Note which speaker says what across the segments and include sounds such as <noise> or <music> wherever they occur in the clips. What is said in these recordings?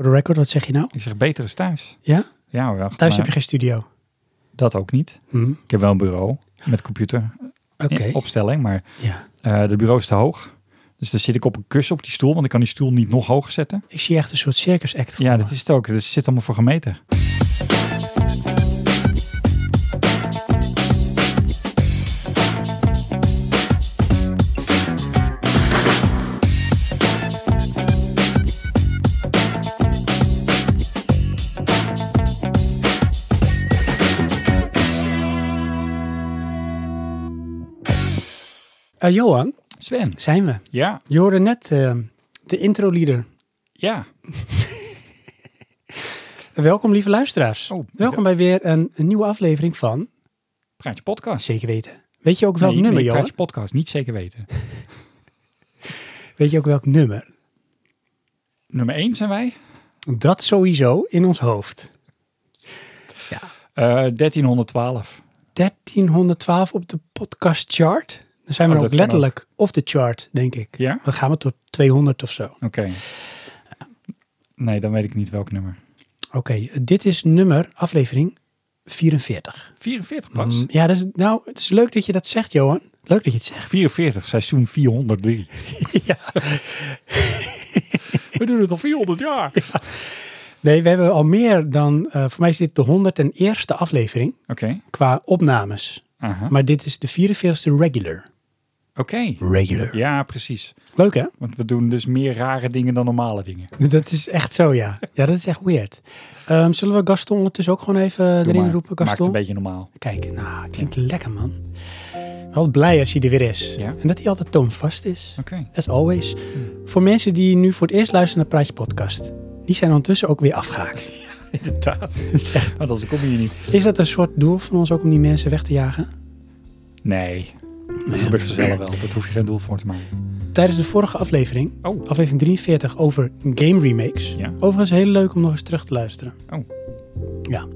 Speaker 1: Voor de record, wat zeg je nou?
Speaker 2: Ik zeg, betere stage.
Speaker 1: Ja?
Speaker 2: Ja, wacht.
Speaker 1: Thuis
Speaker 2: maar
Speaker 1: heb je geen studio.
Speaker 2: Dat ook niet.
Speaker 1: Hm,
Speaker 2: Ik heb wel een bureau met computer
Speaker 1: Oké.
Speaker 2: in opstelling, maar
Speaker 1: Ja.
Speaker 2: eh het bureau is te hoog. Dus dan zit ik op een kussen op die stoel, want ik kan die stoel niet nog hoger zetten.
Speaker 1: Ik zie echt een soort circus act voor
Speaker 2: Ja,
Speaker 1: me.
Speaker 2: dat is het ook. Dat zit allemaal voor gemeten.
Speaker 1: Eh, Johan,
Speaker 2: Sven.
Speaker 1: zijn we.
Speaker 2: Ja,
Speaker 1: Je hoorde net eh, de intro-lieder.
Speaker 2: ja.
Speaker 1: Welkom, lieve luisteraars.
Speaker 2: Oh,
Speaker 1: Welkom bij weer een, een nieuwe aflevering van
Speaker 2: Praatje podcast.
Speaker 1: Zeker Weten. Weet je ook welk
Speaker 2: Nee,
Speaker 1: nummer,
Speaker 2: nee,
Speaker 1: Johan?
Speaker 2: Praatje podcast, niet zeker weten.
Speaker 1: Weet je ook welk nummer?
Speaker 2: Nummer 1 zijn wij.
Speaker 1: Dat sowieso in ons hoofd.
Speaker 2: Eh 1312.
Speaker 1: 1312 op de podcastchart. Dan zijn we
Speaker 2: Oh,
Speaker 1: ook
Speaker 2: dat kan
Speaker 1: letterlijk off the chart, denk ik.
Speaker 2: Ja?
Speaker 1: Dan gaan we tot 200 of zo.
Speaker 2: Oké. Nee, dan weet ik niet welk nummer.
Speaker 1: Oké, dit is nummer, aflevering 44.
Speaker 2: 44 pas.
Speaker 1: Mm, Ja, dat is, nou, het is leuk dat je dat zegt, Johan. Leuk dat je het zegt.
Speaker 2: 44, seizoen <laughs> 403.
Speaker 1: ja.
Speaker 2: We doen het al 400 jaar. Oké.
Speaker 1: Nee, we hebben al meer dan, eh, voor mij is dit de 101ste aflevering qua opnames.
Speaker 2: Aha.
Speaker 1: Maar dit is de 44ste regular.
Speaker 2: Oké.
Speaker 1: Regular.
Speaker 2: Ja, precies.
Speaker 1: Leuk hè?
Speaker 2: Want we doen dus meer rare dingen dan normale dingen.
Speaker 1: Dat is echt zo, ja. Ja, dat is echt weird. Ehm, zullen we Gaston ondertussen ook gewoon even
Speaker 2: Doe
Speaker 1: erin
Speaker 2: maar.
Speaker 1: roepen,
Speaker 2: Maakt het
Speaker 1: Gaston?
Speaker 2: een beetje normaal.
Speaker 1: Kijk, nou, klinkt lekker man. Wel blij als hij er weer is.
Speaker 2: Ja. Hm.
Speaker 1: En dat hij altijd toonvast is.
Speaker 2: Oké.
Speaker 1: As always. Voor mensen die nu voor het eerst luisteren naar Praatje Podcast. Die zijn ondertussen ook weer afgehaakt. <laughs>
Speaker 2: Inderdaad.
Speaker 1: Dat is echt-
Speaker 2: Want anders kom je hier niet.
Speaker 1: Is dat een soort doel van ons ook om die mensen weg te jagen?
Speaker 2: Nee. Dat gebeurt vanzelf wel. Dat hoef je geen doel voor te maken.
Speaker 1: Tijdens de vorige aflevering,
Speaker 2: Oh.
Speaker 1: aflevering 43, over game remakes.
Speaker 2: Ja.
Speaker 1: Overigens heel leuk om nog eens terug te luisteren.
Speaker 2: Oh.
Speaker 1: Ja.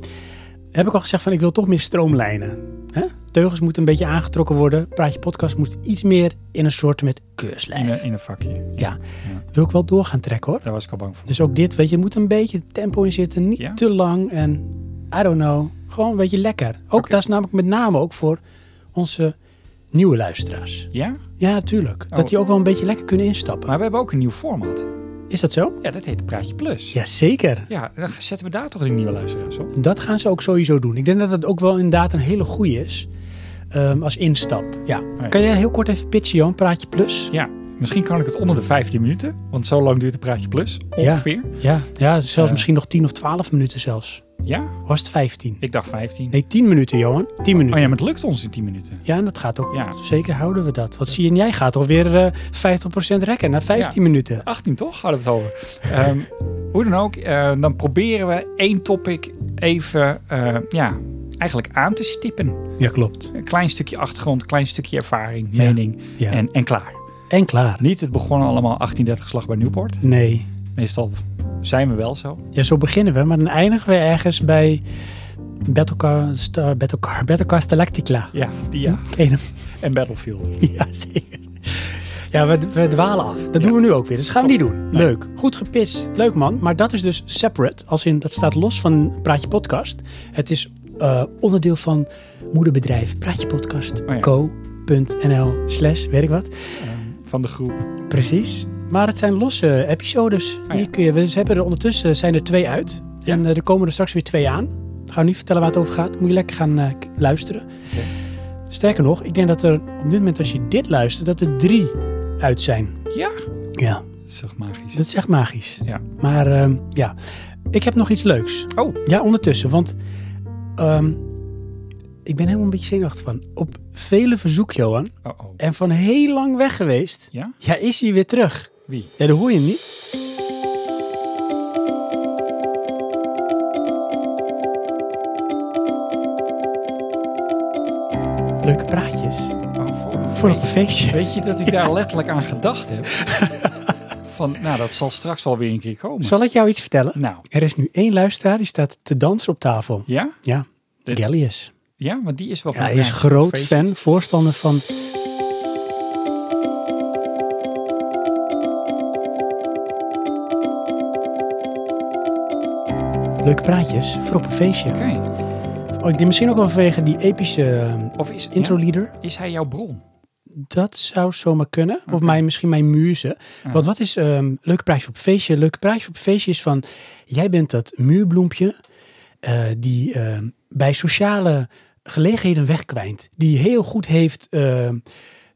Speaker 1: Heb ik al gezegd van ik wil toch meer stroomlijnen. Hè? Teugels moeten een beetje aangetrokken worden. Praatje podcast moet iets meer in een soort met keurslijf.
Speaker 2: In, een- in een vakje.
Speaker 1: Ja. Wil ik wel door gaan trekken hoor.
Speaker 2: Daar was ik al bang voor.
Speaker 1: Dus ook dit, weet je, er moet een beetje tempo in zitten. Niet
Speaker 2: Ja.
Speaker 1: te lang en I don't know. Gewoon een beetje lekker. Ook
Speaker 2: Oké.
Speaker 1: dat is namelijk met name ook voor onze nieuwe luisteraars.
Speaker 2: Ja?
Speaker 1: Ja, tuurlijk.
Speaker 2: Oh.
Speaker 1: Dat die ook wel een beetje lekker kunnen instappen.
Speaker 2: Maar we hebben ook een nieuw format.
Speaker 1: Is dat zo?
Speaker 2: Ja, dat heet Praatje Plus.
Speaker 1: Jazeker.
Speaker 2: Ja, dan zetten we daar toch de nieuwe luisteraars op.
Speaker 1: Dat gaan ze ook sowieso doen. Ik denk dat dat ook wel inderdaad een hele goeie is. ehm, als instap. Ja.
Speaker 2: ja.
Speaker 1: Kan jij heel kort even pitchen, Johan? Praatje Plus?
Speaker 2: Ja, misschien kan ik het onder de 15 minuten. Want zo lang duurt de Praatje Plus. Ongeveer. Ja.
Speaker 1: Ja, ja zelfs
Speaker 2: Eh.
Speaker 1: misschien nog 10 of 12 minuten zelfs. Was het 15?
Speaker 2: Ik dacht 15.
Speaker 1: Nee, 10 minuten, Johan. 10 minuten.
Speaker 2: Oh ja, maar het lukt ons in 10 minuten.
Speaker 1: Ja, en dat gaat ook.
Speaker 2: Ja.
Speaker 1: Zeker houden we dat. Wat zie je? En jij gaat alweer eh 50% rekken na 15 minuten.
Speaker 2: 18 toch? Hadden we het over. Ehm, <laughs> hoe dan ook, eh, dan proberen we één topic even eh, ja, eigenlijk aan te stippen.
Speaker 1: Ja, klopt.
Speaker 2: Een klein stukje achtergrond, klein stukje ervaring,
Speaker 1: Ja.
Speaker 2: mening
Speaker 1: Ja. En,
Speaker 2: En, en klaar.
Speaker 1: klaar.
Speaker 2: Niet het begon allemaal 1830 slag bij Newport.
Speaker 1: Nee.
Speaker 2: Meestal zijn we wel zo.
Speaker 1: Ja, zo beginnen we, maar dan eindigen we ergens bij eh, Battlecar, Star, Battlecar, Battlecar Stalactica.
Speaker 2: Ja, die ja.
Speaker 1: <laughs> Ken je hem? <laughs>
Speaker 2: En Battlefield.
Speaker 1: Ja, zeker. Ja, we, we dwalen af. Dat
Speaker 2: Ja.
Speaker 1: doen we nu ook weer. Dus gaan we niet doen.
Speaker 2: Nee.
Speaker 1: Leuk. Goed gepitst. Leuk man. Maar dat is dus separate. Als in, dat staat los van Praatje Podcast. Het is eh, onderdeel van moederbedrijf Praatje Podcast
Speaker 2: ja.
Speaker 1: co.nl slash weet ik wat.
Speaker 2: Ehm, van de groep.
Speaker 1: Precies. Maar het zijn losse episodes.
Speaker 2: Ah, ja.
Speaker 1: Die kun je, we ze hebben er ondertussen eh, zijn er twee uit.
Speaker 2: Ja.
Speaker 1: En eh, er komen er straks weer twee aan. Ik ga niet vertellen waar het over gaat. Moet je lekker gaan eh, k- luisteren. Sterker nog, ik denk dat er op dit moment als je dit luistert, dat er drie uit zijn.
Speaker 2: Ja.
Speaker 1: Ja.
Speaker 2: Dat is toch magisch.
Speaker 1: Dat is echt magisch.
Speaker 2: Ja.
Speaker 1: Maar ehm, ja, ik heb nog iets leuks.
Speaker 2: Oh.
Speaker 1: Ja, ondertussen. Want ehm, ik ben helemaal een beetje zenuwachtig van. Op vele verzoek, Johan.
Speaker 2: Oh oh.
Speaker 1: En van heel lang weg geweest.
Speaker 2: Ja?
Speaker 1: Ja, is hij weer terug.
Speaker 2: Wie?
Speaker 1: Ja, dat hoor je hem niet. Leuke praatjes.
Speaker 2: Oh, voor-
Speaker 1: Voor op een feestje.
Speaker 2: Weet je dat ik daar letterlijk aan gedacht
Speaker 1: <laughs>
Speaker 2: heb? Van, nou, dat zal straks wel weer een keer komen.
Speaker 1: Zal ik jou iets vertellen?
Speaker 2: Nou,
Speaker 1: Er is nu één luisteraar die staat te dansen op tafel.
Speaker 2: ja?
Speaker 1: Ja,
Speaker 2: Dit-
Speaker 1: Gallius.
Speaker 2: Ja, maar die is wel...
Speaker 1: Ja,
Speaker 2: van
Speaker 1: hij is
Speaker 2: Rijn.
Speaker 1: groot
Speaker 2: Feestje.
Speaker 1: fan, voorstander van... leuke praatjes voor op een feestje.
Speaker 2: Oké.
Speaker 1: Oh, ik denk misschien ook wel vanwege die epische ehm,
Speaker 2: Of is, ja,
Speaker 1: intro-lieder.
Speaker 2: is hij jouw bron?
Speaker 1: Dat zou zomaar kunnen. Of
Speaker 2: Oké.
Speaker 1: mijn, misschien mijn muze.
Speaker 2: Ja.
Speaker 1: Want wat is ehm leuke praatje op een feestje? Leuke praatje op een feestje is van... Jij bent dat muurbloempje eh, die ehm, bij sociale gelegenheden wegkwijnt. Die heel goed heeft ehm,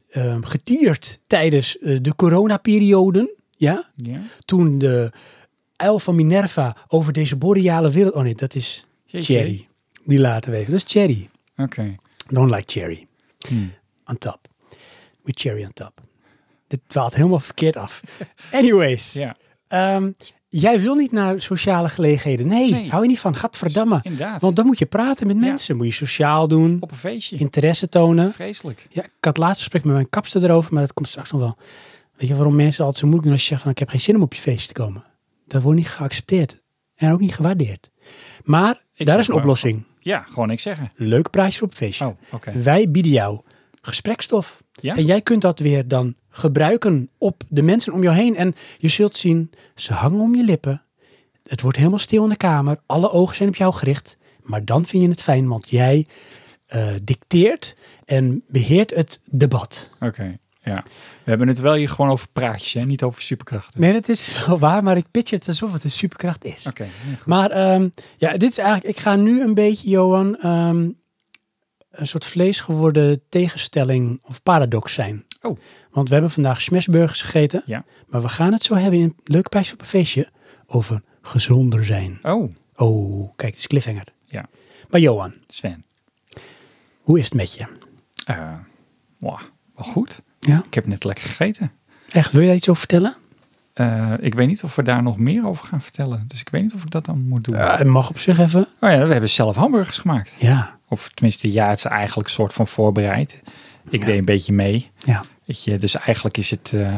Speaker 1: ehm, getierd tijdens eh, de coronaperioden. Ja?
Speaker 2: Ja.
Speaker 1: Toen de uil van Minerva over deze boreale wereld... Oh nee, dat is
Speaker 2: Jeetje.
Speaker 1: Cherry. Die laten we even. Dat is Cherry.
Speaker 2: Oké.
Speaker 1: Don't like Cherry
Speaker 2: Hm.
Speaker 1: on top. With cherry on top. Dit dwaalt helemaal verkeerd af.
Speaker 2: <laughs>
Speaker 1: Anyways.
Speaker 2: Ja,
Speaker 1: ehm, jij wil niet naar sociale gelegenheden. Nee,
Speaker 2: Nee.
Speaker 1: hou je niet van. Gadverdamme.
Speaker 2: inderdaad.
Speaker 1: Want dan moet je praten met
Speaker 2: Ja.
Speaker 1: mensen. Moet je sociaal doen.
Speaker 2: Op een feestje.
Speaker 1: Interesse tonen.
Speaker 2: Vreselijk.
Speaker 1: Ja, ik had laatst gesprek met mijn kapster erover. Maar dat komt straks nog wel. Weet je waarom mensen altijd zo moeilijk doen als je zegt van ik heb geen zin om op je feest te komen. Dat wordt niet geaccepteerd. En ook niet gewaardeerd. Maar
Speaker 2: Ik
Speaker 1: daar
Speaker 2: zeg
Speaker 1: is een
Speaker 2: maar-
Speaker 1: oplossing.
Speaker 2: Ja, gewoon niks zeggen.
Speaker 1: Leuk prijs voor op feestje.
Speaker 2: Oh, oké.
Speaker 1: Wij bieden jou gesprekstof.
Speaker 2: Ja?
Speaker 1: En jij kunt dat weer dan gebruiken op de mensen om jou heen. En je zult zien, ze hangen om je lippen. Het wordt helemaal stil in de kamer. Alle ogen zijn op jou gericht. Maar dan vind je het fijn, want jij eh, dicteert en beheert het debat.
Speaker 2: Oké, ja. We hebben het wel hier gewoon over praatjes, hè? niet over superkrachten.
Speaker 1: Nee, dat is wel waar, maar ik pitch het alsof het een superkracht is.
Speaker 2: Oké, ja, goed.
Speaker 1: Maar ehm, ja, dit is eigenlijk. Ik ga nu een beetje, Johan, ehm, een soort vleesgeworden tegenstelling of paradox zijn.
Speaker 2: Oh.
Speaker 1: Want we hebben vandaag smashburgers gegeten.
Speaker 2: Ja.
Speaker 1: Maar we gaan het zo hebben in Leuk Prijs op een Feestje over gezonder zijn.
Speaker 2: Oh,
Speaker 1: Oh, kijk, het is cliffhanger.
Speaker 2: Ja.
Speaker 1: Maar Johan,
Speaker 2: Sven.
Speaker 1: hoe is het met je?
Speaker 2: Eh, wauw, wel goed.
Speaker 1: Ja.
Speaker 2: Ik heb net lekker gegeten.
Speaker 1: Echt, wil jij iets over vertellen?
Speaker 2: Eh, ik weet niet of we daar nog meer over gaan vertellen. Dus ik weet niet of ik dat dan moet doen.
Speaker 1: Eh, mag op zich even.
Speaker 2: Oh ja, we hebben zelf hamburgers gemaakt.
Speaker 1: Ja.
Speaker 2: Of tenminste, ja, het is eigenlijk een soort van voorbereid. Ik
Speaker 1: Ja.
Speaker 2: deed een beetje mee.
Speaker 1: Ja.
Speaker 2: Weet je, dus eigenlijk is het... eh,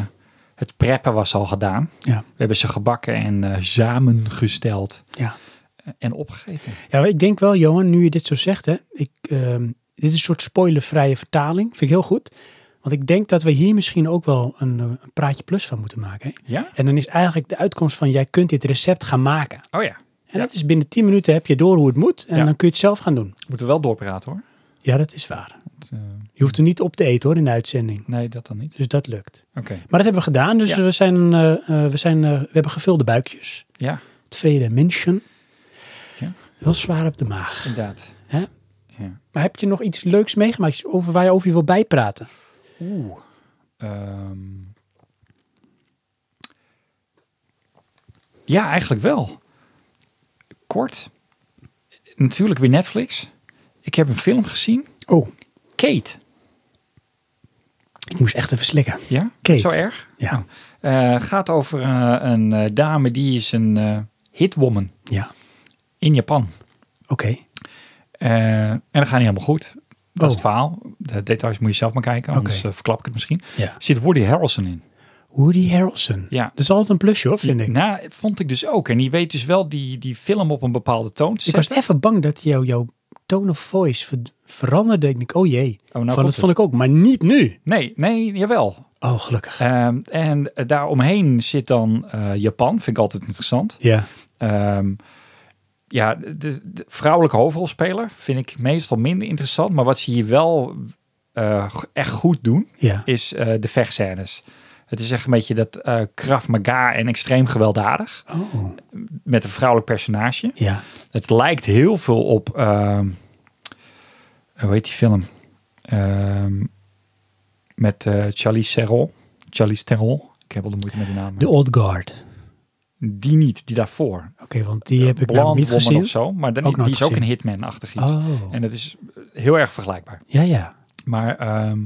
Speaker 2: het preppen was al gedaan.
Speaker 1: Ja.
Speaker 2: We hebben ze gebakken en eh, samengesteld.
Speaker 1: Ja.
Speaker 2: Eh, En opgegeten.
Speaker 1: Ja, maar ik denk wel, Johan, nu je dit zo zegt, hè, ik, ehm, dit is een soort spoilervrije vertaling. Vind ik heel goed. Want ik denk dat we hier misschien ook wel een, eh, een praatje plus van moeten maken. Hè?
Speaker 2: Ja?
Speaker 1: En dan is eigenlijk de uitkomst van jij kunt dit recept gaan maken.
Speaker 2: Oh ja.
Speaker 1: En
Speaker 2: Ja.
Speaker 1: dat is binnen 10 minuten heb je door hoe het moet. En
Speaker 2: Ja.
Speaker 1: dan kun je het zelf gaan doen.
Speaker 2: We moeten wel doorpraten hoor.
Speaker 1: Ja, dat is waar.
Speaker 2: Want, eh,
Speaker 1: Je hoeft er niet op te eten hoor in de uitzending.
Speaker 2: nee, dat dan niet.
Speaker 1: Dus dat lukt.
Speaker 2: Oké.
Speaker 1: Maar dat hebben we gedaan. Dus
Speaker 2: Ja.
Speaker 1: we, zijn, eh, eh, we, zijn, eh, we hebben gevulde buikjes.
Speaker 2: Ja,
Speaker 1: Tevreden mensen.
Speaker 2: Ja.
Speaker 1: Heel zwaar op de maag.
Speaker 2: inderdaad.
Speaker 1: Hè?
Speaker 2: Ja.
Speaker 1: Maar heb je nog iets leuks meegemaakt iets over waar je over je wil bijpraten?
Speaker 2: Oeh. Ehm. ja, eigenlijk wel. Kort. Natuurlijk weer Netflix. Ik heb een film gezien.
Speaker 1: Oh,
Speaker 2: Kate.
Speaker 1: ik moest echt even slikken.
Speaker 2: Ja?
Speaker 1: Kate.
Speaker 2: Zo erg?
Speaker 1: Ja.
Speaker 2: Oh. Eh, gaat over eh, een eh, dame die is een eh, hitwoman
Speaker 1: Ja,
Speaker 2: in Japan.
Speaker 1: oké.
Speaker 2: Eh, en dat gaat niet helemaal goed. Dat
Speaker 1: Oh.
Speaker 2: is het verhaal. De details moet je zelf maar kijken, anders
Speaker 1: Oké.
Speaker 2: eh, verklap ik het misschien.
Speaker 1: Ja.
Speaker 2: Zit Woody Harrelson in.
Speaker 1: Woody Harrelson.
Speaker 2: Ja.
Speaker 1: Dat is altijd een plusje hoor, vind ik.
Speaker 2: Nou, vond ik dus ook. En die weet dus wel die, die film op een bepaalde toon te
Speaker 1: Ik was
Speaker 2: zetten.
Speaker 1: even bang dat jou, jouw tone of voice ver- veranderde. Ik denk, oh jee.
Speaker 2: Oh, nou
Speaker 1: van,
Speaker 2: komt
Speaker 1: dat
Speaker 2: het.
Speaker 1: vond ik ook, maar niet nu.
Speaker 2: Nee, nee, jawel.
Speaker 1: Oh, gelukkig.
Speaker 2: Ehm, en eh, daaromheen zit dan eh, Japan. Vind ik altijd interessant.
Speaker 1: Ja.
Speaker 2: Ehm, ja, de, de vrouwelijke hoofdrolspeler vind ik meestal minder interessant. Maar wat ze hier wel eh, go- echt goed doen,
Speaker 1: Ja.
Speaker 2: is eh, de vechtscènes. Het is echt een beetje dat eh Krav Maga en extreem gewelddadig.
Speaker 1: Oh.
Speaker 2: Met een vrouwelijk personage.
Speaker 1: Ja.
Speaker 2: Het lijkt heel veel op. ehm, eh, hoe heet die film? Ehm, met eh Charlize Theron. Charlize Theron. Ik heb al de moeite met de naam.
Speaker 1: The Old Guard. Oké,
Speaker 2: Die niet, die daarvoor.
Speaker 1: want die heb ik
Speaker 2: Blonde
Speaker 1: nog niet
Speaker 2: Woman
Speaker 1: gezien.
Speaker 2: of zo. Maar dan,
Speaker 1: Ook nooit
Speaker 2: die is ook
Speaker 1: gezien.
Speaker 2: een hitman-achtig iets.
Speaker 1: Oh.
Speaker 2: En dat is eh, heel erg vergelijkbaar.
Speaker 1: Ja, ja.
Speaker 2: Maar ehm,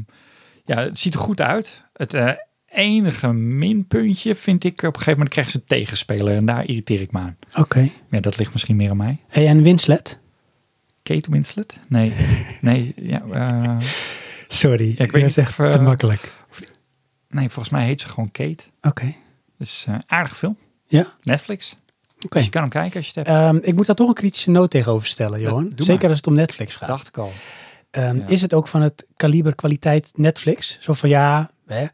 Speaker 2: ja, het ziet er goed uit. Het eh, enige minpuntje vind ik... Op een gegeven moment krijgt ze een tegenspeler. En daar irriteer ik me aan.
Speaker 1: Oké.
Speaker 2: Ja, dat ligt misschien meer aan mij.
Speaker 1: Hey, en Winslet?
Speaker 2: Kate Winslet?
Speaker 1: <laughs>
Speaker 2: Nee. Nee, ja,
Speaker 1: Oh,
Speaker 2: eh,
Speaker 1: Sorry.
Speaker 2: ik weet
Speaker 1: is
Speaker 2: niet
Speaker 1: echt
Speaker 2: of, eh,
Speaker 1: te makkelijk.
Speaker 2: Nee, volgens mij heet ze gewoon Kate.
Speaker 1: Oké.
Speaker 2: Dus eh aardig film.
Speaker 1: Ja.
Speaker 2: Netflix.
Speaker 1: Oké.
Speaker 2: Dus je kan hem kijken als je het hebt.
Speaker 1: Ehm, ik moet daar toch een kritische noot tegenover stellen,
Speaker 2: Dat-
Speaker 1: Johan.
Speaker 2: doe maar.
Speaker 1: Zeker als het om Netflix gaat.
Speaker 2: Dacht ik al.
Speaker 1: Ehm,
Speaker 2: ja.
Speaker 1: Is het ook van het kaliber kwaliteit Netflix? Zo van ja, hè,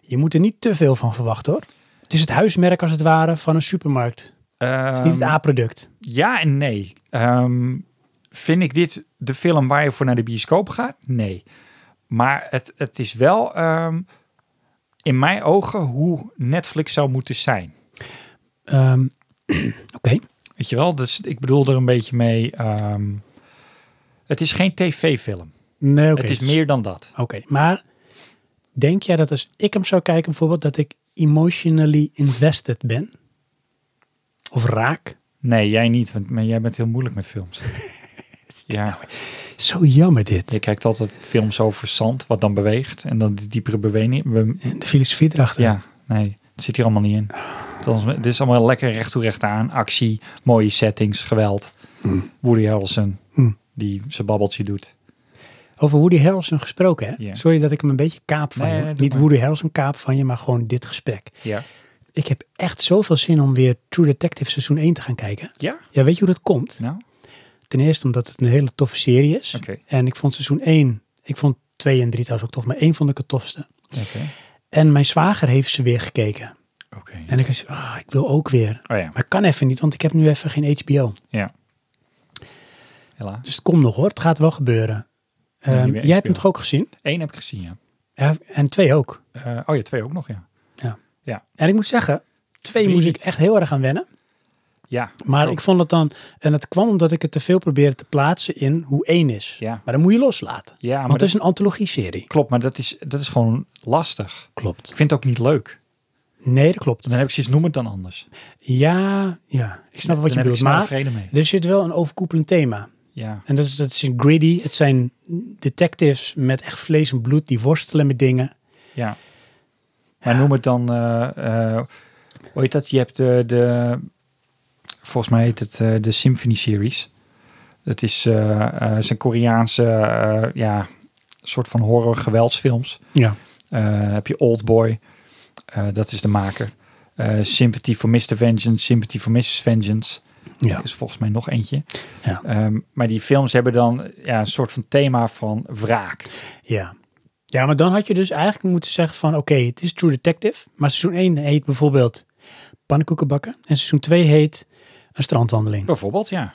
Speaker 1: je moet er niet te veel van verwachten hoor. Het is het huismerk als het ware van een supermarkt. Het is niet het A-product.
Speaker 2: Ehm, Ja en nee. Ehm, vind ik dit de film waar je voor naar de bioscoop gaat? Nee. Maar het, het is wel ehm, in mijn ogen hoe Netflix zou moeten zijn.
Speaker 1: Ehm, Oké.
Speaker 2: Weet je wel? Dus ik bedoel er een beetje mee. ehm, het is geen tv-film.
Speaker 1: Nee, oké. dus
Speaker 2: het is meer dan dat.
Speaker 1: Oké, maar denk jij dat als ik hem zou kijken bijvoorbeeld, dat ik emotionally invested ben? Of raak?
Speaker 2: Nee, jij niet, want maar jij bent heel moeilijk
Speaker 1: <laughs>
Speaker 2: met films.
Speaker 1: nou
Speaker 2: ja,
Speaker 1: Zo jammer dit.
Speaker 2: je kijkt altijd films over zand, wat dan beweegt. En dan die diepere beweging. be-
Speaker 1: De filosofie erachter.
Speaker 2: Ja, nee, het zit hier allemaal niet in. Althans, Dit is allemaal lekker recht toe recht aan. Actie, mooie settings, geweld.
Speaker 1: Hmm.
Speaker 2: Woody Harrelson,
Speaker 1: Hmm.
Speaker 2: die zijn babbeltje doet.
Speaker 1: Over Woody Harrelson gesproken, hè?
Speaker 2: Ja.
Speaker 1: Sorry dat ik hem een beetje kaap van
Speaker 2: Nee,
Speaker 1: je.
Speaker 2: nee, doe
Speaker 1: Niet
Speaker 2: maar.
Speaker 1: Woody Harrelson kaap van je, maar gewoon dit gesprek.
Speaker 2: Ja.
Speaker 1: Ik heb echt zoveel zin om weer True Detective seizoen 1 te gaan kijken.
Speaker 2: Ja?
Speaker 1: Ja, weet je hoe dat komt?
Speaker 2: Nou, oké.
Speaker 1: Ten eerste omdat het een hele toffe serie is. En ik vond seizoen 1, ik vond 2 en 3 trouwens ook tof, maar 1 vond ik het tofste.
Speaker 2: Oké.
Speaker 1: En mijn zwager heeft ze weer gekeken.
Speaker 2: Oké.
Speaker 1: En ik dacht, ah, ik wil ook weer.
Speaker 2: Oh ja,
Speaker 1: Maar kan even niet, want ik heb nu even geen HBO.
Speaker 2: helaas.
Speaker 1: Dus het komt nog hoor, het gaat wel gebeuren.
Speaker 2: Ja,
Speaker 1: Ehm, jij
Speaker 2: je bent
Speaker 1: hebt
Speaker 2: HBO.
Speaker 1: hem toch ook gezien?
Speaker 2: Eén heb ik gezien, ja.
Speaker 1: Ja, en twee ook.
Speaker 2: Eh, oh ja, twee ook nog, ja.
Speaker 1: En ik moet zeggen, twee
Speaker 2: Drie
Speaker 1: moest
Speaker 2: niet.
Speaker 1: ik echt heel erg aan wennen.
Speaker 2: Ja,
Speaker 1: Maar
Speaker 2: Ook.
Speaker 1: ik vond het dan, en het kwam omdat ik het te veel probeerde te plaatsen in hoe één is.
Speaker 2: ja.
Speaker 1: Maar dan moet je loslaten.
Speaker 2: Ja, maar
Speaker 1: want dus-
Speaker 2: dat
Speaker 1: het is een antologie-serie.
Speaker 2: klopt, maar dat is, dat is gewoon lastig.
Speaker 1: Klopt.
Speaker 2: Ik vind het ook niet leuk.
Speaker 1: Nee, dat klopt.
Speaker 2: Dan heb ik zoiets, noem het dan anders.
Speaker 1: Ja, ja. Ik snap wat
Speaker 2: dan
Speaker 1: je
Speaker 2: heb ik
Speaker 1: bedoelt.
Speaker 2: snel
Speaker 1: Maar
Speaker 2: vrede mee.
Speaker 1: er zit wel een overkoepelend thema.
Speaker 2: Ja,
Speaker 1: En dat is, dat is gritty. Het zijn detectives met echt vlees en bloed die worstelen met dingen.
Speaker 2: ja. Maar noem het dan, eh, eh, hoe heet dat? Je hebt eh, de, volgens mij heet het eh, de Symphony Series. Dat is, eh, eh, zijn Koreaanse, eh, ja, soort van horror geweldsfilms.
Speaker 1: Ja.
Speaker 2: Eh, heb je Oldboy, eh dat is de maker. Eh, Sympathy for Mr. Vengeance, Sympathy for Mrs. Vengeance.
Speaker 1: ja.
Speaker 2: Er is volgens mij nog eentje.
Speaker 1: Ja.
Speaker 2: Ehm, maar die films hebben dan ja, een soort van thema van wraak.
Speaker 1: Ja. Ja, maar dan had je dus eigenlijk moeten zeggen van... oké, het is True Detective, maar seizoen 1 heet bijvoorbeeld pannenkoekenbakken... en seizoen 2 heet een strandwandeling.
Speaker 2: Bijvoorbeeld, ja.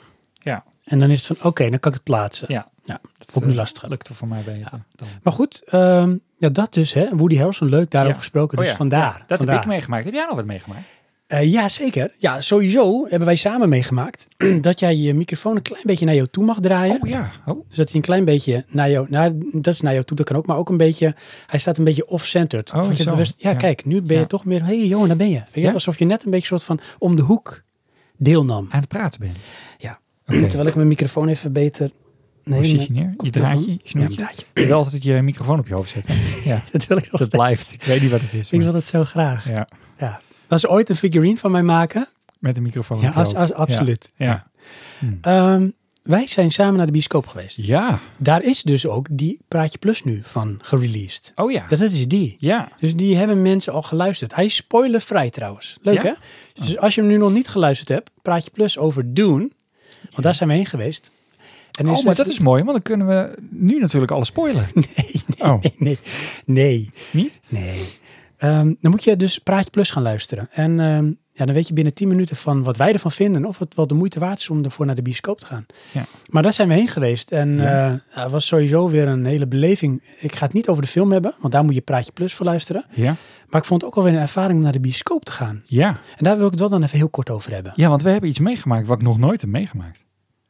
Speaker 1: En dan is het van, oké, dan kan ik het plaatsen.
Speaker 2: Ja.
Speaker 1: Ja,
Speaker 2: dat
Speaker 1: vond ik
Speaker 2: eh,
Speaker 1: lastig.
Speaker 2: Lukt er voor mij beter. dan.
Speaker 1: Maar goed, ehm, ja, dat dus, hè. Woody Harrelson, leuk daarover
Speaker 2: Ja.
Speaker 1: gesproken, dus
Speaker 2: Oh ja,
Speaker 1: vandaar.
Speaker 2: Dat
Speaker 1: vandaar.
Speaker 2: heb ik meegemaakt. Heb jij nog wat meegemaakt?
Speaker 1: Eh, ja, zeker. Ja, sowieso hebben wij samen meegemaakt... <clears throat> dat jij je microfoon een klein beetje naar jou toe mag draaien.
Speaker 2: Oh ja. Oh.
Speaker 1: Dus dat hij een klein beetje naar jou, naar, dat is naar jou toe, dat kan ook, maar ook een beetje, hij staat een beetje off-centered.
Speaker 2: Oh,
Speaker 1: Vond je het
Speaker 2: zo.
Speaker 1: bewust, ja,
Speaker 2: Ja.
Speaker 1: kijk, nu ben je
Speaker 2: Ja.
Speaker 1: toch meer, hé hey, Johan, daar ben je. Weet je
Speaker 2: Ja?
Speaker 1: Alsof je net een beetje soort van om de hoek deelnam.
Speaker 2: Aan het praten ben.
Speaker 1: Ja.
Speaker 2: Oké.
Speaker 1: Terwijl ik mijn microfoon even beter... Nee,
Speaker 2: Hoe zit
Speaker 1: nee.
Speaker 2: je neer? Je
Speaker 1: Koptelefoon?
Speaker 2: draadje? Je
Speaker 1: Ja, mijn
Speaker 2: snoertje?
Speaker 1: draadje.
Speaker 2: je wil altijd je microfoon op je hoofd <laughs> zetten. ja.
Speaker 1: <laughs> Dat wil ik nog steeds.
Speaker 2: Dat blijft. Ik weet niet wat het is.
Speaker 1: Ik
Speaker 2: maar-
Speaker 1: wil dat zo graag.
Speaker 2: Ja.
Speaker 1: Ja. Als ze ooit een figurine van mij maken,
Speaker 2: Met een microfoon
Speaker 1: ja,
Speaker 2: op je
Speaker 1: als,
Speaker 2: hoofd.
Speaker 1: als, absoluut.
Speaker 2: Ja. ja.
Speaker 1: Ehm, wij zijn samen naar de bioscoop geweest.
Speaker 2: Ja.
Speaker 1: Daar is dus ook die Praatje Plus nu van gereleased.
Speaker 2: Oh ja.
Speaker 1: Ja, dat is die.
Speaker 2: Ja.
Speaker 1: Dus die hebben mensen al geluisterd. Hij is spoilervrij trouwens. Leuk
Speaker 2: Ja?
Speaker 1: hè? Dus als je hem nu nog niet geluisterd hebt, praat je plus over Doen. Want daar zijn we heen geweest. En
Speaker 2: Oh,
Speaker 1: is dus
Speaker 2: maar
Speaker 1: het-
Speaker 2: dat is mooi, want dan kunnen we nu natuurlijk alles <laughs> spoilen. Oh,
Speaker 1: <laughs> Nee, nee,
Speaker 2: niet?
Speaker 1: nee. Ehm, dan moet je dus Praatje Plus gaan luisteren. En ehm, ja, dan weet je binnen 10 minuten van wat wij ervan vinden. Of het wel de moeite waard is om ervoor naar de bioscoop te gaan.
Speaker 2: Ja.
Speaker 1: Maar daar zijn we heen geweest. En
Speaker 2: Ja.
Speaker 1: eh, het was sowieso weer een hele beleving. Ik ga het niet over de film hebben, want daar moet je Praatje Plus voor luisteren.
Speaker 2: Ja.
Speaker 1: Maar ik vond het ook alweer een ervaring om naar de bioscoop te gaan.
Speaker 2: Ja.
Speaker 1: En daar wil ik het wel dan even heel kort over hebben.
Speaker 2: ja, want we hebben iets meegemaakt wat ik nog nooit heb meegemaakt.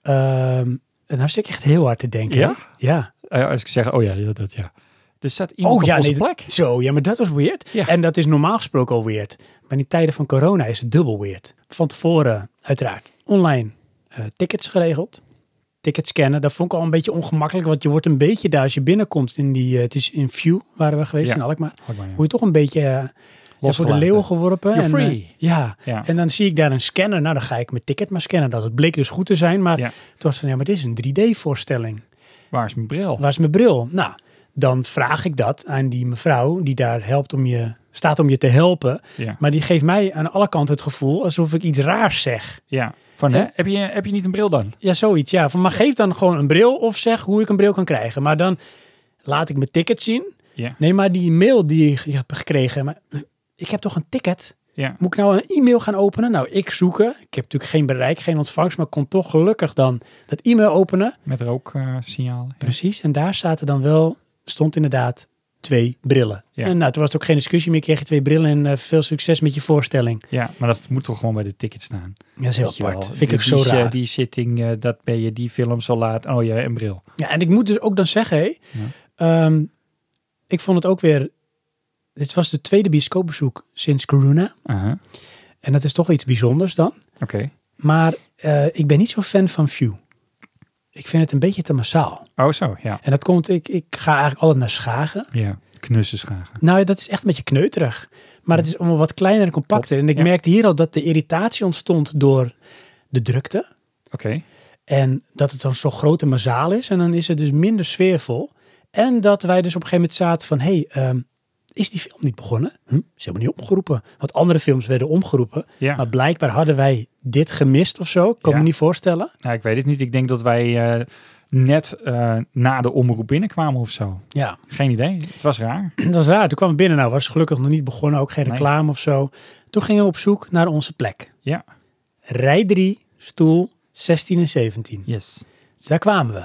Speaker 1: Ehm en nou zit ik echt heel hard te denken.
Speaker 2: Ja?
Speaker 1: Ja.
Speaker 2: Eh, als ik zeg, oh ja, ja, dat ja. Er staat iemand op onze
Speaker 1: dat-
Speaker 2: plek.
Speaker 1: Zo, ja, maar dat was weird.
Speaker 2: Ja.
Speaker 1: En dat is normaal gesproken al weird. Maar in die tijden van corona is het dubbel weird. Van tevoren, uiteraard, online eh, tickets geregeld. Tickets scannen, dat vond ik al een beetje ongemakkelijk. Want je wordt een beetje daar als je binnenkomt in die... eh, het is in View, waren we geweest
Speaker 2: Ja.
Speaker 1: in Alkmaar.
Speaker 2: Hak maar, ja.
Speaker 1: Word je toch een beetje eh, ja, voor de
Speaker 2: Losgelaten.
Speaker 1: leeuw geworpen.
Speaker 2: You're
Speaker 1: en, eh,
Speaker 2: free.
Speaker 1: ja,
Speaker 2: Ja.
Speaker 1: En dan zie ik daar een scanner. Nou, dan ga ik mijn ticket maar scannen. Dat het bleek dus goed te zijn. Maar
Speaker 2: Ja.
Speaker 1: het was van, ja, maar dit is een 3D-voorstelling.
Speaker 2: Waar is mijn bril?
Speaker 1: Waar is mijn bril? Nou, dan vraag ik dat aan die mevrouw die daar helpt om je, staat om je te helpen.
Speaker 2: Ja.
Speaker 1: Maar die geeft mij aan alle kanten het gevoel alsof ik iets raars zeg.
Speaker 2: ja. Van,
Speaker 1: Ja.
Speaker 2: hè? Heb, je, heb je niet een bril dan?
Speaker 1: Ja, zoiets. Ja, van maar geef dan gewoon een bril of zeg hoe ik een bril kan krijgen. Maar dan laat ik mijn ticket zien.
Speaker 2: Ja.
Speaker 1: Nee, maar die mail die ik heb gekregen. Maar ik heb toch een ticket?
Speaker 2: Ja.
Speaker 1: Moet ik nou een e-mail gaan openen? Nou, ik zoeken. Ik heb natuurlijk geen bereik, geen ontvangst, maar kon toch gelukkig dan dat e-mail openen.
Speaker 2: Met rooksignalen. ja.
Speaker 1: Precies. En daar zaten dan wel, stond inderdaad twee brillen.
Speaker 2: Ja.
Speaker 1: En nou, toen was het ook geen discussie meer. Kreeg je twee brillen en eh, veel succes met je voorstelling.
Speaker 2: ja, maar dat moet toch gewoon bij de ticket staan.
Speaker 1: Ja, dat is heel
Speaker 2: Weet je
Speaker 1: apart.
Speaker 2: wel.
Speaker 1: Vind ik ook
Speaker 2: Die-
Speaker 1: zo
Speaker 2: die, eh,
Speaker 1: raar.
Speaker 2: Die zitting, eh, dat ben je, die film zo laat. Oh ja, een bril.
Speaker 1: Ja, en ik moet dus ook dan zeggen, hé,
Speaker 2: Ja.
Speaker 1: ehm, ik vond het ook weer. Dit was de tweede bioscoopbezoek sinds corona.
Speaker 2: Aha,
Speaker 1: En dat is toch wel iets bijzonders dan.
Speaker 2: Oké.
Speaker 1: Maar eh, ik ben niet zo fan van View. Ik vind het een beetje te massaal.
Speaker 2: Oh zo, ja.
Speaker 1: En dat komt, ik, ik ga eigenlijk altijd naar Schagen.
Speaker 2: Ja, knussenschragen.
Speaker 1: Nou, ja, dat is echt een beetje kneuterig. Maar het is allemaal wat kleiner en compacter. En ik
Speaker 2: ja.
Speaker 1: merkte hier al dat de irritatie ontstond door de drukte.
Speaker 2: Oké.
Speaker 1: En dat het dan zo groot en massaal is. En dan is het dus minder sfeervol. En dat wij dus op een gegeven moment zaten van... hé, hey, ehm, is die film niet begonnen? Hm, ze hebben niet omgeroepen. Want andere films werden omgeroepen.
Speaker 2: Ja,
Speaker 1: Maar blijkbaar hadden wij dit gemist of zo. Ik kan me
Speaker 2: Ja.
Speaker 1: niet voorstellen.
Speaker 2: nou, ik weet het niet. Ik denk dat wij eh, net eh, na de omroep binnenkwamen of zo.
Speaker 1: Ja,
Speaker 2: Geen idee. Het was raar.
Speaker 1: dat was raar. Toen kwamen we binnen. Nou, was gelukkig nog niet begonnen. Ook geen
Speaker 2: Nee.
Speaker 1: reclame of zo. Toen gingen we op zoek naar onze plek.
Speaker 2: Ja.
Speaker 1: Rij 3, stoel 16 en 17.
Speaker 2: Yes.
Speaker 1: Dus daar kwamen we.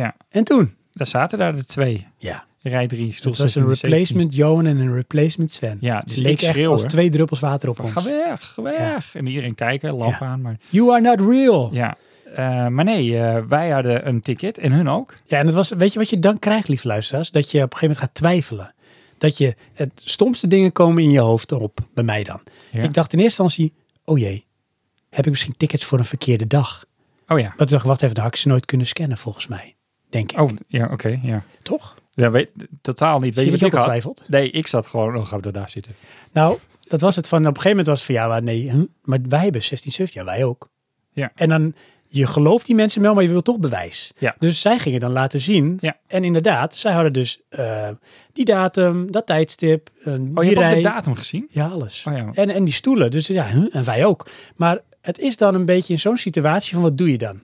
Speaker 2: Ja,
Speaker 1: En toen?
Speaker 2: daar zaten daar de twee.
Speaker 1: Ja.
Speaker 2: Rij drie, stoel
Speaker 1: Het was
Speaker 2: 16,
Speaker 1: een replacement Johan en een replacement Sven.
Speaker 2: 17. Ja,
Speaker 1: Het
Speaker 2: dus
Speaker 1: leek
Speaker 2: ik
Speaker 1: echt
Speaker 2: schreeuw
Speaker 1: als
Speaker 2: hoor.
Speaker 1: twee druppels water op
Speaker 2: Ga
Speaker 1: ons.
Speaker 2: weg, ga weg. En iedereen kijken, lamp
Speaker 1: Ja.
Speaker 2: aan. Maar,
Speaker 1: You are not real. Ja.
Speaker 2: ja. Eh, maar nee, eh, wij hadden een ticket en hun ook.
Speaker 1: en het was, weet je wat je dan krijgt, lief luisteraars? Dat je op een gegeven moment gaat twijfelen. Dat je, het stomste dingen komen in je hoofd op, bij mij dan.
Speaker 2: Ja.
Speaker 1: Ik dacht in eerste instantie, oh jee, heb ik misschien tickets voor een verkeerde dag?
Speaker 2: Oh ja.
Speaker 1: Maar toen dacht ik, wacht even, dan had ik ze nooit kunnen scannen volgens mij. Denk ik,
Speaker 2: Oh, ja, oké, ja.
Speaker 1: toch?
Speaker 2: Ja, weet, totaal niet. Weet je
Speaker 1: Zie
Speaker 2: wat
Speaker 1: je
Speaker 2: ik
Speaker 1: dat je
Speaker 2: had?
Speaker 1: ook al twijfelt?
Speaker 2: Nee, ik zat gewoon, oh, gaan we daar zitten.
Speaker 1: Nou, dat was het van, op een gegeven moment was het van, ja, maar nee, hm, maar wij hebben 16, 17, ja, wij ook.
Speaker 2: Ja.
Speaker 1: En dan, je gelooft die mensen wel, maar je wil toch bewijs.
Speaker 2: Ja.
Speaker 1: Dus zij gingen dan laten zien.
Speaker 2: Ja.
Speaker 1: En inderdaad, zij hadden dus eh, die datum, dat tijdstip, eh,
Speaker 2: Oh, je
Speaker 1: die
Speaker 2: hebt ook
Speaker 1: rij.
Speaker 2: de datum gezien?
Speaker 1: ja, alles.
Speaker 2: Oh ja.
Speaker 1: En, en die stoelen, dus ja, hm, en wij ook. Maar het is dan een beetje in zo'n situatie van, wat doe je dan?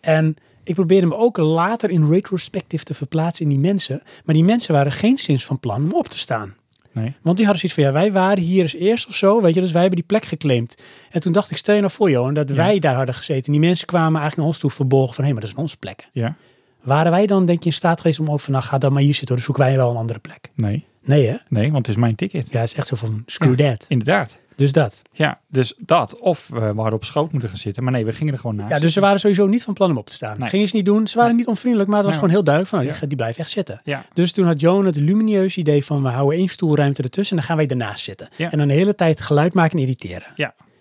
Speaker 1: En ik probeerde me ook later in retrospective te verplaatsen in die mensen. Maar die mensen waren geen sinds van plan om op te staan.
Speaker 2: Nee.
Speaker 1: Want die hadden zoiets van, ja, wij waren hier eens eerst of zo, weet je, dus wij hebben die plek geclaimd. En toen dacht ik, stel je nou voor, Johan, dat
Speaker 2: Ja.
Speaker 1: wij daar hadden gezeten. En die mensen kwamen eigenlijk naar ons toe verborgen van, hé, maar dat zijn onze plekken.
Speaker 2: Ja.
Speaker 1: Waren wij dan, denk je, in staat geweest om ook van, nou, ga dan maar hier zitten, hoor, dan zoeken wij wel een andere plek.
Speaker 2: Nee.
Speaker 1: Nee, hè?
Speaker 2: Nee, want het is mijn ticket.
Speaker 1: Ja, het is echt zo van, screw that.
Speaker 2: Inderdaad.
Speaker 1: Dus dat.
Speaker 2: Ja, dus dat. Of eh, we hadden op schoot moeten gaan zitten. Maar nee, we gingen er gewoon naast.
Speaker 1: Ja, dus ze waren sowieso niet van plan om op te staan.
Speaker 2: Nee.
Speaker 1: Gingen ze niet doen. Ze waren niet onvriendelijk, maar het was
Speaker 2: Nee.
Speaker 1: gewoon heel duidelijk van, nou,
Speaker 2: Ja.
Speaker 1: die, die blijft echt zitten.
Speaker 2: Ja.
Speaker 1: Dus toen had Johan het lumineuze idee van, we houden één stoelruimte ertussen en dan gaan wij daarnaast zitten.
Speaker 2: Ja.
Speaker 1: En dan de hele tijd geluid maken en irriteren.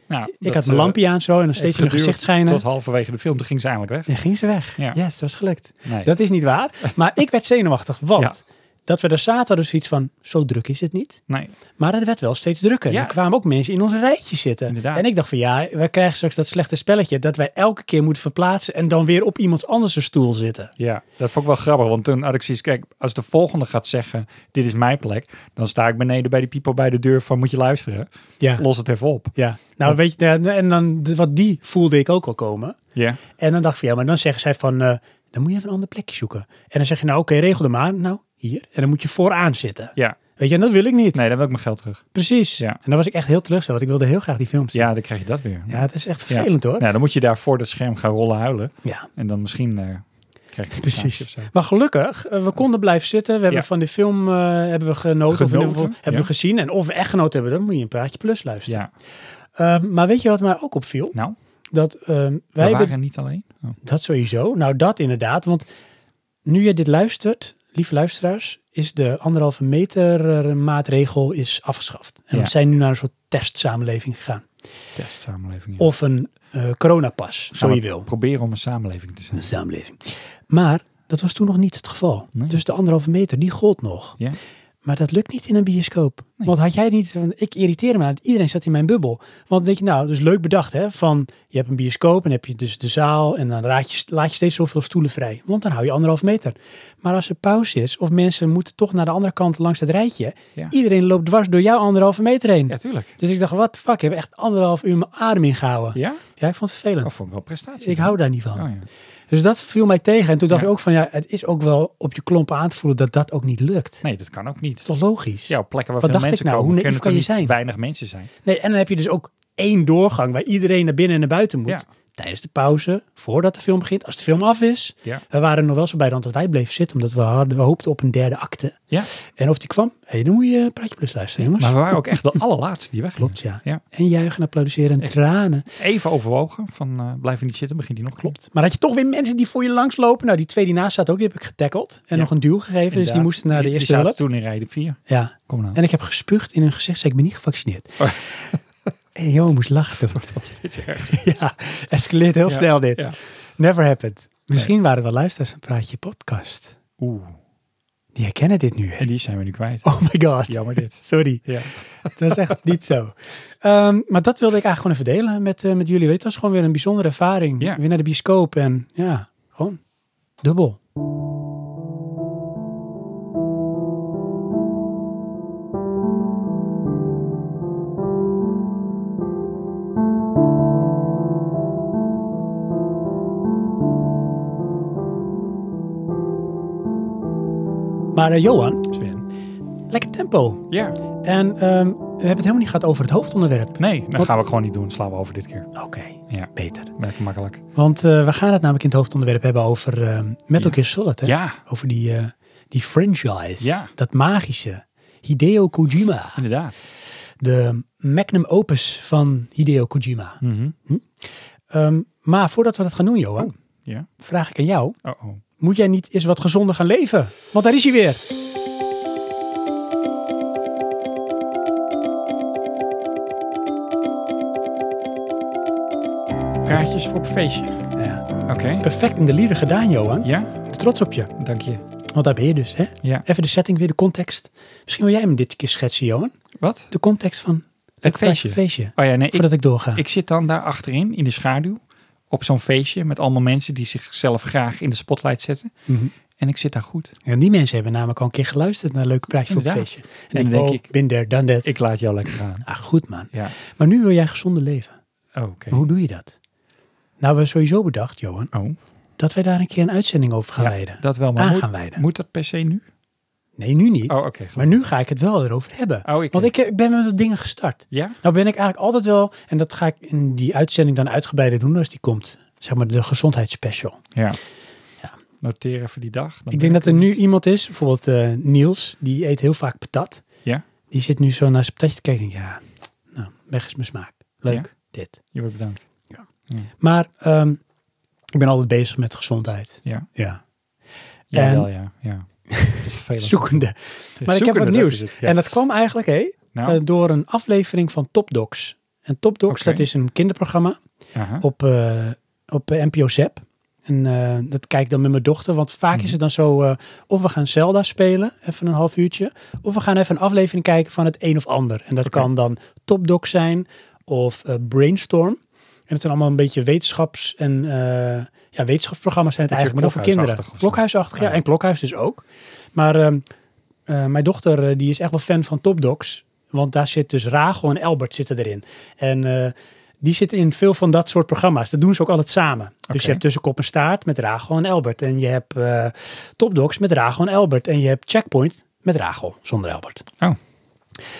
Speaker 2: Nou,
Speaker 1: Ik
Speaker 2: dat,
Speaker 1: had mijn
Speaker 2: eh,
Speaker 1: lampje aan zo en dan
Speaker 2: heeft
Speaker 1: steeds in hun
Speaker 2: geduurd
Speaker 1: gezicht schijnen.
Speaker 2: Tot halverwege de film, toen ging ze eindelijk weg.
Speaker 1: En ging ze weg.
Speaker 2: Ja.
Speaker 1: Yes, dat is gelukt.
Speaker 2: Nee.
Speaker 1: Dat is niet waar. Maar ik werd zenuwachtig, want dat we daar zaten hadden we zoiets van, zo druk is het niet.
Speaker 2: nee.
Speaker 1: Maar het werd wel steeds drukker.
Speaker 2: Ja.
Speaker 1: Er kwamen ook mensen in ons rijtje zitten.
Speaker 2: Inderdaad.
Speaker 1: En ik dacht van, ja, we krijgen straks dat slechte spelletje dat wij elke keer moeten verplaatsen en dan weer op iemand anders stoel zitten.
Speaker 2: Ja, dat vond ik wel grappig. Want toen had ik zoiets, kijk, als de volgende gaat zeggen, dit is mijn plek. Dan sta ik beneden bij die people bij de deur van, moet je luisteren?
Speaker 1: Ja.
Speaker 2: Los het even op.
Speaker 1: Ja, nou weet je, ja, en dan de- wat die voelde ik ook al komen.
Speaker 2: Ja.
Speaker 1: En dan dacht ik van, ja, maar dan zeggen zij van, eh, dan moet je even een ander plekje zoeken. En dan zeg je, nou oké, regel er maar. Nou, hier. En dan moet je vooraan zitten.
Speaker 2: Ja.
Speaker 1: Weet je, en dat wil ik niet.
Speaker 2: Nee, dan wil ik mijn geld terug.
Speaker 1: Precies.
Speaker 2: Ja.
Speaker 1: En dan was ik echt heel teleurgesteld, want ik wilde heel graag die film zien.
Speaker 2: Ja, dan krijg je dat weer.
Speaker 1: Ja, het is echt vervelend hoor. Ja,
Speaker 2: Nou, dan moet je daar voor dat scherm gaan rollen huilen. En dan misschien eh, krijg je een
Speaker 1: Precies.
Speaker 2: kaartje of zo.
Speaker 1: Maar gelukkig, eh, we konden blijven zitten. We hebben
Speaker 2: Ja.
Speaker 1: van de film eh, hebben we genoten. Of in ieder geval
Speaker 2: Genoten,
Speaker 1: hebben
Speaker 2: ja.
Speaker 1: we gezien. En of we echt genoten hebben, dan moet je een praatje plus luisteren.
Speaker 2: Ja,
Speaker 1: Ehm, maar weet je wat mij ook opviel?
Speaker 2: nou,
Speaker 1: Dat ehm, wij
Speaker 2: wij
Speaker 1: hebben-
Speaker 2: waren niet alleen. Oh.
Speaker 1: Dat sowieso. Nou, dat inderdaad. Want nu je dit luistert, lieve luisteraars, is de anderhalve meter eh, maatregel is afgeschaft. En
Speaker 2: Ja.
Speaker 1: we zijn nu naar een soort testsamenleving gegaan.
Speaker 2: Testsamenleving. ja.
Speaker 1: Of een eh, coronapas,
Speaker 2: Gaan
Speaker 1: zo je
Speaker 2: we
Speaker 1: wil.
Speaker 2: Proberen om een samenleving te zijn.
Speaker 1: Een samenleving. Maar dat was toen nog niet het geval.
Speaker 2: Nee.
Speaker 1: Dus de anderhalve meter, die gold nog.
Speaker 2: Ja.
Speaker 1: Maar dat lukt niet in een bioscoop.
Speaker 2: Nee.
Speaker 1: Want had jij niet, want ik irriteer me aan, iedereen zat in mijn bubbel. Want dan denk je, nou, dus leuk bedacht hè, van je hebt een bioscoop en heb je dus de zaal en dan raad je, laat je steeds zoveel stoelen vrij. Want dan hou je anderhalf meter. Maar als er pauze is of mensen moeten toch naar de andere kant langs het rijtje,
Speaker 2: Ja.
Speaker 1: iedereen loopt dwars door jouw anderhalve meter heen.
Speaker 2: Ja, tuurlijk.
Speaker 1: Dus ik dacht, wat fuck, ik heb echt anderhalf uur mijn adem ingehouden. Ja,
Speaker 2: Ja?
Speaker 1: ik vond het vervelend.
Speaker 2: Of vond ik wel prestatie.
Speaker 1: ik hou daar niet van.
Speaker 2: Oh, ja.
Speaker 1: Dus dat viel mij tegen. En toen dacht
Speaker 2: Ja.
Speaker 1: ik ook van ja, het is ook wel op je klompen aan te voelen dat dat ook niet lukt.
Speaker 2: Nee, dat kan ook
Speaker 1: Dat
Speaker 2: niet.
Speaker 1: is toch logisch?
Speaker 2: Ja, op plekken waar
Speaker 1: Wat
Speaker 2: veel
Speaker 1: dacht dacht ik
Speaker 2: mensen
Speaker 1: nou,
Speaker 2: komen,
Speaker 1: hoe naïef
Speaker 2: kunnen
Speaker 1: kan
Speaker 2: er
Speaker 1: je
Speaker 2: niet
Speaker 1: zijn?
Speaker 2: weinig mensen zijn.
Speaker 1: Nee, en dan heb je dus ook één doorgang waar iedereen naar binnen en naar buiten moet.
Speaker 2: Ja.
Speaker 1: Tijdens de pauze, voordat de film begint, als de film af is.
Speaker 2: Ja.
Speaker 1: We waren er nog wel zo bij dan dat wij bleven zitten, omdat we hadden hoopten op een derde acte.
Speaker 2: Ja.
Speaker 1: En of die kwam, hey, dan moet je eh, Praatje Plus luisteren, jongens.
Speaker 2: Maar we waren ook echt
Speaker 1: <laughs>
Speaker 2: de allerlaatste die weg.
Speaker 1: Klopt, ja.
Speaker 2: Ja.
Speaker 1: En juichen, applaudisseren en
Speaker 2: Echt.
Speaker 1: tranen.
Speaker 2: Even overwogen van eh blijf je niet zitten, begint die nog. Klopt.
Speaker 1: Maar had je toch weer mensen die voor je langslopen. Nou, die twee die naast zaten ook, die heb ik getackeld. En
Speaker 2: Ja.
Speaker 1: nog een duw gegeven, dus die
Speaker 2: Inderdaad.
Speaker 1: moesten naar de
Speaker 2: Die-
Speaker 1: eerste
Speaker 2: die
Speaker 1: hulp.
Speaker 2: zaten toen in rijden 4.
Speaker 1: Ja.
Speaker 2: Kom <laughs> nou.
Speaker 1: En ik heb gespuugd in hun gezicht, zei ik ben niet gevaccineerd.
Speaker 2: Oh.
Speaker 1: <laughs> En Jo moest lachen.
Speaker 2: Wordt wel steeds erger.
Speaker 1: <laughs> ja, escaleert heel
Speaker 2: Ja,
Speaker 1: snel dit.
Speaker 2: ja.
Speaker 1: Never happened. Misschien waren er wel luisteraars van Praatje Podcast.
Speaker 2: Oeh,
Speaker 1: Die herkennen dit nu. hè?
Speaker 2: en die zijn we nu kwijt.
Speaker 1: Oh my god.
Speaker 2: Jammer
Speaker 1: <laughs>
Speaker 2: dit.
Speaker 1: Sorry,
Speaker 2: Ja.
Speaker 1: het was echt niet zo. Ehm, maar dat wilde ik eigenlijk gewoon even delen met, eh, met jullie. Weet, je, het was gewoon weer een bijzondere ervaring.
Speaker 2: Ja.
Speaker 1: Weer naar de bioscoop en ja, gewoon dubbel. Maar eh, Johan,
Speaker 2: Sven.
Speaker 1: lekker tempo.
Speaker 2: Ja,
Speaker 1: En ehm, we hebben het helemaal niet gehad over het hoofdonderwerp.
Speaker 2: nee, dat
Speaker 1: Wat-
Speaker 2: gaan we gewoon niet doen. Slaan we over dit keer.
Speaker 1: Oké,
Speaker 2: Ja.
Speaker 1: beter.
Speaker 2: Merk makkelijk.
Speaker 1: Want eh, we gaan het namelijk in het hoofdonderwerp hebben over ehm Metal
Speaker 2: Ja.
Speaker 1: Gear Solid. Hè?
Speaker 2: Ja,
Speaker 1: Over die, eh, die franchise.
Speaker 2: Ja.
Speaker 1: Dat magische. Hideo Kojima.
Speaker 2: inderdaad.
Speaker 1: De magnum opus van Hideo Kojima.
Speaker 2: Mhm.
Speaker 1: Ehm, maar voordat we dat gaan doen, Johan,
Speaker 2: Oh. Ja.
Speaker 1: vraag ik aan jou.
Speaker 2: Oh, oh.
Speaker 1: Moet jij niet eens wat gezonder gaan leven? Want daar is hij weer.
Speaker 2: Kaartjes voor op feestje.
Speaker 1: Ja.
Speaker 2: Oké.
Speaker 1: Perfect in de leader gedaan, Johan.
Speaker 2: Ja,
Speaker 1: Trots op je.
Speaker 2: dank je.
Speaker 1: Want daar ben je dus, hè?
Speaker 2: Ja.
Speaker 1: Even de setting, weer de context. Misschien wil jij hem dit keer schetsen, Johan.
Speaker 2: Wat?
Speaker 1: De context van
Speaker 2: Het feestje.
Speaker 1: feestje.
Speaker 2: Oh ja, nee, ik,
Speaker 1: Voordat ik doorga.
Speaker 2: ik zit dan daar achterin in de schaduw op zo'n feestje met allemaal mensen die zichzelf graag in de spotlight zetten.
Speaker 1: Mhm.
Speaker 2: En ik zit daar goed.
Speaker 1: En die mensen hebben namelijk al een keer geluisterd naar Leuke Praatje voor het
Speaker 2: Inderdaad.
Speaker 1: feestje. En,
Speaker 2: En
Speaker 1: ik
Speaker 2: dan
Speaker 1: denk,
Speaker 2: denk
Speaker 1: ik ben there, done that.
Speaker 2: Ik laat jou lekker gaan.
Speaker 1: Ah, goed man.
Speaker 2: Ja,
Speaker 1: Maar nu wil jij gezonder leven.
Speaker 2: oh, oké.
Speaker 1: Maar hoe doe je dat? Nou, we hebben sowieso bedacht, Johan,
Speaker 2: Oh,
Speaker 1: dat wij daar een keer een uitzending over gaan
Speaker 2: Ja,
Speaker 1: wijden.
Speaker 2: dat wel, maar
Speaker 1: Aan
Speaker 2: moet,
Speaker 1: gaan wijden.
Speaker 2: moet dat per se nu?
Speaker 1: Nee, nu niet.
Speaker 2: Oh, oké.
Speaker 1: maar nu ga ik het wel erover hebben.
Speaker 2: Oh, ik,
Speaker 1: Want ik, ik ben met wat dingen gestart.
Speaker 2: Ja?
Speaker 1: Nou ben ik eigenlijk altijd wel, en dat ga ik in die uitzending dan uitgebreider doen als die komt. Zeg maar de gezondheidsspecial.
Speaker 2: Ja.
Speaker 1: Ja.
Speaker 2: Noteer even die dag. dan
Speaker 1: Ik
Speaker 2: ben
Speaker 1: denk dat er
Speaker 2: niet.
Speaker 1: nu iemand is, bijvoorbeeld eh, Niels, die eet heel vaak patat.
Speaker 2: Ja.
Speaker 1: Die zit nu zo naar zijn patatje te kijken en denkt, ja, nou, weg is mijn smaak. Leuk, dit.
Speaker 2: Je wordt bedankt.
Speaker 1: Maar ehm, ik ben altijd bezig met gezondheid.
Speaker 2: Ja.
Speaker 1: Ja,
Speaker 2: Ja,
Speaker 1: En-
Speaker 2: wel, ja.
Speaker 1: <laughs>
Speaker 2: ja. Vervelend.
Speaker 1: zoekende. Maar ik heb wat
Speaker 2: Zoekende, dat
Speaker 1: nieuws.
Speaker 2: is het, ja.
Speaker 1: En dat kwam eigenlijk hé,
Speaker 2: nou,
Speaker 1: eh, door een aflevering van Top Docs. En Top Docs,
Speaker 2: Oké.
Speaker 1: dat is een kinderprogramma
Speaker 2: aha.
Speaker 1: op, eh, op eh, NPO Zep. En eh, dat kijk ik dan met mijn dochter. Want vaak
Speaker 2: Mhm.
Speaker 1: is het dan zo, eh, of we gaan Zelda spelen, even een half uurtje. Of we gaan even een aflevering kijken van het een of ander. En dat
Speaker 2: Oké.
Speaker 1: kan dan Top Doc zijn of eh, Brainstorm. En het zijn allemaal een beetje wetenschaps- en eh, ja, wetenschapsprogramma's zijn het
Speaker 2: Beetje
Speaker 1: eigenlijk, maar dan voor kinderen.
Speaker 2: klokhuisachtig of zo.
Speaker 1: Klokhuisachtig, ja.
Speaker 2: Ah, ja.
Speaker 1: En klokhuis dus ook. Maar ehm, eh, mijn dochter eh, die is echt wel fan van Top Docs. Want daar zit dus Rachel en Albert zitten erin. En eh, die zitten in veel van dat soort programma's. Dat doen ze ook altijd samen. Dus
Speaker 2: Oké.
Speaker 1: je hebt tussen kop en staart met Rachel en Albert. En je hebt eh Top Docs met Rachel en Albert. En je hebt Checkpoint met Rachel zonder Albert.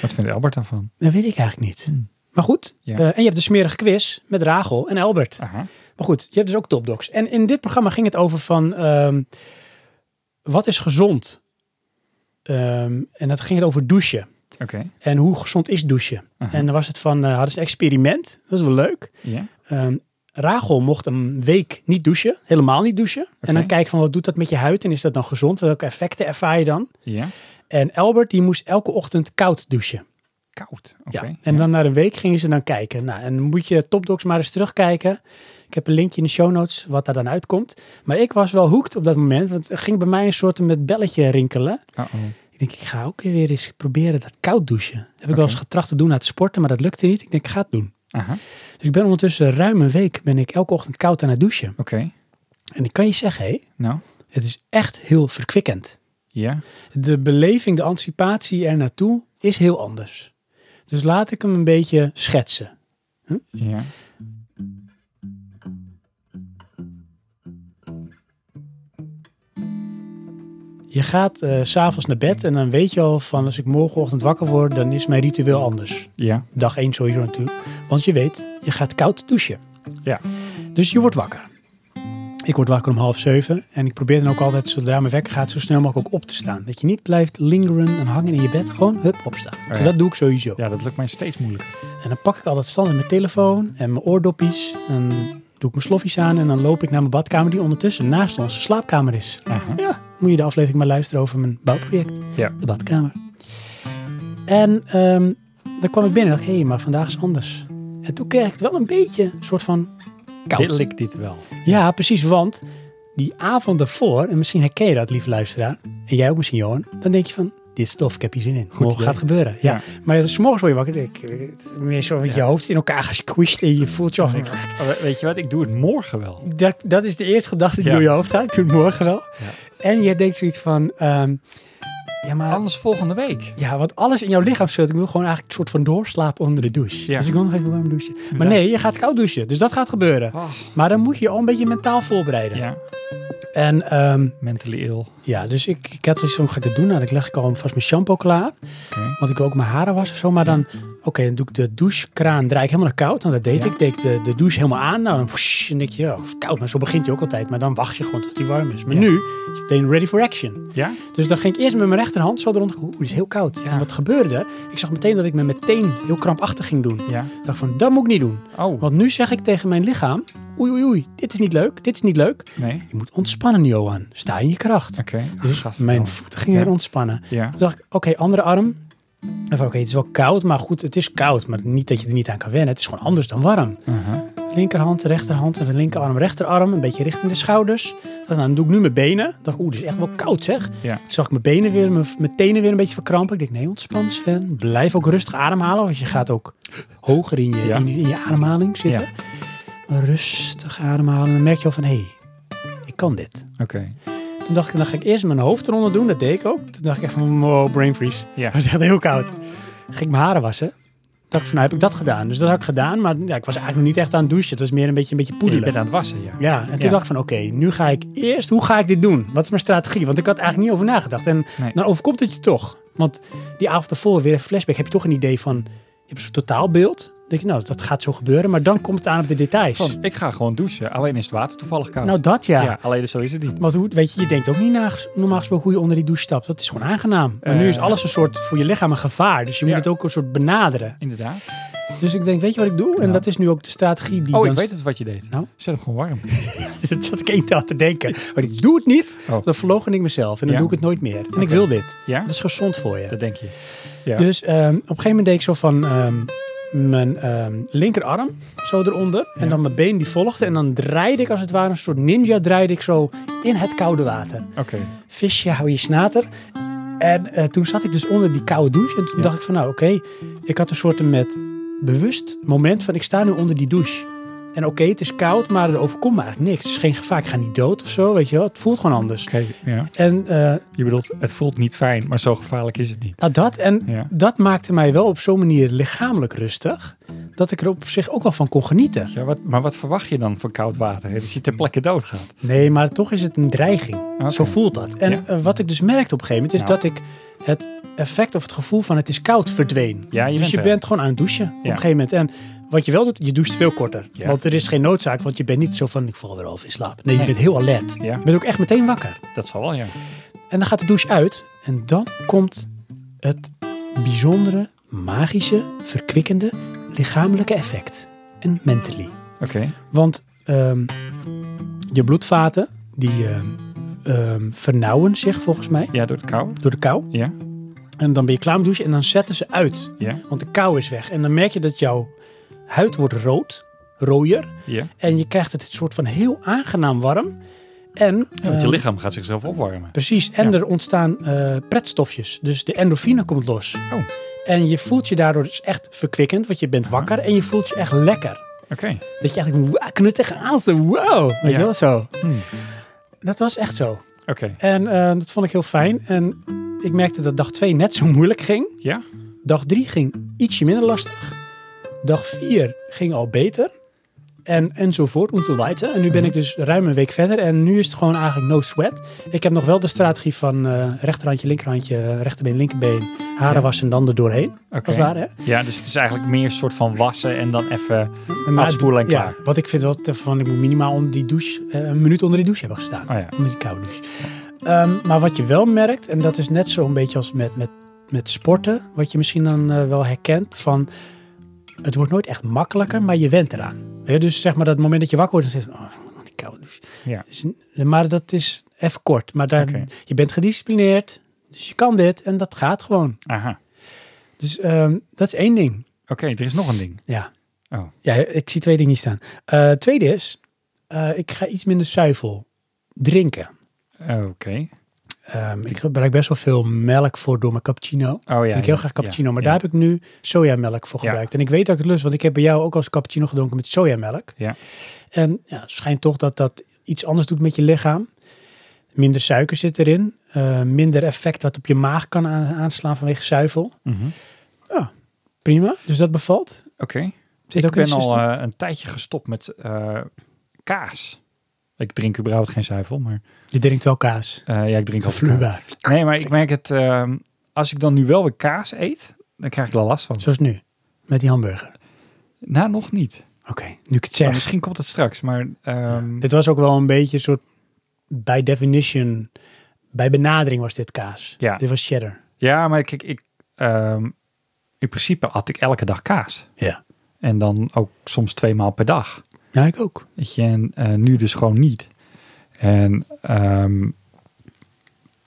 Speaker 2: Wat vindt Albert daarvan?
Speaker 1: Dat weet ik eigenlijk niet.
Speaker 2: Hmm.
Speaker 1: Maar goed.
Speaker 2: Ja.
Speaker 1: eh, en je hebt de smerige quiz met Rachel en Albert.
Speaker 2: Aha.
Speaker 1: Maar goed, je hebt dus ook topdocs. En in dit programma ging het over van ehm, wat is gezond? Ehm, en dat ging het over douchen.
Speaker 2: Oké.
Speaker 1: En hoe gezond is douchen?
Speaker 2: Aha.
Speaker 1: En dan was het van, eh hadden ze een experiment. Dat was wel leuk.
Speaker 2: Ja.
Speaker 1: Ehm Rachel mocht een week niet douchen. Helemaal niet douchen. En dan
Speaker 2: Oké.
Speaker 1: kijken van, wat doet dat met je huid? En is dat dan gezond? Welke effecten ervaar je dan?
Speaker 2: Ja.
Speaker 1: En Albert, die moest elke ochtend koud douchen.
Speaker 2: Koud. Oké.
Speaker 1: Ja. En dan na een week gingen ze dan kijken. Nou, en dan moet je Topdocs maar eens terugkijken. Ik heb een linkje in de show notes wat daar dan uitkomt. Maar ik was wel hoekt op dat moment, want er ging bij mij een soort met belletje rinkelen.
Speaker 2: Uh-oh.
Speaker 1: Ik denk, ik ga ook weer eens proberen dat koud douchen. Dat heb ik wel
Speaker 2: Oké.
Speaker 1: eens getracht te doen na het sporten, maar dat lukte niet. Ik denk, ik ga het doen.
Speaker 2: Aha. Oké.
Speaker 1: Dus ik ben ondertussen ruim een week ben ik elke ochtend koud aan het douchen. En ik kan je zeggen, hé,
Speaker 2: Nou.
Speaker 1: het is echt heel verkwikkend.
Speaker 2: Ja.
Speaker 1: de beleving, de anticipatie er naartoe is heel anders. Dus laat ik hem een beetje schetsen.
Speaker 2: Ja.
Speaker 1: Je gaat eh, s s'avonds naar bed en dan weet je al van als ik morgenochtend wakker word, dan is mijn ritueel anders.
Speaker 2: Ja.
Speaker 1: Dag 1 sowieso natuurlijk. Want je weet, je gaat koud douchen.
Speaker 2: Ja.
Speaker 1: Dus je wordt wakker. Ik word wakker om half zeven. En ik probeer dan ook altijd, zodra mijn wekker gaat, zo snel mogelijk ook op te staan. Dat je niet blijft lingeren en hangen in je bed. Gewoon, hup, opstaan.
Speaker 2: Oh ja.
Speaker 1: Dus dat doe ik sowieso.
Speaker 2: ja, dat lukt mij steeds moeilijk.
Speaker 1: En dan pak ik altijd standaard mijn telefoon en mijn oordopjes. En doe ik mijn sloffies aan. En dan loop ik naar mijn badkamer, die ondertussen naast onze slaapkamer is.
Speaker 2: Aha.
Speaker 1: Ja, moet je de aflevering maar luisteren over mijn bouwproject.
Speaker 2: Ja.
Speaker 1: De badkamer. En ehm dan kwam ik binnen en dacht, hé, maar vandaag is anders. En toen kreeg ik het wel een beetje een soort van
Speaker 2: Wil
Speaker 1: koud.
Speaker 2: ik dit wel?
Speaker 1: Ja, precies, want die avond daarvoor, en misschien herken je dat, lieve luisteraar, en jij ook misschien, Johan, dan denk je van, dit is tof, ik heb hier zin in.
Speaker 2: Goed
Speaker 1: Morgen
Speaker 2: idee.
Speaker 1: gaat het gebeuren. Ja.
Speaker 2: Ja.
Speaker 1: Maar s morgens word je wakker, ik, eh, meer zo met je
Speaker 2: Ja.
Speaker 1: hoofd in elkaar gesquished en je voelt je af.
Speaker 2: Ja. Oh, we- Weet je wat, ik doe het morgen wel.
Speaker 1: Dat, dat is de eerste gedachte die
Speaker 2: Ja.
Speaker 1: door je hoofd gaat. Ik doe het morgen wel. En je denkt zoiets van... ehm, ja, maar,
Speaker 2: Anders volgende week.
Speaker 1: ja, want alles in jouw lichaam speelt. Ik wil gewoon eigenlijk een soort van doorslapen onder de douche.
Speaker 2: Ja.
Speaker 1: Dus ik wil nog even warm douchen. Maar
Speaker 2: Ja.
Speaker 1: nee, je gaat koud douchen. Dus dat gaat gebeuren. Maar dan moet je je al een beetje mentaal voorbereiden.
Speaker 2: Ja,
Speaker 1: En ehm,
Speaker 2: mentally ill.
Speaker 1: ja, dus ik, ik had zoiets van, hoe ga ik dat doen? Nou, dan leg ik al vast mijn shampoo klaar.
Speaker 2: Oké.
Speaker 1: Want ik wil ook mijn haren was of zo. Maar dan, oké, dan doe ik de douchekraan, draai ik helemaal naar koud. Nou, dat deed
Speaker 2: Ja.
Speaker 1: ik. Deed ik de, de douche helemaal aan. Nou, en whoosh, en denk je, oh, het is koud. Maar zo begint je ook altijd. Maar dan wacht je gewoon tot die warm is. Maar
Speaker 2: Ja.
Speaker 1: nu is het meteen ready for action.
Speaker 2: Ja?
Speaker 1: Dus dan ging ik eerst met mijn rechterhand zo eronder. Oeh, het is heel koud.
Speaker 2: Ja.
Speaker 1: En wat gebeurde? er? Ik zag meteen dat ik me meteen heel krampachtig ging doen.
Speaker 2: Ja.
Speaker 1: Ik dacht van, dat moet ik niet doen.
Speaker 2: Oh,
Speaker 1: Want nu zeg ik tegen mijn lichaam, oei oei oei, dit is niet leuk, dit is niet leuk.
Speaker 2: nee. Oké.
Speaker 1: Je moet ontspannen, Johan. Sta in je kracht. Dus
Speaker 2: Gadverdamme.
Speaker 1: mijn voeten gingen
Speaker 2: Ja.
Speaker 1: weer ontspannen.
Speaker 2: Ja.
Speaker 1: Toen dacht ik, oké, andere arm. En van, oké, het is wel koud, maar goed, het is koud. Maar niet dat je er niet aan kan wennen. Het is gewoon anders dan warm.
Speaker 2: Aha.
Speaker 1: Linkerhand, rechterhand en de linkerarm, rechterarm. Een beetje richting de schouders. Dacht, nou, dan doe ik nu mijn benen. Dacht, oeh, dit is echt wel koud zeg.
Speaker 2: Ja.
Speaker 1: Toen zag ik mijn benen weer, mijn, mijn tenen weer een beetje verkrampen. Ik denk, nee, ontspan Sven. Blijf ook rustig ademhalen, want je gaat ook hoger in je,
Speaker 2: Ja.
Speaker 1: in, in je ademhaling zitten. Rustig ademhalen. En dan merk je al van, hé, hey, ik kan dit.
Speaker 2: Oké.
Speaker 1: Toen dacht ik, dan ga ik eerst mijn hoofd eronder doen. Dat deed ik ook. Toen dacht ik echt van, wow, brain freeze.
Speaker 2: Ja.
Speaker 1: <laughs> Het was echt heel koud. Ging ik mijn haren wassen. Dacht ik van, nou heb ik dat gedaan. Dus dat had ik gedaan, maar ja, ik was eigenlijk nog niet echt aan het douchen. Het was meer een beetje, een beetje
Speaker 2: Je
Speaker 1: poedelen.
Speaker 2: bent aan het wassen, ja.
Speaker 1: Ja, en toen
Speaker 2: Ja.
Speaker 1: dacht ik van, oké, nu ga ik eerst, hoe ga ik dit doen? Wat is mijn strategie? Want ik had eigenlijk niet over nagedacht. En
Speaker 2: Nee.
Speaker 1: dan overkomt het je toch. Want die avond ervoor, weer een flashback, heb je toch een idee van, je hebt een soort totaalbeeld. Dan denk je, nou, dat gaat zo gebeuren. Maar dan komt het aan op de details.
Speaker 2: Van, ik ga gewoon douchen. Alleen is het water toevallig koud.
Speaker 1: nou, dat ja.
Speaker 2: ja, alleen dus zo is het niet.
Speaker 1: Want hoe, weet je, je denkt ook niet na, normaal gesproken hoe je onder die douche stapt. Dat is gewoon aangenaam. Maar nu
Speaker 2: Eh.
Speaker 1: is alles een soort voor je lichaam een gevaar. Dus je moet
Speaker 2: Ja.
Speaker 1: het ook een soort benaderen.
Speaker 2: Inderdaad.
Speaker 1: Dus ik denk, weet je wat ik doe? En
Speaker 2: Ja.
Speaker 1: dat is nu ook de strategie die
Speaker 2: Oh,
Speaker 1: dan...
Speaker 2: ik weet het wat je deed.
Speaker 1: Nou?
Speaker 2: Zet hem gewoon warm.
Speaker 1: <laughs> dat zat ik één dag te denken. Maar ik doe het niet,
Speaker 2: Oh.
Speaker 1: dan verlogen ik mezelf. En dan
Speaker 2: Ja.
Speaker 1: doe ik het nooit meer. En ik
Speaker 2: Oké.
Speaker 1: wil dit.
Speaker 2: Ja?
Speaker 1: Dat is gezond voor je.
Speaker 2: Dat denk je. Ja.
Speaker 1: Dus ehm, op een gegeven moment deed ik zo van ehm, mijn ehm, linkerarm zo eronder. En
Speaker 2: Ja.
Speaker 1: dan mijn been die volgde. En dan draaide ik als het ware een soort ninja draaide ik zo in het koude water.
Speaker 2: Oké.
Speaker 1: visje, hou je snater. En eh, toen zat ik dus onder die koude douche. En toen
Speaker 2: Ja.
Speaker 1: dacht ik van, nou oké, ik had een soort met bewust moment van, ik sta nu onder die douche. En oké, het is koud, maar er overkomt me eigenlijk niks. Het is geen gevaar, ik ga niet dood of zo, weet je wel. Het voelt gewoon anders.
Speaker 2: Oké, ja.
Speaker 1: En eh,
Speaker 2: Je bedoelt, het voelt niet fijn, maar zo gevaarlijk is het niet.
Speaker 1: nou dat, en
Speaker 2: Ja.
Speaker 1: dat maakte mij wel op zo'n manier lichamelijk rustig, dat ik er op zich ook wel van kon genieten.
Speaker 2: Ja, wat, maar wat verwacht je dan van koud water? Hè? Dat je ter plekke doodgaat.
Speaker 1: Nee, maar toch is het een dreiging.
Speaker 2: Oké.
Speaker 1: Zo voelt dat. En
Speaker 2: Ja.
Speaker 1: eh, wat ik dus merkte op een gegeven moment, is
Speaker 2: Ja.
Speaker 1: dat ik het effect of het gevoel van het is koud verdween.
Speaker 2: Ja, je
Speaker 1: dus
Speaker 2: bent
Speaker 1: je
Speaker 2: er.
Speaker 1: bent gewoon aan het douchen op een gegeven moment. En wat je wel doet, je doucht veel korter.
Speaker 2: Ja.
Speaker 1: Want er is geen noodzaak, want je bent niet zo van ik val weer half in slaap. Nee, je
Speaker 2: Nee.
Speaker 1: bent heel alert.
Speaker 2: Ja.
Speaker 1: Je bent ook echt meteen wakker.
Speaker 2: Dat zal wel, ja.
Speaker 1: En dan gaat de douche uit en dan komt het bijzondere, magische, verkwikkende lichamelijke effect. En mentally.
Speaker 2: Oké.
Speaker 1: Want ehm, je bloedvaten, die ehm, ehm, vernauwen zich volgens mij
Speaker 2: Ja, door het kou.
Speaker 1: door de kou.
Speaker 2: Ja,
Speaker 1: En dan ben je klaar met douchen en dan zetten ze uit.
Speaker 2: ja,
Speaker 1: Want de kou is weg. En dan merk je dat jouw huid wordt rood, rooier.
Speaker 2: ja.
Speaker 1: En je krijgt het soort van heel aangenaam warm. En,
Speaker 2: Ja, want je
Speaker 1: ehm,
Speaker 2: lichaam gaat zichzelf opwarmen.
Speaker 1: Precies. En
Speaker 2: Ja.
Speaker 1: er ontstaan eh, pretstofjes. Dus de endorfine komt los.
Speaker 2: Oh. Ah.
Speaker 1: En je voelt je daardoor dus echt verkwikkend, want je bent
Speaker 2: Aha.
Speaker 1: wakker en je voelt je echt lekker.
Speaker 2: Oké.
Speaker 1: Dat je echt wa- knuttig aan staat. Wow. Weet
Speaker 2: Ja.
Speaker 1: je wel zo.
Speaker 2: Hmm.
Speaker 1: Dat was echt zo.
Speaker 2: Oké.
Speaker 1: En eh, dat vond ik heel fijn. En ik merkte dat dag 2 net zo moeilijk ging.
Speaker 2: Ja?
Speaker 1: Dag 3 ging ietsje minder lastig. Dag 4 ging al beter. En enzovoort, om te weiter. En nu ben ik dus ruim een week verder. En nu is het gewoon eigenlijk no sweat. Ik heb nog wel de strategie van eh, rechterhandje, linkerhandje, rechterbeen, linkerbeen. Haren
Speaker 2: Ja.
Speaker 1: wassen en dan er doorheen.
Speaker 2: Oké.
Speaker 1: Als het ware, hè?
Speaker 2: Ja, dus het is eigenlijk meer een soort van wassen en dan even...
Speaker 1: Maar-
Speaker 2: Afspoelen en klaar.
Speaker 1: Ja, wat ik vind wel te- van, ik moet minimaal onder die douche, eh, een minuut onder die douche hebben gestaan.
Speaker 2: Oh ja.
Speaker 1: Onder die koude douche. Ehm, maar wat je wel merkt, en dat is net zo'n beetje als met, met, met sporten, wat je misschien dan eh, wel herkent, van het wordt nooit echt
Speaker 2: Mm.
Speaker 1: makkelijker, maar je went eraan. Hè, dus zeg maar dat moment dat je wakker wordt, dan zit je, oh, die koude douche.
Speaker 2: Ja.
Speaker 1: Is een- Dus maar dat is even kort. Maar daar,
Speaker 2: Oké.
Speaker 1: je bent gedisciplineerd, dus je kan dit en dat gaat gewoon.
Speaker 2: Aha.
Speaker 1: Dus ehm, dat is één ding.
Speaker 2: Oké, er is nog een ding.
Speaker 1: Ja.
Speaker 2: Oh.
Speaker 1: Ja, ik zie twee dingen staan. Eh, tweede is, eh, ik ga iets minder zuivel drinken.
Speaker 2: Oké.
Speaker 1: Ehm, ik gebruik best wel veel melk voor door mijn cappuccino. Ik
Speaker 2: Oh ja.
Speaker 1: drink heel graag cappuccino, maar daar heb ik nu sojamelk voor
Speaker 2: Ja.
Speaker 1: gebruikt. En ik weet dat ik het lust, want ik heb bij jou ook als cappuccino gedronken met sojamelk.
Speaker 2: Ja.
Speaker 1: En ja, het schijnt toch dat dat iets anders doet met je lichaam. Minder suiker zit erin. eh, minder effect wat op je maag kan aan- aanslaan vanwege zuivel.
Speaker 2: Mhm.
Speaker 1: Prima, dus dat bevalt.
Speaker 2: Oké.
Speaker 1: Zit
Speaker 2: Ik
Speaker 1: ook in
Speaker 2: ben
Speaker 1: het
Speaker 2: al
Speaker 1: systeem.
Speaker 2: eh, een tijdje gestopt met eh, kaas. Ik drink überhaupt geen zuivel, maar
Speaker 1: Je drinkt wel kaas.
Speaker 2: eh, ja, ik drink al
Speaker 1: Vloeibaar.
Speaker 2: Nee, maar ik merk het, ehm, als ik dan nu wel weer kaas eet, dan krijg ik er last van.
Speaker 1: Zoals nu, met die hamburger.
Speaker 2: Nou, nog niet.
Speaker 1: Oké, nu ik het
Speaker 2: Maar
Speaker 1: zeg.
Speaker 2: misschien komt het straks, maar ehm,
Speaker 1: Dit was ook wel een beetje een soort, by definition, bij benadering was dit kaas.
Speaker 2: Ja.
Speaker 1: Dit was cheddar.
Speaker 2: ja, maar kijk, ik, ehm, in principe at ik elke dag kaas.
Speaker 1: Ja.
Speaker 2: En dan ook soms twee maal per dag.
Speaker 1: Ja, ik ook.
Speaker 2: Weet je, en eh, nu dus gewoon niet. En ehm,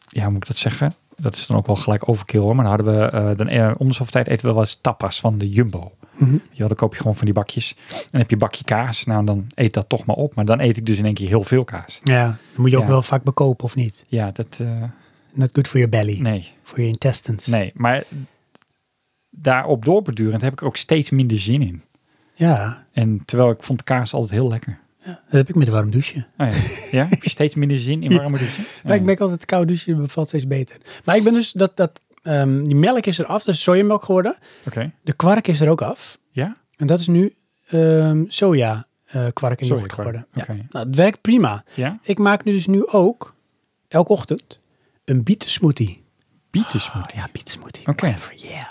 Speaker 2: ja, hoe moet ik dat zeggen? Dat is dan ook wel gelijk overkill hoor. Maar dan hadden we, eh, dan eh, om de zoveel tijd eten we wel eens tapas van de Jumbo. Ja, dan koop je gewoon van die bakjes. En dan heb je een bakje kaas. Nou, dan eet dat toch maar op. Maar dan eet ik dus in één keer heel veel kaas.
Speaker 1: Ja, dat moet je ook
Speaker 2: Ja.
Speaker 1: wel vaak bekopen of niet.
Speaker 2: Ja, dat... eh,
Speaker 1: Not good for your belly,
Speaker 2: nee,
Speaker 1: voor your intestines.
Speaker 2: nee. Maar daarop doorbedurend heb ik er ook steeds minder zin in.
Speaker 1: Ja,
Speaker 2: En terwijl ik vond kaas altijd heel lekker.
Speaker 1: dat heb ik met warm douchen.
Speaker 2: Oh, ja. <laughs> ja, heb je steeds minder zin in warme douche? <laughs>
Speaker 1: Ja, ik merk altijd koud douchen bevalt steeds beter. Maar ik ben dus, dat, dat, ehm, die melk is eraf, dat is sojamelk geworden.
Speaker 2: Oké.
Speaker 1: De kwark is er ook af.
Speaker 2: Ja?
Speaker 1: En dat is nu ehm, soja eh, kwark en
Speaker 2: Sorry,
Speaker 1: yoghurt geworden.
Speaker 2: Oké.
Speaker 1: Ja. Nou, het werkt prima.
Speaker 2: Ja?
Speaker 1: Ik maak nu dus nu ook, elke ochtend, een bietensmoothie.
Speaker 2: Bietensmoot.
Speaker 1: ja, bietensmoothie.
Speaker 2: Oké.
Speaker 1: Whatever, yeah.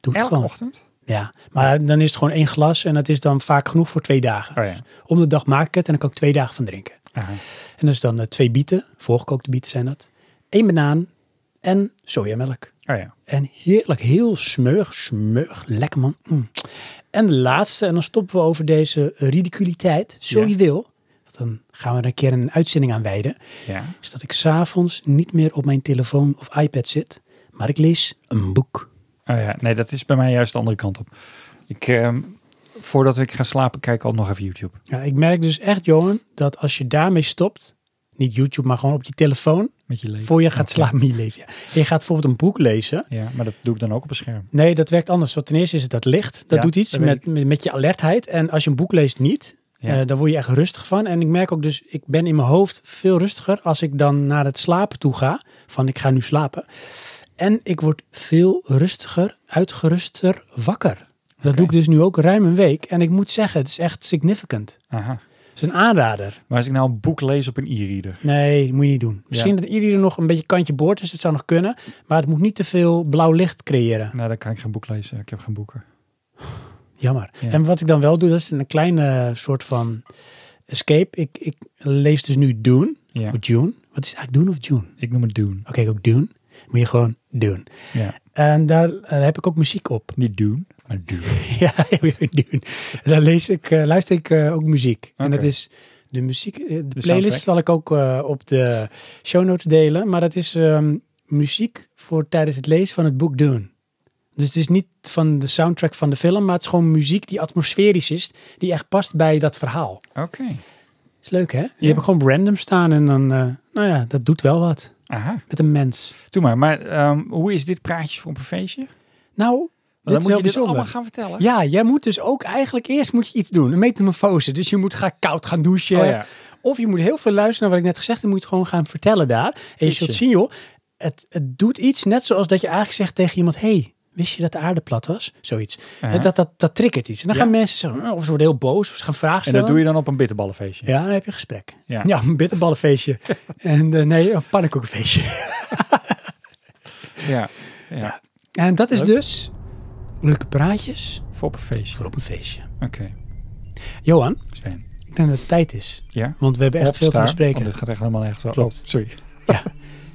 Speaker 1: Doe het
Speaker 2: Elke
Speaker 1: gewoon.
Speaker 2: ochtend?
Speaker 1: Ja, maar dan is het gewoon één glas en dat is dan vaak genoeg voor twee dagen.
Speaker 2: Oh ja.
Speaker 1: Om de dag maak ik het en dan kan ik twee dagen van drinken.
Speaker 2: Aha. Oh
Speaker 1: En dat is dan eh, twee bieten, voorgekookte bieten zijn dat. één banaan en sojamelk.
Speaker 2: Oh ja.
Speaker 1: En heerlijk, heel smeug, smeug, lekker man. Mm. En de laatste, en dan stoppen we over deze ridiculiteit, zo
Speaker 2: Ja.
Speaker 1: je wil. Want dan gaan we er een keer een uitzending aan wijden.
Speaker 2: Ja.
Speaker 1: Is dat ik s'avonds niet meer op mijn telefoon of iPad zit, maar ik lees een boek.
Speaker 2: Oh ja. Nee, dat is bij mij juist de andere kant op. Ik, ehm, voordat ik ga slapen, kijk ik altijd nog even YouTube.
Speaker 1: Ja, ik merk dus echt, Johan, dat als je daarmee stopt, niet YouTube, maar gewoon op je telefoon,
Speaker 2: Met je leven.
Speaker 1: voor je gaat
Speaker 2: Oké.
Speaker 1: slapen in je leven. ja. En je gaat bijvoorbeeld een boek lezen.
Speaker 2: Ja, maar dat doe ik dan ook op een scherm.
Speaker 1: Nee, dat werkt anders. Want ten eerste is het dat licht. Dat
Speaker 2: Ja,
Speaker 1: doet iets
Speaker 2: dat weet
Speaker 1: met, met, met je alertheid. En als je een boek leest niet,
Speaker 2: Ja.
Speaker 1: eh, dan word je echt rustig van. En ik merk ook dus, ik ben in mijn hoofd veel rustiger als ik dan naar het slapen toe ga. Van ik ga nu slapen. En ik word veel rustiger, uitgeruster wakker. Dat doe ik dus nu ook ruim een week. En ik moet zeggen, het is echt significant.
Speaker 2: Aha.
Speaker 1: Het is een aanrader.
Speaker 2: Maar als ik nou een boek lees op een e-reader.
Speaker 1: Nee, dat moet je niet doen. Misschien dat iedereen nog een beetje kantje boord is. Dat zou nog kunnen. Maar het moet niet te veel blauw licht creëren.
Speaker 2: Nou, dan kan ik geen boek lezen. Ik heb geen boeken.
Speaker 1: Jammer.
Speaker 2: Ja.
Speaker 1: En wat ik dan wel doe, dat is een kleine soort van escape. Ik, ik lees dus nu Dune.
Speaker 2: Ja.
Speaker 1: Of June. Wat is het eigenlijk Dune of June?
Speaker 2: Ik noem het doen.
Speaker 1: Oké, ook Dune. Moet je gewoon Dune.
Speaker 2: Ja.
Speaker 1: En daar eh, heb ik ook muziek op.
Speaker 2: Niet doen, maar doen.
Speaker 1: <laughs> ja, Dune. Daar lees ik, eh, luister ik eh, ook muziek. En
Speaker 2: Oké.
Speaker 1: dat is de muziek. eh, de,
Speaker 2: soundtrack.
Speaker 1: playlist zal ik ook eh, op de show notes delen. Maar dat is ehm, muziek voor tijdens het lezen van het boek Dune. Dus het is niet van de soundtrack van de film, maar het is gewoon muziek die atmosferisch is, die echt past bij dat verhaal.
Speaker 2: Oké.
Speaker 1: Is leuk, hè? Je hebt gewoon op random staan en dan, eh, nou ja, dat doet wel wat
Speaker 2: Aha.
Speaker 1: met een mens.
Speaker 2: Doe maar. Maar ehm, hoe is dit praatjes voor op een feestje? Want
Speaker 1: Nou,
Speaker 2: dan
Speaker 1: dit is
Speaker 2: moet
Speaker 1: heel
Speaker 2: je dit allemaal
Speaker 1: bijzonder.
Speaker 2: gaan vertellen.
Speaker 1: Ja, jij moet dus ook eigenlijk eerst moet je iets doen. Een metamorfose. Dus je moet gaan koud gaan douchen.
Speaker 2: Oh ja.
Speaker 1: Of je moet heel veel luisteren naar wat ik net gezegd heb. moet je het gewoon gaan vertellen daar. En je
Speaker 2: Ietsje.
Speaker 1: zult zien, joh. Het, het doet iets net zoals dat je eigenlijk zegt tegen iemand... hey, wist je dat de aarde plat was? Zoiets.
Speaker 2: Eh,
Speaker 1: Hè, Dat, dat, dat triggert iets. En dan
Speaker 2: Ja.
Speaker 1: gaan mensen zeggen, oh, of ze worden heel boos, of ze gaan vragen
Speaker 2: en
Speaker 1: stellen.
Speaker 2: dat doe je dan op een bitterballenfeestje.
Speaker 1: Ja, dan heb je een gesprek.
Speaker 2: Ja.
Speaker 1: Ja, een
Speaker 2: <laughs>
Speaker 1: bitterballenfeestje. en eh, nee, een pannenkoekenfeestje.
Speaker 2: Ja. ja.
Speaker 1: En dat is
Speaker 2: Leuk.
Speaker 1: dus leuke praatjes
Speaker 2: Voor op een feestje.
Speaker 1: voor op een feestje.
Speaker 2: Oké,
Speaker 1: Johan,
Speaker 2: Sven.
Speaker 1: ik denk dat het tijd is.
Speaker 2: Ja?
Speaker 1: Want we hebben echt veel te
Speaker 2: Opstaan,
Speaker 1: bespreken.
Speaker 2: want dit gaat echt helemaal ergens over.
Speaker 1: Klopt.
Speaker 2: Oh,
Speaker 1: <laughs>
Speaker 2: sorry.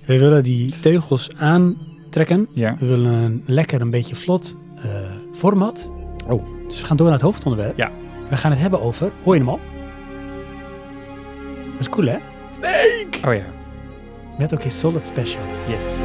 Speaker 1: We willen die teugels aantrekken.
Speaker 2: Ja.
Speaker 1: We willen een lekker een beetje vlot eh, format.
Speaker 2: Oh.
Speaker 1: Dus we gaan door naar het hoofdonderwerp.
Speaker 2: Ja.
Speaker 1: We gaan het hebben over... Hoor je hem al? Dat is cool, hè?
Speaker 2: Oh ja.
Speaker 1: Net ook in Solid Special.
Speaker 2: Yes.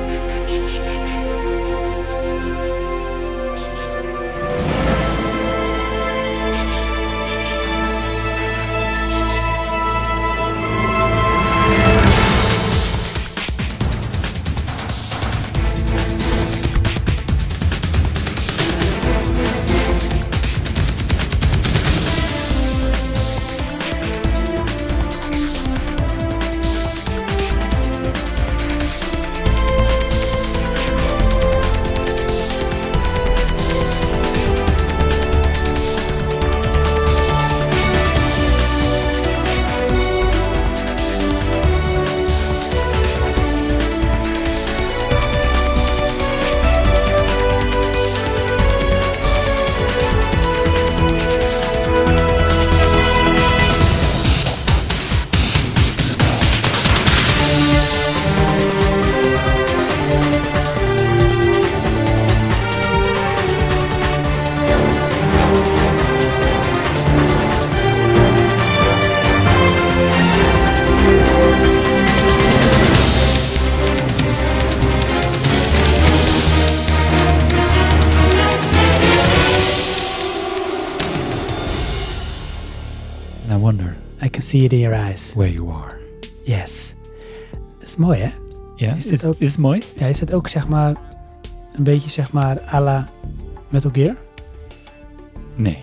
Speaker 2: And I wonder
Speaker 1: I can see it in your eyes.
Speaker 2: where you are.
Speaker 1: Yes. Dat is mooi, hè?
Speaker 2: Ja,
Speaker 1: Is dit ook-
Speaker 2: het mooi?
Speaker 1: Ja, is het ook zeg maar een beetje zeg maar à la Metal Gear?
Speaker 2: Nee.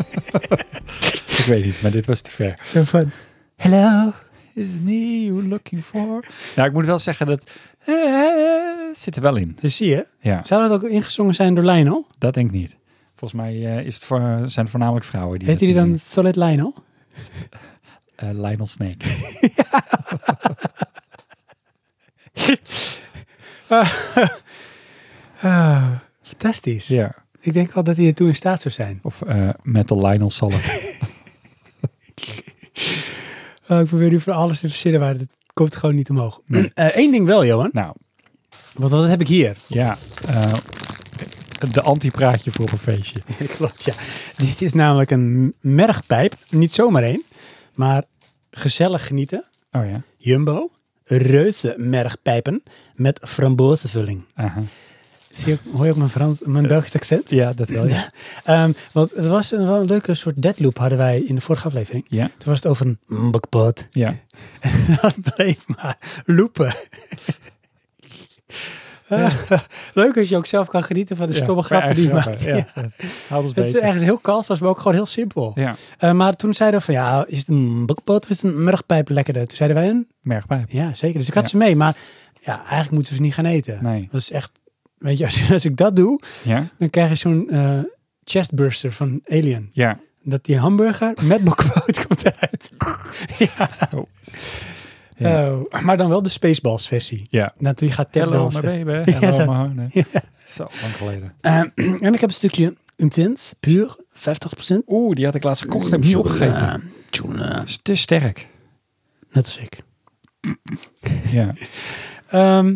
Speaker 2: <laughs> ik weet niet, maar dit was te ver.
Speaker 1: Zo van, hello.
Speaker 2: Is it me you're looking for? Nou, ik moet wel zeggen dat... eh, zit er wel in.
Speaker 1: Dus zie je,
Speaker 2: Ja,
Speaker 1: zou dat ook ingezongen zijn door Lionel?
Speaker 2: dat denk ik niet. Volgens mij eh, is het voor, zijn het voornamelijk vrouwen die...
Speaker 1: Heet
Speaker 2: dat
Speaker 1: hij dan
Speaker 2: doen.
Speaker 1: Solid Lionel?
Speaker 2: Eh, Lionel Snake.
Speaker 1: <laughs> Ah, fantastisch.
Speaker 2: ja.
Speaker 1: Ik denk al dat hij ertoe in staat zou zijn.
Speaker 2: Of eh, Metal
Speaker 1: <laughs>
Speaker 2: Lionel Solid.
Speaker 1: Oh, ik probeer nu voor alles te verzinnen, maar het komt gewoon niet omhoog. <clears throat> Eén ding wel, Johan.
Speaker 2: nou,
Speaker 1: Want wat heb ik hier? <laughs>
Speaker 2: ja. eh, de anti-praatje voor op een feestje.
Speaker 1: Klopt, ja. Dit is namelijk een mergpijp. Niet zomaar één, maar gezellig genieten.
Speaker 2: Oh ja.
Speaker 1: Jumbo, reuze mergpijpen met frambozenvulling.
Speaker 2: Aha.
Speaker 1: Zie je, ook- hoor je ook mijn, Frans, mijn Belgisch accent?
Speaker 2: Ja, dat wel. Ja.
Speaker 1: Ehm, want het was een, wel een leuke soort deadloop hadden wij in de vorige aflevering.
Speaker 2: ja.
Speaker 1: Toen was het over een mbakpot.
Speaker 2: ja.
Speaker 1: Dat bleef maar
Speaker 2: <laughs>
Speaker 1: loopen. Ah, leuk als je ook zelf kan genieten van de stomme grappen die je maakt. Ja.
Speaker 2: Houd
Speaker 1: <laughs>
Speaker 2: ons
Speaker 1: Het is
Speaker 2: bezig.
Speaker 1: ergens heel kansloos, maar ook gewoon heel simpel.
Speaker 2: Ja,
Speaker 1: Eh, maar toen zeiden we van ja, is het een bakpot of is het een mergpijp lekkerder? Toen zeiden wij een
Speaker 2: mergpijp.
Speaker 1: Ja, zeker. Dus ik had
Speaker 2: Ja.
Speaker 1: ze mee. Maar ja, eigenlijk moeten we ze niet gaan eten.
Speaker 2: Nee.
Speaker 1: Dat is echt... Weet je, als, <laughs> als ik dat doe,
Speaker 2: Ja?
Speaker 1: dan krijg je zo'n eh, chestburster van Alien.
Speaker 2: Ja.
Speaker 1: Dat die hamburger
Speaker 2: <laughs>
Speaker 1: met bokboot komt eruit. ja.
Speaker 2: Oh. Ja.
Speaker 1: Oh, maar dan wel de Spaceballs versie.
Speaker 2: Ja.
Speaker 1: Dat die gaat
Speaker 2: Hello
Speaker 1: tapdansen. <laughs>
Speaker 2: my baby. Hello
Speaker 1: dat-
Speaker 2: my heart. Nee. Zo, lang geleden.
Speaker 1: Eh, en ik heb een stukje intens, puur, 50%.
Speaker 2: Oeh, die had ik laatst gekocht en heb ik niet opgegeten.
Speaker 1: Eh, tjoela.
Speaker 2: Dat is te sterk.
Speaker 1: Net als ik.
Speaker 2: Ja.
Speaker 1: Ehm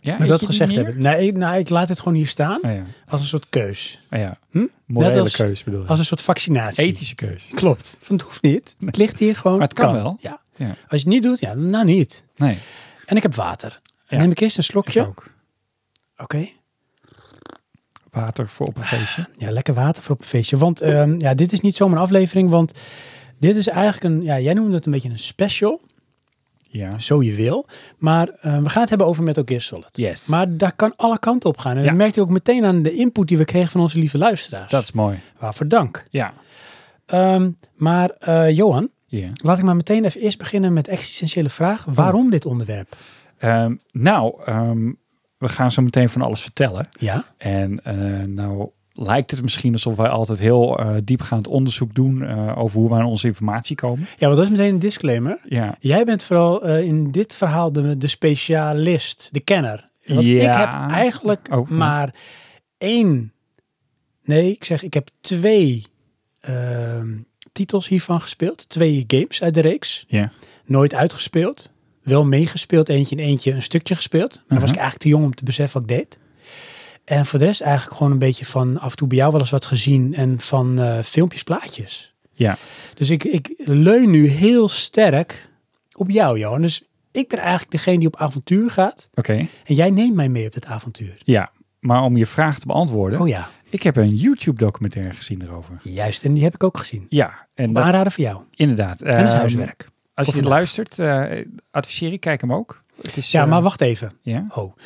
Speaker 2: ja
Speaker 1: maar dat gezegd hebben. Nee, ik- nou, ik laat het gewoon hier staan.
Speaker 2: Ah ja.
Speaker 1: Als een soort keus.
Speaker 2: Ah, ja.
Speaker 1: Hm?
Speaker 2: Morele
Speaker 1: Net als-
Speaker 2: keus bedoel je.
Speaker 1: Als een soort vaccinatie.
Speaker 2: Ethische keus.
Speaker 1: Klopt. Van het hoeft niet. Het ligt hier gewoon.
Speaker 2: Maar het kan wel.
Speaker 1: Ja.
Speaker 2: Ja.
Speaker 1: Als je het niet doet, ja, nou niet.
Speaker 2: Nee.
Speaker 1: En ik heb water. En
Speaker 2: Ja.
Speaker 1: neem ik eerst een
Speaker 2: Ik
Speaker 1: slokje. Oké.
Speaker 2: ook. Water voor op een feestje.
Speaker 1: Ja, lekker water voor op een feestje. Want ehm, ja, dit is niet zomaar een aflevering, want dit is eigenlijk een, ja, jij noemde het een beetje een special,
Speaker 2: Ja.
Speaker 1: zo je wil. Maar eh, we gaan het hebben over Metal Gear Solid.
Speaker 2: Yes. Maar
Speaker 1: Maar daar kan alle kanten op gaan. En
Speaker 2: Ja.
Speaker 1: dat merkte je ook meteen aan de input die we kregen van onze lieve luisteraars.
Speaker 2: dat is mooi.
Speaker 1: Waarvoor dank.
Speaker 2: Ja.
Speaker 1: Ehm, maar eh, Johan,
Speaker 2: Ja.
Speaker 1: laat ik maar meteen even eerst beginnen met de existentiële vraag. Waarom dit onderwerp?
Speaker 2: Ehm, nou, ehm, we gaan zo meteen van alles vertellen.
Speaker 1: Ja,
Speaker 2: En eh, nou lijkt het misschien alsof wij altijd heel eh, diepgaand onderzoek doen eh, over hoe wij aan onze informatie komen.
Speaker 1: ja want dat is meteen een disclaimer.
Speaker 2: Ja.
Speaker 1: Jij bent vooral eh, in dit verhaal de, de specialist, de kenner. Want
Speaker 2: Ja.
Speaker 1: ik heb eigenlijk
Speaker 2: Oh, ja.
Speaker 1: maar één, nee, ik zeg ik heb twee ehm, titels hiervan gespeeld. Twee games uit de reeks.
Speaker 2: Ja.
Speaker 1: Nooit uitgespeeld. Wel meegespeeld, eentje in eentje een stukje gespeeld. Maar dan was ik
Speaker 2: Mhm.
Speaker 1: eigenlijk te jong om te beseffen wat ik deed. En voor de rest eigenlijk gewoon een beetje van af en toe bij jou wel eens wat gezien en van eh, filmpjes, plaatjes.
Speaker 2: Ja.
Speaker 1: Dus ik, ik leun nu heel sterk op jou, Johan. Dus ik ben eigenlijk degene die op avontuur gaat.
Speaker 2: Oké.
Speaker 1: En jij neemt mij mee op dit avontuur.
Speaker 2: Ja. Maar om je vraag te beantwoorden,
Speaker 1: Oh ja,
Speaker 2: ik heb een YouTube-documentaire gezien erover.
Speaker 1: juist. En die heb ik ook gezien.
Speaker 2: Ja, en
Speaker 1: Op
Speaker 2: dat,
Speaker 1: aanraden voor jou.
Speaker 2: inderdaad.
Speaker 1: En dat is
Speaker 2: Ehm,
Speaker 1: huiswerk.
Speaker 2: Als je
Speaker 1: Voor
Speaker 2: dit
Speaker 1: vandaag.
Speaker 2: luistert, eh, adviseer ik, kijk hem ook. Het is,
Speaker 1: Ja,
Speaker 2: eh,
Speaker 1: maar wacht even.
Speaker 2: Ja?
Speaker 1: Ho. Oh,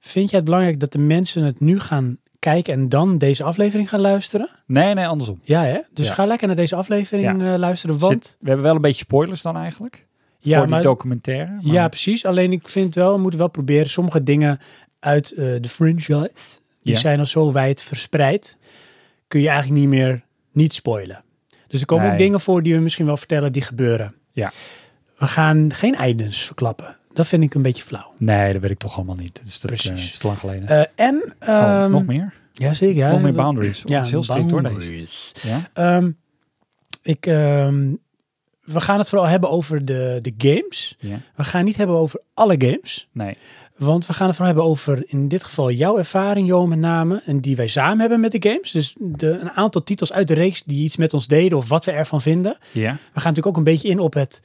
Speaker 1: Vind jij het belangrijk dat de mensen het nu gaan kijken en dan deze aflevering gaan luisteren?
Speaker 2: Nee, nee, andersom.
Speaker 1: Ja, hè? Dus
Speaker 2: Ja.
Speaker 1: ga lekker naar deze aflevering eh, luisteren, want...
Speaker 2: Zit- we hebben wel een beetje spoilers dan eigenlijk.
Speaker 1: ja,
Speaker 2: voor
Speaker 1: maar-
Speaker 2: die documentaire. maar-
Speaker 1: Ja, precies. Alleen ik vind wel, we moeten wel proberen sommige dingen uit eh, de franchise, die
Speaker 2: Ja.
Speaker 1: zijn al zo wijd verspreid, kun je eigenlijk niet meer niet spoilen. Dus er komen
Speaker 2: Nee.
Speaker 1: ook dingen voor die we misschien wel vertellen die gebeuren.
Speaker 2: Ja.
Speaker 1: We gaan geen eindes verklappen. Dat vind ik een beetje flauw.
Speaker 2: Nee, dat weet ik toch allemaal niet. Dus dat eh,
Speaker 1: Precies.
Speaker 2: is te lang geleden.
Speaker 1: Eh, en...
Speaker 2: oh,
Speaker 1: ehm,
Speaker 2: nog meer?
Speaker 1: Ja, zeker. Ja,
Speaker 2: nog meer
Speaker 1: Dat-
Speaker 2: boundaries. Ja,
Speaker 1: ja,
Speaker 2: het is heel strikt hoor deze.
Speaker 1: boundaries.
Speaker 2: Ja?
Speaker 1: Ehm, ik, ehm, we gaan het vooral hebben over de, de games.
Speaker 2: ja?
Speaker 1: We gaan niet hebben over alle games.
Speaker 2: Nee.
Speaker 1: Want we gaan het vooral hebben over in dit geval jouw ervaring, Jo, met name. En die wij samen hebben met de games. Dus de, een aantal titels uit de reeks die iets met ons deden of wat we ervan vinden. We
Speaker 2: Ja?
Speaker 1: gaan natuurlijk ook een beetje in op het,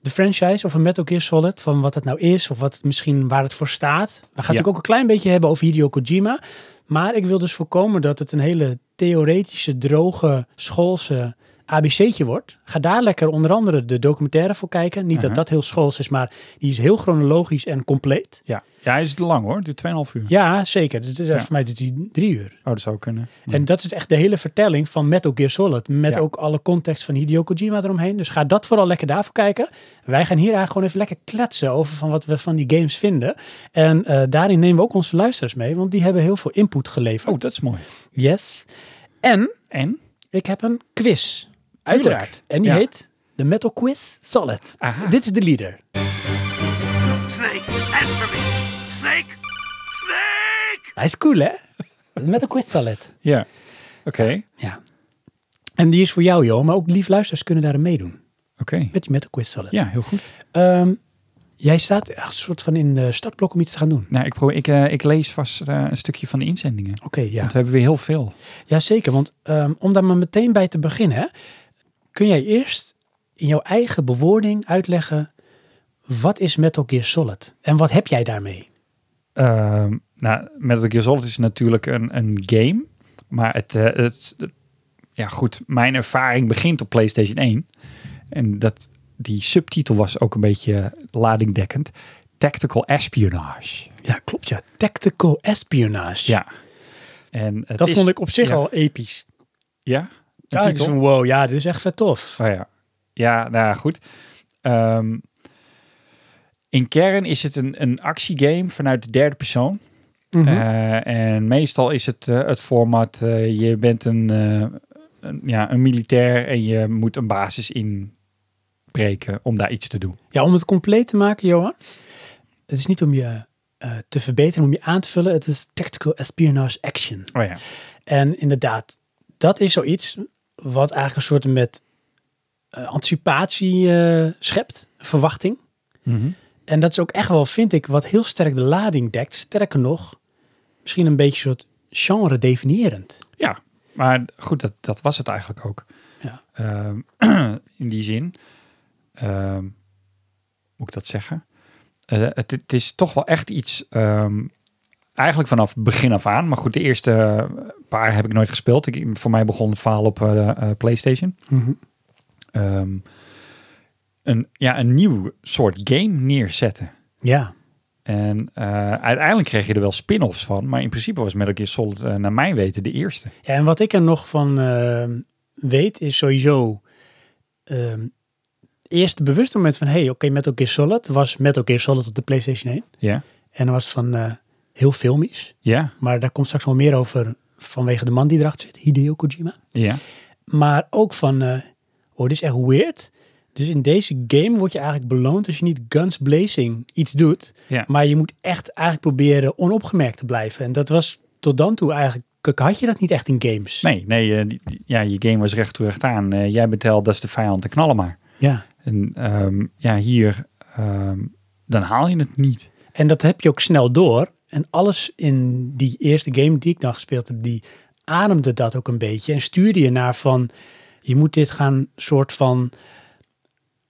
Speaker 1: de franchise of een Metal Gear Solid. Van wat het nou is of wat het misschien waar het voor staat. We gaan natuurlijk ook een klein beetje hebben over Hideo Kojima. Maar ik wil dus voorkomen dat het een hele theoretische, droge, schoolse ABC'tje wordt. Ga daar lekker onder andere de documentaire voor kijken. Niet
Speaker 2: Mhm.
Speaker 1: dat dat heel schools is, maar die is heel chronologisch en compleet.
Speaker 2: Ja. ja, hij is te lang hoor. Het duurt 2,5 uur.
Speaker 1: Ja, zeker. Dat is,
Speaker 2: Mhm. Ja.
Speaker 1: Voor mij duurt die drie uur.
Speaker 2: Oh, dat zou kunnen. Ja.
Speaker 1: En dat is echt de hele vertelling van Metal Gear Solid. Met
Speaker 2: Ja.
Speaker 1: ook alle context van Hideo Kojima eromheen. Dus ga dat vooral lekker daarvoor kijken. Wij gaan hier eigenlijk gewoon even lekker kletsen over van wat we van die games vinden. En eh, daarin nemen we ook onze luisteraars mee, want die hebben heel veel input geleverd.
Speaker 2: Oh, dat is mooi.
Speaker 1: Yes. En
Speaker 2: En?
Speaker 1: ik heb een quiz. Uiteraard. En die
Speaker 2: Ja.
Speaker 1: heet de Metal Quiz Solid.
Speaker 2: Aha.
Speaker 1: Dit is de leader.
Speaker 3: Snake, answer me! Snake! Snake!
Speaker 1: Hij is cool, hè? De Metal Quiz Solid.
Speaker 2: Ja. Oké.
Speaker 1: Ja. En die is voor jou, joh. Maar ook lief luisteraars kunnen daarin meedoen.
Speaker 2: Oké.
Speaker 1: Met die Metal Quiz Solid.
Speaker 2: Ja, heel goed.
Speaker 1: Ehm, jij staat echt een soort van in de startblok om iets te gaan doen.
Speaker 2: Nou, ik, probeer, ik, eh, ik lees vast eh, een stukje van de inzendingen.
Speaker 1: Oké, ja.
Speaker 2: Want eh, we hebben weer heel veel.
Speaker 1: Jazeker, want ehm, om daar maar meteen bij te beginnen, hè, kun jij eerst in jouw eigen bewoording uitleggen wat is Metal Gear Solid en wat heb jij daarmee?
Speaker 2: Ehm nou, Metal Gear Solid is natuurlijk een, een game. Maar het, eh, het, het- ja goed, mijn ervaring begint op PlayStation 1. En dat, die subtitel was ook een beetje ladingdekkend. Tactical Espionage.
Speaker 1: Ja, klopt ja. Tactical espionage.
Speaker 2: Ja. En het
Speaker 1: Dat
Speaker 2: is-
Speaker 1: vond ik op zich
Speaker 2: ja.
Speaker 1: al episch.
Speaker 2: Ja? Een
Speaker 1: Ja, ik
Speaker 2: titel?
Speaker 1: dacht van, wow, ja, dit is echt vet tof.
Speaker 2: Oh ja. Ja, nou ja, goed. Ehm, in kern is het een, een actiegame vanuit de derde persoon.
Speaker 1: Mhm.
Speaker 2: Eh, en meestal is het eh, het format, eh, je bent een, eh, een- ja, een militair en je moet een basis inbreken om daar iets te doen.
Speaker 1: Ja, om het compleet te maken, Johan. Het is niet om je eh, te verbeteren, om je aan te vullen. Het is tactical espionage action.
Speaker 2: Oh ja.
Speaker 1: En inderdaad, dat is zoiets wat eigenlijk een soort met eh, anticipatie eh, schept, verwachting.
Speaker 2: Mhm.
Speaker 1: En dat is ook echt wel, vind ik, wat heel sterk de lading dekt. Sterker nog, misschien een beetje een soort genre definiërend.
Speaker 2: Ja, maar goed, dat, dat was het eigenlijk ook.
Speaker 1: Ja.
Speaker 2: Ehm, <clears throat> in die zin, ehm, moet ik dat zeggen? Eh, het, het is toch wel echt iets, ehm, eigenlijk vanaf begin af aan. Maar goed, de eerste paar heb ik nooit gespeeld. Ik, voor mij begon het verhaal op eh, eh, PlayStation. Ehm, een, ja, een nieuw soort game neerzetten.
Speaker 1: Ja,
Speaker 2: En eh, uiteindelijk kreeg je er wel spin-offs van. Maar in principe was Metal Gear Solid, eh, naar mijn weten, de eerste.
Speaker 1: Ja, en wat ik er nog van eh, weet, is sowieso ehm eerst het bewuste moment van, hey, oké, Metal Gear Solid was Metal Gear Solid op de PlayStation 1.
Speaker 2: Ja.
Speaker 1: En dan was het van, eh, heel filmisch.
Speaker 2: Ja,
Speaker 1: Maar daar komt straks wel meer over vanwege de man die erachter zit, Hideo Kojima.
Speaker 2: ja.
Speaker 1: Maar ook van, eh, oh, dit is echt weird. Dus in deze game word je eigenlijk beloond als je niet guns blazing iets doet.
Speaker 2: Ja.
Speaker 1: Maar je moet echt eigenlijk proberen onopgemerkt te blijven. En dat was tot dan toe eigenlijk, kijk, had je dat niet echt in games.
Speaker 2: Nee, nee eh, die- die- ja, je game was recht toe recht aan. Eh, jij betelt, dat is de vijand, en knallen maar.
Speaker 1: Ja.
Speaker 2: En ehm, ja, hier, ehm, dan haal je het niet.
Speaker 1: En dat heb je ook snel door. En alles in die eerste game die ik dan gespeeld heb, die ademde dat ook een beetje. En stuurde je naar van, je moet dit gaan soort van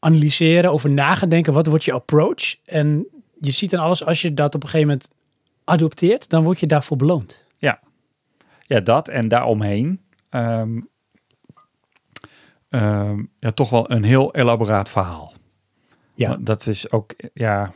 Speaker 1: analyseren, over nagedenken. Wat wordt je approach? En je ziet dan alles, als je dat op een gegeven moment adopteert, dan word je daarvoor beloond.
Speaker 2: Ja, dat en daaromheen. ehm, ehm, ja, toch wel een heel elaboraat verhaal.
Speaker 1: Ja.
Speaker 2: Want Dat is ook, ja,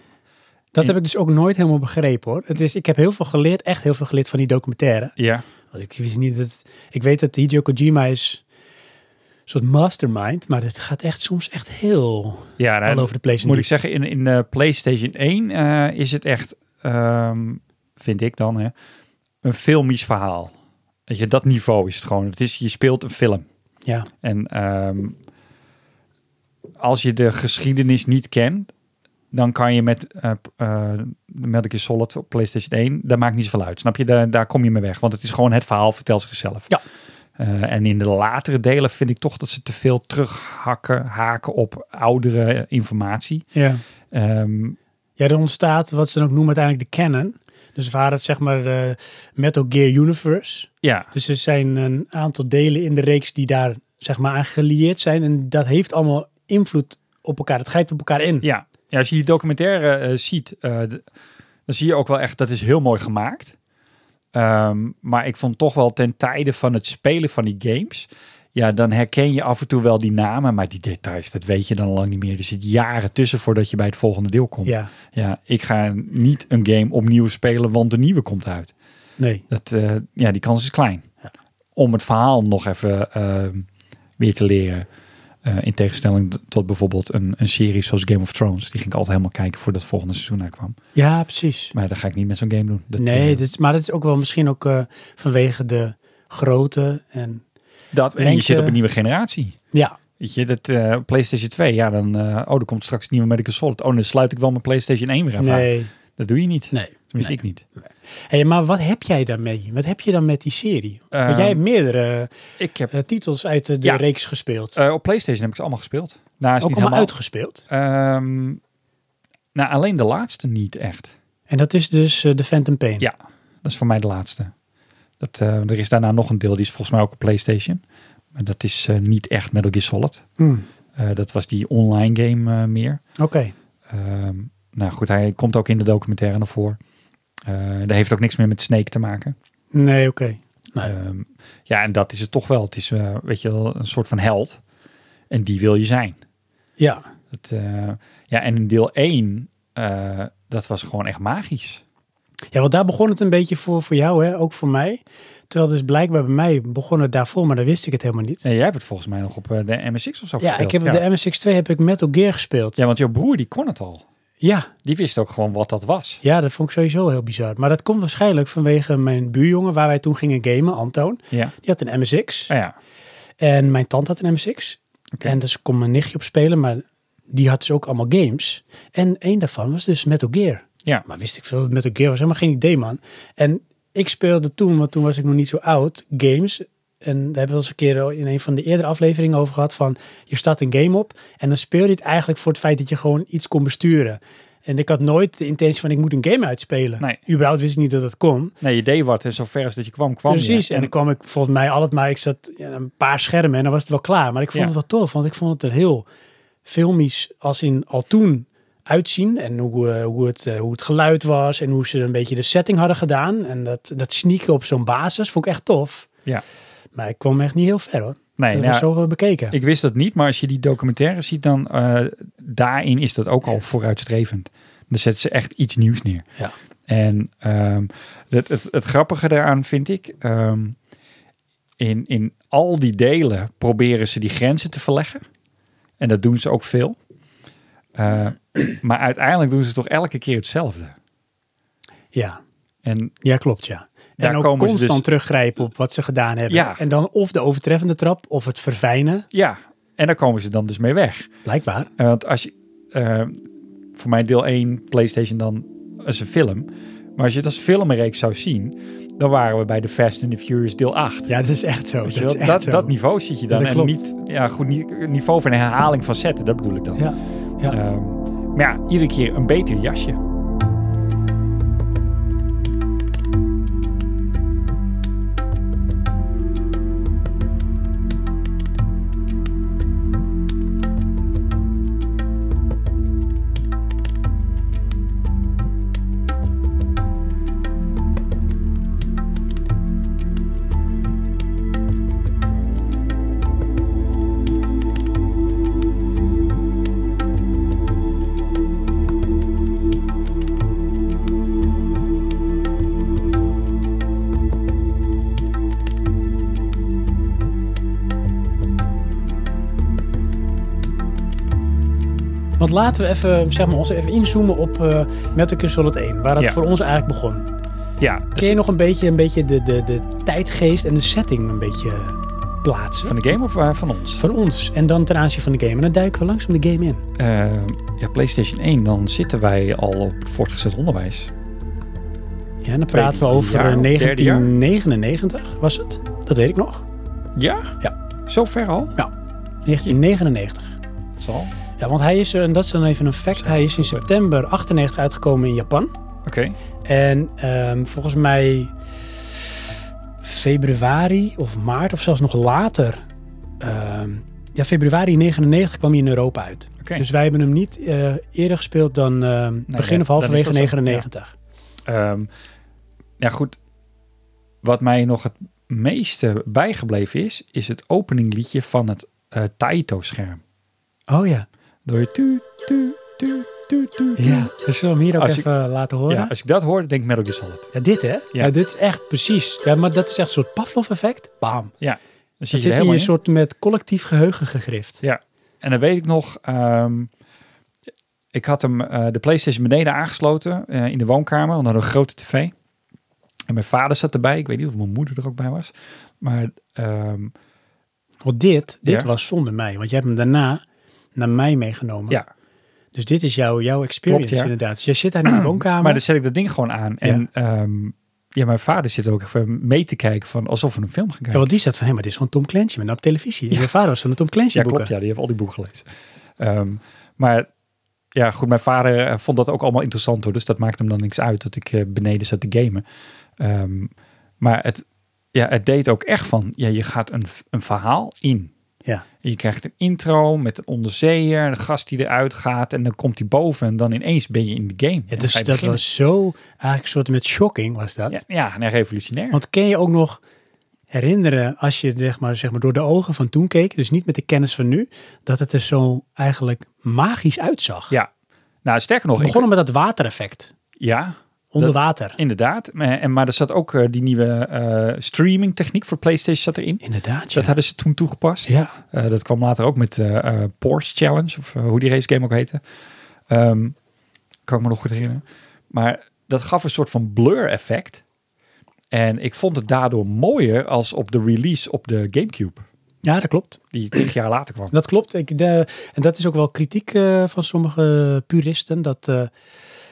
Speaker 1: Dat heb ik dus ook nooit helemaal begrepen hoor. Het is, ik heb heel veel geleerd, echt heel veel geleerd van die documentaire.
Speaker 2: ja,
Speaker 1: Want ik wist niet dat. Ik weet dat Hideo Kojima is een soort mastermind, maar het gaat echt soms echt heel
Speaker 2: ja nou,
Speaker 1: all over the place.
Speaker 2: moet ik zeggen, in, in eh, PlayStation 1 eh, is het echt, ehm, vind ik dan, hè, een filmisch verhaal. Weet je, dat niveau is het gewoon. Het is, je speelt een film.
Speaker 1: Ja,
Speaker 2: En ehm, als je de geschiedenis niet kent, dan kan je met eh eh Metal Gear Solid op PlayStation 1, dat maakt niet zoveel uit. Snap je? Daar, daar kom je mee weg. Want het is gewoon het verhaal vertelt zichzelf.
Speaker 1: Ja.
Speaker 2: Eh, en in de latere delen vind ik toch dat ze te veel terughakken haken op oudere informatie.
Speaker 1: ja.
Speaker 2: Ehm,
Speaker 1: ja, er ontstaat wat ze dan ook noemen uiteindelijk de canon. Dus waar het zeg maar eh, Metal Gear Universe.
Speaker 2: ja,
Speaker 1: Dus er zijn een aantal delen in de reeks die daar zeg maar aan gelieerd zijn. En dat heeft allemaal invloed op elkaar. Het grijpt op elkaar in.
Speaker 2: Ja, ja als je die documentaire eh, ziet, eh, d- dan zie je ook wel echt, dat is heel mooi gemaakt. Ehm, maar ik vond toch wel ten tijde van het spelen van die games, ja, dan herken je af en toe wel die namen, maar die details, dat weet je dan lang niet meer. Er zit jaren tussen voordat je bij het volgende deel komt.
Speaker 1: Ja,
Speaker 2: Ja, ik ga niet een game opnieuw spelen, want de nieuwe komt uit.
Speaker 1: nee.
Speaker 2: Dat, eh, ja, die kans is klein.
Speaker 1: Ja.
Speaker 2: Om het verhaal nog even ehm, weer te leren. Eh, in tegenstelling d- tot bijvoorbeeld een, een serie zoals Game of Thrones. Die ging ik altijd helemaal kijken voordat het volgende seizoen uitkwam.
Speaker 1: Ja, precies.
Speaker 2: Maar dat ga ik niet met zo'n game doen. Dat,
Speaker 1: nee,
Speaker 2: eh,
Speaker 1: dit, is- maar dat is ook wel misschien ook eh, vanwege de grootte en
Speaker 2: dat en je
Speaker 1: lengte-
Speaker 2: zit op een nieuwe generatie.
Speaker 1: ja,
Speaker 2: Weet je, dat eh, PlayStation 2, ja dan, eh, oh, er komt straks een nieuwe Medical Solid. Oh, dan sluit ik wel mijn PlayStation 1 weer even aan.
Speaker 1: nee,
Speaker 2: Dat doe je niet.
Speaker 1: nee.
Speaker 2: Tenminste, ik niet.
Speaker 1: Hey, maar wat heb jij daarmee? Wat heb je dan met die serie? Want
Speaker 2: Ehm,
Speaker 1: jij hebt meerdere
Speaker 2: Ik heb,
Speaker 1: eh, titels uit de, de
Speaker 2: ja.
Speaker 1: reeks gespeeld.
Speaker 2: eh, op PlayStation heb ik ze allemaal gespeeld. Nou, is niet
Speaker 1: ook allemaal
Speaker 2: helemaal-
Speaker 1: uitgespeeld.
Speaker 2: Ehm, nou, alleen de laatste niet echt.
Speaker 1: En dat is dus eh, de Phantom Pain.
Speaker 2: Ja. Dat is voor mij de laatste. Dat, eh, er is daarna nog een deel, die is volgens mij ook op PlayStation. Maar dat is eh, niet echt Metal Gear Solid.
Speaker 1: Hmm,
Speaker 2: Eh, dat was die online game eh, meer.
Speaker 1: Oké.
Speaker 2: Ehm, nou goed, hij komt ook in de documentaire naar voren. Eh dat heeft ook niks meer met Snake te maken.
Speaker 1: Nee, oké. Nee.
Speaker 2: Ehm, ja, en dat is het toch wel. Het is, eh, weet je wel, een soort van held. En die wil je zijn.
Speaker 1: Ja.
Speaker 2: Het, eh, ja, en in deel 1, eh, dat was gewoon echt magisch.
Speaker 1: ja, want daar begon het een beetje voor, voor jou, hè? ook voor mij. Terwijl dus blijkbaar bij mij begon het daarvoor, maar dan wist ik het helemaal niet.
Speaker 2: En jij hebt het volgens mij nog op eh, de MSX of zo
Speaker 1: ja,
Speaker 2: gespeeld.
Speaker 1: ik heb op de MSX2 heb ik Metal Gear gespeeld.
Speaker 2: Ja, want jouw broer die kon het al.
Speaker 1: ja,
Speaker 2: Die wist ook gewoon wat dat was.
Speaker 1: Ja, dat vond ik sowieso heel bizar. Maar dat komt waarschijnlijk vanwege mijn buurjongen waar wij toen gingen gamen, Antoon.
Speaker 2: Ja.
Speaker 1: Die had een MSX
Speaker 2: Ah, ja.
Speaker 1: en mijn tante had een MSX.
Speaker 2: Oké.
Speaker 1: En dus kon mijn nichtje op spelen, maar die had dus ook allemaal games. En één daarvan was dus Metal Gear.
Speaker 2: Ja.
Speaker 1: Maar wist ik veel dat Metal Gear was, helemaal geen idee man. En ik speelde toen, want toen was ik nog niet zo oud, games. En daar hebben we wel eens een keer in een van de eerdere afleveringen over gehad van... je start een game op en dan speel je het eigenlijk voor het feit dat je gewoon iets kon besturen. En ik had nooit de intentie van ik moet een game uitspelen.
Speaker 2: Nee.
Speaker 1: Überhaupt wist ik niet dat dat kon.
Speaker 2: Nee, je deed wat en zover als dat je kwam, kwam
Speaker 1: Precies,
Speaker 2: je.
Speaker 1: en dan kwam ik volgens mij altijd maar, ik zat ja, een paar schermen en dan was het wel klaar. Maar ik vond
Speaker 2: Ja.
Speaker 1: het wel tof, want ik vond het er heel filmisch als in al toen uitzien. En hoe, eh, hoe, het, eh, hoe het geluid was en hoe ze een beetje de setting hadden gedaan. En dat, dat sneaken op zo'n basis vond ik echt tof.
Speaker 2: Ja.
Speaker 1: Maar ik kwam echt niet heel ver hoor.
Speaker 2: nee,
Speaker 1: dat
Speaker 2: nou,
Speaker 1: was zo bekeken.
Speaker 2: ik wist dat niet, maar als je die documentaire ziet, dan eh, daarin is dat ook al vooruitstrevend. Dan zetten ze echt iets nieuws neer.
Speaker 1: Ja.
Speaker 2: En ehm, het, het, het grappige daaraan vind ik, ehm, in, in al die delen proberen ze die grenzen te verleggen. En dat doen ze ook veel. Eh, maar uiteindelijk doen ze toch elke keer hetzelfde.
Speaker 1: ja.
Speaker 2: En
Speaker 1: Ja, klopt, ja.
Speaker 2: Daar
Speaker 1: en ook
Speaker 2: komen ze
Speaker 1: constant
Speaker 2: dus-
Speaker 1: teruggrijpen op wat ze gedaan hebben.
Speaker 2: Ja.
Speaker 1: En dan of de overtreffende trap of het verfijnen,
Speaker 2: ja, en daar komen ze dan dus mee weg.
Speaker 1: blijkbaar.
Speaker 2: Eh, want als je, eh, voor mij deel 1 PlayStation dan als een film. Maar als je het als filmreeks zou zien, dan waren we bij de Fast and the Furious deel 8.
Speaker 1: Ja, dat is echt zo.
Speaker 2: Weet
Speaker 1: Dat,
Speaker 2: je
Speaker 1: is
Speaker 2: wel?
Speaker 1: echt
Speaker 2: dat,
Speaker 1: zo.
Speaker 2: dat niveau zit je
Speaker 1: Ja,
Speaker 2: dan.
Speaker 1: dat
Speaker 2: en
Speaker 1: klopt.
Speaker 2: niet, ja, goed, ni- niveau van een herhaling van zetten, dat bedoel ik dan.
Speaker 1: Ja, ja.
Speaker 2: Ehm, maar ja, iedere keer een beter jasje.
Speaker 1: Want laten we even, zeg maar, ons even inzoomen op eh Metal Gear Solid 1, waar het
Speaker 2: Ja.
Speaker 1: voor ons eigenlijk begon.
Speaker 2: Ja, dus
Speaker 1: Kun je nog een beetje, een beetje de, de, de tijdgeest en de setting een beetje plaatsen?
Speaker 2: van de game of eh, van ons?
Speaker 1: Van ons. En dan ten aanzien van de game. En dan duiken we langzaam de game in.
Speaker 2: Ehm, ja, PlayStation 1, dan zitten wij al op voortgezet onderwijs.
Speaker 1: Ja, en dan praten we over
Speaker 2: jaar
Speaker 1: eh,
Speaker 2: of derde jaar?
Speaker 1: 1999, was het? Dat weet ik nog.
Speaker 2: Ja?
Speaker 1: Ja.
Speaker 2: Zo ver al?
Speaker 1: 1999.
Speaker 2: Dat zal. Oké.
Speaker 1: Ja, want hij is, eh, en dat is dan even een fact, hij is in september 98 uitgekomen in Japan. En ehm, volgens mij februari of maart of zelfs nog later. ehm, ja, februari 99 kwam hij in Europa uit.
Speaker 2: Oké.
Speaker 1: Dus wij hebben hem niet eh, eerder gespeeld dan ehm, begin
Speaker 2: nee,
Speaker 1: of
Speaker 2: dan
Speaker 1: halverwege
Speaker 2: is dat zo,
Speaker 1: 99.
Speaker 2: Ehm, ja, goed. Wat mij nog het meeste bijgebleven is, is het openingliedje van het eh, Taito-scherm.
Speaker 1: Oh ja.
Speaker 2: Door je tu, tu, tu, tu, tu. tu.
Speaker 1: ja. Dus zullen we hem hier ook
Speaker 2: Als ik-
Speaker 1: even laten horen?
Speaker 2: Ja,
Speaker 1: Ja,
Speaker 2: als ik dat hoorde, denk ik Metal Gear Solid.
Speaker 1: dit hè? Ja. dit is echt precies. Ja, maar dat is echt een soort Pavlov-effect. Bam.
Speaker 2: Dan zit
Speaker 1: Dat
Speaker 2: je
Speaker 1: zit
Speaker 2: er
Speaker 1: in
Speaker 2: helemaal
Speaker 1: een
Speaker 2: in.
Speaker 1: soort met collectief geheugen gegrift.
Speaker 2: En dan weet ik nog, ehm, ik had hem eh, de PlayStation beneden aangesloten eh, in de woonkamer, want we hadden een grote tv. En mijn vader zat erbij. Ik weet niet of mijn moeder er ook bij was. Maar ehm,
Speaker 1: Want dit, dit
Speaker 2: Ja.
Speaker 1: was zonder mij. Want jij hebt hem daarna naar mij meegenomen.
Speaker 2: ja,
Speaker 1: Dus dit is jouw, jouw experience
Speaker 2: Klopt, ja.
Speaker 1: inderdaad. Dus je zit daar in
Speaker 2: <clears throat>
Speaker 1: de woonkamer.
Speaker 2: Maar dus- dan zet ik dat ding gewoon aan. En ehm, ja, mijn vader zit ook even mee te kijken van alsof we een film gaan
Speaker 1: ja,
Speaker 2: kijken.
Speaker 1: want die zat van, hé, maar dit is gewoon Tom Clancy. Maar nou op televisie. Je vader was van de Tom Clancy
Speaker 2: Ja,
Speaker 1: boeken.
Speaker 2: klopt. Ja, die heeft al die boeken gelezen. Ehm, maar ja, goed, mijn vader eh, vond dat ook allemaal interessant hoor. Dus dat maakt hem dan niks uit dat ik eh, beneden zat te gamen. Ehm, maar het, ja, het deed ook echt van, ja, je gaat een, een verhaal in.
Speaker 1: Ja.
Speaker 2: En Je krijgt een intro met een onderzeeër, een gast die eruit gaat en dan komt hij boven en dan ineens ben je in de game.
Speaker 1: Ja,
Speaker 2: En
Speaker 1: dus
Speaker 2: ga je
Speaker 1: dat
Speaker 2: beginnen.
Speaker 1: was zo, eigenlijk een soort met shocking was dat.
Speaker 2: Ja, ja, en revolutionair.
Speaker 1: Want ken je ook nog herinneren, als je zeg maar, zeg maar door de ogen van toen keek, dus niet met de kennis van nu, dat het er zo eigenlijk magisch uitzag.
Speaker 2: Ja. Nou, sterker nog,
Speaker 1: We
Speaker 2: ik-
Speaker 1: begonnen met dat watereffect.
Speaker 2: Ja,
Speaker 1: Onder
Speaker 2: Dat-
Speaker 1: water.
Speaker 2: inderdaad. Maar, en, maar er zat ook eh, die nieuwe streaming techniek voor PlayStation zat erin.
Speaker 1: Inderdaad, ja.
Speaker 2: Dat hadden ze toen toegepast.
Speaker 1: ja.
Speaker 2: Eh, dat kwam later ook met eh eh, Porsche Challenge, of eh, hoe die race game ook heette. Ehm, kan ik me nog goed herinneren. Maar dat gaf een soort van blur effect. En ik vond het daardoor mooier als op de release op de Gamecube.
Speaker 1: ja, dat klopt.
Speaker 2: Die tien jaar later kwam.
Speaker 1: Dat klopt. Ik, de, en dat is ook wel kritiek eh, van sommige puristen. Dat eh,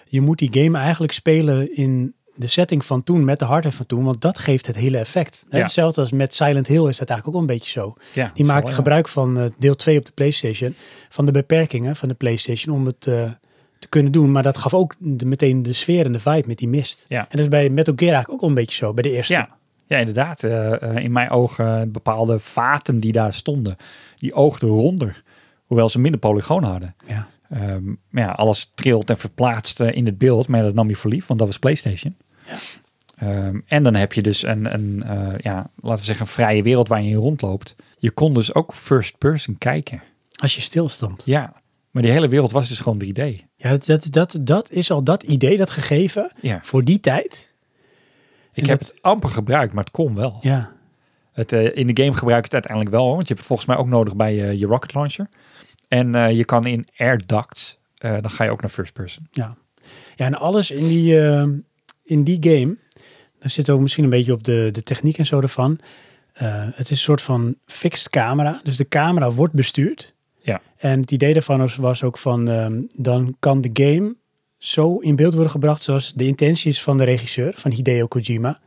Speaker 1: je moet die game eigenlijk spelen in de setting van toen, met de hardware van toen. Want dat geeft het hele effect. Hè,
Speaker 2: Ja.
Speaker 1: Hetzelfde als met Silent Hill is dat eigenlijk ook wel een beetje zo.
Speaker 2: Ja,
Speaker 1: Die
Speaker 2: zal,
Speaker 1: maakt
Speaker 2: ja.
Speaker 1: gebruik van eh, deel 2 op de PlayStation. Van de beperkingen van de PlayStation om het eh, te kunnen doen. Maar dat gaf ook de- meteen de sfeer en de vibe met die mist.
Speaker 2: Ja.
Speaker 1: En dat is bij Metal Gear eigenlijk ook wel een beetje zo. Bij de eerste.
Speaker 2: Ja, ja inderdaad. Eh, eh, in mijn ogen eh, bepaalde vaten die daar stonden, die oogden ronder. Hoewel ze minder polygoon hadden.
Speaker 1: Ja.
Speaker 2: Ehm, maar ja, alles trilt en verplaatst eh, in het beeld. Maar ja, dat nam je voor lief, want dat was PlayStation. Ehm, en dan heb je dus een, een eh, ja, laten we zeggen, een vrije wereld waar je in rondloopt. Je kon dus ook first person kijken.
Speaker 1: Als je stilstond.
Speaker 2: Ja, maar die hele wereld was dus gewoon 3D.
Speaker 1: Ja, dat, dat, dat, dat is al dat idee, dat gegeven.
Speaker 2: Ja.
Speaker 1: Voor die tijd.
Speaker 2: Ik
Speaker 1: En
Speaker 2: heb
Speaker 1: dat-
Speaker 2: het amper gebruikt, maar het kon wel.
Speaker 1: Ja,
Speaker 2: Het, eh, in de game gebruik je het uiteindelijk wel, hoor, want je hebt het volgens mij ook nodig bij eh, je rocket launcher. En eh, je kan in air ducts, eh, dan ga je ook naar first person.
Speaker 1: ja. ja en alles in die, eh, in die game, dan zit ook misschien een beetje op de, de techniek en zo ervan. Eh, het is een soort van fixed camera. Dus de camera wordt bestuurd.
Speaker 2: Ja.
Speaker 1: En het idee daarvan was, was ook van, ehm, dan kan de game zo in beeld worden gebracht zoals de intentie is van de regisseur, van Hideo Kojima.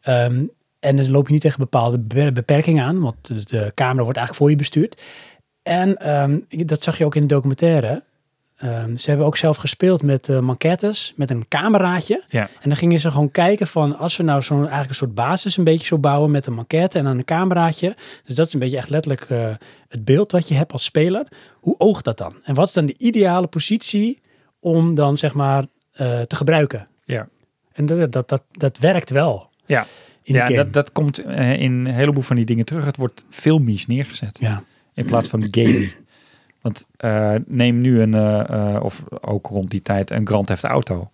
Speaker 1: Ehm, en dan loop je niet tegen bepaalde be- beperkingen aan, want de- de camera wordt eigenlijk voor je bestuurd. En ehm, ik- dat zag je ook in de documentaire. Ehm, ze hebben ook zelf gespeeld met eh, manquettes, met een cameraatje.
Speaker 2: Ja.
Speaker 1: En dan gingen ze gewoon kijken van, als we nou zo'n eigenlijk een soort basis een beetje zo bouwen met een maquette en aan een cameraatje. Dus dat is een beetje echt letterlijk eh, het beeld dat je hebt als speler. Hoe oogt dat dan? En wat is dan de ideale positie om dan zeg maar eh, te gebruiken?
Speaker 2: Ja.
Speaker 1: En dat, dat, dat, dat werkt wel.
Speaker 2: Ja.
Speaker 1: In
Speaker 2: ja,
Speaker 1: de game.
Speaker 2: dat, dat komt eh, in een heleboel van die dingen terug. Het wordt filmisch neergezet
Speaker 1: ja.
Speaker 2: in plaats van gamey. Want eh, neem nu een, eh, eh, of ook rond die tijd, een Grand Theft Auto.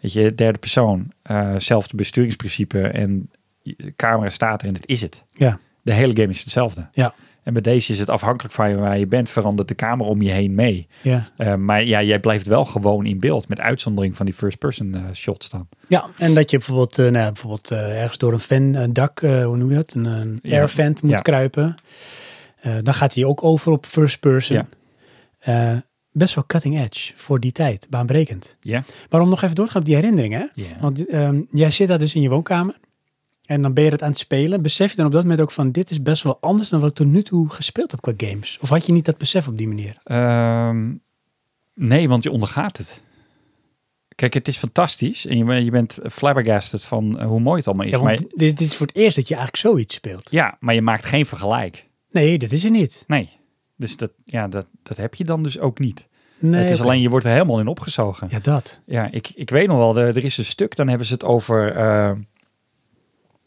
Speaker 2: Weet je, derde persoon, eh, zelfde besturingsprincipe en je camera staat er en het is het.
Speaker 1: Ja.
Speaker 2: De hele game is hetzelfde.
Speaker 1: Ja.
Speaker 2: En bij deze is het afhankelijk van waar je bent, verandert de camera om je heen mee.
Speaker 1: Ja.
Speaker 2: Eh, maar ja, jij blijft wel gewoon in beeld, met uitzondering van die first-person eh, shots dan.
Speaker 1: ja, en dat je bijvoorbeeld, eh, nou, ja, bijvoorbeeld eh, ergens door een fan, een dak, eh, hoe noem je dat? Een, een
Speaker 2: Ja.
Speaker 1: airvent moet
Speaker 2: Ja.
Speaker 1: kruipen. Eh, dan gaat hij ook over op first person.
Speaker 2: Ja.
Speaker 1: Eh, best wel cutting edge voor die tijd, baanbrekend.
Speaker 2: Ja.
Speaker 1: Maar om nog even door te gaan op die herinneringen. hè?
Speaker 2: Ja.
Speaker 1: Want ehm, jij zit daar dus in je woonkamer. En dan ben je het aan het spelen. Besef je dan op dat moment ook van, dit is best wel anders dan wat ik tot nu toe gespeeld heb qua games? Of had je niet dat besef op die manier?
Speaker 2: Ehm, nee, want je ondergaat het. Kijk, het is fantastisch en je, ben- je bent flabbergasted van eh, hoe mooi het allemaal is.
Speaker 1: Ja,
Speaker 2: maar,
Speaker 1: want dit, dit is voor het eerst dat je eigenlijk zoiets speelt.
Speaker 2: ja, maar je maakt geen vergelijk.
Speaker 1: Nee, dat is er niet.
Speaker 2: Nee. Dus dat, ja, dat, dat heb je dan dus ook niet.
Speaker 1: Nee,
Speaker 2: het is
Speaker 1: oké.
Speaker 2: alleen, je wordt er helemaal in opgezogen. Ja,
Speaker 1: Ja, dat.
Speaker 2: ik, ik weet nog wel, er, er is een stuk, dan hebben ze het over... eh,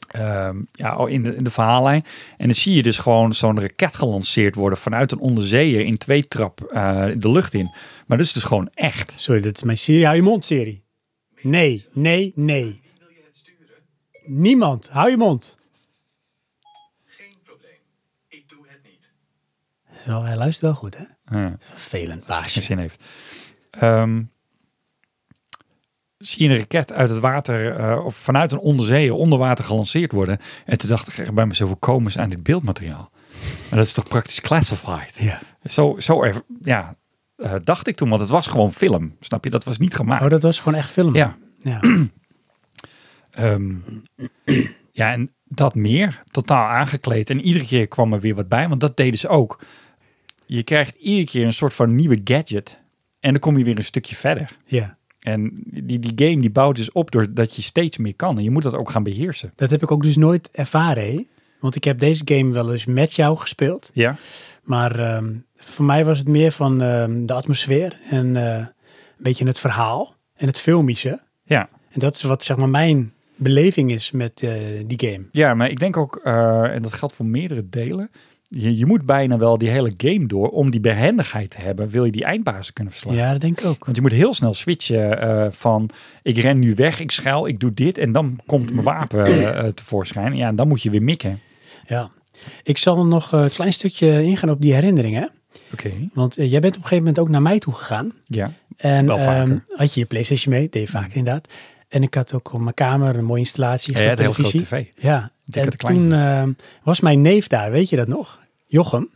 Speaker 2: ehm, ja, oh, in de, in de verhaallijn. En dan zie je dus gewoon zo'n raket gelanceerd worden vanuit een onderzeeër in twee trap eh, de lucht in. Maar dat is dus gewoon echt.
Speaker 1: Sorry, dat is mijn serie. Hou je mond, serie. Nee, nee, nee. Niemand. Hou je mond.
Speaker 4: Geen probleem. Ik doe het niet.
Speaker 1: Zo, hij luistert wel goed, hè?
Speaker 2: Ja.
Speaker 1: Vervelend
Speaker 2: als het
Speaker 1: baasje.
Speaker 2: geen zin heeft. Ehm, zie je een raket uit het water eh, of vanuit een onderzee onder water gelanceerd worden. En toen dacht ik echt bij mezelf, hoe komen ze aan dit beeldmateriaal? Maar dat is toch praktisch classified?
Speaker 1: Ja.
Speaker 2: Zo, zo er, ja, eh, dacht ik toen, want het was gewoon film. Snap je? Dat was niet gemaakt.
Speaker 1: Oh, dat was gewoon echt film.
Speaker 2: Ja.
Speaker 1: Ja.
Speaker 2: <clears throat> Ehm, ja, en dat meer, totaal aangekleed. En iedere keer kwam er weer wat bij, want dat deden ze ook. Je krijgt iedere keer een soort van nieuwe gadget. En dan kom je weer een stukje verder.
Speaker 1: ja.
Speaker 2: En die, die game die bouwt dus op doordat je steeds meer kan. En je moet dat ook gaan beheersen.
Speaker 1: Dat heb ik ook dus nooit ervaren, hè? Want ik heb deze game wel eens met jou gespeeld.
Speaker 2: Ja.
Speaker 1: Maar ehm, voor mij was het meer van ehm, de atmosfeer en eh, een beetje het verhaal en het filmische.
Speaker 2: Ja.
Speaker 1: En dat is wat zeg maar mijn beleving is met eh, die game.
Speaker 2: Ja, maar ik denk ook, eh, en dat geldt voor meerdere delen. Je, je moet bijna wel die hele game door om die behendigheid te hebben. Wil je die eindbazen kunnen verslaan?
Speaker 1: Ja, dat denk ik ook.
Speaker 2: Want je moet heel snel switchen eh, van ik ren nu weg, ik schuil, ik doe dit. En dan komt mijn
Speaker 1: <clears throat>
Speaker 2: wapen eh, eh, tevoorschijn. Ja, en dan moet je weer mikken.
Speaker 1: Ja. Ik zal nog eh, een klein stukje ingaan op die herinneringen.
Speaker 2: Oké.
Speaker 1: Want eh, jij bent op een gegeven moment ook naar mij toe gegaan.
Speaker 2: Ja.
Speaker 1: En
Speaker 2: Wel vaker. Mm.
Speaker 1: ehm, had je je PlayStation mee, deed je vaker inderdaad. En ik had ook op mijn kamer een mooie installatie.
Speaker 2: Ja, je hebt een heel
Speaker 1: grote
Speaker 2: grote
Speaker 1: televisie.
Speaker 2: tv.
Speaker 1: Ja,
Speaker 2: Dikke
Speaker 1: en
Speaker 2: te klein.
Speaker 1: toen ehm, was mijn neef daar, weet je dat nog? Jochem.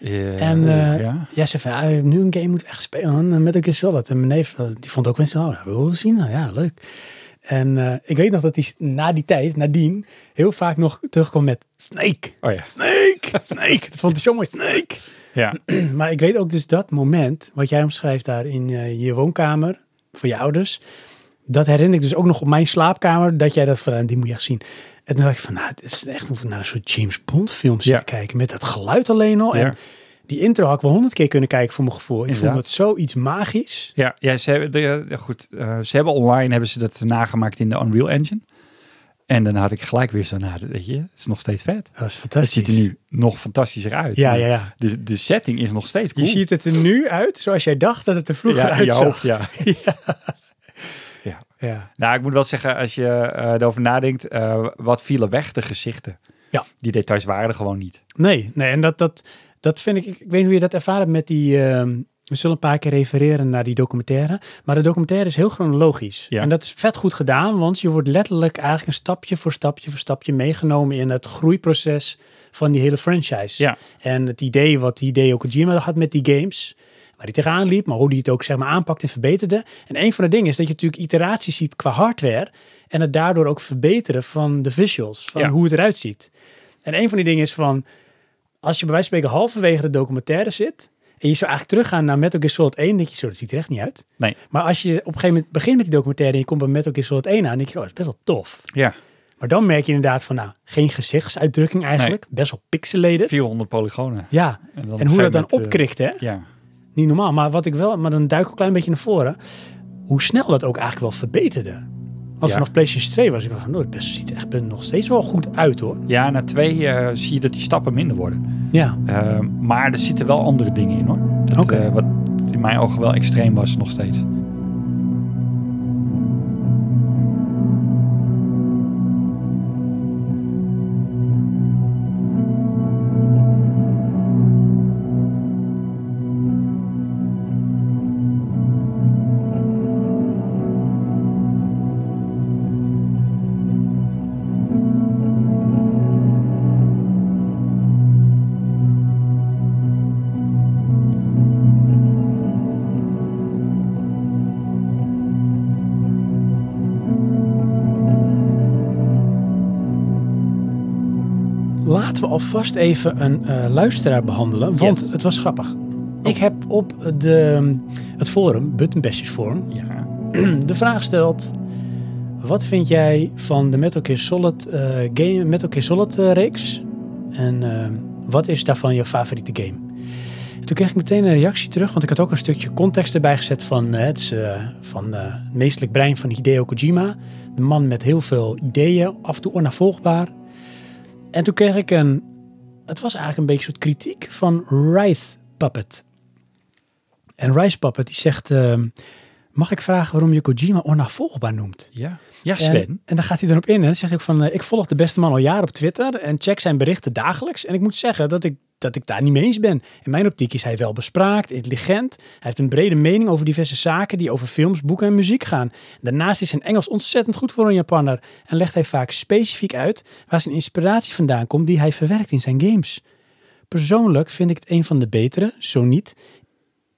Speaker 2: Eh,
Speaker 1: En eh,
Speaker 2: ja.
Speaker 1: ja, ze zei, van, ah, nu een game moeten we echt spelen man, met elkaar Solid. En mijn neef, eh, die vond ook mensen, oh, dat wil ik wel zien. Nou ja, leuk. En eh, ik weet nog dat hij na die tijd, nadien, heel vaak nog terugkwam met Snake.
Speaker 2: Oh ja.
Speaker 1: Snake, Snake. Dat vond hij zo mooi, Snake.
Speaker 2: Ja.
Speaker 1: <clears throat> Maar ik weet ook dus dat moment, wat jij omschrijft daar in eh, je woonkamer, voor je ouders. Dat herinner ik dus ook nog op mijn slaapkamer, dat jij dat van, eh, die moet je echt zien. En toen dacht ik van, nou, het is echt of ik naar een soort James Bond film zit
Speaker 2: Ja.
Speaker 1: te kijken. Met dat geluid alleen al.
Speaker 2: Ja.
Speaker 1: En die intro had ik wel honderd keer kunnen kijken voor mijn gevoel. Ik vond
Speaker 2: Inderdaad.
Speaker 1: dat zoiets magisch.
Speaker 2: Ja, ja ze, hebben, de, de- goed, eh, ze hebben online hebben ze dat nagemaakt in de Unreal Engine. En dan had ik gelijk weer zo, nou, dat- weet je, het is nog steeds vet.
Speaker 1: Dat is
Speaker 2: Het
Speaker 1: fantastisch.
Speaker 2: ziet er nu nog fantastischer uit.
Speaker 1: Ja, ja, ja.
Speaker 2: De, de setting is nog steeds
Speaker 1: Je
Speaker 2: cool.
Speaker 1: ziet het er nu uit zoals jij dacht dat het er vroeger
Speaker 2: ja, in je hoofd,
Speaker 1: uitzag.
Speaker 2: ja.
Speaker 1: Ja.
Speaker 2: Nou, ik moet wel zeggen, als je eh erover nadenkt, eh, wat vielen weg de gezichten?
Speaker 1: Ja.
Speaker 2: Die details waren er gewoon niet.
Speaker 1: Nee, nee, en dat, dat, dat vind ik, ik weet niet hoe je dat ervaren hebt met die, ehm, We zullen een paar keer refereren naar die documentaire. Maar de documentaire is heel chronologisch.
Speaker 2: Ja.
Speaker 1: En dat is vet goed gedaan, want je wordt letterlijk eigenlijk een stapje voor stapje voor stapje meegenomen in het groeiproces van die hele franchise.
Speaker 2: Ja.
Speaker 1: En het idee wat Hideo Kojima had met die games, waar hij tegenaan liep, maar hoe hij het ook zeg maar aanpakt en verbeterde. En een van de dingen is dat je natuurlijk iteraties ziet qua hardware en het daardoor ook verbeteren van de visuals, van
Speaker 2: Ja.
Speaker 1: hoe het eruit ziet. En een van die dingen is van, als je bij wijze van spreken halverwege de documentaire zit en je zou eigenlijk teruggaan naar Metal Gear Solid 1, denk je zo, dat ziet er echt niet uit.
Speaker 2: Nee.
Speaker 1: Maar als je op een gegeven moment begint met die documentaire en je komt bij Metal Gear Solid 1 aan, denk je, oh, dat is best wel tof.
Speaker 2: Ja,
Speaker 1: Maar dan merk je inderdaad van, nou, geen gezichtsuitdrukking eigenlijk, best wel pixelated.
Speaker 2: 400 polygonen.
Speaker 1: Ja, en
Speaker 2: dan op een
Speaker 1: hoe dat
Speaker 2: gegeven
Speaker 1: dan
Speaker 2: moment, eh,
Speaker 1: opkrikt, hè?
Speaker 2: Ja,
Speaker 1: Niet normaal, maar wat ik wel, maar dan duik ik een klein beetje naar voren. Hoe snel dat ook eigenlijk wel verbeterde. Want
Speaker 2: Ja.
Speaker 1: vanaf PlayStation 2 was ik wel van, oh, het best- ziet er echt nog steeds wel goed uit, hoor.
Speaker 2: ja na twee eh, zie je dat die stappen minder worden.
Speaker 1: Ja,
Speaker 2: Eh, maar er zitten wel andere dingen in hoor. Dat,
Speaker 1: Oké.
Speaker 2: eh, wat in mijn ogen wel extreem was nog steeds.
Speaker 1: laten we alvast even een eh, luisteraar behandelen, want
Speaker 2: Yes.
Speaker 1: het was grappig. Ik heb op de, het forum, Buttonbashers Forum,
Speaker 2: Ja.
Speaker 1: <clears throat> de vraag stelt... Wat vind jij van de Metal Gear Solid, eh, game, Metal Gear Solid eh, reeks? En eh, wat is daarvan je favoriete game? En toen kreeg ik meteen een reactie terug, want ik had ook een stukje context erbij gezet van eh, het, is, eh, van, eh, het meestelijk brein van Hideo Kojima. De man met heel veel ideeën, af en toe onnavolgbaar. En toen kreeg ik een, het was eigenlijk een beetje een soort kritiek van Rice Puppet. En Rice Puppet die zegt, eh, mag ik vragen waarom je Kojima onnavolgbaar noemt?
Speaker 2: Ja. Ja, Sven.
Speaker 1: En, en daar gaat hij dan op in. En dan zegt hij ook van, eh, ik volg de beste man al jaren op Twitter en check zijn berichten dagelijks. En ik moet zeggen dat ik, dat ik daar niet mee eens ben. In mijn optiek is hij wel bespraakt, intelligent. Hij heeft een brede mening over diverse zaken die over films, boeken en muziek gaan. Daarnaast is zijn Engels ontzettend goed voor een Japanner. En legt hij vaak specifiek uit waar zijn inspiratie vandaan komt die hij verwerkt in zijn games. Persoonlijk vind ik het een van de betere, zo niet,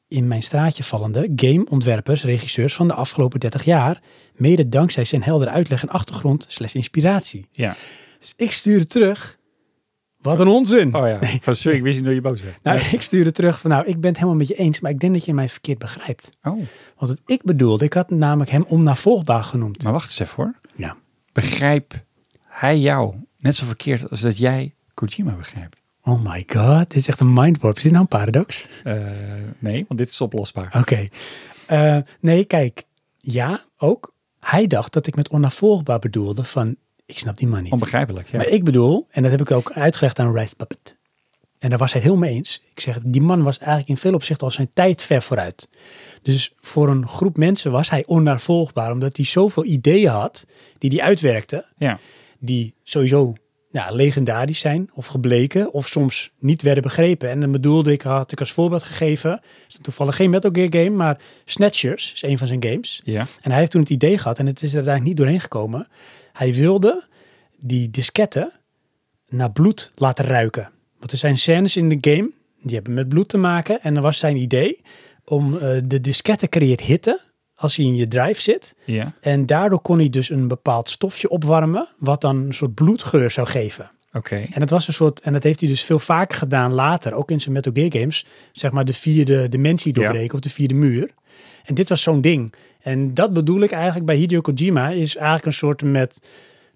Speaker 1: in mijn straatje vallende gameontwerpers, regisseurs van de afgelopen 30 jaar, mede dankzij zijn heldere uitleg en achtergrond slash inspiratie.
Speaker 2: Ja.
Speaker 1: Dus ik stuurde terug, wat een onzin!
Speaker 2: Oh ja. Van, sorry, ik wist niet dat je boos werd.
Speaker 1: Nou, <laughs> ik stuurde terug van, nou, ik ben het helemaal met je eens, maar ik denk dat je mij verkeerd begrijpt.
Speaker 2: Oh,
Speaker 1: Want wat ik bedoelde, ik had namelijk hem onnavolgbaar genoemd.
Speaker 2: maar wacht eens even hoor.
Speaker 1: Ja.
Speaker 2: Begrijp hij jou net zo verkeerd als dat jij Kojima begrijpt?
Speaker 1: Oh my god, dit is echt een mindwarp. Is dit nou een paradox?
Speaker 2: Eh, nee, want dit is oplosbaar.
Speaker 1: Oké. Eh, nee, kijk. Ja, ook. Hij dacht dat ik met onnavolgbaar bedoelde van... Ik snap die man niet.
Speaker 2: Onbegrijpelijk, ja.
Speaker 1: Maar ik bedoel, en dat heb ik ook uitgelegd aan Red Puppet. En daar was hij het helemaal mee eens. Ik zeg, die man was eigenlijk in veel opzichten al zijn tijd ver vooruit. Dus voor een groep mensen was hij onnavolgbaar. Omdat hij zoveel ideeën had die hij uitwerkte.
Speaker 2: ja.
Speaker 1: Die sowieso ja, legendarisch zijn of gebleken. Of soms niet werden begrepen. En dan bedoelde ik, had ik als voorbeeld gegeven. Is het toevallig geen Metal Gear game, maar Snatchers is een van zijn games.
Speaker 2: Ja.
Speaker 1: En hij heeft toen het idee gehad, en het is er uiteindelijk niet doorheen gekomen. Hij wilde die disketten naar bloed laten ruiken. Want er zijn scènes in de game, die hebben met bloed te maken. En dan was zijn idee om eh, de disketten creëert hitte als hij in je drive zit.
Speaker 2: Ja.
Speaker 1: En daardoor kon hij dus een bepaald stofje opwarmen, wat dan een soort bloedgeur zou geven.
Speaker 2: Oké.
Speaker 1: En dat was een soort, en dat heeft hij dus veel vaker gedaan later, ook in zijn Metal Gear games, zeg maar de vierde dimensie doorbreken of de vierde muur. En dit was zo'n ding. En dat bedoel ik eigenlijk bij Hideo Kojima, is eigenlijk een soort met,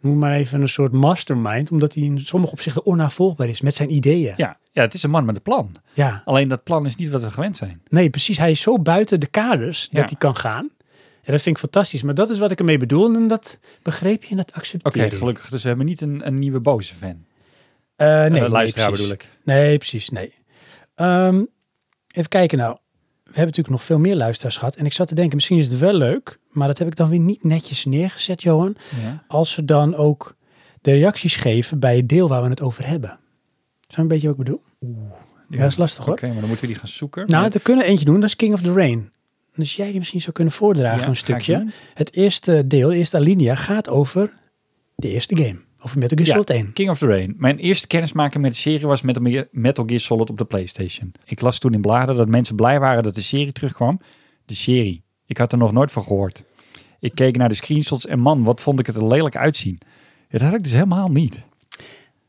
Speaker 1: noem maar even een soort mastermind, omdat hij in sommige opzichten onnavolgbaar is met zijn ideeën.
Speaker 2: Ja. ja, het is een man met een plan.
Speaker 1: ja.
Speaker 2: Alleen dat plan is niet wat we gewend zijn.
Speaker 1: Nee, precies. Hij is zo buiten de kaders
Speaker 2: Ja.
Speaker 1: dat hij kan gaan. En dat vind ik fantastisch. Maar dat is wat ik ermee bedoel. En dat begreep je en dat
Speaker 2: Oké,
Speaker 1: accepteer je.
Speaker 2: gelukkig. Dus we hebben niet een, een nieuwe boze fan.
Speaker 1: Eh, nee,
Speaker 2: Eh,
Speaker 1: nee,
Speaker 2: luisteraar
Speaker 1: precies.
Speaker 2: bedoel ik.
Speaker 1: Nee, precies, nee. Ehm, even kijken nou. We hebben natuurlijk nog veel meer luisteraars gehad. En ik zat te denken, misschien is het wel leuk. Maar dat heb ik dan weer niet netjes neergezet, Johan.
Speaker 2: Ja.
Speaker 1: Als ze dan ook de reacties geven bij het deel waar we het over hebben. Zou je een beetje wat ik bedoel? Ja, dat is lastig
Speaker 2: Oké,
Speaker 1: hoor.
Speaker 2: maar dan moeten we die gaan zoeken.
Speaker 1: Nou,
Speaker 2: Maar-
Speaker 1: we kunnen eentje doen. Dat is King of the Rain. Dus jij die misschien zou kunnen voordragen
Speaker 2: Ja,
Speaker 1: een
Speaker 2: ga ik
Speaker 1: stukje.
Speaker 2: doen.
Speaker 1: Het eerste deel, de eerste alinea, gaat over de eerste game. Over Metal Gear
Speaker 2: Ja.
Speaker 1: Solid 1.
Speaker 2: King of the Rain. Mijn eerste kennismaking met de serie was Metal Gear, Metal Gear Solid op de PlayStation. Ik las toen in bladen dat mensen blij waren dat de serie terugkwam. De serie. Ik had er nog nooit van gehoord. Ik keek naar de screenshots en man, wat vond ik het er lelijk uitzien. Ja, dat had ik dus helemaal niet.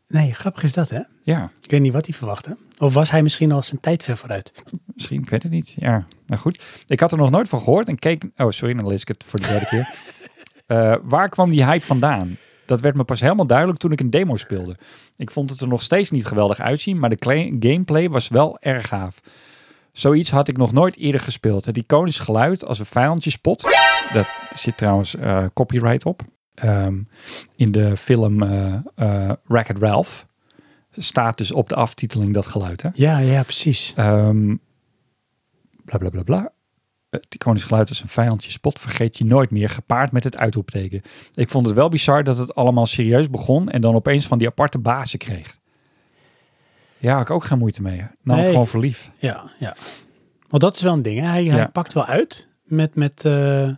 Speaker 1: Nee, grappig is dat hè?
Speaker 2: Ja,
Speaker 1: Ik weet niet wat hij verwachtte. Of was hij misschien al zijn tijd ver vooruit?
Speaker 2: misschien, ik weet het niet. Ja, nou goed. Ik had er nog nooit van gehoord en keek... Oh, sorry, dan lees ik het voor de derde keer. Eh, waar kwam die hype vandaan? Dat werd me pas helemaal duidelijk toen ik een demo speelde. Ik vond het er nog steeds niet geweldig uitzien, maar de kle- gameplay was wel erg gaaf. Zoiets had ik nog nooit eerder gespeeld. Het iconisch geluid als een vijandje spot. Dat zit trouwens eh, copyright op. Ehm, in de film eh eh Wreck-It Ralph staat dus op de aftiteling dat geluid. Hè?
Speaker 1: Ja, ja, precies.
Speaker 2: Ehm bla bla bla bla. Het iconisch geluid als een vijandje spot vergeet je nooit meer, gepaard met het uitroepteken. Ik vond het wel bizar dat het allemaal serieus begon en dan opeens van die aparte bazen kreeg. Ja, had ik ook geen moeite mee. Nou,
Speaker 1: Nee.
Speaker 2: gewoon verliefd.
Speaker 1: Ja, ja. Want dat is wel een ding. Hè? Hij, hij
Speaker 2: Ja.
Speaker 1: pakt wel uit met, met eh,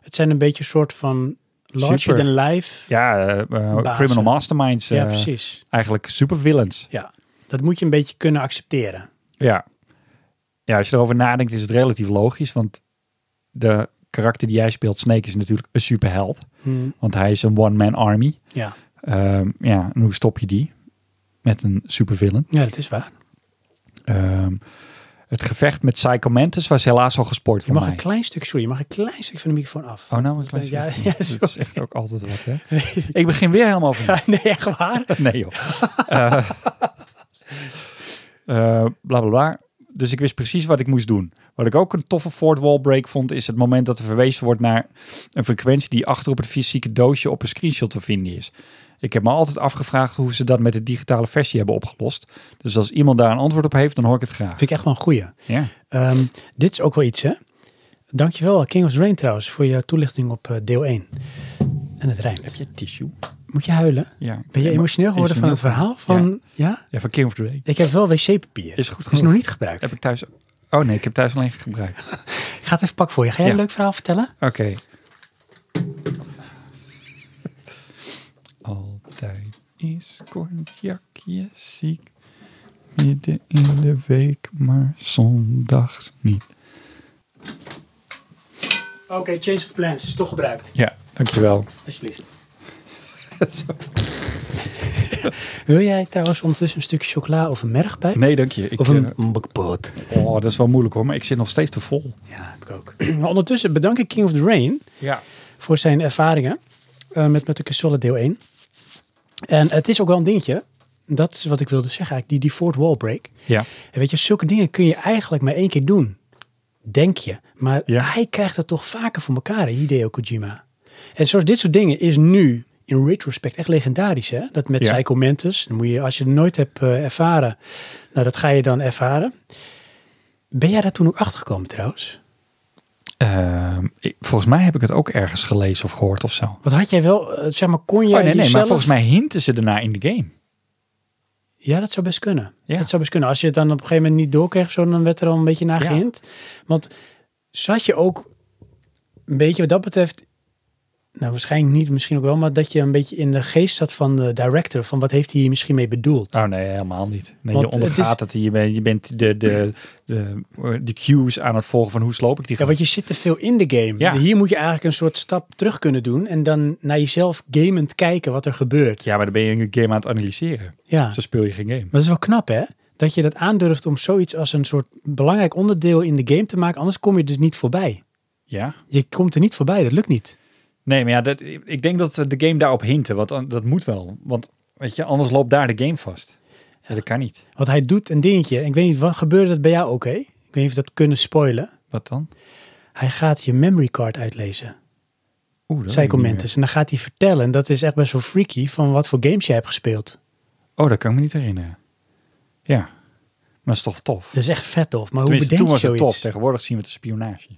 Speaker 1: het zijn een beetje een soort van larger
Speaker 2: Super.
Speaker 1: than life.
Speaker 2: Ja, eh, eh,
Speaker 1: Bazen.
Speaker 2: criminal masterminds.
Speaker 1: ja
Speaker 2: eh,
Speaker 1: precies.
Speaker 2: Eigenlijk supervillains.
Speaker 1: Dat moet je een beetje kunnen accepteren.
Speaker 2: Ja. ja, als je erover nadenkt is het relatief logisch, want de karakter die jij speelt, Snake, is natuurlijk een superheld. Want hij is een one-man army.
Speaker 1: Ja.
Speaker 2: Ehm, ja, en hoe stop je die? Met een supervillain.
Speaker 1: ja, dat is waar.
Speaker 2: Ehm, het gevecht met Psycho Mantis was helaas al gespoord
Speaker 1: Je
Speaker 2: voor
Speaker 1: mag
Speaker 2: mij.
Speaker 1: een klein stuk, sorry, je mag een klein stuk van de microfoon af. <laughs>
Speaker 2: Oh, nou een klein
Speaker 1: Ja,
Speaker 2: <laughs> stukje.
Speaker 1: ja,
Speaker 2: Dat is echt ook altijd wat, hè? Ik begin weer helemaal <laughs> van
Speaker 1: nee, echt waar?
Speaker 2: <laughs> Nee joh. Eh, eh, bla bla bla. Dus ik wist precies wat ik moest doen. Wat ik ook een toffe Ford Wall break vond, is het moment dat er verwezen wordt naar een frequentie die achter op het fysieke doosje op een screenshot te vinden is. Ik heb me altijd afgevraagd hoe ze dat met de digitale versie hebben opgelost. Dus als iemand daar een antwoord op heeft, dan hoor ik het graag.
Speaker 1: Vind ik echt wel een goeie.
Speaker 2: Ja.
Speaker 1: Ehm, dit is ook wel iets, hè? Dankjewel, King of the Rain trouwens, voor je toelichting op eh, deel 1. En het
Speaker 2: Heb
Speaker 1: rijmt.
Speaker 2: je tissue?
Speaker 1: Moet je huilen?
Speaker 2: Ja.
Speaker 1: Ben je emotioneel geworden van het verhaal? Van, ja.
Speaker 2: Ja, van King of the Ray.
Speaker 1: Ik heb wel wc-papier.
Speaker 2: Is goed
Speaker 1: is nog
Speaker 2: genoeg.
Speaker 1: niet gebruikt.
Speaker 2: Heb ik thuis... Oh nee, ik heb thuis alleen gebruikt.
Speaker 1: Ik ga het even pakken voor je. Ga jij
Speaker 2: Ja.
Speaker 1: een leuk verhaal vertellen?
Speaker 2: Oké. <laughs> Altijd is cognacje ziek. Midden in de week, maar zondags niet.
Speaker 1: Oké, change of plans. Is toch gebruikt.
Speaker 2: Ja, dankjewel.
Speaker 1: <laughs> Alsjeblieft. Wil jij trouwens ondertussen een stukje chocola of een mergpijp?
Speaker 2: Nee, dank je. Ik,
Speaker 1: Of een mbakpoot.
Speaker 2: eh, oh, dat is wel moeilijk hoor, maar ik zit nog steeds te vol.
Speaker 1: Ja, heb ik ook. <clears throat> Maar ondertussen bedank ik King of the Rain
Speaker 2: Ja.
Speaker 1: voor zijn ervaringen eh, met met de Solid deel 1. En het is ook wel een dingetje. Dat is wat ik wilde zeggen eigenlijk, die, die fourth wall break.
Speaker 2: Ja.
Speaker 1: En weet je, zulke dingen kun je eigenlijk maar één keer doen. Denk je. Maar
Speaker 2: Ja.
Speaker 1: hij krijgt dat toch vaker voor elkaar, hè, Hideo Kojima. En zoals dit soort dingen is nu in retrospect echt legendarisch. Hè? Dat met
Speaker 2: Ja.
Speaker 1: Psycho Mantis. Dan moet je, als je het nooit hebt eh, ervaren, nou dat ga je dan ervaren. Ben jij daar toen ook achter gekomen trouwens?
Speaker 2: Ehm, ik- volgens mij heb ik het ook ergens gelezen of gehoord of zo.
Speaker 1: Wat had jij wel, eh, zeg maar, kon jij
Speaker 2: oh nee, nee, maar
Speaker 1: jezelf-
Speaker 2: volgens mij hinten ze daarna in de game.
Speaker 1: Ja, dat zou best kunnen.
Speaker 2: Ja.
Speaker 1: Dat zou best kunnen. Als je het dan op een gegeven moment niet doorkreeg, of zo, dan werd er al een beetje naar
Speaker 2: Ja.
Speaker 1: gehind. Want zat je ook een beetje wat dat betreft, nou waarschijnlijk niet, misschien ook wel, maar dat je een beetje in de geest zat van de director, van wat heeft hij hier misschien mee bedoeld?
Speaker 2: Oh nee, helemaal niet. Nee,
Speaker 1: Want
Speaker 2: je
Speaker 1: het
Speaker 2: ondergaat
Speaker 1: is-
Speaker 2: het. Je bent, je bent de, de, de, de cues aan het volgen van hoe sloop ik die
Speaker 1: Ja,
Speaker 2: grap.
Speaker 1: want je zit te veel in de game.
Speaker 2: Ja.
Speaker 1: Hier moet je eigenlijk een soort stap terug kunnen doen en dan naar jezelf gamend kijken wat er gebeurt.
Speaker 2: Ja, maar dan ben je een game aan het analyseren.
Speaker 1: Ja.
Speaker 2: Zo speel je geen game.
Speaker 1: Maar dat is wel knap, hè? Dat je dat aandurft om zoiets als een soort belangrijk onderdeel in de game te maken, anders kom je dus niet voorbij.
Speaker 2: Ja.
Speaker 1: Je komt er niet voorbij, dat lukt niet.
Speaker 2: Nee, maar ja, dat, ik denk dat de game daarop hinten. Want an- dat moet wel. Want weet je, anders loopt daar de game vast. Ja, dat kan niet.
Speaker 1: Want hij doet een dingetje. Ik weet niet, wat gebeurde dat bij jou ook, hè? Ik weet niet of we dat kunnen spoilen.
Speaker 2: Wat dan?
Speaker 1: Hij gaat je memory card
Speaker 2: Oh,
Speaker 1: uitlezen.
Speaker 2: Oeh, dat weet ik
Speaker 1: Psycho
Speaker 2: niet meer.
Speaker 1: Mantis. En dan gaat hij vertellen, en dat is echt best wel freaky, van wat voor games je hebt gespeeld.
Speaker 2: Oh, dat kan ik me niet herinneren. Ja. Maar dat is toch tof.
Speaker 1: Dat is echt vet tof. Maar
Speaker 2: Tenminste,
Speaker 1: hoe
Speaker 2: toen
Speaker 1: bedenk
Speaker 2: was
Speaker 1: je
Speaker 2: het
Speaker 1: zoiets?
Speaker 2: tof. Tegenwoordig zien we het als
Speaker 1: <laughs>
Speaker 2: spionage.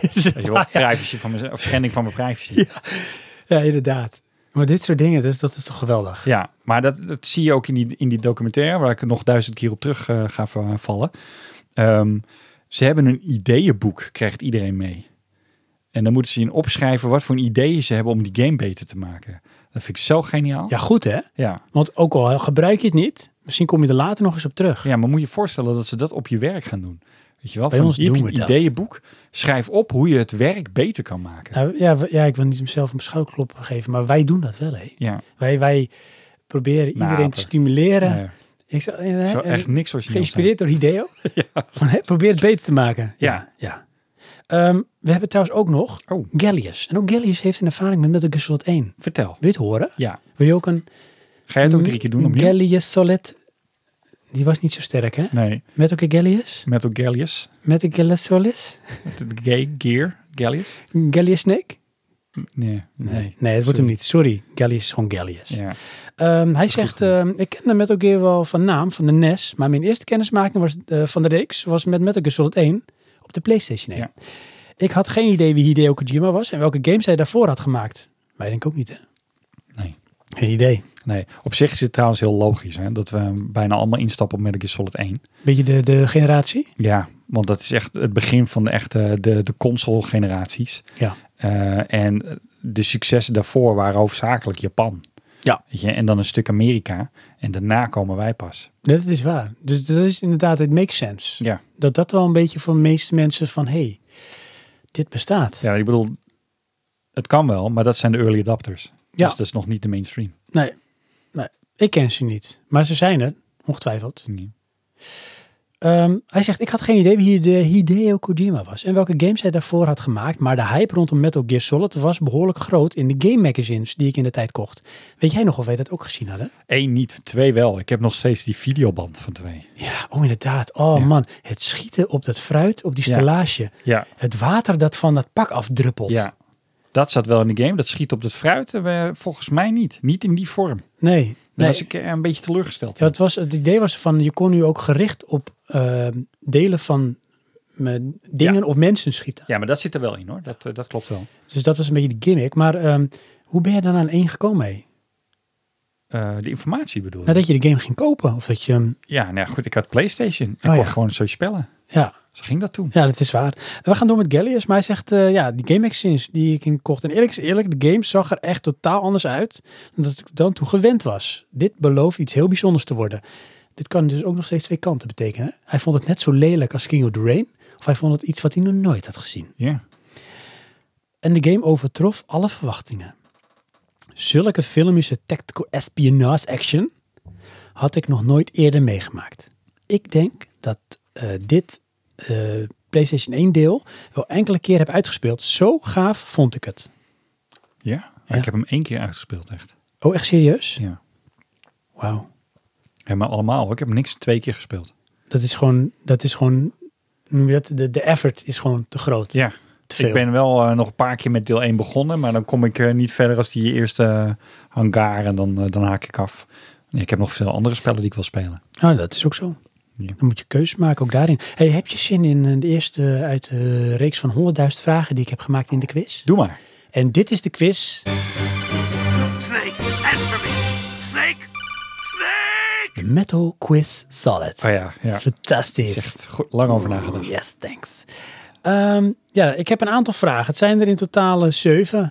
Speaker 1: Het is-
Speaker 2: Weet je wel, of privacy van mijn, of schending van mijn privacy.
Speaker 1: ja, inderdaad. Maar dit soort dingen, dus dat is toch geweldig?
Speaker 2: Ja, maar dat, dat zie je ook in die, in die documentaire, waar ik nog duizend keer op terug eh, ga va- vallen. Ehm, ze hebben een ideeënboek, krijgt iedereen mee. En dan moeten ze in opschrijven wat voor een ideeën ze hebben om die game beter te maken. Dat vind ik zo geniaal.
Speaker 1: Ja, goed hè?
Speaker 2: ja.
Speaker 1: Want ook al gebruik je het niet, misschien kom je er later nog eens op terug.
Speaker 2: Ja, maar moet je je voorstellen dat ze dat op je werk gaan doen. Weet je wel,
Speaker 1: Bij
Speaker 2: van
Speaker 1: ons
Speaker 2: hier heb
Speaker 1: doen
Speaker 2: je
Speaker 1: we
Speaker 2: een
Speaker 1: dat.
Speaker 2: ideeënboek. Schrijf op hoe je het werk beter kan maken.
Speaker 1: Nou, ja, we- ja, ik wil niet mezelf een schouderklop geven, maar wij doen dat wel hè?
Speaker 2: Ja,
Speaker 1: Wij, wij proberen
Speaker 2: Nou,
Speaker 1: iedereen te
Speaker 2: apen.
Speaker 1: stimuleren.
Speaker 2: nee,
Speaker 1: Ik zou, eh,
Speaker 2: zo
Speaker 1: eh,
Speaker 2: echt niks origineels zijn.
Speaker 1: Geïnspireerd door Hideo.
Speaker 2: <laughs>
Speaker 1: Van, hè, probeer het beter te maken.
Speaker 2: Ja.
Speaker 1: ja. Ehm, we hebben trouwens ook nog
Speaker 2: Oh.
Speaker 1: Gallius. En ook Gallius heeft een ervaring met Metal Gear Solid 1. Wil
Speaker 2: Vertel.
Speaker 1: je het horen?
Speaker 2: Ja.
Speaker 1: Wil je ook een
Speaker 2: Ga je het ook drie keer doen opnieuw?
Speaker 1: Gallius Solid? Die was niet zo sterk, hè?
Speaker 2: nee.
Speaker 1: Met ook een Gallius?
Speaker 2: Metal Gallius.
Speaker 1: Met een Gallius Solis?
Speaker 2: Het Gay Gear Gallius.
Speaker 1: Gallius Snake?
Speaker 2: Nee. Nee.
Speaker 1: Nee, het wordt
Speaker 2: Sorry.
Speaker 1: hem niet. Sorry. Gallius is gewoon Gallius.
Speaker 2: Ja.
Speaker 1: Ehm, hij zegt, ehm, ik ken de Metal Gear wel van naam, van de NES. Maar mijn eerste kennismaking was, eh, van de reeks was met Metal Gear Solid 1 op de Playstation 1. Ik had geen idee wie Hideo Kojima was en welke games hij daarvoor had gemaakt. Wij denk ik ook niet, hè?
Speaker 2: Nee.
Speaker 1: Geen idee.
Speaker 2: Nee. Op zich is het trouwens heel logisch hè, dat we bijna allemaal instappen op Metal Gear Solid 1.
Speaker 1: Beetje de, de generatie?
Speaker 2: Ja, want dat is echt het begin van de echte de, de console generaties.
Speaker 1: Ja.
Speaker 2: Eh, en de successen daarvoor waren hoofdzakelijk Japan.
Speaker 1: Ja.
Speaker 2: Weet je, en dan een stuk Amerika. En daarna komen wij pas.
Speaker 1: Dat is waar. Dus dat is inderdaad, het makes sense.
Speaker 2: Ja.
Speaker 1: Dat dat wel een beetje voor de meeste mensen van, hé, hey, dit bestaat.
Speaker 2: Ja, ik bedoel, het kan wel, maar dat zijn de early adapters.
Speaker 1: Ja.
Speaker 2: Dus dat is nog niet de mainstream.
Speaker 1: Nee, nee, ik ken ze niet. Maar ze zijn er, ongetwijfeld. Ehm, hij zegt, ik had geen idee wie de Hideo Kojima was en welke games hij daarvoor had gemaakt, maar de hype rondom Metal Gear Solid was behoorlijk groot in de game magazines die ik in de tijd kocht. Weet jij nog of wij dat ook gezien hadden?
Speaker 2: Eén niet, twee wel. Ik heb nog steeds die videoband van twee.
Speaker 1: Ja, oh inderdaad. Oh
Speaker 2: Ja.
Speaker 1: man, het schieten op dat fruit, op die
Speaker 2: Ja.
Speaker 1: stellage.
Speaker 2: Ja.
Speaker 1: Het water dat van dat pak afdruppelt.
Speaker 2: Ja. Dat zat wel in de game. Dat schiet op het fruit. eh, volgens mij niet. Niet in die vorm. Dan
Speaker 1: Nee, nee.
Speaker 2: was ik eh, een beetje teleurgesteld.
Speaker 1: Ja, het, was, het idee was van, je kon nu ook gericht op ehm, delen van eh, dingen of mensen schieten.
Speaker 2: Ja, maar dat zit er wel in hoor. Dat, eh, dat klopt wel.
Speaker 1: Dus dat was een beetje de gimmick. Maar ehm, hoe ben je dan aan één gekomen, hé?
Speaker 2: Eh, de informatie bedoel je?
Speaker 1: Nadat je de game ging kopen. Of dat je ehm, hem.
Speaker 2: Ja, nou ja, goed. Ik had Playstation. Ik
Speaker 1: Oh,
Speaker 2: kon
Speaker 1: ja.
Speaker 2: gewoon zo spellen.
Speaker 1: Ja,
Speaker 2: Zo ging dat toen.
Speaker 1: ja, dat is waar. We gaan door met Gallius. Maar hij zegt, eh, ja, die game magazines die ik in kocht. En eerlijk is eerlijk, de game zag er echt totaal anders uit dan dat ik dan toen gewend was. Dit belooft iets heel bijzonders te worden. Dit kan dus ook nog steeds twee kanten betekenen. Hij vond het net zo lelijk als King of the Rain. Of hij vond het iets wat hij nog nooit had gezien.
Speaker 2: Ja.
Speaker 1: En de game overtrof alle verwachtingen. Zulke filmische tactical espionage action had ik nog nooit eerder meegemaakt. Ik denk dat eh, dit eh, PlayStation 1 deel wel enkele keer heb uitgespeeld. Zo gaaf vond ik het.
Speaker 2: Ja.
Speaker 1: Ja.
Speaker 2: Ik heb hem één keer uitgespeeld echt.
Speaker 1: Oh, echt serieus?
Speaker 2: Ja.
Speaker 1: Wauw.
Speaker 2: Ja, maar allemaal hoor. Ik heb niks twee keer gespeeld.
Speaker 1: Dat is gewoon, dat is gewoon, hoe noem je dat? De, de effort is gewoon te groot.
Speaker 2: Ja.
Speaker 1: te veel.
Speaker 2: Ik ben wel eh, nog een paar keer met deel 1 begonnen, maar dan kom ik eh, niet verder als die eerste eh, hangar en dan, eh, dan haak ik af. Nee, Ik heb nog veel andere spellen die ik wil spelen.
Speaker 1: Nou, dat is ook zo.
Speaker 2: Ja.
Speaker 1: Dan moet je keuzes maken, ook daarin. Hey, heb je zin in eh, de eerste uit de reeks van 100.000 vragen die ik heb gemaakt in de quiz?
Speaker 2: Doe maar.
Speaker 1: En dit is de quiz.
Speaker 3: Snake, answer me! Snake! Snake!
Speaker 1: De Metal Quiz Solid.
Speaker 2: Oh ja,
Speaker 1: Dat
Speaker 2: ja.
Speaker 1: is fantastisch.
Speaker 2: Is echt goed, lang over nagedacht. Oké,
Speaker 1: Yes, thanks. Ehm, ja, ik heb een aantal vragen. Het zijn er in totaal eh, zeven.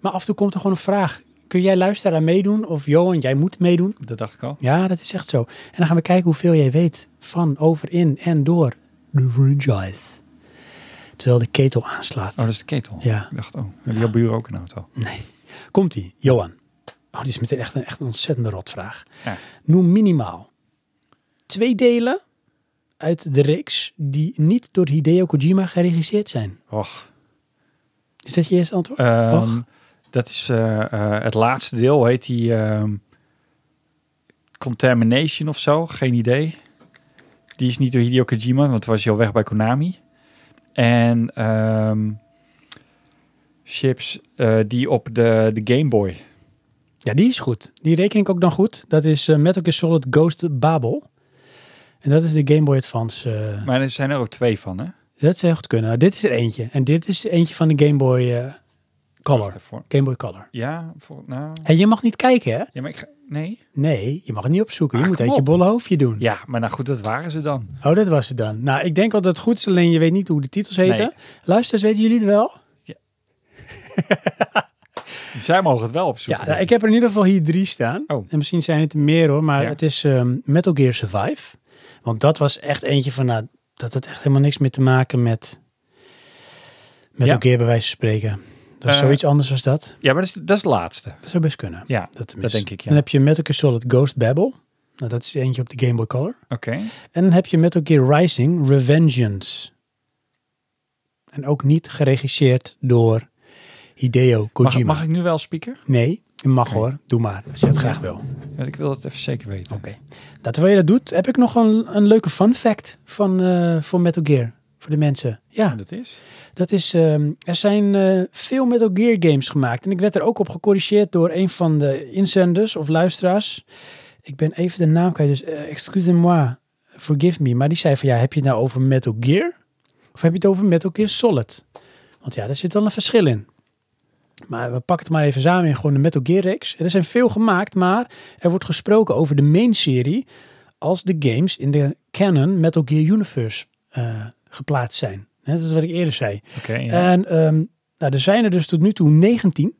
Speaker 1: Maar af en toe komt er gewoon een vraag. Kun jij luisteraar meedoen? Of Johan, jij moet meedoen?
Speaker 2: dat dacht ik al.
Speaker 1: Ja, dat is echt zo. En dan gaan we kijken hoeveel jij weet van, over, in en door de franchise. Terwijl de ketel aanslaat.
Speaker 2: Oh, dat is de ketel.
Speaker 1: Ja.
Speaker 2: Ik dacht, oh, hebben jouw buren ook een auto?
Speaker 1: Komt-ie, Johan. Oh, dit is meteen echt een, echt een ontzettende rotvraag.
Speaker 2: Ja.
Speaker 1: Noem minimaal twee delen uit de reeks die niet door Hideo Kojima geregisseerd zijn.
Speaker 2: Och.
Speaker 1: Is dat je eerste antwoord?
Speaker 2: Ehm,
Speaker 1: Och.
Speaker 2: Dat is eh, eh, het laatste deel, heet die ehm, Contamination of zo, geen idee. Die is niet door Hideo Kojima, want was hij al weg bij Konami. En ehm, chips eh, die op de, de Game Boy.
Speaker 1: Ja, die is goed. Die reken ik ook dan goed. Dat is eh, Metal Gear Solid Ghost Babel. En dat is de Game Boy Advance. eh,
Speaker 2: Maar er zijn er ook twee van, hè?
Speaker 1: dat zou heel goed kunnen. Nou, dit is er eentje. En dit is eentje van de Game Boy eh, Color.
Speaker 2: Wacht even hoor.
Speaker 1: Game Boy Color.
Speaker 2: Ja, voor, nou.
Speaker 1: En je mag niet kijken, hè?
Speaker 2: Ja, maar ik ga, nee.
Speaker 1: Nee, je mag het niet opzoeken. Je
Speaker 2: Ah,
Speaker 1: moet
Speaker 2: kom
Speaker 1: uit je
Speaker 2: op.
Speaker 1: bolle hoofdje doen.
Speaker 2: Ja, maar nou goed, dat waren ze dan.
Speaker 1: Oh, dat was het dan. Nou, ik denk wel dat het goed is, alleen je weet niet hoe de titels heten.
Speaker 2: Nee.
Speaker 1: Luisteraars, weten jullie het wel?
Speaker 2: Zij mogen het wel
Speaker 1: Ja,
Speaker 2: opzoeken.
Speaker 1: nou, ik heb er in ieder geval hier drie staan.
Speaker 2: Oh.
Speaker 1: En misschien zijn het er meer hoor, maar
Speaker 2: Ja.
Speaker 1: het is ehm, Metal Gear Survive. Want dat was echt eentje van, nou, dat had echt helemaal niks meer te maken met Metal
Speaker 2: Ja.
Speaker 1: Gear bij wijze van spreken. Dat was
Speaker 2: Eh.
Speaker 1: zoiets anders was dat.
Speaker 2: ja maar dat is, dat is de laatste.
Speaker 1: Dat zou best kunnen.
Speaker 2: Ja,
Speaker 1: dat, tenminste.
Speaker 2: dat denk ik, ja.
Speaker 1: Dan heb je Metal Gear Solid Ghost Babel. Nou, dat is eentje op de Game Boy Color.
Speaker 2: Oké.
Speaker 1: En dan heb je Metal Gear Rising Revengeance. En ook niet geregisseerd door Hideo
Speaker 2: Mag,
Speaker 1: Kojima.
Speaker 2: mag ik nu wel speaker?
Speaker 1: Nee, je mag
Speaker 2: Oké.
Speaker 1: hoor. Doe maar. Als je het graag wil.
Speaker 2: Ja, ik wil dat even zeker weten.
Speaker 1: Oké. Nou, terwijl je dat doet, heb ik nog een, een leuke fun fact van, eh, voor Metal Gear. Voor de mensen. Ja,
Speaker 2: En dat is?
Speaker 1: dat is... ehm, er zijn eh, veel Metal Gear games gemaakt. En ik werd er ook op gecorrigeerd door een van de inzenders of luisteraars. Ik ben even de naam kwijt, dus eh, excusez-moi, forgive me. Maar die zei van, ja, heb je het nou over Metal Gear? Of heb je het over Metal Gear Solid? Want ja, daar zit wel een verschil in. Maar we pakken het maar even samen in gewoon de Metal Gear reeks. Er zijn veel gemaakt, maar er wordt gesproken over de main serie als de games in de canon Metal Gear Universe eh, geplaatst zijn. Hè, Dat is wat ik eerder zei.
Speaker 2: Oké, ja.
Speaker 1: En ehm, nou, er zijn er dus tot nu toe 19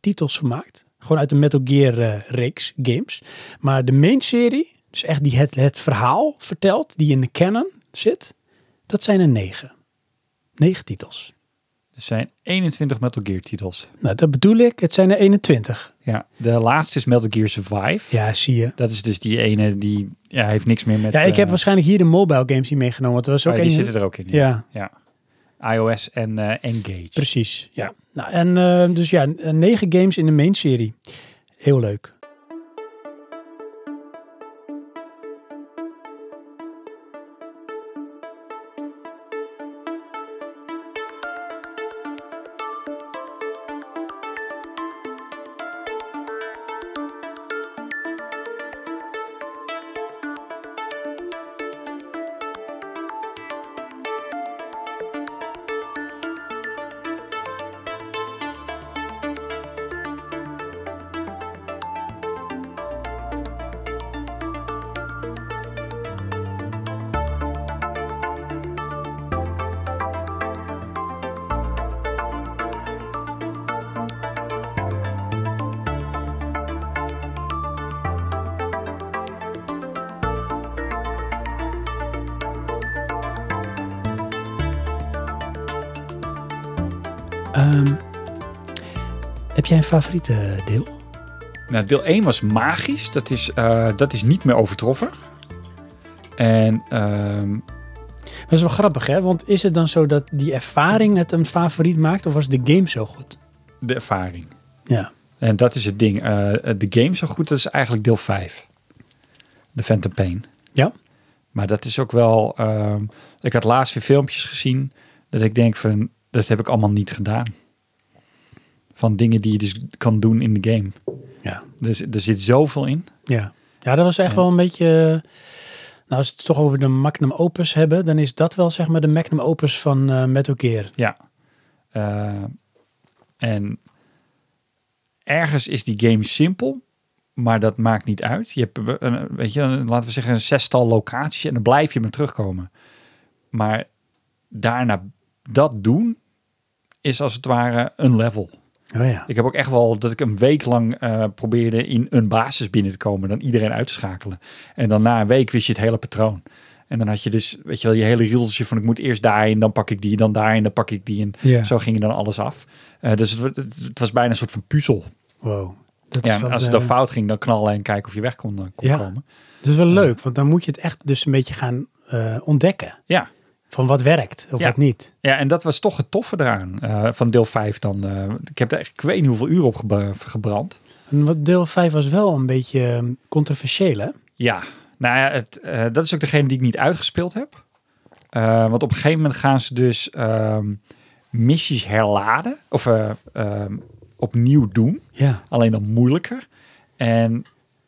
Speaker 1: titels gemaakt. Gewoon uit de Metal Gear eh, reeks games. Maar de main serie, dus echt die het, het verhaal vertelt, die in de canon zit, dat zijn er 9. 9 titels.
Speaker 2: Er zijn 21 Metal Gear titels.
Speaker 1: Nou, dat bedoel ik, het zijn er 21.
Speaker 2: Ja. De laatste is Metal Gear Survive.
Speaker 1: Ja, zie je.
Speaker 2: Dat is dus die ene die ja, heeft niks meer met...
Speaker 1: Ja, ik heb
Speaker 2: eh,
Speaker 1: waarschijnlijk hier de mobile games niet meegenomen. Want er was ook
Speaker 2: oh, ja,
Speaker 1: één-
Speaker 2: die zitten er ook in.
Speaker 1: Ja,
Speaker 2: Ja. iOS en eh, Engage.
Speaker 1: precies. Ja. Nou, en eh, dus ja, n- negen games in de main serie. Heel leuk. Ehm, heb jij een favoriete deel?
Speaker 2: Nou, deel 1 was magisch. Dat is, eh, dat is niet meer overtroffen. En ehm,
Speaker 1: Dat is wel grappig, hè? Want is het dan zo dat die ervaring het een favoriet maakt, of was de game zo goed?
Speaker 2: de ervaring.
Speaker 1: Ja.
Speaker 2: En dat is het ding. Eh, de game zo goed, dat is eigenlijk deel 5. De Phantom Pain.
Speaker 1: Ja?
Speaker 2: Maar dat is ook wel... ehm, ik had laatst weer filmpjes gezien... dat ik denk van, dat heb ik allemaal niet gedaan. Van dingen die je dus kan doen in de game.
Speaker 1: Ja.
Speaker 2: Dus er zit zoveel in.
Speaker 1: Ja, ja dat was echt
Speaker 2: Ja.
Speaker 1: wel een beetje... eh, Nou, als we het toch over de magnum opus hebben, dan is dat wel zeg maar de magnum opus van eh Metal Gear.
Speaker 2: Ja. Eh, en ergens is die game simpel, maar dat maakt niet uit. Je hebt, eh, een, weet je, een- laten we zeggen, een zestal locaties en dan blijf je maar terugkomen. Maar daarna dat doen is als het ware een level.
Speaker 1: Oh ja.
Speaker 2: Ik heb ook echt wel dat ik een week lang eh, probeerde in een basis binnen te komen, dan iedereen uit te schakelen. En dan na een week wist je het hele patroon. En dan had je dus, weet je wel, je hele riedeltje van ik moet eerst daarin, dan pak ik die, dan daarin, dan pak ik die. En
Speaker 1: Ja.
Speaker 2: zo ging dan alles af. Eh, dus het, wa- het- het was bijna een soort van puzzel.
Speaker 1: Wow. Dat
Speaker 2: Ja,
Speaker 1: is wel,
Speaker 2: en als het
Speaker 1: eh,
Speaker 2: dan fout ging, dan knallen en kijken of je weg kon, eh, kon
Speaker 1: Ja.
Speaker 2: komen.
Speaker 1: dat is wel leuk, want dan moet je het echt dus een beetje gaan eh, ontdekken.
Speaker 2: Ja.
Speaker 1: Van wat werkt of
Speaker 2: Ja.
Speaker 1: wat niet.
Speaker 2: Ja, en dat was toch het toffe eraan eh, van deel 5 dan. eh, ik heb er echt, ik weet niet hoeveel uur op gebra- gebrand.
Speaker 1: En wat deel 5 was wel een beetje eh, controversieel, hè?
Speaker 2: Ja, nou ja, het, eh, dat is ook degene die ik niet uitgespeeld heb. Eh, want op een gegeven moment gaan ze dus ehm, missies herladen. Of eh, ehm, opnieuw doen.
Speaker 1: Ja.
Speaker 2: alleen dan moeilijker. En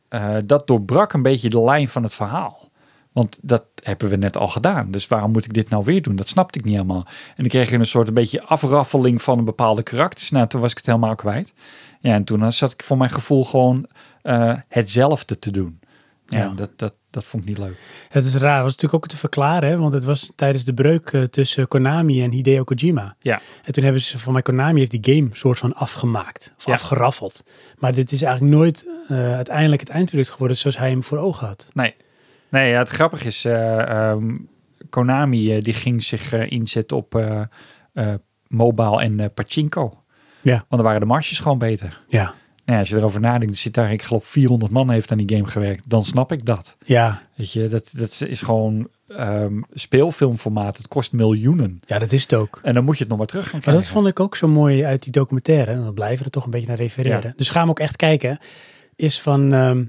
Speaker 2: eh, dat doorbrak een beetje de lijn van het verhaal. Want dat hebben we net al gedaan. Dus waarom moet ik dit nou weer doen? Dat snapte ik niet helemaal. En dan kreeg ik een soort een beetje afraffeling van een bepaalde karakters. Nou, toen was ik het helemaal kwijt. Ja, en toen eh, zat ik voor mijn gevoel gewoon eh, hetzelfde te doen. Ja,
Speaker 1: Ja.
Speaker 2: Dat, dat, dat vond ik niet leuk.
Speaker 1: Het is raar, was natuurlijk ook te verklaren, hè, want het was tijdens de breuk eh, tussen Konami en Hideo Kojima.
Speaker 2: Ja.
Speaker 1: En toen hebben ze, van mij Konami heeft die game soort van afgemaakt, of
Speaker 2: Ja.
Speaker 1: afgeraffeld. Maar dit is eigenlijk nooit eh, uiteindelijk het eindproduct geworden zoals hij hem voor ogen had.
Speaker 2: Nee. Nee, ja, het grappige is, eh, ehm, Konami eh, die ging zich eh, inzetten op eh, eh, mobile en eh, pachinko.
Speaker 1: Ja.
Speaker 2: Want dan waren de marges gewoon beter.
Speaker 1: Ja,
Speaker 2: Nou, ja, als je erover nadenkt, er zit daar, ik geloof 400 man heeft aan die game gewerkt. Dan snap ik dat.
Speaker 1: ja.
Speaker 2: Weet je, dat, dat is gewoon ehm, speelfilmformaat. Het kost miljoenen.
Speaker 1: ja dat is het ook.
Speaker 2: En dan moet je het nog maar terug gaan
Speaker 1: Maar
Speaker 2: krijgen.
Speaker 1: dat vond ik ook zo mooi uit die documentaire. En we blijven er toch een beetje naar refereren.
Speaker 2: Ja.
Speaker 1: Dus ga hem ook echt kijken. Is van. ehm,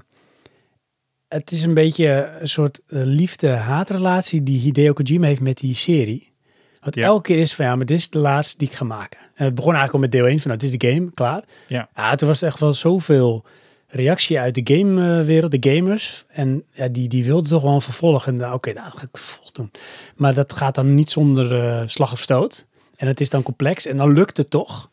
Speaker 1: het is een beetje een soort eh, liefde-haatrelatie die Hideo Kojima heeft met die serie. Wat
Speaker 2: Ja.
Speaker 1: elke keer is van ja, maar dit is de laatste die ik ga maken. En het begon eigenlijk al met deel 1 van nou, dit is de game, klaar.
Speaker 2: Ja.
Speaker 1: toen was er echt wel zoveel reactie uit de gamewereld, de gamers. En ja, die, die wilden toch wel een vervolg. En nou, oké, nou, dat ga ik vervolg doen. Maar dat gaat dan niet zonder eh, slag of stoot. En het is dan complex en dan lukt het toch.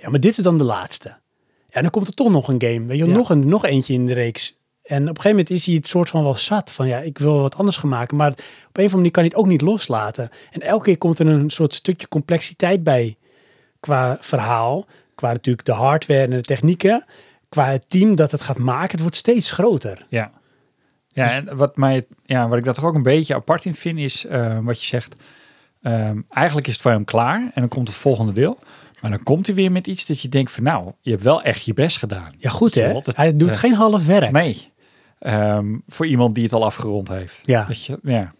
Speaker 1: Ja, maar dit is dan de laatste. Ja, en dan komt er toch nog een game. Weet je, wel,
Speaker 2: Ja.
Speaker 1: nog, een, nog eentje in de reeks. En op een gegeven moment is hij het soort van wel zat. Van ja, ik wil wat anders gaan maken. Maar op een of andere manier kan hij het ook niet loslaten. En elke keer komt er een soort stukje complexiteit bij. Qua verhaal, qua natuurlijk de hardware en de technieken. Qua het team dat het gaat maken. Het wordt steeds groter.
Speaker 2: Ja.
Speaker 1: Dus-
Speaker 2: Ja, en wat, mij, ja, wat ik daar toch ook een beetje apart in vind, is eh, wat je zegt. ehm, eigenlijk is het voor hem klaar en dan komt het volgende deel. Maar dan komt hij weer met iets dat je denkt van nou, je hebt wel echt je best gedaan.
Speaker 1: Ja, goed hè.
Speaker 2: Jawel, dat-
Speaker 1: hij doet
Speaker 2: ja.
Speaker 1: geen half werk.
Speaker 2: Nee, Ehm, voor iemand die het al afgerond heeft.
Speaker 1: Ja.
Speaker 2: Weet je? ja.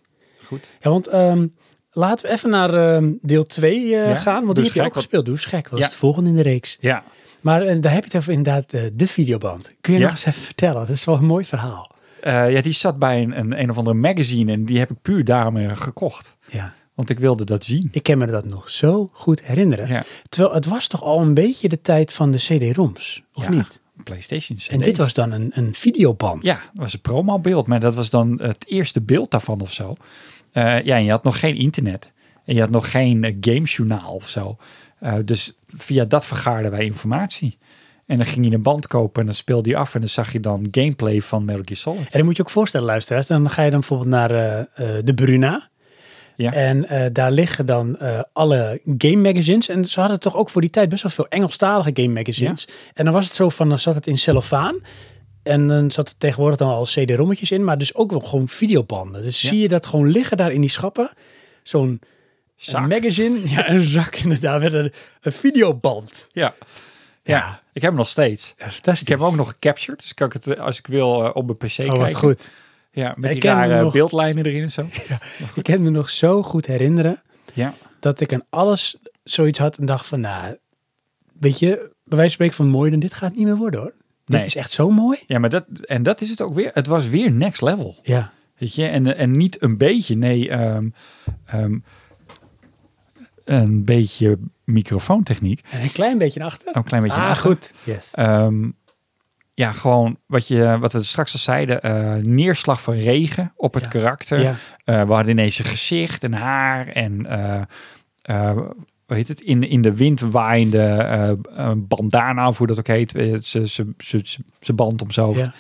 Speaker 2: Goed.
Speaker 1: Ja, want ehm, laten we even naar ehm, deel 2
Speaker 2: Ja,
Speaker 1: gaan. Want
Speaker 2: doe
Speaker 1: die heb
Speaker 2: eens
Speaker 1: je
Speaker 2: gek,
Speaker 1: ook
Speaker 2: wat-
Speaker 1: gespeeld. Doe eens gek. Wat
Speaker 2: Ja.
Speaker 1: is het volgende in de reeks?
Speaker 2: Ja,
Speaker 1: Maar eh, daar heb je het over inderdaad eh, de videoband. Kun je
Speaker 2: Ja.
Speaker 1: nog eens even vertellen? Dat is wel een mooi verhaal.
Speaker 2: Eh, ja die zat bij een, een, een of andere magazine en die heb ik puur daarom eh, gekocht.
Speaker 1: Ja.
Speaker 2: Want ik wilde dat zien.
Speaker 1: Ik kan me dat nog zo goed herinneren.
Speaker 2: Ja.
Speaker 1: Terwijl het was toch al een beetje de tijd van de CD-ROMs, of
Speaker 2: Ja,
Speaker 1: niet?
Speaker 2: PlayStation. CD's.
Speaker 1: En dit was dan een, een videoband.
Speaker 2: Ja, dat was een promobeeld, maar dat was dan het eerste beeld daarvan of zo. Eh, ja, en je had nog geen internet. En je had nog geen eh, gamejournaal of zo. Eh, dus via dat vergaarden wij informatie. En dan ging je een band kopen en dan speelde je af en dan zag je dan gameplay van Metal Gear Solid.
Speaker 1: En dan moet je ook voorstellen, luisteraars. Dan ga je dan bijvoorbeeld naar eh, eh, de Bruna.
Speaker 2: Ja.
Speaker 1: En eh, daar liggen dan eh, alle game magazines. En ze hadden toch ook voor die tijd best wel veel Engelstalige game magazines. En dan was het zo van, dan zat het in cellofaan. En dan zat er tegenwoordig dan al CD-rommetjes in. Maar dus ook wel gewoon videobanden. Dus
Speaker 2: Ja.
Speaker 1: zie je dat gewoon liggen daar in die schappen. Zo'n
Speaker 2: Zak.
Speaker 1: magazine. Ja, een zak inderdaad. Met een, een videoband.
Speaker 2: Ja.
Speaker 1: Ja.
Speaker 2: ja, ik heb hem nog steeds.
Speaker 1: Ja, fantastisch.
Speaker 2: Ik heb hem ook nog gecaptured, dus kan ik het eh, als ik wil eh, op mijn PC
Speaker 1: Oh,
Speaker 2: kijken.
Speaker 1: wat goed.
Speaker 2: Ja, met
Speaker 1: Ik
Speaker 2: die
Speaker 1: ken hem
Speaker 2: rare
Speaker 1: nog.
Speaker 2: beeldlijnen erin en zo.
Speaker 1: Ik kan me nog zo goed herinneren.
Speaker 2: Ja,
Speaker 1: dat ik aan alles zoiets had en dacht van, nou, weet je, bij wijze van spreken van mooier dan dit gaat het niet meer worden hoor.
Speaker 2: Nee.
Speaker 1: Dit is echt zo mooi.
Speaker 2: <laughs> ja maar dat, en dat is het ook weer. Het was weer next level.
Speaker 1: Ja,
Speaker 2: Weet je, en, en niet een beetje, nee, ehm, ehm, een beetje microfoontechniek. Nou,
Speaker 1: en een klein beetje naar achter.
Speaker 2: Een klein beetje.
Speaker 1: ah,
Speaker 2: lager.
Speaker 1: goed. Yes.
Speaker 2: Ehm, ja, gewoon wat, je, wat we straks al zeiden, eh, neerslag van regen op het
Speaker 1: Ja.
Speaker 2: karakter.
Speaker 1: Ja,
Speaker 2: Eh, we hadden ineens een gezicht, een haar en, eh eh, hoe heet het, in, in de wind waaiende eh, eh, bandana, of hoe dat ook heet, eh, ze- ze- ze- ze- ze band om zijn hoofd.
Speaker 1: ja.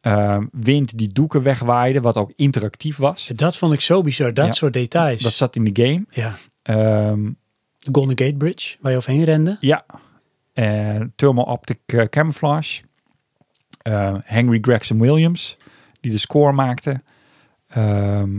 Speaker 2: Eh, wind die doeken wegwaaide, wat ook interactief was.
Speaker 1: Dus Dat vond ik zo bizar, dat
Speaker 2: Ja.
Speaker 1: soort details.
Speaker 2: Dat zat in de game.
Speaker 1: ja.
Speaker 2: Ehm,
Speaker 1: De Golden Gate Bridge, waar je overheen rende.
Speaker 2: ja. En thermal optic eh, camouflage. Eh, Henry Gregson Williams, die de score maakte. Ehm,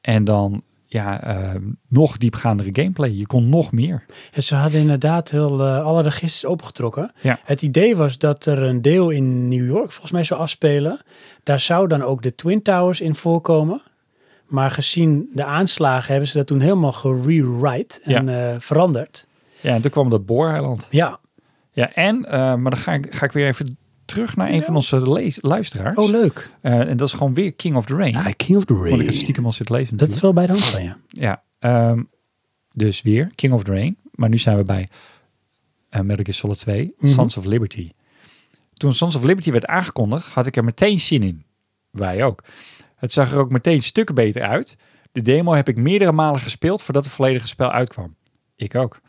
Speaker 2: en dan ja, ehm, nog diepgaandere gameplay. Je kon nog meer.
Speaker 1: En ze hadden inderdaad heel, eh, alle registers opgetrokken.
Speaker 2: Ja.
Speaker 1: Het idee was dat er een deel in New York volgens mij zou afspelen. Daar zou dan ook de Twin Towers in voorkomen. Maar gezien de aanslagen hebben ze dat toen helemaal gerewrite en eh, veranderd.
Speaker 2: Ja, en toen kwam dat booreiland.
Speaker 1: Ja,
Speaker 2: Ja, en, eh, maar dan ga ik, ga ik weer even terug naar een van onze le- luisteraars.
Speaker 1: oh leuk.
Speaker 2: Eh, en dat is gewoon weer King of the Rain.
Speaker 1: King of the
Speaker 2: Want ik het stiekem al zit lezen
Speaker 1: Dat is
Speaker 2: natuurlijk.
Speaker 1: wel bij de hand van je.
Speaker 2: Ja, ehm, dus weer King of the Rain. Maar nu zijn we bij eh Metal Gear Solid 2, Sons of Liberty. Toen Sons of Liberty werd aangekondigd, had ik er meteen zin in. Wij ook. Het zag er ook meteen stukken beter uit. De demo heb ik meerdere malen gespeeld voordat het volledige spel uitkwam. Ik ook.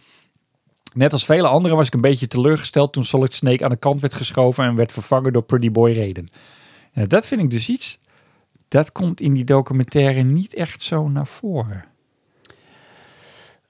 Speaker 2: Net als vele anderen was ik een beetje teleurgesteld toen Solid Snake aan de kant werd geschoven en werd vervangen door Pretty Boy Raiden. Ja, dat vind ik dus iets. Dat komt in die documentaire niet echt zo naar voren.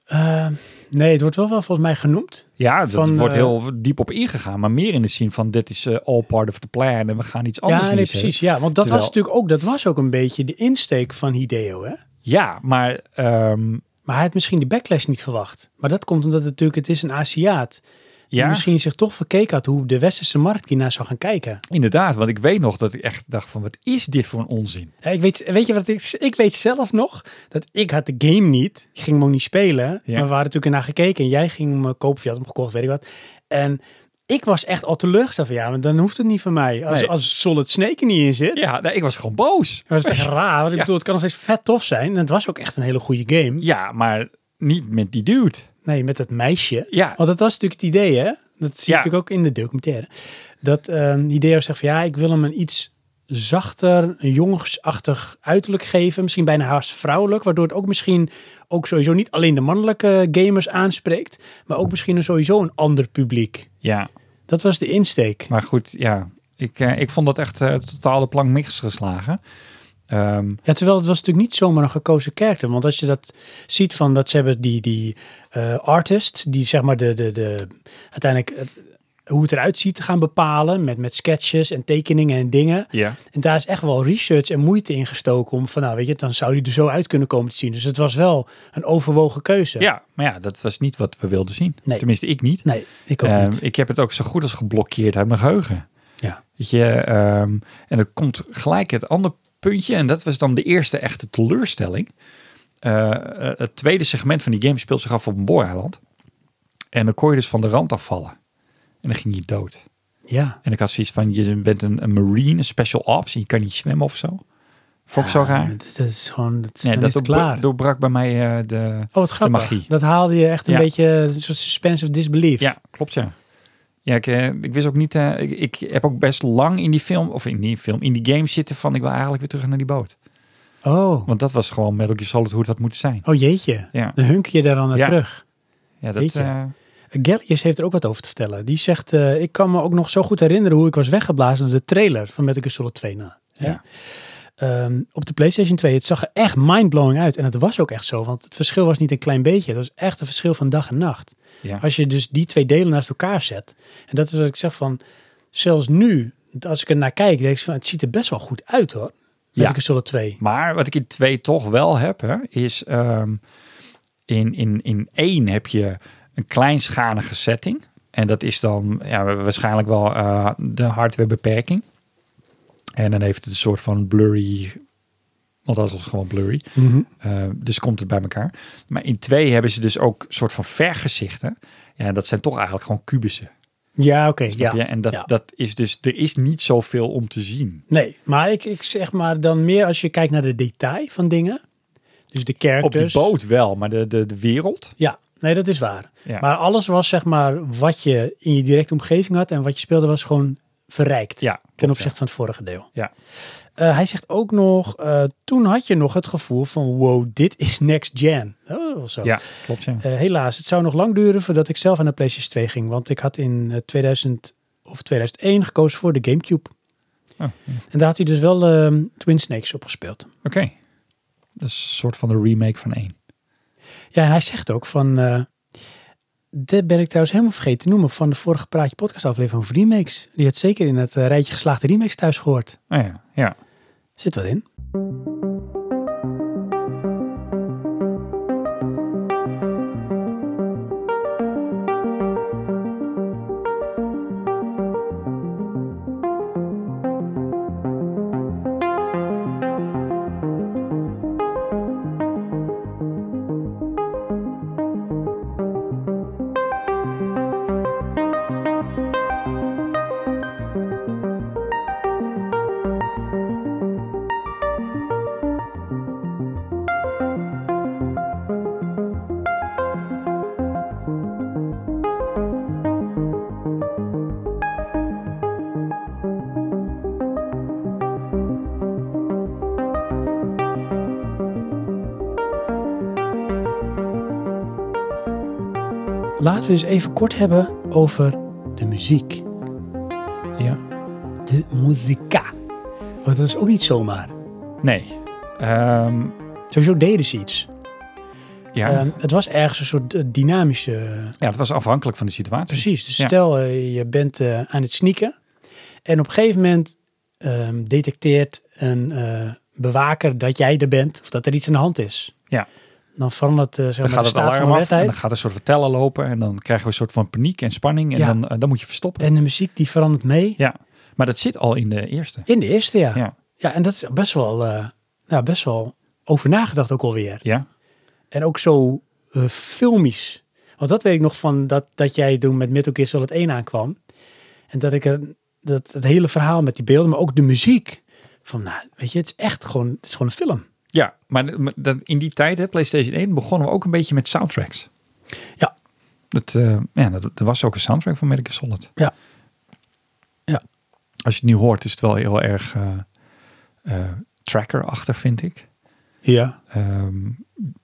Speaker 1: Eh,
Speaker 2: Ehm,
Speaker 1: nee, het wordt wel, wel volgens mij genoemd.
Speaker 2: Ja, dat
Speaker 1: Van,
Speaker 2: wordt
Speaker 1: eh,
Speaker 2: heel diep op ingegaan, maar meer in de zin van dit is eh, all part of the plan en we gaan iets anders
Speaker 1: ja, nee,
Speaker 2: neerzetten.
Speaker 1: precies. Ja, want dat
Speaker 2: Terwijl-
Speaker 1: was natuurlijk ook, dat was ook een beetje de insteek van Hideo. Hè?
Speaker 2: Ja, maar ehm,
Speaker 1: Maar hij had misschien die backlash niet verwacht. Maar dat komt omdat het natuurlijk, het is een Aziat. Die
Speaker 2: ja,
Speaker 1: misschien zich toch verkeken had hoe de westerse markt hiernaar zou gaan kijken.
Speaker 2: inderdaad. Want ik weet nog dat ik echt dacht van, wat is dit voor een onzin?
Speaker 1: Ja, ik weet, weet je wat ik, ik weet zelf nog? Dat ik had de game niet. Ik ging hem ook niet spelen. Maar we waren natuurlijk naar gekeken. En jij ging hem eh, kopen. of Je had hem gekocht, weet ik wat. En ik was echt al teleurgesteld van ja, maar dan hoeft het niet van mij. Als,
Speaker 2: Nee.
Speaker 1: als Solid Snake er niet in zit.
Speaker 2: Ja, nou, ik was gewoon boos.
Speaker 1: Maar dat
Speaker 2: <laughs>
Speaker 1: is echt raar. Want ik
Speaker 2: Ja.
Speaker 1: bedoel, het kan nog steeds vet tof zijn. En het was ook echt een hele goede game.
Speaker 2: Ja, maar niet met die dude.
Speaker 1: Nee, met dat meisje.
Speaker 2: Ja,
Speaker 1: Want dat was natuurlijk het idee, hè? Dat zie je
Speaker 2: Ja.
Speaker 1: natuurlijk ook in de documentaire. Dat ehm Hideo zegt van ja, ik wil hem een iets zachter, een jongensachtig uiterlijk geven. Misschien bijna haast vrouwelijk. Waardoor het ook misschien ook sowieso niet alleen de mannelijke gamers aanspreekt. Maar ook misschien een, sowieso een ander publiek.
Speaker 2: ja.
Speaker 1: Dat was de insteek.
Speaker 2: Maar goed, ja. Ik, eh, ik vond dat echt eh, totaal de plank misgeslagen. Ehm,
Speaker 1: Ja, terwijl het was natuurlijk niet zomaar een gekozen karakter. Want als je dat ziet van dat ze hebben die, die eh, artist, die zeg maar de, de, de uiteindelijk het- hoe het eruit ziet te gaan bepalen met, met sketches en tekeningen en dingen.
Speaker 2: ja.
Speaker 1: En daar is echt wel research en moeite in gestoken om van nou weet je, dan zou die er zo uit kunnen komen te zien. Dus het was wel een overwogen keuze.
Speaker 2: ja, maar ja, dat was niet wat we wilden zien.
Speaker 1: Nee.
Speaker 2: Tenminste, ik niet.
Speaker 1: Nee, ik ook
Speaker 2: Ehm,
Speaker 1: niet.
Speaker 2: Ik heb het ook zo goed als geblokkeerd uit mijn geheugen.
Speaker 1: Ja.
Speaker 2: Weet je, ehm, en dan komt gelijk het andere puntje. En dat was dan de eerste echte teleurstelling. Eh, eh, het tweede segment van die game speelt zich af op een booreiland. En dan kon je dus van de rand afvallen. En dan ging je dood.
Speaker 1: Ja.
Speaker 2: En ik had zoiets van, je bent een, een marine, een special ops. En je kan niet zwemmen of zo. Vond ik zo
Speaker 1: Ja,
Speaker 2: raar.
Speaker 1: Dat, dat is gewoon, dat,
Speaker 2: Nee,
Speaker 1: dan
Speaker 2: dat
Speaker 1: is het
Speaker 2: doorbra-
Speaker 1: klaar.
Speaker 2: doorbrak bij mij eh, de...
Speaker 1: oh, wat grappig.
Speaker 2: magie.
Speaker 1: Dat haalde je echt een
Speaker 2: Ja.
Speaker 1: beetje een soort suspense of disbelief.
Speaker 2: Ja, klopt ja. Ja, ik, eh, ik wist ook niet... eh, ik, ik heb ook best lang in die film, of in die film, in die game zitten van... ik wil eigenlijk weer terug naar die boot.
Speaker 1: Oh.
Speaker 2: Want dat was gewoon Metal Gear Solid hoe het had moeten zijn.
Speaker 1: oh jeetje.
Speaker 2: Ja,
Speaker 1: Dan hunk je daar dan naar
Speaker 2: Ja.
Speaker 1: terug.
Speaker 2: ja dat...
Speaker 1: Weet je.
Speaker 2: eh,
Speaker 1: Gellius heeft er ook wat over te vertellen. Die zegt, eh, ik kan me ook nog zo goed herinneren hoe ik was weggeblazen door de trailer van Metal Gear Solid 2 na. Hè?
Speaker 2: Ja.
Speaker 1: Ehm, op de PlayStation 2, het zag er echt mindblowing uit. En het was ook echt zo, want het verschil was niet een klein beetje. Het was echt een verschil van dag en nacht.
Speaker 2: Ja.
Speaker 1: Als je dus die twee delen naast elkaar zet. En dat is wat ik zeg van, zelfs nu, als ik er naar kijk, denk ik van, het ziet er best wel goed uit hoor. Metal
Speaker 2: Ja.
Speaker 1: Gear Solid 2.
Speaker 2: Maar wat ik in 2 toch wel heb, hè, is ehm, in, in, in 1 heb je een kleinschalige setting. En dat is dan ja, waarschijnlijk wel eh, de hardwarebeperking. En dan heeft het een soort van blurry, want dat was gewoon blurry. Eh, dus komt het bij elkaar. Maar in 2 hebben ze dus ook een soort van vergezichten. Ja, dat zijn toch eigenlijk gewoon kubussen.
Speaker 1: Ja, oké.
Speaker 2: Ja.
Speaker 1: ja.
Speaker 2: En dat,
Speaker 1: ja.
Speaker 2: dat is dus, er is niet zoveel om te zien.
Speaker 1: Nee, maar ik, ik zeg maar dan meer als je kijkt naar de detail van dingen. Dus de
Speaker 2: Op die
Speaker 1: characters.
Speaker 2: boot wel, maar de, de, de wereld.
Speaker 1: Ja, nee, dat is waar.
Speaker 2: Ja.
Speaker 1: Maar alles was zeg maar wat je in je directe omgeving had en wat je speelde was gewoon verrijkt.
Speaker 2: Ja,
Speaker 1: ten
Speaker 2: klopt, ja.
Speaker 1: opzichte van het vorige deel.
Speaker 2: Ja.
Speaker 1: Eh, hij zegt ook nog, eh, toen had je nog het gevoel van wow, dit is next gen. Oh, wel zo.
Speaker 2: Ja, klopt. Ja.
Speaker 1: Eh, helaas, het zou nog lang duren voordat ik zelf aan de PlayStation 2 ging. Want ik had in eh, 2000 of 2001 gekozen voor de Gamecube.
Speaker 2: Oh, ja.
Speaker 1: En daar had hij dus wel ehm, Twin Snakes op gespeeld.
Speaker 2: Oké. Dat is een soort van de remake van één.
Speaker 1: Ja, en hij zegt ook van... eh dat ben ik trouwens helemaal vergeten te noemen van de vorige Praatje podcast aflevering over remakes. Die had zeker in het eh, rijtje geslaagde remakes thuis gehoord.
Speaker 2: Oh ja, ja.
Speaker 1: Zit wat in. Laten we eens even kort hebben over de muziek.
Speaker 2: Ja.
Speaker 1: De muzika. Want dat is ook niet zomaar.
Speaker 2: Nee. Ehm,
Speaker 1: Sowieso deden ze iets.
Speaker 2: ja.
Speaker 1: Ehm, het was ergens een soort eh, dynamische...
Speaker 2: ja, het was afhankelijk van de situatie.
Speaker 1: Precies. Dus
Speaker 2: Ja.
Speaker 1: stel eh, je bent eh, aan het sneaken en op een gegeven moment ehm, detecteert een eh, bewaker dat jij er bent of dat er iets aan de hand is.
Speaker 2: Ja.
Speaker 1: Dan verandert eh, zeg
Speaker 2: Dan
Speaker 1: maar,
Speaker 2: gaat
Speaker 1: de
Speaker 2: het
Speaker 1: staat van
Speaker 2: alarm
Speaker 1: de
Speaker 2: af en dan
Speaker 1: wedstrijd.
Speaker 2: gaat een soort vertellen lopen en dan krijgen we een soort van paniek en spanning en
Speaker 1: Ja.
Speaker 2: dan, eh, dan moet je verstoppen.
Speaker 1: En de muziek die verandert mee
Speaker 2: Ja, maar dat zit al in de eerste.
Speaker 1: in de eerste, ja.
Speaker 2: Ja.
Speaker 1: en dat is best wel, eh, nou, best wel over nagedacht ook alweer.
Speaker 2: Ja,
Speaker 1: En ook zo eh, filmisch. Want dat weet ik nog van dat, dat jij toen met Metal Gear Solid 1 aankwam. En dat ik er, dat het hele verhaal met die beelden, maar ook de muziek. Van, nou, weet je, het is echt gewoon, het is gewoon een film.
Speaker 2: ja maar maar dat- in die tijd, hè, PlayStation 1, begonnen we ook een beetje met soundtracks.
Speaker 1: Ja.
Speaker 2: Dat, eh, ja, dat, er was ook een soundtrack van Metal Gear Solid.
Speaker 1: Ja. Ja.
Speaker 2: Als je het nu hoort, is het wel heel erg eh, eh, tracker-achtig, vind ik.
Speaker 1: Ja.
Speaker 2: Ehm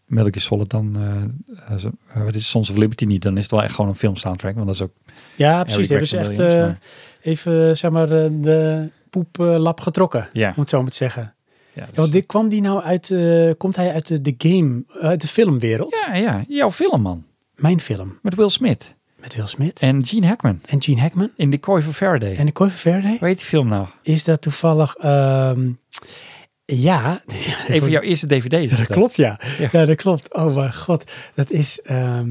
Speaker 2: Metal Gear Solid dan, eh, als- eh, wat is het, Sons of Liberty niet, dan is het wel echt gewoon een filmsoundtrack, want dat is ook
Speaker 1: Ja, precies. Die hebben ze
Speaker 2: Harry
Speaker 1: echt
Speaker 2: Gregson
Speaker 1: eh,
Speaker 2: Williams,
Speaker 1: even, zeg maar, eh, de poeplap getrokken.
Speaker 2: Ja.
Speaker 1: Om het zo maar te zeggen.
Speaker 2: Ja, dus-
Speaker 1: Ja, want dit, kwam die nou uit, eh, komt hij uit de, de game, uit de filmwereld?
Speaker 2: ja, ja, jouw film, man.
Speaker 1: Mijn film.
Speaker 2: Met Will Smith
Speaker 1: Met Will Smith en,
Speaker 2: en Gene Hackman
Speaker 1: Gene Hackman
Speaker 2: in De Kooi van Faraday.
Speaker 1: en de Kooi van Faraday.
Speaker 2: Hoe heet die film nou?
Speaker 1: Is dat toevallig... ehm, <laughs> ja. Even
Speaker 2: Een van jouw eerste DVD's.
Speaker 1: Dat klopt, ja.
Speaker 2: Ja.
Speaker 1: ja. dat klopt. Oh mijn god. Dat is... ehm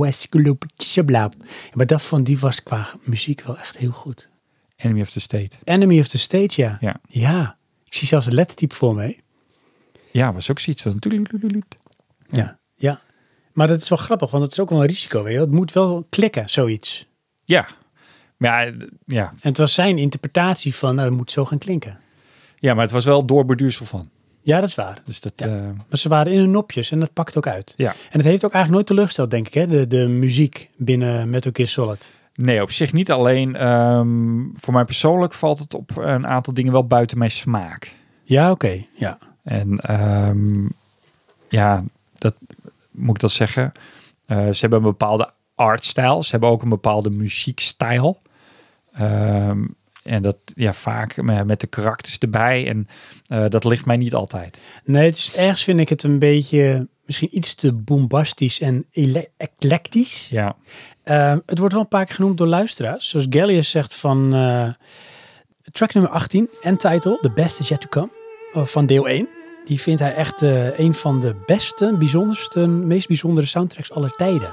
Speaker 1: Westgloop-tjablaap. Maar dat van die was qua muziek wel echt heel goed.
Speaker 2: Enemy of the State.
Speaker 1: Enemy of the Stage, ja.
Speaker 2: Ja.
Speaker 1: Ja. Ik zie zelfs de lettertype voor me. hè.
Speaker 2: Ja, was ook zoiets van... toedeloedeloedeloed.
Speaker 1: Ja. Ja. Maar dat is wel grappig, want het is ook wel een risico. Weet je? wel. Het moet wel klikken, zoiets.
Speaker 2: Ja. Maar Ja, d- ja.
Speaker 1: En het was zijn interpretatie van, nou, het moet zo gaan klinken.
Speaker 2: ja, maar het was wel doorbeduursel van.
Speaker 1: Ja, dat is waar.
Speaker 2: Dus dat...
Speaker 1: Ja.
Speaker 2: eh,
Speaker 1: Maar ze waren in hun nopjes en dat pakt ook uit.
Speaker 2: Ja.
Speaker 1: En het heeft ook eigenlijk nooit teleurgesteld, denk ik, hè? De, de muziek binnen Metal Gear Solid.
Speaker 2: nee, op zich niet. Alleen ehm, voor mij persoonlijk valt het op een aantal dingen wel buiten mijn smaak.
Speaker 1: Ja, oké. Ja.
Speaker 2: En ehm, ja, dat moet ik dat zeggen. Eh, ze hebben een bepaalde artstijl. Ze hebben ook een bepaalde muziekstijl. Ehm, en dat ja, vaak me- met de karakters erbij. En eh, dat ligt mij niet altijd.
Speaker 1: Nee, het is, ergens vind ik het een beetje, misschien iets te bombastisch en ele- eclectisch.
Speaker 2: Ja,
Speaker 1: Ehm, het wordt wel een paar keer genoemd door luisteraars. Zoals Gallius zegt van eh, track nummer 18 en title The Best Is Yet To Come eh, van deel 1. Die vindt hij echt eh, een van de beste, bijzonderste, meest bijzondere soundtracks aller tijden.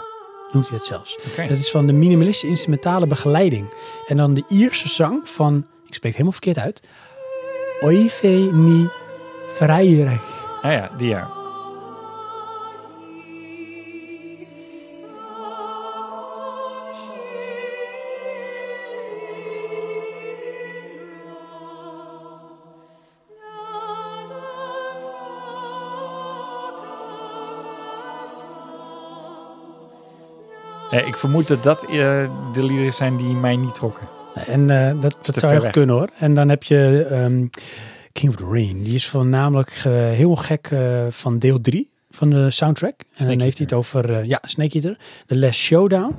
Speaker 1: Noemt hij dat zelfs.
Speaker 2: oké.
Speaker 1: Dat is van de minimalistische instrumentale begeleiding. En dan de Ierse zang van, ik spreek het helemaal verkeerd uit, Oive ni Freire.
Speaker 2: Ah ja, die ja. Eh, ik vermoed dat dat eh, de liederen zijn die mij niet trokken.
Speaker 1: En eh, dat, dat
Speaker 2: te
Speaker 1: zou
Speaker 2: ver
Speaker 1: heel
Speaker 2: weg.
Speaker 1: goed kunnen hoor. En dan heb je ehm, King of the Rain. Die is voornamelijk eh, heel gek eh, van deel 3 van de soundtrack. en dan
Speaker 2: Snake
Speaker 1: heeft hij het over, eh, ja, Snake Eater. The Last Showdown.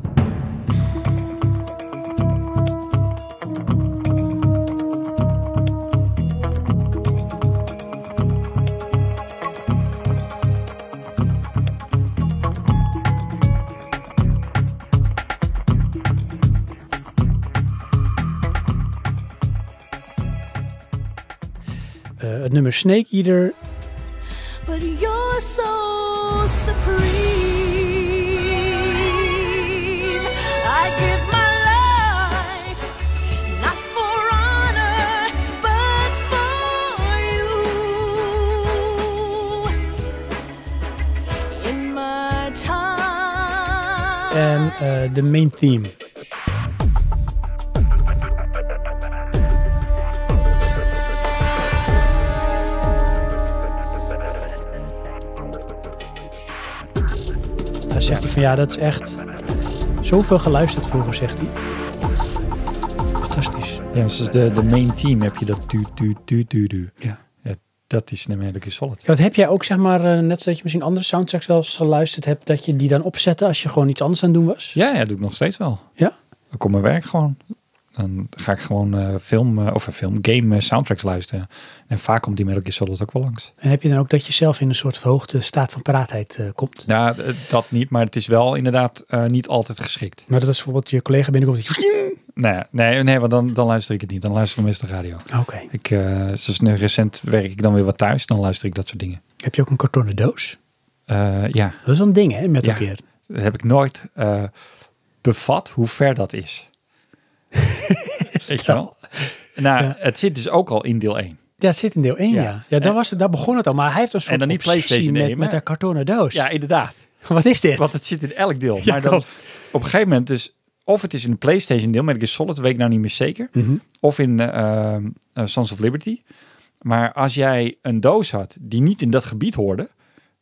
Speaker 1: eh, het nummer Snake Eater.
Speaker 5: but you're so supreme. I give my life not for honor, but for you. In my time,
Speaker 1: En eh, de main theme. Dan zegt hij van ja, dat is echt zoveel geluisterd vroeger, zegt hij. Fantastisch.
Speaker 2: Ja, dus de, de main team heb je dat du du du du du.
Speaker 1: Ja.
Speaker 2: Ja, Dat is een Metal Gear Solid.
Speaker 1: Ja, wat heb jij ook, zeg maar, eh, net zoals je misschien andere soundtracks wel eens geluisterd hebt, dat je die dan opzette als je gewoon iets anders aan het doen was?
Speaker 2: Ja, ja, doe ik nog steeds wel.
Speaker 1: Ja?
Speaker 2: Dan kom mijn werk gewoon. Dan ga ik gewoon eh, film, eh, of een film, game eh, soundtracks luisteren. En vaak komt die Metal Gear Solid ook wel langs.
Speaker 1: En heb je dan ook dat je zelf in een soort verhoogde staat van paraatheid eh, komt?
Speaker 2: Nou, eh, dat niet, maar het is wel inderdaad eh, niet altijd geschikt.
Speaker 1: Maar dat is bijvoorbeeld je collega binnenkomt. dat je-
Speaker 2: Nee, nee, nee want dan, dan luister ik het niet. Dan luister ik meestal de radio.
Speaker 1: Oké.
Speaker 2: Ik, eh, zoals nu recent werk ik dan weer wat thuis. Dan luister ik dat soort dingen.
Speaker 1: Heb je ook een kartonnen doos?
Speaker 2: Eh, ja,
Speaker 1: Dat is wel een ding, hè, met
Speaker 2: Ja.
Speaker 1: elkaar.
Speaker 2: dat heb ik nooit eh, bevat hoe ver dat
Speaker 1: <laughs>
Speaker 2: is. Weet je wel? Nou,
Speaker 1: Ja.
Speaker 2: het zit dus ook al in deel 1.
Speaker 1: Ja, het zit in deel 1, ja.
Speaker 2: Ja.
Speaker 1: Ja, daar,
Speaker 2: En-
Speaker 1: was het, daar begon het al. Maar hij heeft een soort
Speaker 2: En dan niet
Speaker 1: obsessie
Speaker 2: PlayStation
Speaker 1: met,
Speaker 2: nemen,
Speaker 1: met
Speaker 2: hè?
Speaker 1: haar kartonnen doos.
Speaker 2: Ja, inderdaad.
Speaker 1: <laughs> Wat is dit?
Speaker 2: Want het zit in elk deel.
Speaker 1: Ja,
Speaker 2: maar dan,
Speaker 1: klopt.
Speaker 2: op een gegeven moment dus... Of het is in de PlayStation deel, Metal Gear Solid, weet ik nou niet meer zeker.
Speaker 1: Mhm.
Speaker 2: Of in eh, eh, Sons of Liberty. Maar als jij een doos had die niet in dat gebied hoorde...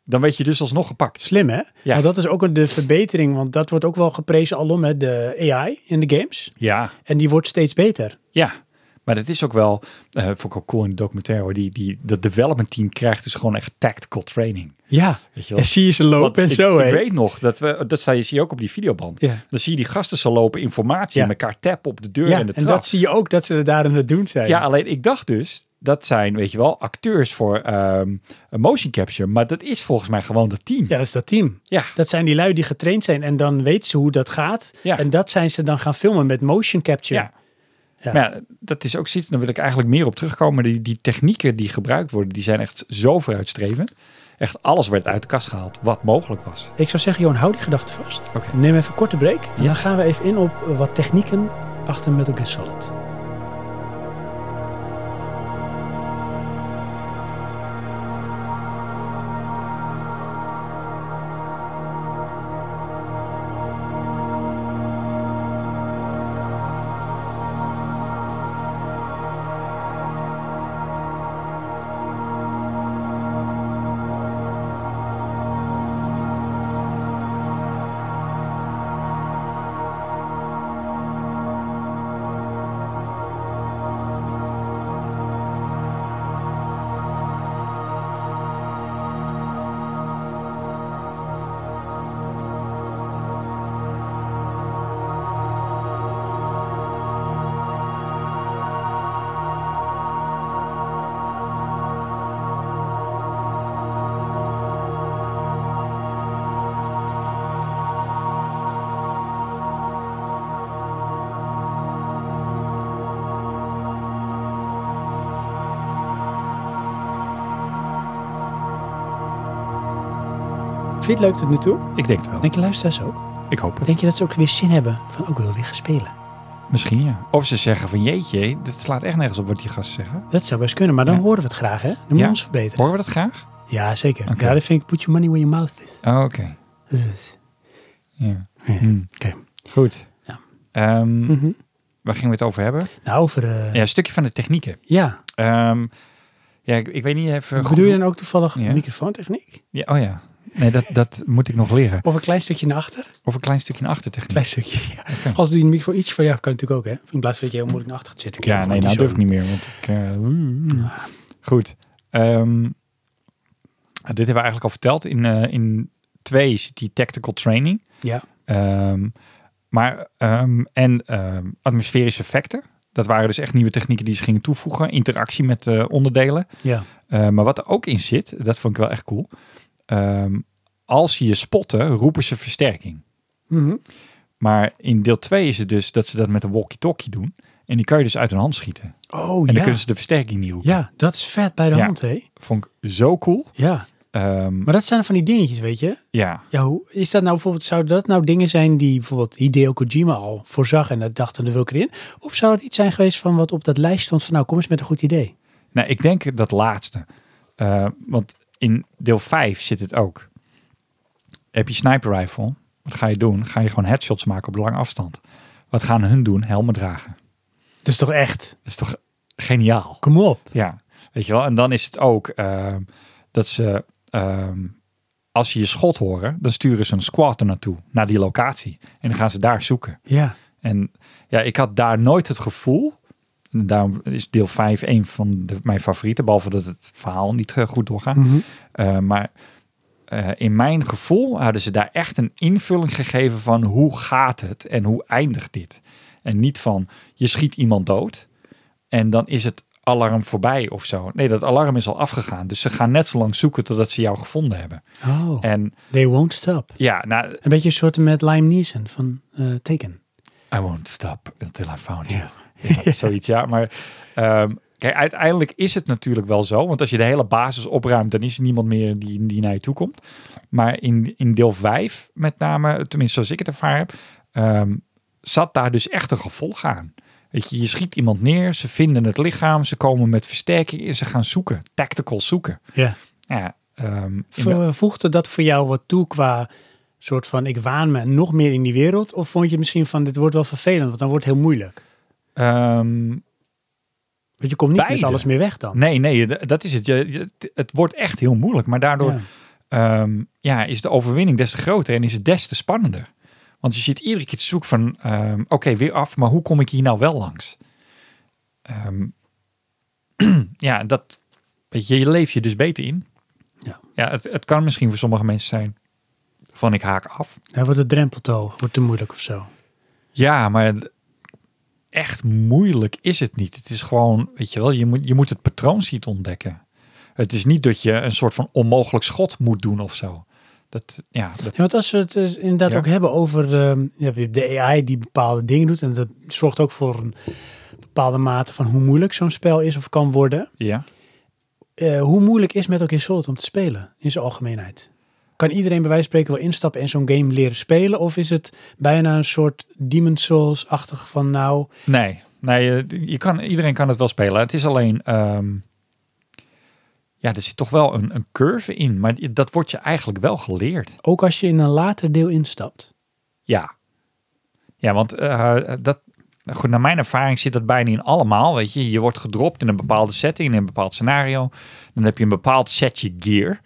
Speaker 2: dan werd je dus alsnog gepakt.
Speaker 1: Slim, hè?
Speaker 2: Ja.
Speaker 1: Want dat is ook een- de verbetering. Want dat wordt ook wel geprezen alom, hè, de AI in de games.
Speaker 2: Ja,
Speaker 1: En die wordt steeds beter.
Speaker 2: ja. Maar dat is ook wel... eh vond ik ook cool in de documentaire. Hoor. Die, die, dat development team krijgt dus gewoon echt tactical training.
Speaker 1: Ja.
Speaker 2: Weet je
Speaker 1: En
Speaker 2: wel?
Speaker 1: zie je ze
Speaker 2: <laughs> Want
Speaker 1: lopen en
Speaker 2: ik,
Speaker 1: zo,
Speaker 2: ik
Speaker 1: hè?
Speaker 2: weet nog, dat, we, dat sta je, zie je ook op die videoband.
Speaker 1: Ja.
Speaker 2: Dan zie je die gasten zo lopen, informatie,
Speaker 1: Ja.
Speaker 2: en elkaar tappen op de deur
Speaker 1: Ja,
Speaker 2: en de
Speaker 1: en
Speaker 2: trap.
Speaker 1: dat zie je ook dat ze er daar aan het doen zijn.
Speaker 2: Ja, alleen ik dacht dus, dat zijn, weet je wel, acteurs voor ehm, een motion capture. Maar dat is volgens mij gewoon dat team.
Speaker 1: ja, dat is dat team.
Speaker 2: Ja.
Speaker 1: Dat zijn die lui die getraind zijn en dan weten ze hoe dat gaat.
Speaker 2: Ja.
Speaker 1: En dat zijn ze dan gaan filmen met motion capture.
Speaker 2: Ja. Maar ja, dat is ook zoiets, daar wil ik eigenlijk meer op terugkomen. Die, die technieken die gebruikt worden, die zijn echt zo vooruitstrevend. Echt alles werd uit de kast gehaald, wat mogelijk was.
Speaker 1: Ik zou zeggen, Johan, hou die gedachte vast.
Speaker 2: Oké.
Speaker 1: Neem even een korte break. En dan
Speaker 2: Yes.
Speaker 1: gaan we even in op eh, wat technieken achter Metal Gear Solid. Vind je het leuk tot nu toe?
Speaker 2: Ik denk het wel.
Speaker 1: Denk je luisteraars ook?
Speaker 2: ik hoop het.
Speaker 1: Denk je dat ze ook weer zin hebben van ook wel weer gaan spelen?
Speaker 2: Misschien ja. Of ze zeggen van jeetje, dit slaat echt nergens op wat die gasten zeggen.
Speaker 1: Dat zou best kunnen, maar dan
Speaker 2: Ja.
Speaker 1: horen we het graag, hè? Dan moeten we
Speaker 2: Ja.
Speaker 1: ons verbeteren.
Speaker 2: Horen we dat graag?
Speaker 1: Ja, zeker.
Speaker 2: Oké.
Speaker 1: Ja, dat vind ik put your money where your mouth is.
Speaker 2: Oh, oké.
Speaker 1: Dat is het.
Speaker 2: Ja.
Speaker 1: Ja.
Speaker 2: Hm.
Speaker 1: Oké.
Speaker 2: Goed.
Speaker 1: Ja.
Speaker 2: Ehm,
Speaker 1: Mhm.
Speaker 2: Waar gingen we het over hebben?
Speaker 1: Nou, over... eh,
Speaker 2: Ja,
Speaker 1: ja.
Speaker 2: een stukje van de technieken. Ehm, ja, ik, ik weet niet even goed
Speaker 1: Bedoel je nou-
Speaker 2: hoe-
Speaker 1: dan ook toevallig
Speaker 2: Ja.
Speaker 1: microfoontechniek?
Speaker 2: Ja, oh ja. Nee, dat, dat moet ik nog leren.
Speaker 1: Of een klein stukje naar achter?
Speaker 2: Of een klein stukje naar achter techniek.
Speaker 1: Klein stukje, ja. <laughs> Als doe je een micro iets van jou, kan natuurlijk ook, hè? In plaats van dat je heel moeilijk naar achter gaat zitten. kun je
Speaker 2: Ja,
Speaker 1: gewoon
Speaker 2: nee, nou
Speaker 1: die
Speaker 2: durf
Speaker 1: zo-
Speaker 2: ik niet meer. Want ik, eh,
Speaker 1: Mm.
Speaker 2: Goed. Ehm, dit hebben we eigenlijk al verteld. In, eh, in twee zit die tactical training.
Speaker 1: Ja.
Speaker 2: Ehm, maar, ehm, en ehm, atmosferische effecten. Dat waren dus echt nieuwe technieken die ze gingen toevoegen. Interactie met eh, onderdelen.
Speaker 1: Ja.
Speaker 2: Eh, maar wat er ook in zit, dat vond ik wel echt cool. Ehm, als ze je spotten, roepen ze versterking.
Speaker 1: Mhm.
Speaker 2: Maar in deel 2 is het dus dat ze dat met een walkie-talkie doen. En die kan je dus uit hun hand schieten. En
Speaker 1: Oh,
Speaker 2: dan
Speaker 1: ja.
Speaker 2: kunnen ze de versterking niet roepen.
Speaker 1: Ja, dat is vet bij de
Speaker 2: Ja.
Speaker 1: hand, hè?
Speaker 2: Vond ik zo cool.
Speaker 1: Ja.
Speaker 2: Ehm,
Speaker 1: Maar dat zijn van die dingetjes, weet je?
Speaker 2: ja.
Speaker 1: Ja, hoe, is dat nou bijvoorbeeld, zouden dat nou dingen zijn die bijvoorbeeld Hideo Kojima al voorzag en dat dachten, daar wil ik erin? Of zou het iets zijn geweest van wat op dat lijst stond van nou, kom eens met een goed idee?
Speaker 2: Nou, ik denk dat laatste. Eh, want in deel 5 zit het ook. Heb je sniper rifle? Wat ga je doen? Ga je gewoon headshots maken op lange afstand? Wat gaan hun doen? Helmen dragen.
Speaker 1: Dat is toch echt,
Speaker 2: Dat is toch geniaal?
Speaker 1: kom op.
Speaker 2: Ja, weet je wel. En dan is het ook ehm, dat ze, ehm, als ze je schot horen, dan sturen ze een squad er naartoe, naar die locatie. En dan gaan ze daar zoeken.
Speaker 1: Ja,
Speaker 2: En ja, ik had daar nooit het gevoel, daarom is deel 5 een van de, mijn favorieten. Behalve dat het verhaal niet eh, goed doorgaat.
Speaker 1: Mhm.
Speaker 2: Eh, maar eh, in mijn gevoel hadden ze daar echt een invulling gegeven van hoe gaat het en hoe eindigt dit. En niet van je schiet iemand dood en dan is het alarm voorbij of zo. Nee, dat alarm is al afgegaan. Dus ze gaan net zo lang zoeken totdat ze jou gevonden hebben.
Speaker 1: Oh,
Speaker 2: En
Speaker 1: they won't stop.
Speaker 2: ja, nou,
Speaker 1: Een beetje een soort met Lime Neeson van eh Taken.
Speaker 2: I won't stop until I found you.
Speaker 1: Ja.
Speaker 2: <laughs> Ja, zoiets, ja. Maar ehm, kijk, uiteindelijk is het natuurlijk wel zo. Want als je de hele basis opruimt, dan is er niemand meer die, die naar je toe komt. Maar in, in deel 5 met name, tenminste zoals ik het ervaren heb, ehm, zat daar dus echt een gevolg aan. Weet je, je schiet iemand neer, ze vinden het lichaam, ze komen met versterking en ze gaan zoeken. Tactical zoeken.
Speaker 1: Ja.
Speaker 2: Ja, ehm, in de-
Speaker 1: Vo- Voegde dat voor jou wat toe qua soort van ik waan me nog meer in die wereld? Of vond je misschien van dit wordt wel vervelend, want dan wordt het heel moeilijk?
Speaker 2: ehm,
Speaker 1: Want je komt niet
Speaker 2: Beide.
Speaker 1: met alles meer weg dan.
Speaker 2: nee, nee, d- dat is het. Je, je- het wordt echt heel moeilijk, maar daardoor
Speaker 1: Ja.
Speaker 2: ehm, ja, is de overwinning des te groter en is het des te spannender. Want je zit iedere keer te zoeken van, ehm, oké, weer af, maar hoe kom ik hier nou wel langs? Ehm, <clears throat> ja, dat, weet je, je leef je dus beter in.
Speaker 1: Ja.
Speaker 2: ja het, het kan misschien voor sommige mensen zijn van ik haak af.
Speaker 1: Dan wordt de drempel te hoog, wordt te moeilijk of zo.
Speaker 2: Ja, maar echt moeilijk is het niet. Het is gewoon, weet je wel, je moet, je moet het patroon zien te ontdekken. Het is niet dat je een soort van onmogelijk schot moet doen of zo. Dat, ja, dat,
Speaker 1: Ja, want als we het dus inderdaad
Speaker 2: Ja.
Speaker 1: ook hebben over ehm, je hebt de AI die bepaalde dingen doet. En dat zorgt ook voor een bepaalde mate van hoe moeilijk zo'n spel is of kan worden.
Speaker 2: ja.
Speaker 1: Eh, hoe moeilijk is Metal Gear Solid om te spelen in zijn algemeenheid? Kan iedereen bij wijze van spreken wel instappen en zo'n game leren spelen? Of is het bijna een soort Demon Souls-achtig van nou...
Speaker 2: Nee, nee je, je kan, iedereen kan het wel spelen. Het is alleen, ehm, ja, er zit toch wel een, een curve in, maar die- dat wordt je eigenlijk wel geleerd.
Speaker 1: Ook als je in een later deel instapt.
Speaker 2: Ja, ja want eh, dat, goed, naar mijn ervaring zit dat bijna in allemaal. Weet je, je wordt gedropt in een bepaalde setting, in een bepaald scenario. Dan heb je een bepaald setje gear.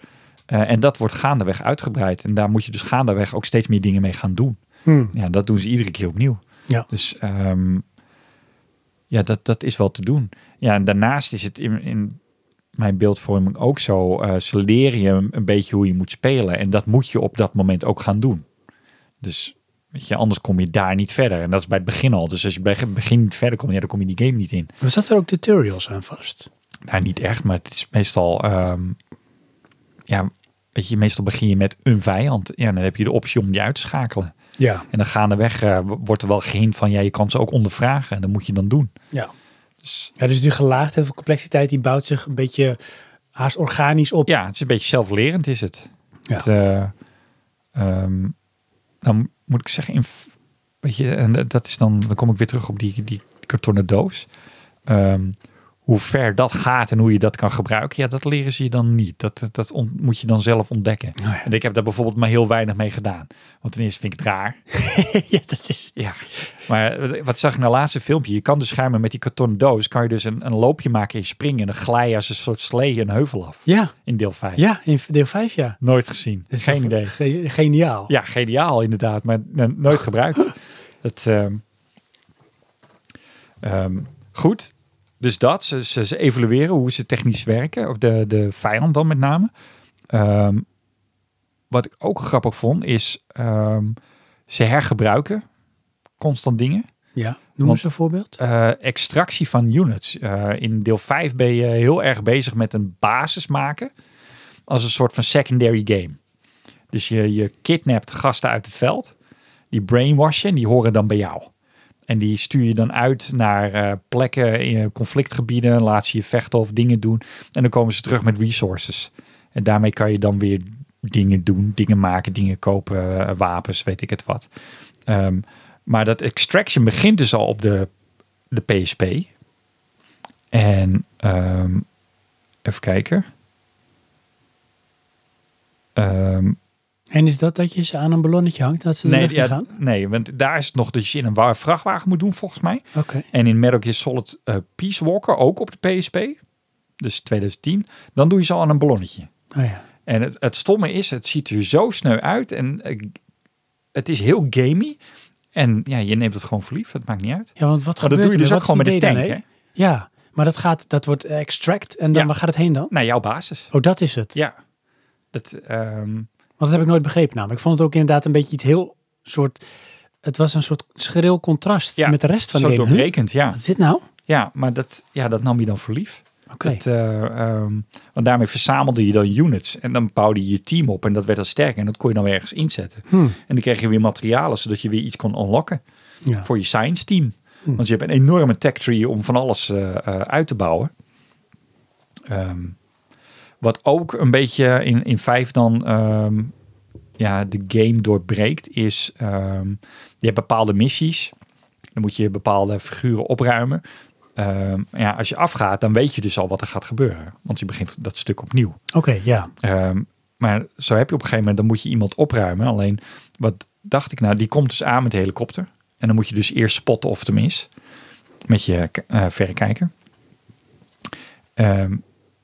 Speaker 2: eh, en dat wordt gaandeweg uitgebreid. En daar moet je dus gaandeweg ook steeds meer dingen mee gaan doen. Ja, dat doen ze iedere keer opnieuw.
Speaker 1: Ja.
Speaker 2: Dus ehm, ja, dat, dat is wel te doen. Ja, en daarnaast is het in, in mijn beeldvorming ook zo. eh ze leren je een beetje hoe je moet spelen. En dat moet je op dat moment ook gaan doen. Dus weet je, anders kom je daar niet verder. En dat is bij het begin al. Dus als je bij het begin niet verder komt, ja, dan kom je die game niet in.
Speaker 1: Er zat er ook tutorials aan vast.
Speaker 2: Nou, niet echt, maar het is meestal... ehm, ja, weet je, meestal begin je met een vijand. Ja, dan heb je de optie om die uit te schakelen.
Speaker 1: Ja.
Speaker 2: En dan gaandeweg eh, w- wordt er wel gehind van, ja, je kan ze ook ondervragen. En dat moet je dan doen.
Speaker 1: Ja.
Speaker 2: Dus
Speaker 1: ja dus die gelaagdheid of complexiteit die bouwt zich een beetje haast organisch op.
Speaker 2: ja, het is een beetje zelflerend is het.
Speaker 1: Ja.
Speaker 2: Het, eh, ehm, nou moet ik zeggen, in, f- weet je, en dat- dat is dan, dan kom ik weer terug op die, die kartonnen doos. Ehm, hoe ver dat gaat en hoe je dat kan gebruiken, ja, dat leren ze je dan niet. Dat, dat on- moet je dan zelf ontdekken.
Speaker 1: Oh ja.
Speaker 2: En ik heb daar bijvoorbeeld maar heel weinig mee gedaan. Want ten eerste vind ik het raar.
Speaker 1: <laughs> ja, dat is...
Speaker 2: Ja, maar wat zag ik nou laatste filmpje? Je kan dus schijnbaar met die kartonnen doos, kan je dus een, een loopje maken en je springen en dan glij je als een soort slee een heuvel af.
Speaker 1: Ja,
Speaker 2: In deel 5.
Speaker 1: ja in deel 5 ja.
Speaker 2: Nooit gezien.
Speaker 1: Dat is
Speaker 2: Geen
Speaker 1: toch
Speaker 2: idee.
Speaker 1: ge- geniaal.
Speaker 2: Ja, geniaal inderdaad, maar n- nooit gebruikt. Dat, ehm, ehm, goed, dus dat. Ze, ze, ze evalueren hoe ze technisch werken, of de, de vijand dan met name. Ehm, wat ik ook grappig vond, is ehm, ze hergebruiken constant dingen.
Speaker 1: Ja. Noem
Speaker 2: Want-
Speaker 1: eens een voorbeeld.
Speaker 2: eh, extractie van units. Eh, in deel 5 ben je heel erg bezig met een basis maken als een soort van secondary game. Dus je, je kidnapt gasten uit het veld, die brainwashen en die horen dan bij jou. En die stuur je dan uit naar eh, plekken in conflictgebieden, laat ze je vechten of dingen doen. En dan komen ze terug met resources. En daarmee kan je dan weer dingen doen, dingen maken, dingen kopen, eh, wapens, weet ik het wat. Ehm, maar dat extraction begint dus al op de de PSP. En ehm, even kijken. Ehm,
Speaker 1: En is dat dat je ze aan een ballonnetje hangt, dat ze
Speaker 2: nee,
Speaker 1: erin
Speaker 2: ja,
Speaker 1: gaan?
Speaker 2: nee, want daar is het nog dat je in een wa- vrachtwagen moet doen volgens mij.
Speaker 1: Oké.
Speaker 2: En in Metal Gear Solid eh, Peace Walker, ook op de PSP, dus 2010. Dan doe je ze al aan een ballonnetje.
Speaker 1: Oh ja.
Speaker 2: En het, het stomme is, het ziet er zo sneu uit en eh, het is heel gamey. En ja, je neemt het gewoon verliefd, het maakt niet uit.
Speaker 1: Ja, want wat
Speaker 2: Maar dat
Speaker 1: gebeurt
Speaker 2: doe je
Speaker 1: er?
Speaker 2: dus
Speaker 1: Wat
Speaker 2: ook gewoon
Speaker 1: is
Speaker 2: met
Speaker 1: het
Speaker 2: de
Speaker 1: idee
Speaker 2: tank,
Speaker 1: dan,
Speaker 2: hè?
Speaker 1: hè? Ja, maar dat, gaat, dat wordt eh, extract en dan
Speaker 2: Ja.
Speaker 1: waar gaat het heen dan?
Speaker 2: Naar jouw basis.
Speaker 1: Oh, dat is het.
Speaker 2: Ja. Dat, ehm,
Speaker 1: Want dat heb ik nooit begrepen namelijk. Ik vond het ook inderdaad een beetje iets heel soort... Het was een soort schril contrast
Speaker 2: Ja,
Speaker 1: met de rest van de
Speaker 2: zo
Speaker 1: game. Huh?
Speaker 2: doorbrekend, ja.
Speaker 1: Wat is dit nou?
Speaker 2: Ja, maar dat, ja, dat nam je dan voor lief.
Speaker 1: Oké.
Speaker 2: Het, eh, ehm, want daarmee verzamelde je dan units en dan bouwde je je team op en dat werd dan sterker en dat kon je dan weer ergens inzetten.
Speaker 1: Hmm.
Speaker 2: En dan kreeg je weer materialen zodat je weer iets kon unlocken
Speaker 1: Ja.
Speaker 2: voor je science team. Want je hebt een enorme tech tree om van alles eh, eh, uit te bouwen. Ehm, wat ook een beetje in, in vijf dan ehm, ja, de game doorbreekt is... ehm, je hebt bepaalde missies. Dan moet je bepaalde figuren opruimen. Ehm, ja, als je afgaat, dan weet je dus al wat er gaat gebeuren. Want je begint dat stuk opnieuw.
Speaker 1: Oké, ja.
Speaker 2: Ehm, maar zo heb je op een gegeven moment, dan moet je iemand opruimen. Alleen, wat dacht ik nou, die komt dus aan met de helikopter. En dan moet je dus eerst spotten of het hem is. Met je k- eh, verrekijker. Ehm,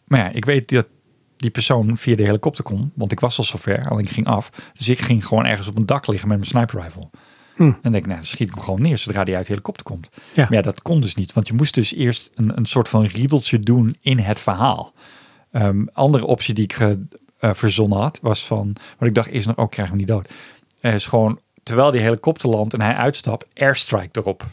Speaker 2: maar ja, ik weet dat die persoon via de helikopter kon. Want ik was al zover, alleen ik ging af. Dus ik ging gewoon ergens op een dak liggen met mijn sniper rifle.
Speaker 1: Hm.
Speaker 2: En denk ik, nou, dan schiet ik hem gewoon neer zodra die uit de helikopter komt.
Speaker 1: Ja.
Speaker 2: Maar ja, dat kon dus niet. Want je moest dus eerst een, een soort van riedeltje doen in het verhaal. Ehm, andere optie die ik ge- eh, verzonnen had, was van... Wat ik dacht is nog, ook krijg hem niet dood. Eh, is gewoon, terwijl die helikopter landt en hij uitstapt, airstrike erop.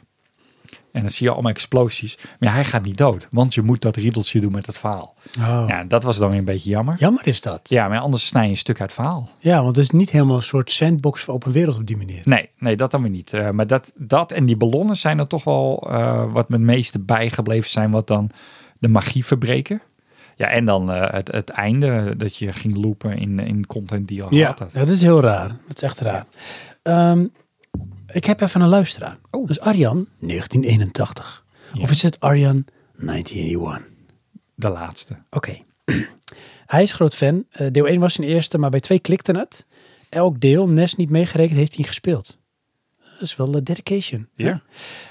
Speaker 2: En dan zie je allemaal explosies. Maar ja, hij gaat niet dood, want je moet dat riedeltje doen met het verhaal.
Speaker 1: Oh.
Speaker 2: Ja, dat was dan weer een beetje jammer. Ja,
Speaker 1: Jammer is dat. Ja.
Speaker 2: maar anders snij je een stuk uit het verhaal.
Speaker 1: want het is niet helemaal een soort sandbox voor open wereld op die manier.
Speaker 2: Nee, nee, dat dan weer niet. Eh, maar dat, dat en die ballonnen zijn er toch wel eh, wat me het meeste bijgebleven zijn, wat dan de magie verbreken. Ja, en dan eh, het, het einde eh, dat je ging loopen in, in content die je al
Speaker 1: Ja,
Speaker 2: had.
Speaker 1: dat is heel raar. Dat is echt raar. Ehm, ik heb even een luisteraar.
Speaker 2: Oh.
Speaker 1: Dus Arjan, 1981.
Speaker 2: Ja.
Speaker 1: Of is het Arjan, 1981?
Speaker 2: De laatste.
Speaker 1: Oké. <clears throat> hij is groot fan. Eh, deel 1 was zijn eerste, maar bij 2 klikte het. Elk deel, Nes niet meegerekend, heeft hij gespeeld. Dat is wel eh, dedication. hè?
Speaker 2: Ja.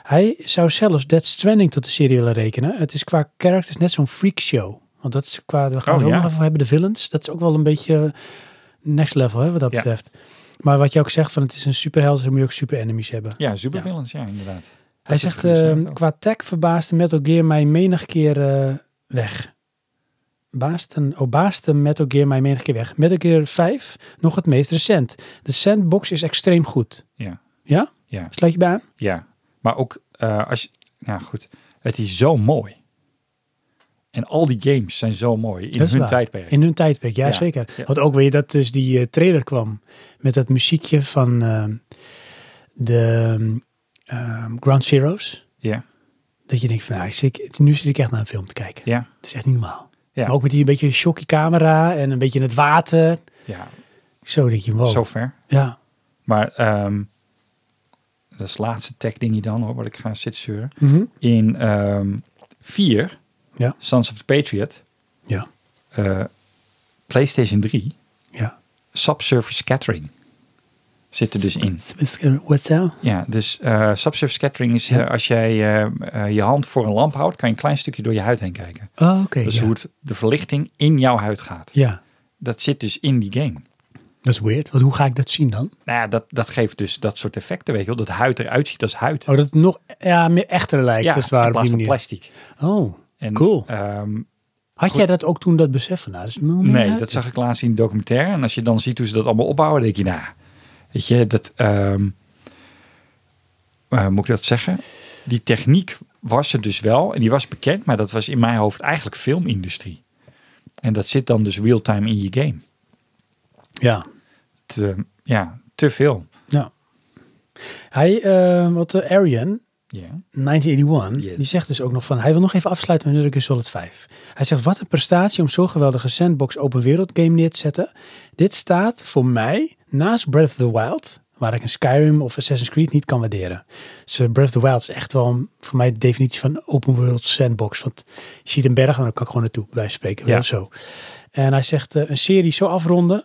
Speaker 1: Hij zou zelfs Dead Stranding tot de serie willen rekenen. Het is qua characters net zo'n freak show. Want dat is qua, we gaan
Speaker 2: Oh,
Speaker 1: zo
Speaker 2: ja.
Speaker 1: nog even hebben, de villains. Dat is ook wel een beetje next level, hè, wat dat
Speaker 2: Ja.
Speaker 1: betreft. Maar wat je ook zegt, van het is een superheld, dus dan moet je ook super enemies hebben.
Speaker 2: Ja, supervillains, ja, inderdaad.
Speaker 1: Hij
Speaker 2: is het
Speaker 1: zegt,
Speaker 2: voor
Speaker 1: eh,
Speaker 2: jezelf ook.
Speaker 1: qua tech verbaasde Metal Gear mij menig keer eh, weg. Baasden, oh, baasde Metal Gear mij menig keer weg. Metal Gear 5, nog het meest recent. De sandbox is extreem goed.
Speaker 2: Ja.
Speaker 1: Ja?
Speaker 2: Ja.
Speaker 1: Sluit je bij aan?
Speaker 2: Ja, maar ook eh, als je... Nou goed, het is zo mooi. En al die games zijn zo mooi in
Speaker 1: Dat is
Speaker 2: hun
Speaker 1: waar.
Speaker 2: tijdperk.
Speaker 1: In hun tijdperk, ja,
Speaker 2: Ja,
Speaker 1: zeker.
Speaker 2: ja.
Speaker 1: Want ook weer dat dus die eh, trailer kwam met dat muziekje van eh, de ehm, Ground Zeroes.
Speaker 2: Ja,
Speaker 1: Dat je denkt van, nou, ik zit, het- nu zit ik echt naar een film te kijken.
Speaker 2: ja,
Speaker 1: Het is echt niet normaal.
Speaker 2: Ja.
Speaker 1: Maar ook met die een beetje shocky camera en een beetje in het water.
Speaker 2: ja.
Speaker 1: Zo denk je, wow.
Speaker 2: Zover.
Speaker 1: Ja.
Speaker 2: Maar ehm dat is het laatste tech dingetje dan, hoor, wat ik ga zitten zeuren.
Speaker 1: Mhm.
Speaker 2: in ehm 4,
Speaker 1: Ja.
Speaker 2: Sons of the Patriot,
Speaker 1: Ja.
Speaker 2: eh, PlayStation 3,
Speaker 1: Ja.
Speaker 2: Subsurface Scattering zit er dus in.
Speaker 1: What's that?
Speaker 2: Ja, dus eh Subsurface Scattering is eh,
Speaker 1: Ja.
Speaker 2: als jij eh, eh, je hand voor een lamp houdt, kan je een klein stukje door je huid heen kijken.
Speaker 1: Oh, oké.
Speaker 2: Dus
Speaker 1: ja.
Speaker 2: hoe het, de verlichting in jouw huid gaat.
Speaker 1: ja.
Speaker 2: Dat zit dus in die game.
Speaker 1: Dat is weird. Want hoe ga ik dat zien dan? Oh,
Speaker 2: Nou ja, dat, dat geeft dus dat soort effecten, weet je wel. Dat huid eruit ziet als huid.
Speaker 1: Oh, dat het nog ja, meer echter lijkt,
Speaker 2: ja,
Speaker 1: als het ware,
Speaker 2: in
Speaker 1: op die
Speaker 2: plaats van
Speaker 1: manier.
Speaker 2: plastic.
Speaker 1: Oh.
Speaker 2: En,
Speaker 1: Cool.
Speaker 2: ehm,
Speaker 1: Had jij dat ook toen dat besef van, nou, dat is
Speaker 2: Nee, dat zag ik laatst in een documentaire. En als je dan ziet hoe ze dat allemaal opbouwen, denk je, nou, weet je, dat, ehm, eh, moet ik dat zeggen? Die techniek was er dus wel en die was bekend, maar dat was in mijn hoofd eigenlijk filmindustrie. En dat zit dan dus real-time in je game.
Speaker 1: Ja.
Speaker 2: Te, ja, te veel.
Speaker 1: ja. Hij, eh, wat de Arian,
Speaker 2: Ja.
Speaker 1: 1981,
Speaker 2: Yes.
Speaker 1: die zegt dus ook nog van, hij wil nog even afsluiten met Metal Gear Solid 5. Hij zegt, wat een prestatie om zo'n geweldige sandbox open wereld game neer te zetten. Dit staat voor mij naast Breath of the Wild, waar ik een Skyrim of Assassin's Creed niet kan waarderen. Dus eh, Breath of the Wild is echt wel een- voor mij de definitie van open world sandbox. Want je ziet een berg en dan kan ik gewoon naartoe, bij wijze van spreken.
Speaker 2: Ja.
Speaker 1: Wel zo. En hij zegt, eh, een serie zo afronden,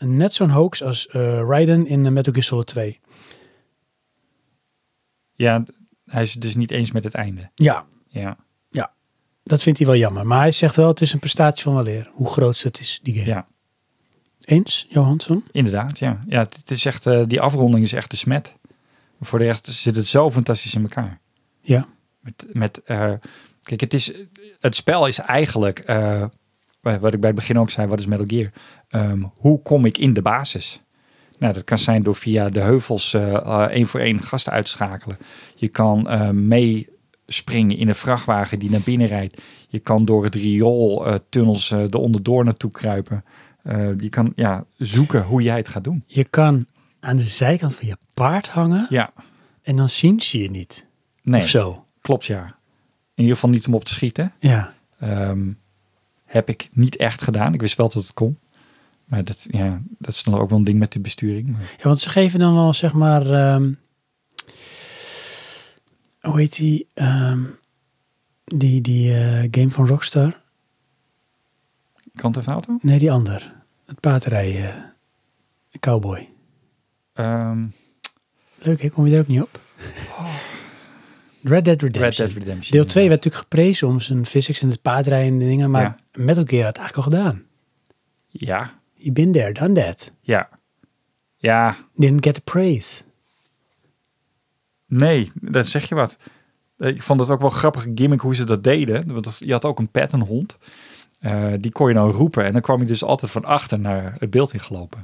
Speaker 1: net zo'n hoax als eh, Raiden in eh, Metal Gear Solid 2.
Speaker 2: ja, d- hij is het dus niet eens met het einde.
Speaker 1: Ja,
Speaker 2: Ja,
Speaker 1: Dat vindt hij wel jammer. Maar hij zegt wel, het is een prestatie van weleer. Hoe groot het is, die game.
Speaker 2: ja.
Speaker 1: Eens, Johansson?
Speaker 2: inderdaad. Ja, ja het, het is echt, eh, die afronding is echt de smet. Voor de rest zit het zo fantastisch in elkaar.
Speaker 1: Ja.
Speaker 2: Met, met eh, Kijk, het, is, het spel is eigenlijk, eh, wa- wat ik bij het begin ook zei, wat is Metal Gear? Ehm, hoe kom ik in de basis? Nou, dat kan zijn door via de heuvels eh, eh, één voor één gasten uit te schakelen. Je kan eh, meespringen in een vrachtwagen die naar binnen rijdt. Je kan door het riool eh, tunnels eh er onderdoor naartoe kruipen. Eh, je kan ja, zoeken hoe jij het gaat doen.
Speaker 1: Je kan aan de zijkant van je paard hangen
Speaker 2: Ja,
Speaker 1: en dan zien ze je niet.
Speaker 2: nee,
Speaker 1: Of zo.
Speaker 2: klopt ja. In ieder geval niet om op te schieten.
Speaker 1: Ja.
Speaker 2: Ehm, heb ik niet echt gedaan. Ik wist wel dat het kon. Maar dat, ja, dat is dan ook wel een ding met de besturing. Maar
Speaker 1: ja, want ze geven dan wel zeg maar. ehm, hoe heet die? ehm, die die eh, game van Rockstar?
Speaker 2: Grand Theft Auto?
Speaker 1: Nee, die ander. Het paardrijden. eh, cowboy.
Speaker 2: Ehm,
Speaker 1: Leuk, ik kom je er ook niet op. Red Dead Redemption.
Speaker 2: Oh. Red Dead Redemption.
Speaker 1: Deel 2 werd natuurlijk geprezen om zijn physics en het paardrijden en dingen. Maar Metal Gear had het eigenlijk al gedaan.
Speaker 2: Ja,
Speaker 1: You been there, done that.
Speaker 2: ja. Ja,
Speaker 1: Didn't get the praise.
Speaker 2: nee, dat zeg je wat. Eh, Ik vond het ook wel een grappige gimmick hoe ze dat deden. Want dat- je had ook een pet, een hond. Eh, die kon je dan roepen. En dan kwam je dus altijd van achter naar het beeld ingelopen.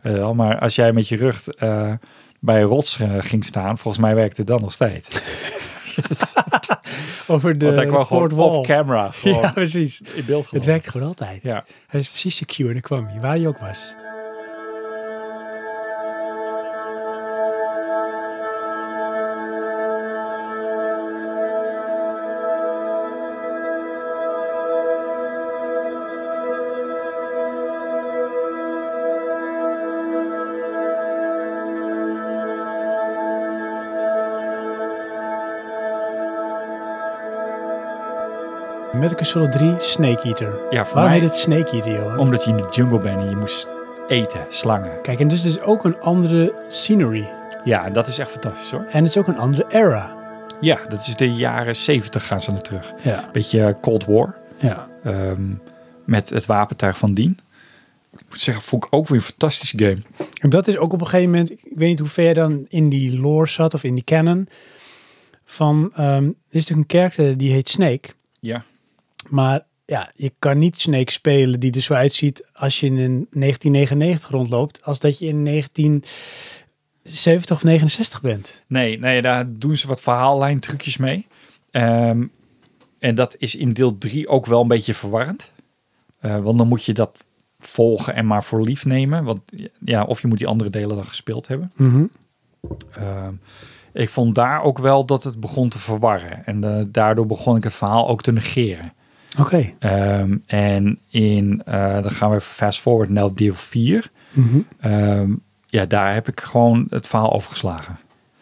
Speaker 2: Weet je wel, maar als jij met je rug eh, bij een rots eh, ging staan, volgens mij werkte het dan nog steeds. Dus-
Speaker 1: Over de
Speaker 2: Want hij kwam
Speaker 1: Fort
Speaker 2: gewoon
Speaker 1: Wall.
Speaker 2: off camera.
Speaker 1: <laughs>
Speaker 2: Gewoon
Speaker 1: Ja, precies.
Speaker 2: in beeld
Speaker 1: Het
Speaker 2: gewoon.
Speaker 1: werkt gewoon altijd.
Speaker 2: Ja.
Speaker 1: Hij is precies secure en dan kwam hij, waar hij ook was. Metal Gear Solid 3, Snake Eater.
Speaker 2: ja, voor
Speaker 1: Waarom
Speaker 2: mij
Speaker 1: heet het Snake Eater, joh?
Speaker 2: omdat je in de jungle bent en je moest eten, slangen.
Speaker 1: Kijk, en dus is ook een andere scenery.
Speaker 2: Ja, en dat is echt fantastisch hoor.
Speaker 1: En het is ook een andere era.
Speaker 2: Ja, dat is de jaren zeventig gaan ze naar terug.
Speaker 1: Ja.
Speaker 2: Beetje eh, Cold War.
Speaker 1: ja.
Speaker 2: ehm, met het wapentuig van Dien. Ik moet zeggen, vond ik ook weer een fantastische game.
Speaker 1: En dat is ook op een gegeven moment, ik weet niet hoe ver je dan in die lore zat of in die canon. Van, ehm, er is natuurlijk een karakter die heet Snake.
Speaker 2: Ja.
Speaker 1: Maar ja, je kan niet Snake spelen die er zo uitziet als je in 1999 rondloopt. Als dat je in 1970 of 69 bent.
Speaker 2: Nee, nee, daar doen ze wat verhaallijn trucjes mee. Ehm, en dat is in deel 3 ook wel een beetje verwarrend. Eh, want dan moet je dat volgen en maar voor lief nemen. Want ja, of je moet die andere delen dan gespeeld hebben.
Speaker 1: Mhm.
Speaker 2: Ehm, ik vond daar ook wel dat het begon te verwarren. En eh, daardoor begon ik het verhaal ook te negeren.
Speaker 1: Oké.
Speaker 2: Ehm, en in, eh, dan gaan we even fast forward naar deel 4.
Speaker 1: Mhm.
Speaker 2: Ehm, ja, daar heb ik gewoon het verhaal overgeslagen.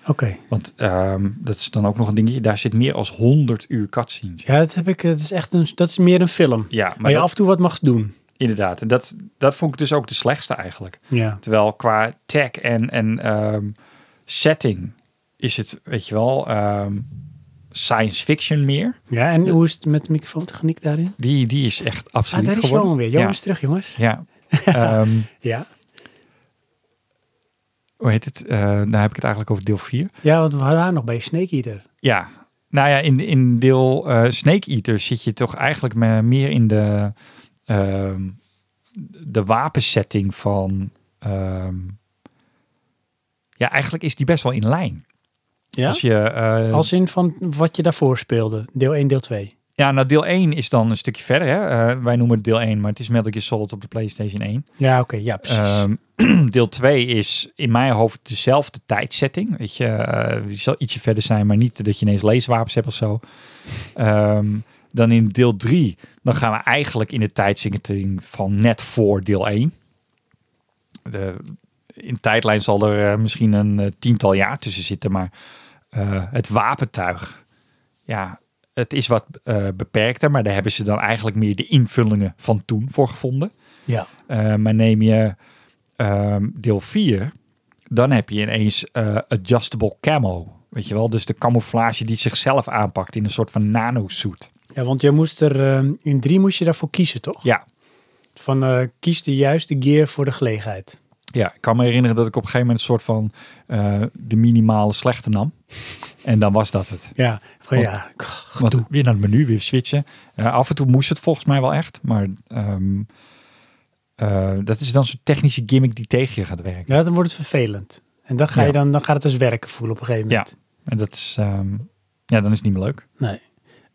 Speaker 1: Oké.
Speaker 2: Want ehm, dat is dan ook nog een dingetje. Daar zit meer als 100 uur cutscenes.
Speaker 1: Ja, dat heb ik. Dat is echt een. Dat is meer een film.
Speaker 2: Ja,
Speaker 1: maar
Speaker 2: maar
Speaker 1: je
Speaker 2: dat-
Speaker 1: af en toe wat mag doen.
Speaker 2: Inderdaad. En dat, dat vond ik dus ook de slechtste eigenlijk.
Speaker 1: Ja.
Speaker 2: Terwijl qua tech en, en ehm, setting is het, weet je wel, ehm, science fiction meer.
Speaker 1: Ja, en hoe is het met de microfoontechniek daarin?
Speaker 2: Die, die is echt
Speaker 1: Ah,
Speaker 2: absoluut
Speaker 1: daar is
Speaker 2: geworden.
Speaker 1: Johan weer. Johan is terug, jongens. <laughs>
Speaker 2: Ja. ja. Ehm,
Speaker 1: Ja.
Speaker 2: hoe heet het? Eh nou heb ik het eigenlijk over deel 4.
Speaker 1: Ja, want we waren nog bij Snake Eater.
Speaker 2: Ja. Nou ja, in, in deel eh, Snake Eater zit je toch eigenlijk me- meer in de, ehm, de wapensetting van... ehm, ja, eigenlijk is die best wel in lijn.
Speaker 1: Ja?
Speaker 2: Als
Speaker 1: Als,
Speaker 2: je, eh,
Speaker 1: in van wat je daarvoor speelde. Deel 1, deel 2.
Speaker 2: Ja, nou deel 1 is dan een stukje verder. Hè? Eh, wij noemen het deel 1, maar het is Metal Gear Solid op de PlayStation 1.
Speaker 1: Ja, oké. Ja, precies.
Speaker 2: Ehm, <clears throat> deel 2 is in mijn hoofd dezelfde tijdsetting. Weet je, eh, je zal ietsje verder zijn, maar niet dat je ineens leeswapens hebt of zo. Ehm, dan in deel 3, dan gaan we eigenlijk in de tijdsetting van net voor deel 1. De, in tijdlijn zal er eh, misschien een eh, tiental jaar tussen zitten, maar eh, het wapentuig, ja, het is wat eh, beperkter, maar daar hebben ze dan eigenlijk meer de invullingen van toen voor gevonden.
Speaker 1: ja.
Speaker 2: Eh, maar neem je ehm, deel 4, dan heb je ineens eh, adjustable camo. Weet je wel, dus de camouflage die zichzelf aanpakt in een soort van nano-suit.
Speaker 1: ja, want je moest er ehm, in 3 moest je daarvoor kiezen, toch?
Speaker 2: Ja,
Speaker 1: Van eh, kies de juiste gear voor de gelegenheid.
Speaker 2: ja, ik kan me herinneren dat ik op een gegeven moment een soort van eh, de minimale slechte nam. En dan was dat het.
Speaker 1: Ja, van,
Speaker 2: Want-
Speaker 1: ja, kh,
Speaker 2: Want
Speaker 1: gedoe.
Speaker 2: weer naar het menu, weer switchen. Eh, af en toe moest het volgens mij wel echt. Maar ehm, eh, dat is dan zo'n technische gimmick die tegen je gaat werken.
Speaker 1: Ja, dan wordt het vervelend. En dan, ga je
Speaker 2: Ja.
Speaker 1: dan, dan gaat het dus werken voelen op een gegeven moment.
Speaker 2: En dat is, ehm, ja, dan is het niet meer leuk.
Speaker 1: Nee.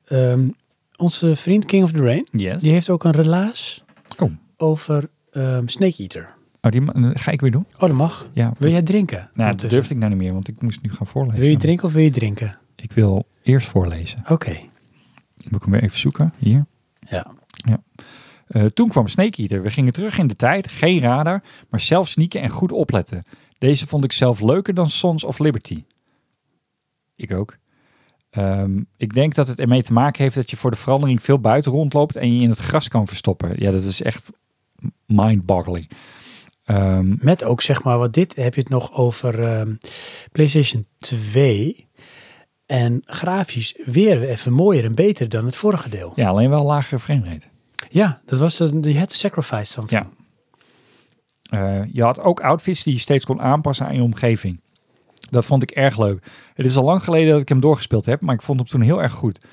Speaker 1: Ehm, onze vriend King of the Rain,
Speaker 2: Yes.
Speaker 1: die heeft ook een relaas
Speaker 2: Oh.
Speaker 1: over ehm, Snake Eater.
Speaker 2: Oh, die ma- eh, ga ik weer doen?
Speaker 1: Oh, dat mag.
Speaker 2: Ja.
Speaker 1: Wil jij drinken?
Speaker 2: Nou,
Speaker 1: Ondertussen.
Speaker 2: dat durfde ik nou niet meer, want ik moest nu gaan voorlezen.
Speaker 1: Wil je drinken of wil je drinken?
Speaker 2: Ik wil eerst voorlezen.
Speaker 1: Oké.
Speaker 2: Moet ik hem weer even zoeken. Hier.
Speaker 1: Ja.
Speaker 2: Eh, toen kwam Snake Eater. We gingen terug in de tijd, geen radar, maar zelf sneaken en goed opletten. Deze vond ik zelf leuker dan Sons of Liberty. Ik ook. Ehm, ik denk dat het ermee te maken heeft dat je voor de verandering veel buiten rondloopt en je in het gras kan verstoppen. Ja, dat is echt mind-boggling. Ehm,
Speaker 1: Met ook zeg maar, wat dit heb je het nog over ehm, PlayStation 2. En grafisch weer even mooier en beter dan het vorige deel. Ja,
Speaker 2: ja, alleen wel lagere framerate.
Speaker 1: dat was de, de had to sacrifice something.
Speaker 2: Ja. Eh, je had ook outfits die je steeds kon aanpassen aan je omgeving. Dat vond ik erg leuk. Het is al lang geleden dat ik hem doorgespeeld heb, maar ik vond hem toen heel erg goed.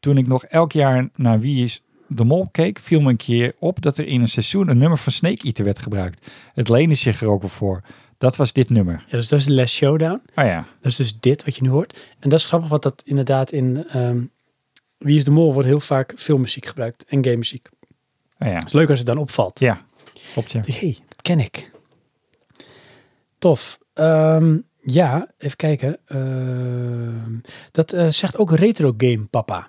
Speaker 2: Toen ik nog elk jaar naar Wie is de Mol keek, viel me een keer op dat er in een seizoen een nummer van Snake Eater werd gebruikt. Het leende zich er ook wel voor. Dat was dit nummer.
Speaker 1: Ja, dus dat is de Last Showdown.
Speaker 2: Ah ja,
Speaker 1: Dat is dus dit wat je nu hoort. En dat is grappig, want dat inderdaad in ehm, Wie is de Mol wordt heel vaak filmmuziek gebruikt en gamemuziek. Het
Speaker 2: ah ja.
Speaker 1: is leuk als het dan opvalt.
Speaker 2: Ja, klopt ja.
Speaker 1: Hé, hey, dat ken ik. Tof. Ehm, ja, even kijken. Ehm, dat eh, zegt ook Retro Game Papa.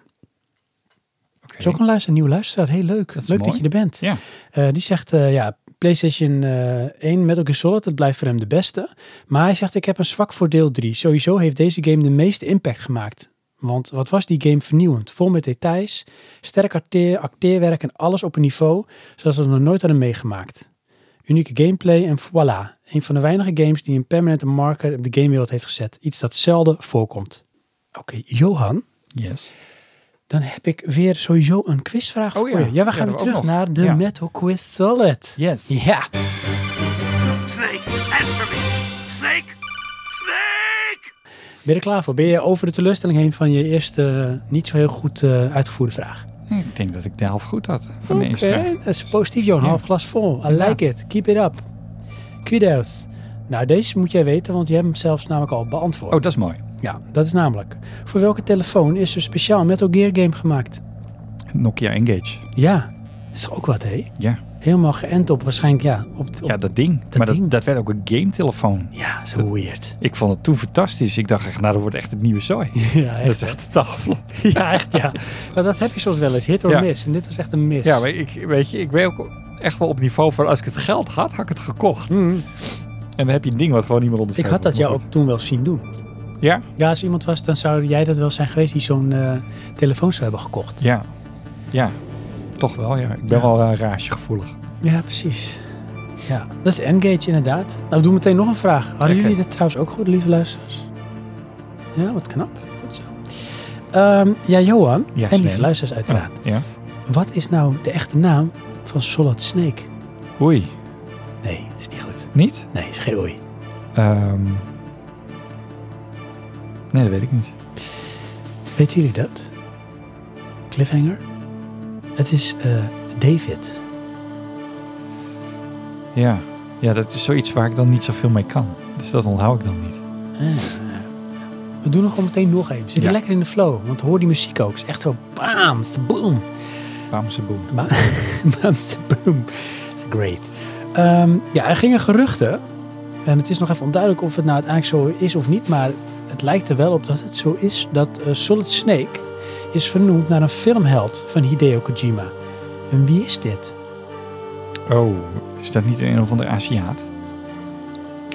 Speaker 2: Oké.
Speaker 1: is ook een, luister, een nieuw luisteraar. Heel leuk.
Speaker 2: Dat is
Speaker 1: leuk dat
Speaker 2: mooi.
Speaker 1: je er bent.
Speaker 2: Ja.
Speaker 1: Eh, die zegt, eh, ja, PlayStation eh 1 Metal Gear Solid, dat blijft voor hem de beste. Maar hij zegt, ik heb een zwak voor deel 3. Sowieso heeft deze game de meeste impact gemaakt. Want wat was die game vernieuwend? Vol met details, sterk acteer, acteerwerk en alles op een niveau zoals we nog nooit hadden meegemaakt. Unieke gameplay en voilà. Een van de weinige games die een permanente marker op de gamewereld heeft gezet. Iets dat zelden voorkomt. Oké, Johan
Speaker 2: Yes.
Speaker 1: dan heb ik weer sowieso een quizvraag
Speaker 2: Oh
Speaker 1: voor
Speaker 2: ja,
Speaker 1: je. Ja, we
Speaker 2: ja,
Speaker 1: gaan
Speaker 2: dat
Speaker 1: weer
Speaker 2: ook
Speaker 1: terug
Speaker 2: nog.
Speaker 1: naar de
Speaker 2: Ja.
Speaker 1: Metal Quiz Solid.
Speaker 2: Yes.
Speaker 1: Ja,
Speaker 3: Snake, answer me! Snake! Snake!
Speaker 1: ben je er klaar voor? Ben je over de teleurstelling heen van je eerste eh, niet zo heel goed eh, uitgevoerde vraag?
Speaker 2: Ik denk dat ik de helft goed had van de
Speaker 1: Oké,
Speaker 2: eerste vraag.
Speaker 1: dat is positief Johan.
Speaker 2: Ja.
Speaker 1: Half glas vol. I
Speaker 2: Inderdaad.
Speaker 1: like it. Keep it up. Kudos. Nou, deze moet jij weten, want je hebt hem zelfs namelijk al beantwoord.
Speaker 2: Oh, dat is mooi.
Speaker 1: Ja, dat is namelijk. Voor welke telefoon is er speciaal Metal Gear game gemaakt?
Speaker 2: Nokia Engage.
Speaker 1: Ja, dat is toch ook wat, hé?
Speaker 2: Ja,
Speaker 1: Helemaal geënt op waarschijnlijk, ja. Op, op,
Speaker 2: ja dat ding. maar
Speaker 1: ding.
Speaker 2: Dat, dat werd ook een gametelefoon.
Speaker 1: ja, zo
Speaker 2: <laughs>
Speaker 1: weird.
Speaker 2: Ik vond het toen fantastisch. Ik dacht echt, nou, dat wordt echt het nieuwe zooi.
Speaker 1: Ja,
Speaker 2: dat is
Speaker 1: hè?
Speaker 2: echt totaal geflopt.
Speaker 1: <laughs> Ja, echt ja. Maar dat heb je soms wel eens, hit or
Speaker 2: Ja.
Speaker 1: miss. En dit was echt een miss.
Speaker 2: Ja, maar ik, weet je, ik ben ook echt wel op niveau van als ik het geld had, had ik het gekocht.
Speaker 1: Mm.
Speaker 2: En dan heb je een ding wat gewoon niemand
Speaker 1: ik
Speaker 2: ondersteunt.
Speaker 1: had dat jou ook toen wel zien doen.
Speaker 2: Ja?
Speaker 1: Ja, als iemand was, dan zou jij dat wel zijn geweest die zo'n eh, telefoon zou hebben gekocht.
Speaker 2: Ja. Ja. Toch wel, ja. Ik ben
Speaker 1: Ja.
Speaker 2: wel een raasjegevoelig.
Speaker 1: Ja, precies. Ja, dat is Engage inderdaad. Nou, we doen meteen nog een vraag. Hadden
Speaker 2: Oké.
Speaker 1: jullie dit trouwens ook goed, lieve luisteraars? Ja, wat knap. Goed zo. Ehm, ja, Johan. en
Speaker 2: Ja, Oh.
Speaker 1: lieve
Speaker 2: Snelle.
Speaker 1: luisteraars uiteraard.
Speaker 2: Ja.
Speaker 1: Wat is nou de echte naam van Solid Snake?
Speaker 2: Oei.
Speaker 1: Nee, is niet goed.
Speaker 2: Niet?
Speaker 1: Nee, is geen oei.
Speaker 2: Ehm. Nee, dat weet ik niet.
Speaker 1: Weten jullie dat? Cliffhanger? Het is eh, David.
Speaker 2: Ja. Ja, dat is zoiets waar ik dan niet zoveel mee kan. Dus dat onthoud ik dan niet.
Speaker 1: We doen er gewoon meteen nog één. Zit je
Speaker 2: Ja.
Speaker 1: lekker in de flow, want hoor die muziek ook. Het is echt zo bam, boom.
Speaker 2: Bamse boem.
Speaker 1: Ba- <laughs> Bam, boom. It's great. Ehm, ja, er gingen geruchten. En het is nog even onduidelijk of het nou uiteindelijk zo is of niet. Maar het lijkt er wel op dat het zo is dat eh, Solid Snake is vernoemd naar een filmheld van Hideo Kojima. En wie is dit?
Speaker 2: Oh, is dat niet een of andere Aziat?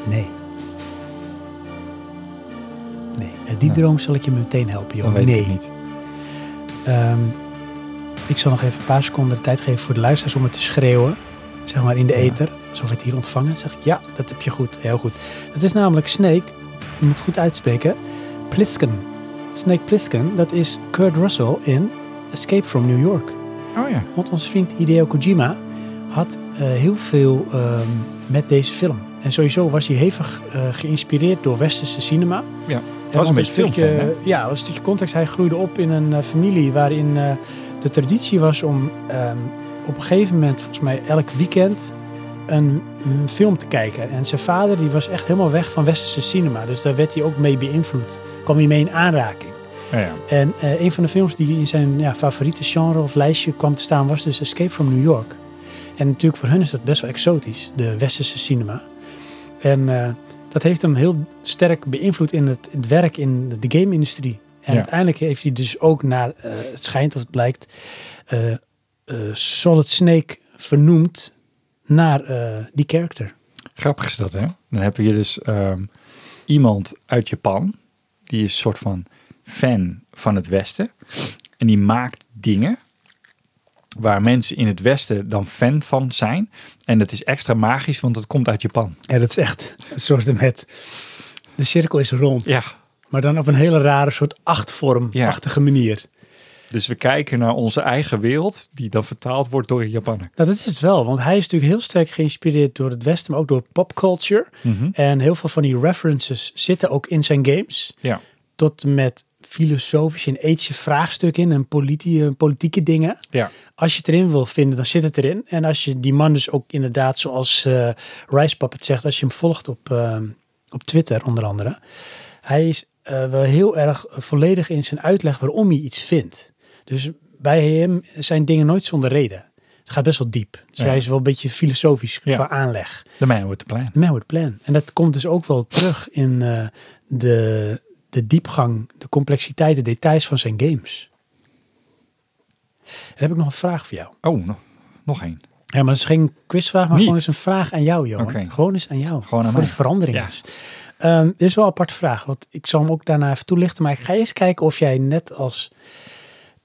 Speaker 1: Nee. Nee, uit die
Speaker 2: Nou.
Speaker 1: droom zal ik je meteen helpen, joh.
Speaker 2: Dan weet
Speaker 1: nee.
Speaker 2: ik het niet.
Speaker 1: Ehm, ik zal nog even een paar seconden de tijd geven voor de luisteraars om het te schreeuwen. Zeg maar in de
Speaker 2: Ja.
Speaker 1: ether, alsof we het hier ontvangen. Zeg ik, ja, dat heb je goed. Heel goed. Het is namelijk Snake, je moet het goed uitspreken, Plissken. Snake Plissken, dat is Kurt Russell in Escape from New York.
Speaker 2: Oh ja.
Speaker 1: Want ons vriend Hideo Kojima had eh, heel veel ehm, met deze film. En sowieso was hij hevig eh, geïnspireerd door westerse cinema.
Speaker 2: Ja.
Speaker 1: Het
Speaker 2: was een beetje
Speaker 1: stukje,
Speaker 2: filmfan,
Speaker 1: Ja, het was een stukje context. Hij groeide op in een eh, familie waarin eh, de traditie was om ehm, op een gegeven moment, volgens mij elk weekend, een, een film te kijken. En zijn vader die was echt helemaal weg van westerse cinema. Dus daar werd hij ook mee beïnvloed. Kwam hij mee in aanraking.
Speaker 2: Ja, Nou ja.
Speaker 1: En eh, een van de films die in zijn ja, favoriete genre of lijstje kwam te staan was dus Escape from New York. En natuurlijk voor hun is dat best wel exotisch, de westerse cinema. En eh, dat heeft hem heel sterk beïnvloed in het, het werk in de game-industrie. En
Speaker 2: Ja.
Speaker 1: uiteindelijk heeft hij dus ook naar, eh, het schijnt of het blijkt, eh, eh, Solid Snake vernoemd naar eh, die character.
Speaker 2: Grappig is dat, hè? Dan heb je dus ehm, iemand uit Japan, die is een soort van fan van het Westen. En die maakt dingen waar mensen in het Westen dan fan van zijn. En dat is extra magisch, want dat komt uit Japan.
Speaker 1: Ja, dat is echt een soort met. De cirkel is rond.
Speaker 2: Ja.
Speaker 1: Maar dan op een hele rare soort achtvorm-achtige manier.
Speaker 2: Dus we kijken naar onze eigen wereld, die dan vertaald wordt door een Japanner.
Speaker 1: Nou, dat is het wel, want hij is natuurlijk heel sterk geïnspireerd door het Westen, maar ook door popculture. En heel veel van die references zitten ook in zijn games.
Speaker 2: Ja.
Speaker 1: Tot en met filosofische en ethische vraagstukken in en politie- en politieke dingen.
Speaker 2: Ja.
Speaker 1: Als je het erin wil vinden, dan zit het erin. En als je die man dus ook inderdaad, zoals eh Rice Puppet zegt, als je hem volgt op, eh, op Twitter onder andere. Hij is eh, wel heel erg volledig in zijn uitleg waarom hij iets vindt. Dus bij hem zijn dingen nooit zonder reden. Het gaat best wel diep. Dus
Speaker 2: Ja.
Speaker 1: hij is wel een beetje filosofisch
Speaker 2: Ja.
Speaker 1: qua aanleg.
Speaker 2: De man with the plan.
Speaker 1: Man with plan. En dat komt dus ook wel terug in eh, de, de diepgang, de complexiteit, de details van zijn games. Dan heb ik nog een vraag voor jou.
Speaker 2: Oh, nog, nog één.
Speaker 1: Ja, maar dat is geen quizvraag, maar
Speaker 2: Niet?
Speaker 1: gewoon eens een vraag aan jou, Johan.
Speaker 2: Oké.
Speaker 1: Gewoon eens aan jou.
Speaker 2: Gewoon aan
Speaker 1: voor
Speaker 2: mij.
Speaker 1: de verandering
Speaker 2: Ja.
Speaker 1: eens. Ehm, dit is wel een aparte vraag, want ik zal hem ook daarna even toelichten. Maar ik ga eerst kijken of jij net als...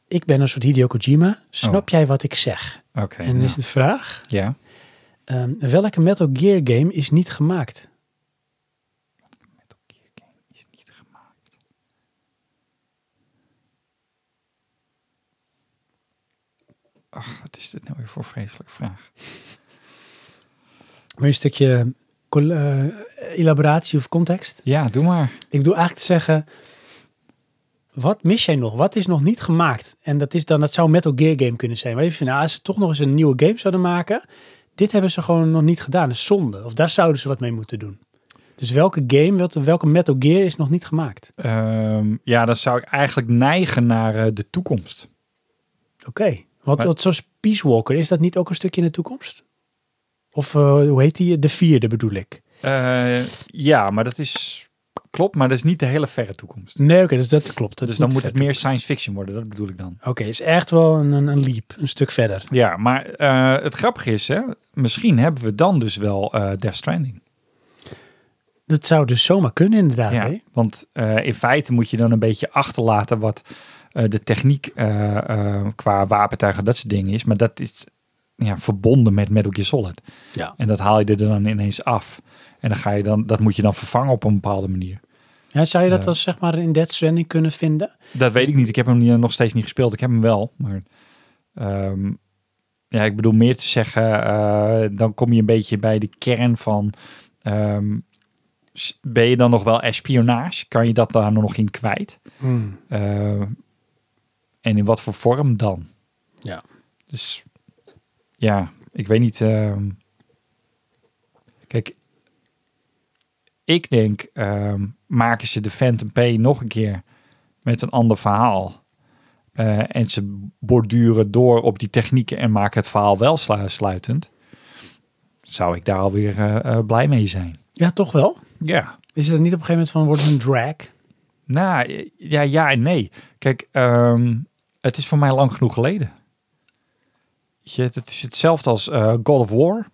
Speaker 1: Ik ben een soort Hideo Kojima.
Speaker 2: Oh.
Speaker 1: Snap jij wat ik zeg?
Speaker 2: Oké.
Speaker 1: en
Speaker 2: nou.
Speaker 1: is de vraag...
Speaker 2: Ja.
Speaker 1: ehm, welke Metal Gear game is niet gemaakt?
Speaker 2: Metal Gear game is niet gemaakt. Ach, wat is dit nou weer voor vreselijke vraag?
Speaker 1: Wil je een stukje col- eh, elaboratie of context?
Speaker 2: Ja, doe maar.
Speaker 1: Ik bedoel eigenlijk te zeggen, wat mis jij nog? Wat is nog niet gemaakt? En dat, is dan, dat zou een Metal Gear game kunnen zijn. Maar even, van, nou, als ze toch nog eens een nieuwe game zouden maken, dit hebben ze gewoon nog niet gedaan. Dat is zonde. Of daar zouden ze wat mee moeten doen. Dus welke game, welke, welke Metal Gear is nog niet gemaakt?
Speaker 2: Ehm, ja, dan zou ik eigenlijk neigen naar eh, de toekomst.
Speaker 1: Oké. Want
Speaker 2: Maar-
Speaker 1: wat, zoals Peace Walker, is dat niet ook een stukje in de toekomst? Of eh, hoe heet die? De vierde bedoel ik.
Speaker 2: Eh, ja, maar dat is... Klopt, maar dat is niet de hele verre toekomst.
Speaker 1: Nee, oké, dus dat klopt. Dat
Speaker 2: dus
Speaker 1: is
Speaker 2: dan
Speaker 1: niet
Speaker 2: moet
Speaker 1: ver
Speaker 2: het meer science fiction worden, dat bedoel ik dan.
Speaker 1: Oké, is echt wel een, een, een leap, een stuk verder.
Speaker 2: Ja, maar eh, het grappige is, hè, misschien hebben we dan dus wel eh Death Stranding.
Speaker 1: Dat zou dus zomaar kunnen inderdaad.
Speaker 2: Ja,
Speaker 1: Hè?
Speaker 2: want eh, in feite moet je dan een beetje achterlaten wat eh, de techniek eh, eh, qua wapentuigen dat soort dingen is. Maar dat is ja, verbonden met Metal Gear Solid.
Speaker 1: Ja.
Speaker 2: En dat haal je er dan ineens af. En dan ga je dan, dat moet je dan vervangen op een bepaalde manier.
Speaker 1: ja. Zou je dat
Speaker 2: Ja.
Speaker 1: als zeg maar in Dead Stranding kunnen vinden?
Speaker 2: Dat weet ik niet. Ik heb hem niet- eh, nog steeds niet gespeeld. Ik heb hem wel, maar... ehm, ja, ik bedoel meer te zeggen, eh, dan kom je een beetje bij de kern van... ehm, s- ben je dan nog wel espionage? Kan je dat daar nog in kwijt?
Speaker 1: Hmm.
Speaker 2: Eh, en in wat voor vorm dan?
Speaker 1: Ja.
Speaker 2: Dus ja, ik weet niet. ehm, kijk, ik denk, ehm, maken ze de Phantom P nog een keer met een ander verhaal. Eh, en ze borduren door op die technieken en maken het verhaal wel slu- sluitend. Zou ik daar alweer eh, eh, blij mee zijn?
Speaker 1: Ja, toch wel.
Speaker 2: Ja.
Speaker 1: Is het niet op een gegeven moment van wordt het een drag?
Speaker 2: Nou, eh, ja, ja en nee. Kijk, ehm, het is voor mij lang genoeg geleden. Weet Je, het is hetzelfde als eh, God of War.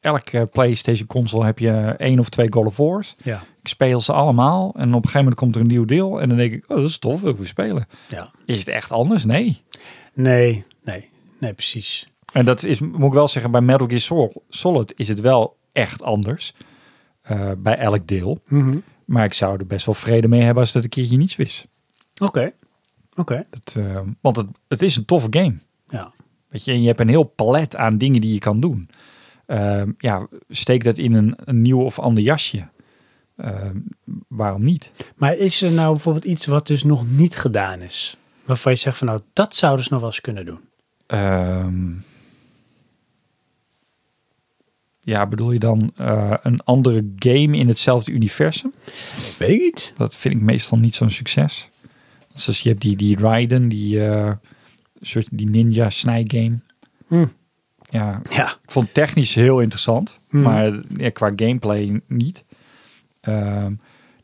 Speaker 2: Elke eh, PlayStation console heb je eh, één of twee God of Wars.
Speaker 1: Ja.
Speaker 2: Ik speel ze allemaal en op een gegeven moment komt er een nieuw deel en dan denk ik, oh dat is tof, wil ik weer spelen.
Speaker 1: ja.
Speaker 2: Is het echt anders? Nee.
Speaker 1: Nee, nee, nee, precies.
Speaker 2: En dat is, moet ik wel zeggen, bij Metal Gear Sol- Solid is het wel echt anders. eh, bij elk deel.
Speaker 1: Mhm.
Speaker 2: Maar ik zou er best wel vrede mee hebben als dat een keertje niets wist.
Speaker 1: Oké, oké.
Speaker 2: Dat, eh, want het, het is een toffe game.
Speaker 1: Ja.
Speaker 2: Weet je, en je hebt een heel palet aan dingen die je kan doen. Ehm, ja, steek dat in een, een nieuw of ander jasje. eh, waarom niet?
Speaker 1: Maar is er nou bijvoorbeeld iets wat dus nog niet gedaan is? Waarvan je zegt van nou, dat zouden ze nog wel eens kunnen doen.
Speaker 2: Ehm, ja, bedoel je dan eh, een andere game in hetzelfde universum?
Speaker 1: Weet ik niet.
Speaker 2: Dat vind ik meestal niet zo'n succes. Dus als je hebt die, die Raiden, die, eh, soort die ninja snijgame.
Speaker 1: Hm.
Speaker 2: Ja,
Speaker 1: Ja.
Speaker 2: ik vond het technisch heel interessant,
Speaker 1: Hmm.
Speaker 2: maar ja, qua gameplay niet. Ehm,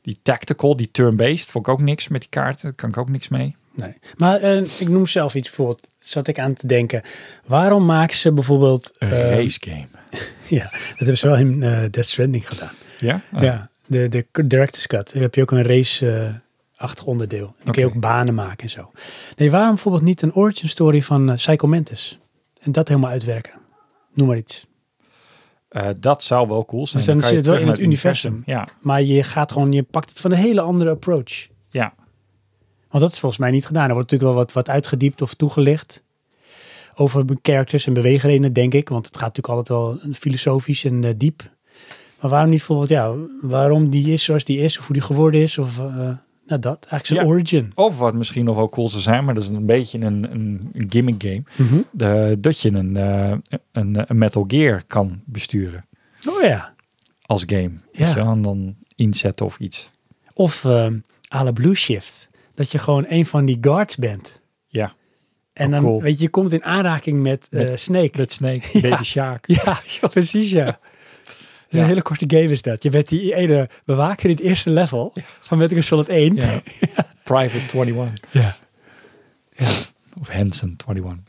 Speaker 2: die tactical, die turn-based, vond ik ook niks met die kaarten. Daar kan ik ook niks mee.
Speaker 1: Nee. Maar eh, ik noem zelf iets bijvoorbeeld, zat ik aan te denken. Waarom maken ze bijvoorbeeld... eh,
Speaker 2: race game.
Speaker 1: Ja, dat hebben ze wel in eh Death Stranding gedaan.
Speaker 2: Ja? Ah,
Speaker 1: Ja, de, de director's cut. Daar heb je ook een race-achtig onderdeel. Dan kun je
Speaker 2: Oké.
Speaker 1: ook banen maken en zo. Nee, waarom bijvoorbeeld niet een origin story van eh Psycho Mantis? En dat helemaal uitwerken. Noem maar iets.
Speaker 2: eh, dat zou wel cool zijn.
Speaker 1: Dus dan
Speaker 2: kan je
Speaker 1: zit het wel
Speaker 2: terug
Speaker 1: in
Speaker 2: naar
Speaker 1: het universum.
Speaker 2: Ja,
Speaker 1: Maar je gaat gewoon, je pakt het van een hele andere approach.
Speaker 2: ja.
Speaker 1: Want dat is volgens mij niet gedaan. Er wordt natuurlijk wel wat, wat uitgediept of toegelicht over be- characters en beweegredenen, denk ik. Want het gaat natuurlijk altijd wel filosofisch en eh, diep. Maar waarom niet bijvoorbeeld, ja, waarom die is zoals die is, of hoe die geworden is, of eh, nou dat, eigenlijk zijn
Speaker 2: Ja.
Speaker 1: origin.
Speaker 2: Of wat misschien nog wel cool zou zijn, maar dat is een beetje een, een gimmick game. De, dat je een, eh, een, een Metal Gear kan besturen
Speaker 1: Oh ja.
Speaker 2: als game.
Speaker 1: Ja.
Speaker 2: Weet je wel? En dan inzetten of iets.
Speaker 1: Of ehm à la Blue Shift, dat je gewoon een van die guards bent.
Speaker 2: Ja.
Speaker 1: En
Speaker 2: Oh,
Speaker 1: dan,
Speaker 2: cool.
Speaker 1: weet je, je komt in aanraking met, eh, Snake.
Speaker 2: Met Snake, Baby
Speaker 1: <laughs>
Speaker 2: Shark.
Speaker 1: Ja, ja, precies ja. Het is
Speaker 2: Ja.
Speaker 1: een hele korte game is dat. Je bent die ene bewaker in het eerste level van Metal Gear Solid 1. <laughs>
Speaker 2: Ja. Private 21.
Speaker 1: Ja.
Speaker 2: Of Hanson 21.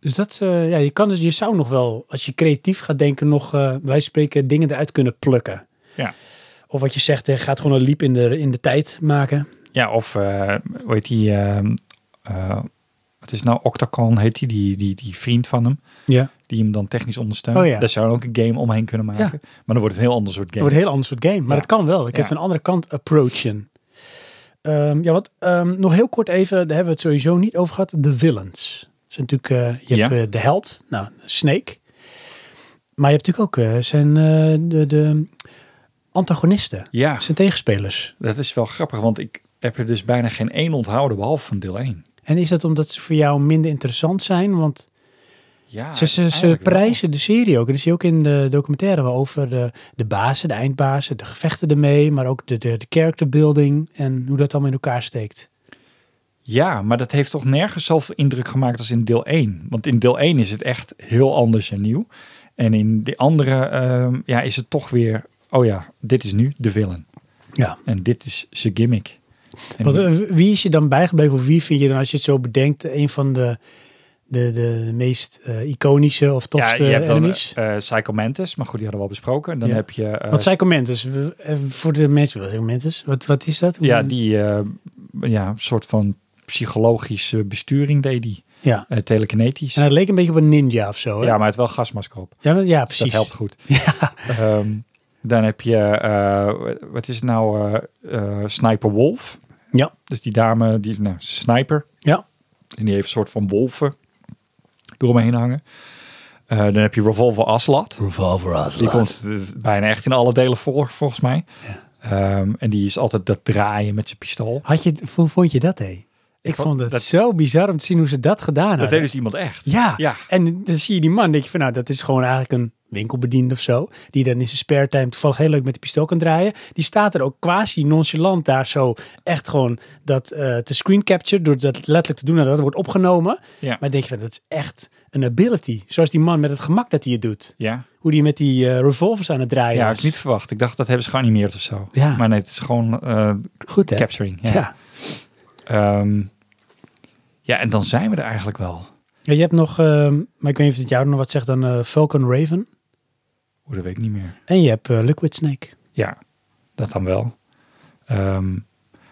Speaker 1: Dus dat, eh, ja, je, kan dus, je zou nog wel, als je creatief gaat denken, nog, eh, wij spreken, dingen eruit kunnen plukken.
Speaker 2: Ja.
Speaker 1: Of wat je zegt, eh, gaat gewoon een leap in de, in de tijd maken.
Speaker 2: Ja, of eh hoe heet die? ehm, eh, wat is nou? Octacon heet die, die, die, die vriend van hem.
Speaker 1: Ja.
Speaker 2: Die hem dan technisch ondersteunt.
Speaker 1: Oh ja.
Speaker 2: Daar zou je ook een game omheen kunnen maken.
Speaker 1: Ja.
Speaker 2: Maar dan wordt het een heel ander soort
Speaker 1: Het
Speaker 2: game.
Speaker 1: wordt een heel ander soort game. Maar
Speaker 2: Ja.
Speaker 1: dat kan wel. Ik
Speaker 2: Ja.
Speaker 1: heb van een andere kant approachen. Ehm, ja, wat, ehm, nog heel kort even, daar hebben we het sowieso niet over gehad. De villains. Dus natuurlijk, eh, je
Speaker 2: Ja.
Speaker 1: hebt eh, de held, nou, Snake. Maar je hebt natuurlijk ook eh, zijn eh, de, de antagonisten,
Speaker 2: Ja,
Speaker 1: zijn tegenspelers.
Speaker 2: dat is wel grappig, want ik heb er dus bijna geen één onthouden behalve van deel 1.
Speaker 1: En is dat omdat ze voor jou minder interessant zijn? Want
Speaker 2: Ja,
Speaker 1: ze, ze, ze
Speaker 2: eigenlijk wel.
Speaker 1: prijzen de serie ook. En dat zie je ook in de documentaire wel over de, de bazen, de eindbazen, de gevechten ermee. Maar ook de, de, de character building en hoe dat allemaal in elkaar steekt.
Speaker 2: Ja, maar dat heeft toch nergens zoveel indruk gemaakt als in deel 1. Want in deel 1 is het echt heel anders en nieuw. En in de andere ehm, ja, is het toch weer, oh ja, dit is nu de villain.
Speaker 1: Ja.
Speaker 2: En dit is zijn gimmick. En
Speaker 1: Want, eh, wie is je dan bijgebleven? Of wie vind je dan, als je het zo bedenkt, een van de, de, de meest eh, iconische of tofste
Speaker 2: ja, je hebt dan
Speaker 1: enemies?
Speaker 2: eh, eh, Psycho Mantis, maar goed, die hadden we al besproken. En dan
Speaker 1: Ja.
Speaker 2: heb je... eh,
Speaker 1: Wat Psycho Mantis, we- eh, voor de mensen, wat, Psycho Mantis? wat, wat is dat? Hoe-
Speaker 2: Ja, die eh, ja, een soort van psychologische besturing deed die.
Speaker 1: Ja.
Speaker 2: Eh, telekinetisch.
Speaker 1: En het leek een beetje op een ninja of zo. hè?
Speaker 2: Ja, maar het wel gasmasker op.
Speaker 1: ja, maar- ja,
Speaker 2: Dus
Speaker 1: precies.
Speaker 2: Dat helpt
Speaker 1: <laughs>
Speaker 2: goed. Ehm, dan heb je, eh, wat is het nou, eh, eh, Sniper Wolf.
Speaker 1: Ja.
Speaker 2: Dus die dame, die is nou, sniper.
Speaker 1: Ja.
Speaker 2: En die heeft een soort van wolven eromheen hangen. Eh, dan heb je Revolver Aslat.
Speaker 1: Revolver
Speaker 2: Die komt dus bijna echt in alle delen voor, volgens mij. Ehm, en die is altijd dat draaien met zijn pistool.
Speaker 1: Had je, hoe vond je dat, hé? Ik,
Speaker 2: vond
Speaker 1: vond, het
Speaker 2: dat-
Speaker 1: zo bizar om te zien hoe ze dat gedaan
Speaker 2: Dat
Speaker 1: hadden.
Speaker 2: deed dus iemand echt.
Speaker 1: Ja.
Speaker 2: Ja.
Speaker 1: en dan zie je die man, denk je van nou, dat is gewoon eigenlijk een winkelbediende of zo, die dan in zijn spare time toevallig heel leuk met de pistool kan draaien. Die staat er ook quasi nonchalant daar zo echt gewoon dat eh, te screen capture, door dat letterlijk te doen nadat het wordt opgenomen.
Speaker 2: Ja.
Speaker 1: Maar dan denk je van, dat is echt een ability. Zoals die man met het gemak dat hij het doet.
Speaker 2: ja.
Speaker 1: Hoe die met die eh, revolvers aan het draaien
Speaker 2: Ja, had
Speaker 1: was.
Speaker 2: ik niet verwacht. Ik dacht dat hebben ze geanimeerd of zo.
Speaker 1: Ja.
Speaker 2: Maar nee, het is gewoon eh,
Speaker 1: Goed hè?
Speaker 2: capturing.
Speaker 1: Ja.
Speaker 2: Ehm, ja, en dan zijn we er eigenlijk wel.
Speaker 1: Ja, Je hebt nog, ehm, maar ik weet niet of het jou nog wat zegt, dan eh, Falcon Raven.
Speaker 2: Hoe dat weet ik niet meer.
Speaker 1: En je hebt eh, Liquid Snake.
Speaker 2: Ja, dat dan wel. Ehm,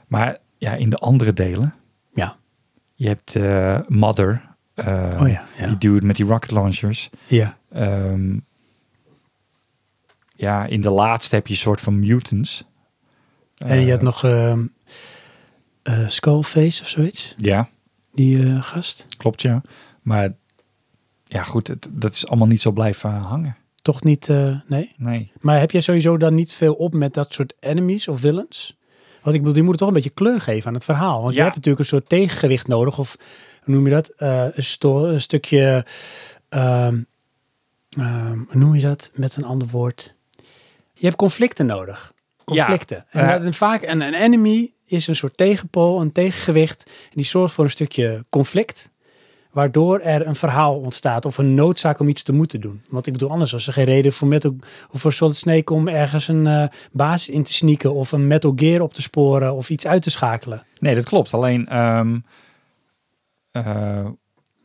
Speaker 2: maar ja, in de andere delen.
Speaker 1: Ja.
Speaker 2: Je hebt eh, Mother. eh,
Speaker 1: Oh ja, ja.
Speaker 2: Die dude met die rocket launchers.
Speaker 1: Ja.
Speaker 2: Ehm, ja, in de laatste heb je een soort van mutants.
Speaker 1: En je
Speaker 2: Eh,
Speaker 1: had nog ehm eh, Skullface of zoiets,
Speaker 2: Ja,
Speaker 1: die eh, gast.
Speaker 2: klopt ja. Maar ja, goed, het, dat is allemaal niet zo blijven hangen.
Speaker 1: Toch niet, eh, nee.
Speaker 2: Nee.
Speaker 1: Maar heb jij sowieso dan niet veel op met dat soort enemies of villains? Want ik bedoel, die moeten toch een beetje kleur geven aan het verhaal. Want je
Speaker 2: Ja.
Speaker 1: hebt natuurlijk een soort tegengewicht nodig. Of hoe noem je dat? Eh, een, sto- een stukje, ehm, ehm, hoe noem je dat met een ander woord? Je hebt conflicten nodig. Conflicten. En,
Speaker 2: Ja.
Speaker 1: dat- en vaak een, een enemy is een soort tegenpool, een tegengewicht. En die zorgt voor een stukje conflict waardoor er een verhaal ontstaat of een noodzaak om iets te moeten doen. Want ik bedoel, anders was er geen reden voor, metal, of voor Solid Snake om ergens een eh, basis in te sneaken of een Metal Gear op te sporen of iets uit te schakelen.
Speaker 2: Nee, dat klopt. Alleen, ehm, eh,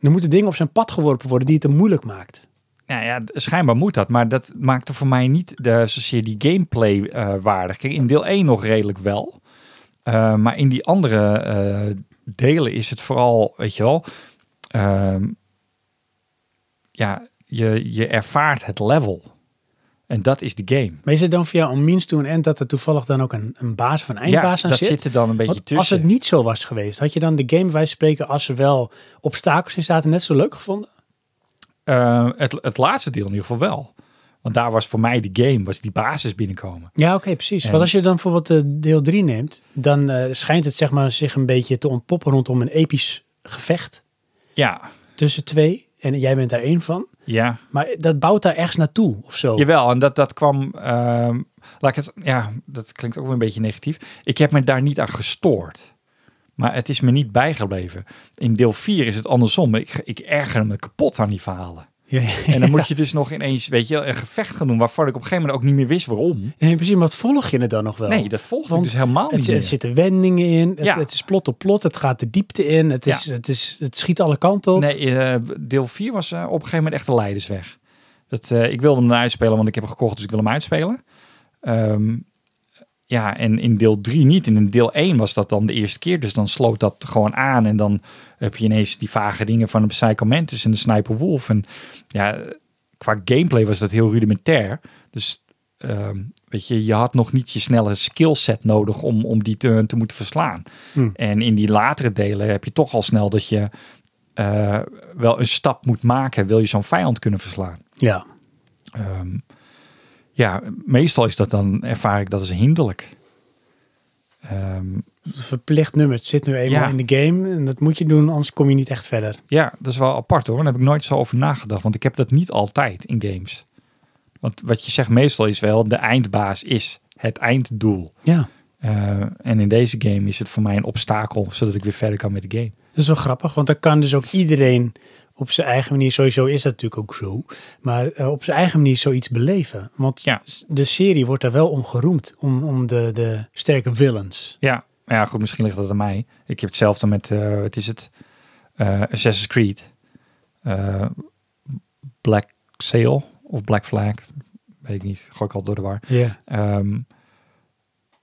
Speaker 1: Er moeten dingen op zijn pad geworpen worden die het te moeilijk maakt.
Speaker 2: Nou ja, d- schijnbaar moet dat. Maar dat maakte voor mij niet de, zozeer die gameplay eh, waardig. Kijk, in deel 1 nog redelijk wel. Eh, maar in die andere eh, delen is het vooral, weet je wel... ehm, ja, je, je ervaart het level. En dat is de game.
Speaker 1: Maar is het dan voor jou een means to an end dat er toevallig dan ook een, een baas of een eindbaas
Speaker 2: ja,
Speaker 1: aan
Speaker 2: dat
Speaker 1: zit?
Speaker 2: zit er dan een beetje
Speaker 1: Want
Speaker 2: tussen.
Speaker 1: als het niet zo was geweest, had je dan de game bij wijze van spreken als er wel obstakels in zaten net zo leuk gevonden?
Speaker 2: Eh, het, het laatste deel in ieder geval wel. Want daar was voor mij de game, was die basis binnenkomen.
Speaker 1: Ja, oké, precies.
Speaker 2: En-
Speaker 1: Want als je dan bijvoorbeeld eh, deel 3 neemt, dan eh, schijnt het zeg maar, zich een beetje te ontpoppen rondom een episch gevecht
Speaker 2: Ja,
Speaker 1: tussen twee. En jij bent daar één van.
Speaker 2: ja.
Speaker 1: Maar dat bouwt daar ergens naartoe of zo.
Speaker 2: Jawel, en dat, dat kwam. ehm, laat ik het, ja, dat klinkt ook weer een beetje negatief. Ik heb me daar niet aan gestoord. Maar het is me niet bijgebleven. In deel 4 is het andersom. Ik, ik erger me kapot aan
Speaker 1: <laughs>
Speaker 2: die verhalen.
Speaker 1: Ja,
Speaker 2: En dan moet je dus nog ineens, weet je, wel, een gevecht gaan doen waarvan ik op een gegeven moment ook niet meer wist waarom.
Speaker 1: Nee, precies. Maar wat volg je het dan nog wel?
Speaker 2: Nee, dat volg ik
Speaker 1: Want
Speaker 2: dus helemaal
Speaker 1: het,
Speaker 2: niet.
Speaker 1: het
Speaker 2: meer.
Speaker 1: zitten wendingen in. Het,
Speaker 2: Ja.
Speaker 1: het is plot op plot. Het gaat de diepte in. Het, is,
Speaker 2: Ja.
Speaker 1: het, is, het schiet alle kanten op.
Speaker 2: Nee, eh, deel 4 was eh, op een gegeven moment echt de leidersweg. Dat, eh, ik wilde hem dan uitspelen, want ik heb hem gekocht, dus ik wil hem uitspelen. Ehm, ja, en in deel 3 niet. En in deel 1 was dat dan de eerste keer. Dus dan sloot dat gewoon aan. En dan heb je ineens die vage dingen van de Psycho Mantis en de Sniper Wolf. En ja, qua gameplay was dat heel rudimentair. Dus ehm, weet je, je had nog niet je snelle skillset nodig om, om die te, te moeten verslaan.
Speaker 1: Hmm.
Speaker 2: En in die latere delen heb je toch al snel dat je eh, wel een stap moet maken. Wil je zo'n vijand kunnen verslaan?
Speaker 1: Ja.
Speaker 2: Ehm, ja, meestal is dat dan, ervaar ik dat als hinderlijk. Ehm,
Speaker 1: Verplicht nummer. Het zit nu eenmaal
Speaker 2: Ja.
Speaker 1: in de game. En dat moet je doen, anders kom je niet echt verder.
Speaker 2: ja, dat is wel apart hoor. Daar heb ik nooit zo over nagedacht. Want ik heb dat niet altijd in games. Want wat je zegt meestal is wel, de eindbaas is het einddoel.
Speaker 1: Ja.
Speaker 2: Eh, en in deze game is het voor mij een obstakel, zodat ik weer verder kan met de game.
Speaker 1: Dat is wel grappig, want dan kan dus ook iedereen op zijn eigen manier, sowieso is dat natuurlijk ook zo, maar eh, op zijn eigen manier zoiets beleven. Want
Speaker 2: Ja.
Speaker 1: s- de serie wordt daar wel om geroemd, om, om de, de sterke villains.
Speaker 2: Ja, maar ja, goed, misschien ligt dat aan mij. Ik heb hetzelfde met, eh, wat is het? Eh, Assassin's Creed. Eh, Black Sail of Black Flag. Weet ik niet, gooi ik al door de war.
Speaker 1: Ja.
Speaker 2: Ehm,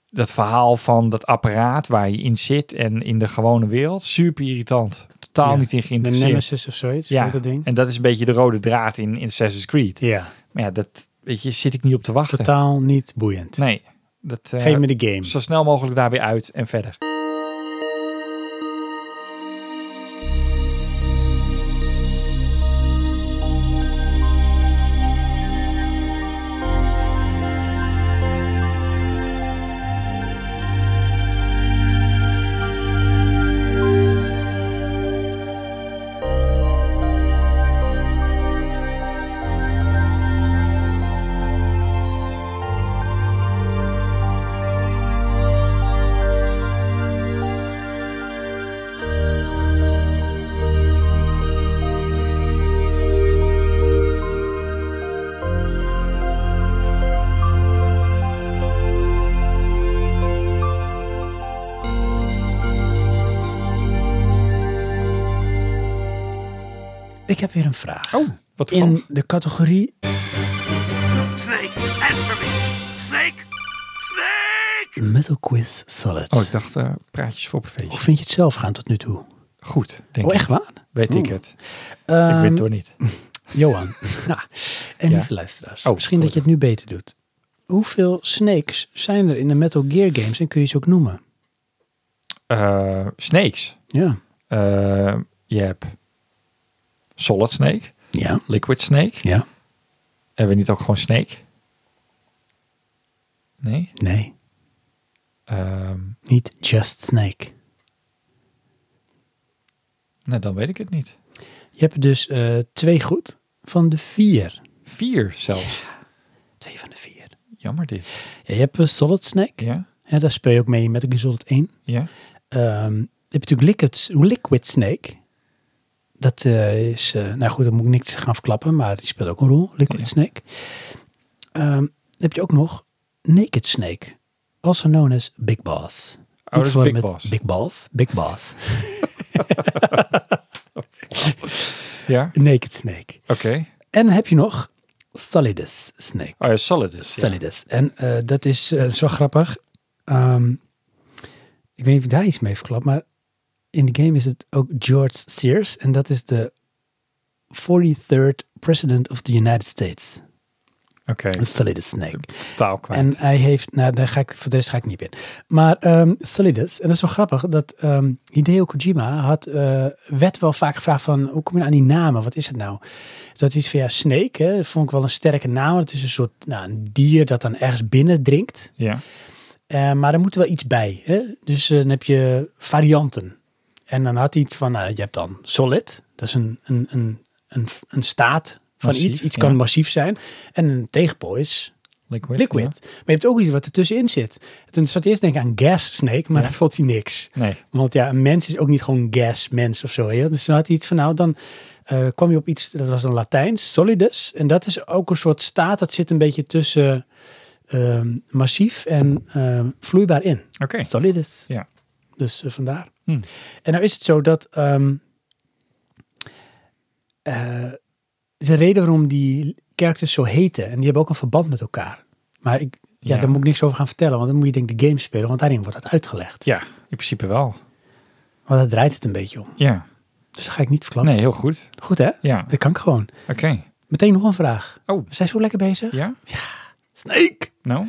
Speaker 2: dat verhaal van dat apparaat waar je in zit en in de gewone wereld, super irritant. Totaal
Speaker 1: Ja,
Speaker 2: niet in
Speaker 1: De
Speaker 2: geïnteresseerd.
Speaker 1: Nemesis of zoiets,
Speaker 2: Ja.
Speaker 1: ja. dat ding.
Speaker 2: En dat is een beetje de rode draad in, in Assassin's Creed.
Speaker 1: Ja,
Speaker 2: Maar ja, dat weet je, zit ik niet op te wachten.
Speaker 1: totaal niet boeiend.
Speaker 2: Nee, dat, eh,
Speaker 1: Geef me de game.
Speaker 2: zo snel mogelijk daar weer uit en verder.
Speaker 1: Ik heb weer een vraag.
Speaker 2: Oh, wat
Speaker 1: In de categorie,
Speaker 3: Snake, answer me! Snake! Snake!
Speaker 1: Metal Quiz Solid.
Speaker 2: Oh, ik dacht eh, praatjes voor op een
Speaker 1: Hoe
Speaker 2: feestje.
Speaker 1: vind je het zelf gaan tot nu toe?
Speaker 2: Goed, denk
Speaker 1: Oh,
Speaker 2: ik.
Speaker 1: echt waar? Ehm,
Speaker 2: Weet ik
Speaker 1: Oeh.
Speaker 2: het. ik weet het toch niet.
Speaker 1: <laughs> Johan. Ja. en
Speaker 2: Ja.
Speaker 1: lieve luisteraars,
Speaker 2: Oh,
Speaker 1: misschien dat je het nu beter doet. Hoeveel snakes zijn er in de Metal Gear games en kun je ze ook noemen?
Speaker 2: Eh, snakes.
Speaker 1: Ja.
Speaker 2: Eh, je hebt Solid Snake,
Speaker 1: Ja.
Speaker 2: Liquid Snake,
Speaker 1: Ja.
Speaker 2: Hebben we niet ook gewoon Snake? Nee?
Speaker 1: Nee,
Speaker 2: Ehm,
Speaker 1: niet Just Snake.
Speaker 2: nou, dan weet ik het niet.
Speaker 1: Je hebt dus eh, twee goed van de vier.
Speaker 2: Vier zelfs.
Speaker 1: Twee van de vier.
Speaker 2: Jammer dit.
Speaker 1: Ja, je hebt eh, Solid Snake.
Speaker 2: Ja?
Speaker 1: Ja, daar speel je ook mee met Metal Gear Solid 1.
Speaker 2: Ja? Oh,
Speaker 1: Ehm, je hebt natuurlijk Liquid, Liquid Snake. Dat eh, is, eh, nou goed, daar moet ik niks gaan verklappen, maar die speelt ook een rol, Liquid
Speaker 2: Ja.
Speaker 1: Snake. Ehm, dan heb je ook nog Naked Snake, also known as Big Boss.
Speaker 2: Oh, dat is
Speaker 1: verwarren
Speaker 2: Big
Speaker 1: met
Speaker 2: Boss.
Speaker 1: Big Boss, Big Boss. <laughs>
Speaker 2: Ja?
Speaker 1: Naked Snake.
Speaker 2: Oké.
Speaker 1: En dan heb je nog Solidus Snake.
Speaker 2: Oh ja, Solidus. Ja.
Speaker 1: Solidus. En eh, dat is eh, zo grappig. Ehm, ik weet niet of ik daar iets mee heb verklapt, maar in de game is het ook George Sears. En dat is de 43rd president of the United States.
Speaker 2: Oké,
Speaker 1: Solidus Snake.
Speaker 2: taal kwijt.
Speaker 1: En hij heeft, nou daar ga ik, voor de rest ga ik niet op in. Maar ehm, Solidus, en dat is wel grappig, dat ehm, Hideo Kojima had, eh, werd wel vaak gevraagd van, hoe kom je nou aan die namen, wat is het nou? Dat hij iets van, ja, Snake, hè, dat vond ik wel een sterke naam, het is een soort, nou, een dier dat dan ergens binnen drinkt.
Speaker 2: Ja,
Speaker 1: Eh, maar er moet wel iets bij. Hè? Dus eh, dan heb je varianten. En dan had hij iets van, nou, je hebt dan solid. Dat is een, een, een, een, een staat van
Speaker 2: Massief,
Speaker 1: iets. Iets
Speaker 2: ja.
Speaker 1: kan massief zijn. En een tegenpool is
Speaker 2: liquid.
Speaker 1: liquid. Maar je hebt ook iets wat ertussenin zit. Toen zat ik eerst te denken aan gas snake, maar
Speaker 2: Ja.
Speaker 1: dat vond hij niks.
Speaker 2: ja. Nee,
Speaker 1: Want ja, een mens is ook niet gewoon gas mens of zo. hè. Dus dan had hij iets van, nou dan eh, kwam je op iets, dat was een Latijns, solidus. En dat is ook een soort staat, dat zit een beetje tussen ehm, massief en ehm, vloeibaar in.
Speaker 2: oké.
Speaker 1: Solidus.
Speaker 2: Ja.
Speaker 1: Dus eh, vandaar.
Speaker 2: Hmm.
Speaker 1: En nou is het zo dat... ehm eh, is een reden waarom die characters zo heten. En die hebben ook een verband met elkaar. Maar ik, ja,
Speaker 2: Ja.
Speaker 1: daar moet ik niks over gaan vertellen. Want dan moet je denk ik de game spelen. Want daarin wordt dat uitgelegd.
Speaker 2: Ja, in principe wel.
Speaker 1: Want daar draait het een beetje om.
Speaker 2: Ja,
Speaker 1: Dus dat ga ik niet verklappen.
Speaker 2: nee, heel goed.
Speaker 1: Goed hè?
Speaker 2: Ja,
Speaker 1: Dat kan ik gewoon.
Speaker 2: oké.
Speaker 1: Meteen nog een vraag.
Speaker 2: Oh.
Speaker 1: We zijn zo lekker bezig.
Speaker 2: Ja?
Speaker 1: Snake!
Speaker 2: Nou?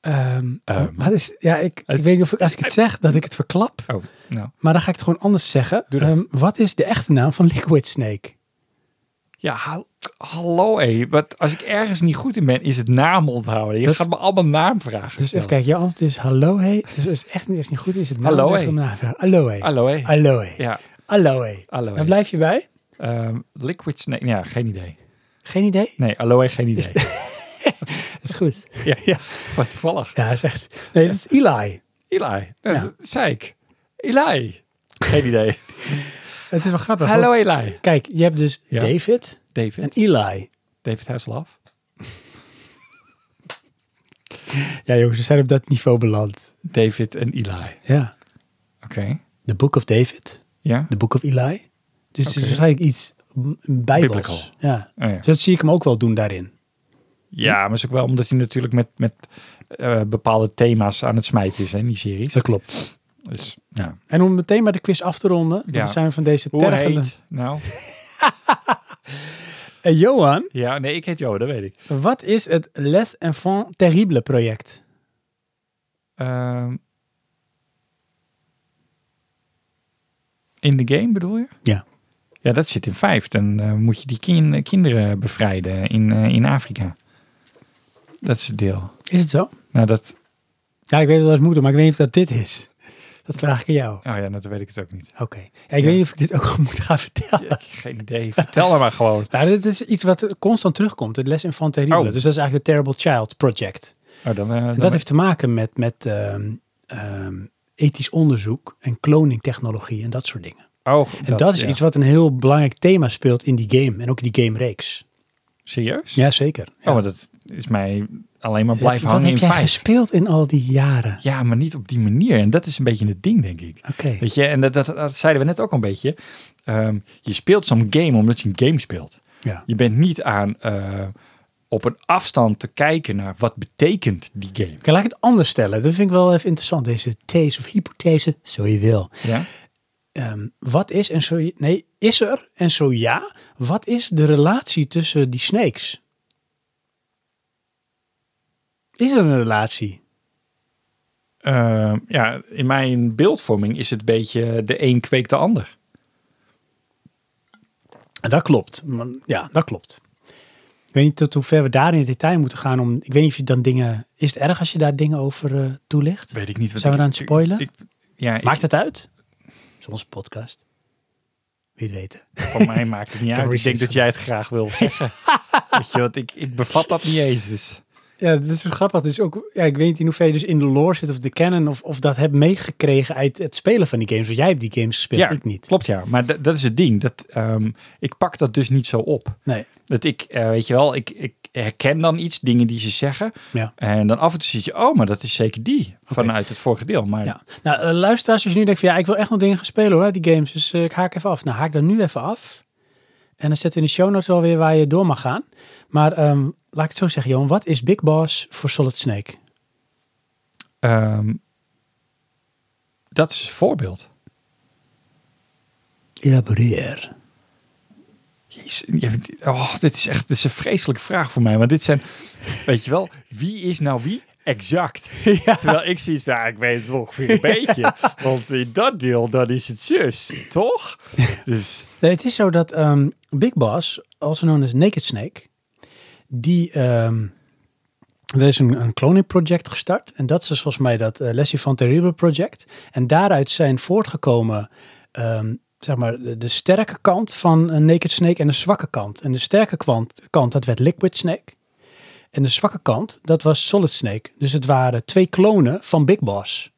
Speaker 1: Ehm,
Speaker 2: Ehm.
Speaker 1: wat is, ja, ik, ik weet niet of ik, als ik het zeg, dat ik het verklap.
Speaker 2: Oh, nou.
Speaker 1: Maar dan ga ik het gewoon anders zeggen.
Speaker 2: Doe dat.
Speaker 1: Ehm, wat is de echte naam van Liquid Snake? Dus
Speaker 2: Ja, ha- hallo hé. Wat als ik ergens niet goed in ben, is het naam onthouden. Je
Speaker 1: Dat-
Speaker 2: gaat me allemaal naamvragen
Speaker 1: Dus
Speaker 2: stellen.
Speaker 1: even kijken, je antwoord is hallo hé. Dus als het echt niet, als het niet goed is, is het
Speaker 2: Hallo,
Speaker 1: naamrecht
Speaker 2: hé.
Speaker 1: om na te vragen. Hallo hé.
Speaker 2: Hallo hé.
Speaker 1: Hallo hé.
Speaker 2: Ja,
Speaker 1: Hallo hé.
Speaker 2: hallo
Speaker 1: Daar
Speaker 2: hé.
Speaker 1: blijf je bij?
Speaker 2: Ehm, liquid snake. Ja, geen idee.
Speaker 1: Geen idee?
Speaker 2: Nee, hallo hé, geen idee.
Speaker 1: Dat is goed.
Speaker 2: <laughs> ja, ja. Wat toevallig.
Speaker 1: Ja, dat is echt... Nee, dat is Eli.
Speaker 2: Eli. Dat,
Speaker 1: Ja.
Speaker 2: dat zei ik. Eli. Geen idee.
Speaker 1: Het is wel grappig.
Speaker 2: hallo
Speaker 1: want-
Speaker 2: Eli.
Speaker 1: Kijk, je hebt dus
Speaker 2: Ja.
Speaker 1: David en
Speaker 2: David.
Speaker 1: Eli.
Speaker 2: David Hasselhoff.
Speaker 1: Ja jongens, we zijn op dat niveau beland.
Speaker 2: David en Eli.
Speaker 1: Ja.
Speaker 2: Oké.
Speaker 1: The Book of David.
Speaker 2: Ja.
Speaker 1: The Book of Eli. Dus het is
Speaker 2: Oké.
Speaker 1: waarschijnlijk iets m- bijbels.
Speaker 2: Biblical.
Speaker 1: Ja.
Speaker 2: Oh, ja.
Speaker 1: Dus dat zie ik hem ook wel doen daarin.
Speaker 2: Ja, maar is ook wel omdat hij natuurlijk met, met eh, bepaalde thema's aan het smijten is, hè, in die series.
Speaker 1: Dat klopt.
Speaker 2: Dus, ja.
Speaker 1: En om meteen maar de quiz af te ronden, want
Speaker 2: Ja.
Speaker 1: we zijn van deze
Speaker 2: Hoe
Speaker 1: tergende...
Speaker 2: heet? Nou,
Speaker 1: En Johan,
Speaker 2: ja, nee, ik heet Jo, dat weet ik.
Speaker 1: Wat is het Les Enfants Terrible project?
Speaker 2: Ehm, in de game bedoel je?
Speaker 1: Ja.
Speaker 2: Ja, dat zit in vijf. Dan eh, moet je die kin- kinderen bevrijden in, eh, in Afrika. Dat is het deel.
Speaker 1: Is het zo?
Speaker 2: Nou, dat...
Speaker 1: Ja, ik weet wel dat het moet, maar ik weet niet of dat dit is. Dat vraag ik aan jou.
Speaker 2: Oh ja, dat weet ik het ook
Speaker 1: <laughs>
Speaker 2: niet.
Speaker 1: Oké. Ja, ik weet niet of ik dit ook al moet gaan vertellen.
Speaker 2: Ja, geen idee. Vertel hem maar gewoon.
Speaker 1: Nou, dit is iets wat constant terugkomt. Het Les Enfants Terrible.
Speaker 2: Oh.
Speaker 1: Dus dat is eigenlijk het Terrible Child project.
Speaker 2: Oh, dan, eh,
Speaker 1: En
Speaker 2: dan-
Speaker 1: dat heeft te maken met, met ehm, ehm, ethisch onderzoek en kloningtechnologie en dat soort dingen.
Speaker 2: oh,
Speaker 1: En dat, is
Speaker 2: ja.
Speaker 1: iets wat een heel belangrijk thema speelt in die game. En ook in die game reeks.
Speaker 2: Serieus?
Speaker 1: Jazeker. Ja.
Speaker 2: Oh, maar dat is mij alleen
Speaker 1: Heb je-
Speaker 2: maar blijven
Speaker 1: wat
Speaker 2: hangen
Speaker 1: heb
Speaker 2: in
Speaker 1: jij
Speaker 2: vijf.
Speaker 1: gespeeld in al die jaren?
Speaker 2: Ja, maar niet op die manier. En dat is een beetje het ding, denk ik.
Speaker 1: Oké.
Speaker 2: Weet je, en dat, dat, dat zeiden we net ook al een beetje. Ehm, je speelt zo'n game omdat je een game speelt.
Speaker 1: Ja.
Speaker 2: Je bent niet aan eh, op een afstand te kijken naar wat betekent die game.
Speaker 1: Oké, laat ik het anders stellen. Dat vind ik wel even interessant. Deze these of hypothese, zo je wil.
Speaker 2: Ja?
Speaker 1: Ehm, wat is en zo... Nee, is er en zo ja. Wat is de relatie tussen die snakes? Is er een relatie?
Speaker 2: Ehm, ja, in mijn beeldvorming is het een beetje de een kweekt de ander.
Speaker 1: Dat klopt. Maar- Ja, dat klopt. Ik weet niet tot hoe ver we daar in detail moeten gaan. Om, ik weet niet of je dan dingen... Is het erg als je daar dingen over eh, toelicht?
Speaker 2: Weet ik niet. wat
Speaker 1: Zijn we
Speaker 2: ik-
Speaker 1: aan het spoilen?
Speaker 2: Ik, ik- ja, ik-
Speaker 1: Maakt het uit? Het is onze podcast. Wie het weten.
Speaker 2: voor mij maakt <laughs> het niet uit. Ik denk
Speaker 1: Reasons.
Speaker 2: dat jij het graag wil zeggen. <laughs> Weet je, want ik, ik bevat dat niet eens. Dus.
Speaker 1: Ja, dat is zo grappig. Dus ook, ja, ik weet niet in hoeverre je dus in de lore zit of de canon of, of dat hebt meegekregen uit het spelen van die games. Want jij hebt die games gespeeld,
Speaker 2: Ja.
Speaker 1: ik niet.
Speaker 2: Klopt ja, maar dat- dat is het ding. Dat, ehm, ik pak dat dus niet zo op.
Speaker 1: Nee.
Speaker 2: Dat ik, eh, weet je wel, ik, ik herken dan iets, dingen die ze zeggen.
Speaker 1: Ja.
Speaker 2: En dan af en toe zie je, oh, maar dat is zeker die. Vanuit het vorige deel. Maar
Speaker 1: Ja. Nou, eh, luisteraars, als je nu denkt van ja, ik wil echt nog dingen gaan spelen hoor, uit die games. Dus eh, ik haak even af. Nou, haak dan nu even af. En dan zet in de show notes wel weer waar je door mag gaan. Maar ehm, laat ik het zo zeggen, Johan. Wat is Big Boss voor Solid Snake?
Speaker 2: ehm, dat is een voorbeeld.
Speaker 1: Elaboreer.
Speaker 2: Jezus, je bent- oh, dit is echt dit is een vreselijke vraag voor mij. Want dit zijn, weet je wel, wie is nou wie?
Speaker 1: <laughs>
Speaker 2: Exact. Terwijl ik zoiets van, ja, ik weet het ongeveer een beetje. Want in dat deel, dan is het zus, toch? Dus,
Speaker 1: Nee, het is zo dat ehm, Big Boss, also known as Naked Snake, die. ehm, er is een, een cloning project gestart. En dat is dus volgens mij dat eh Leslie van Terrible project. En daaruit zijn voortgekomen. ehm, zeg maar de, de sterke kant van een Naked Snake en de zwakke kant. En de sterke kwant, kant, dat werd Liquid Snake. En de zwakke kant, dat was Solid Snake. Dus het waren twee klonen van Big Boss.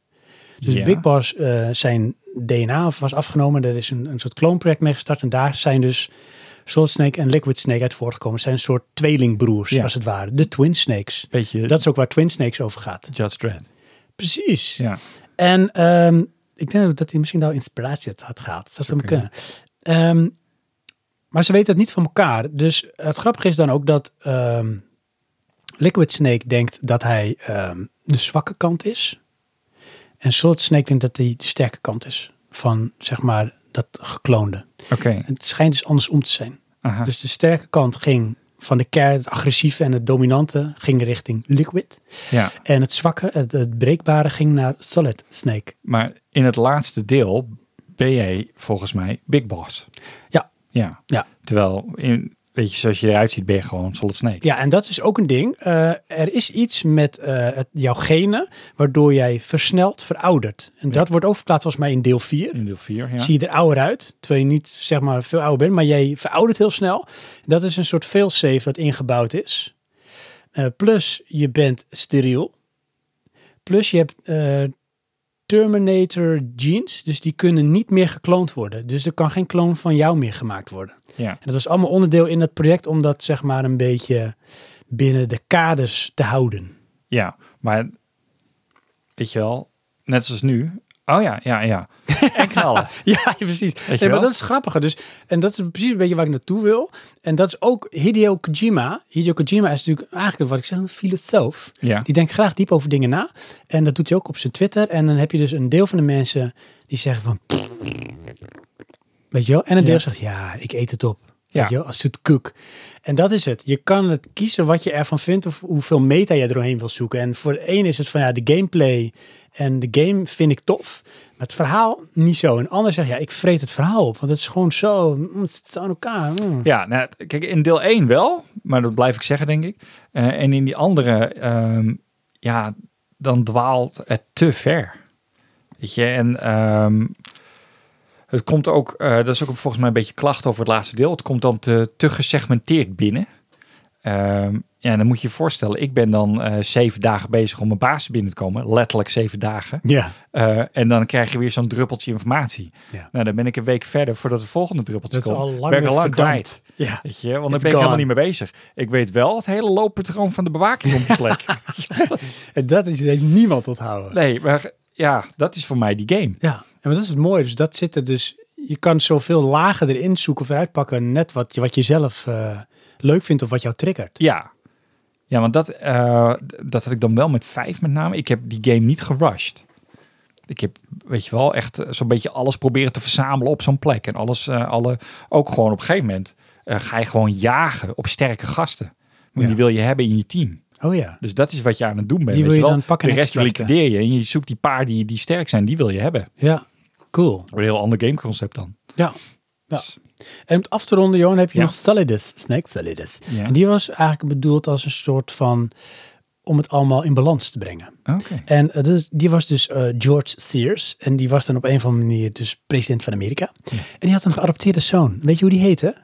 Speaker 1: Dus
Speaker 2: Ja.
Speaker 1: Big Boss, eh, zijn DNA was afgenomen. Er is een, een soort kloonproject mee gestart. En daar zijn dus Solid Snake en Liquid Snake uit voortgekomen. Het zijn een soort tweelingbroers,
Speaker 2: Ja.
Speaker 1: als het ware. De Twin Snakes.
Speaker 2: beetje
Speaker 1: Dat is ook waar Twin Snakes over gaat.
Speaker 2: Judge Dredd.
Speaker 1: Precies.
Speaker 2: Ja.
Speaker 1: En ehm, ik denk ook dat hij misschien wel inspiratie had- had gehad. Dat zou hem kunnen. Ehm, maar ze weten het niet van elkaar. Dus het grappige is dan ook dat ehm, Liquid Snake denkt dat hij ehm, de zwakke kant is. En Solid Snake denkt dat hij de sterke kant is. Van zeg maar dat gekloonde.
Speaker 2: Oké,
Speaker 1: Het schijnt dus andersom te zijn.
Speaker 2: aha.
Speaker 1: Dus de sterke kant ging van de kern, het agressieve en het dominante, ging richting Liquid.
Speaker 2: ja.
Speaker 1: En het zwakke, het, het breekbare ging naar Solid Snake.
Speaker 2: Maar in het laatste deel ben jij volgens mij Big Boss.
Speaker 1: Ja.
Speaker 2: Ja.
Speaker 1: Ja.
Speaker 2: Terwijl, in, weet je, zoals je eruit ziet, ben je gewoon Solid Snake.
Speaker 1: Ja, en dat is ook een ding. Eh, er is iets met eh, het, jouw genen waardoor jij versneld veroudert. En dat wordt ook verplaatst volgens mij in deel 4.
Speaker 2: In deel 4, ja.
Speaker 1: Zie je er ouder uit, terwijl je niet zeg maar veel ouder bent, maar jij veroudert heel snel. Dat is een soort failsafe dat ingebouwd is. Eh, plus je bent steriel. Plus je hebt eh, Terminator genes, dus die kunnen niet meer gekloond worden. Dus er kan geen kloon van jou meer gemaakt worden.
Speaker 2: ja.
Speaker 1: En dat was allemaal onderdeel in dat project om dat zeg maar een beetje binnen de kaders te houden.
Speaker 2: Ja, maar weet je wel, net zoals nu. Oh ja, ja, ja.
Speaker 1: <laughs>
Speaker 2: En knallen.
Speaker 1: Ja, precies.
Speaker 2: je
Speaker 1: Nee, maar
Speaker 2: wel?
Speaker 1: dat is grappiger. Dus, en dat is precies een beetje waar ik naartoe wil. En dat is ook Hideo Kojima. Hideo Kojima is natuurlijk eigenlijk wat ik zeg, een filosoof.
Speaker 2: ja.
Speaker 1: Die denkt graag diep over dingen na. En dat doet hij ook op zijn Twitter. En dan heb je dus een deel van de mensen die zeggen van... Weet je wel? En een deel
Speaker 2: Ja.
Speaker 1: zegt, ja, ik eet het op.
Speaker 2: Ja.
Speaker 1: Weet je wel? Als het koek. En dat is het. Je kan het kiezen wat je ervan vindt of hoeveel meta je er doorheen wil zoeken. En voor de een is het van, ja, de gameplay en de game vind ik tof. Maar het verhaal niet zo. En ander zegt, ja, ik vreet het verhaal op. Want het is gewoon zo, mm, het zit aan elkaar. mm.
Speaker 2: Ja, nou, kijk, in deel 1 wel, maar dat blijf ik zeggen, denk ik. Eh, en in die andere, ehm, ja, dan dwaalt het te ver. Weet je, en ehm, het komt ook, eh dat is ook volgens mij een beetje klacht over het laatste deel. Het komt dan te, te gesegmenteerd binnen. Ehm, ja, en dan moet je je voorstellen, ik ben dan eh, zeven dagen bezig om mijn baas binnen te komen. Letterlijk zeven dagen.
Speaker 1: Ja.
Speaker 2: Eh, en dan krijg je weer zo'n druppeltje informatie.
Speaker 1: Ja.
Speaker 2: Nou, dan ben ik een week verder voordat de volgende druppeltje
Speaker 1: Dat is
Speaker 2: komt.
Speaker 1: al lang
Speaker 2: ben ik
Speaker 1: weer
Speaker 2: al lang
Speaker 1: verdampt.
Speaker 2: kwijt.
Speaker 1: Ja.
Speaker 2: Weet je, want daar ben
Speaker 1: It's
Speaker 2: ik helemaal
Speaker 1: gone.
Speaker 2: niet mee bezig. Ik weet wel het hele looppatroon van de bewaking op de
Speaker 1: <laughs>
Speaker 2: plek.
Speaker 1: En dat is, heeft niemand onthouden.
Speaker 2: Nee, maar ja, dat is voor mij die game.
Speaker 1: Ja, en dat is het mooie. Dus dat zit er dus. Je kan zoveel lagen erin zoeken of eruit pakken. Net wat je, wat je zelf eh, leuk vindt of wat jou triggert.
Speaker 2: Ja. Ja, want dat, eh, d- dat had ik dan wel met vijf met name. Ik heb die game niet gerushed. Ik heb, weet je wel, echt eh, zo'n beetje alles proberen te verzamelen op zo'n plek. En alles, eh, alle, ook gewoon op een gegeven moment eh, ga je gewoon jagen op sterke gasten.
Speaker 1: Ja.
Speaker 2: Want die wil je hebben in je team.
Speaker 1: Oh ja.
Speaker 2: Dus dat is wat je aan het doen bent.
Speaker 1: wil
Speaker 2: weet
Speaker 1: je
Speaker 2: wel.
Speaker 1: dan pakken en
Speaker 2: De rest
Speaker 1: extracten.
Speaker 2: liquideer je. En je zoekt die paar die, die sterk zijn, die wil je hebben.
Speaker 1: Ja, cool.
Speaker 2: Een heel ander gameconcept dan.
Speaker 1: Ja. Ja. Dus- En om het af te ronden, Johan, heb je
Speaker 2: Ja.
Speaker 1: nog Solidus, Snake Solidus.
Speaker 2: Ja.
Speaker 1: En die was eigenlijk bedoeld als een soort van, om het allemaal in balans te brengen.
Speaker 2: Oké.
Speaker 1: En eh, dus- die was dus eh, George Sears. En die was dan op een of andere manier dus president van Amerika. En die had een geadopteerde zoon. Weet je hoe die heette?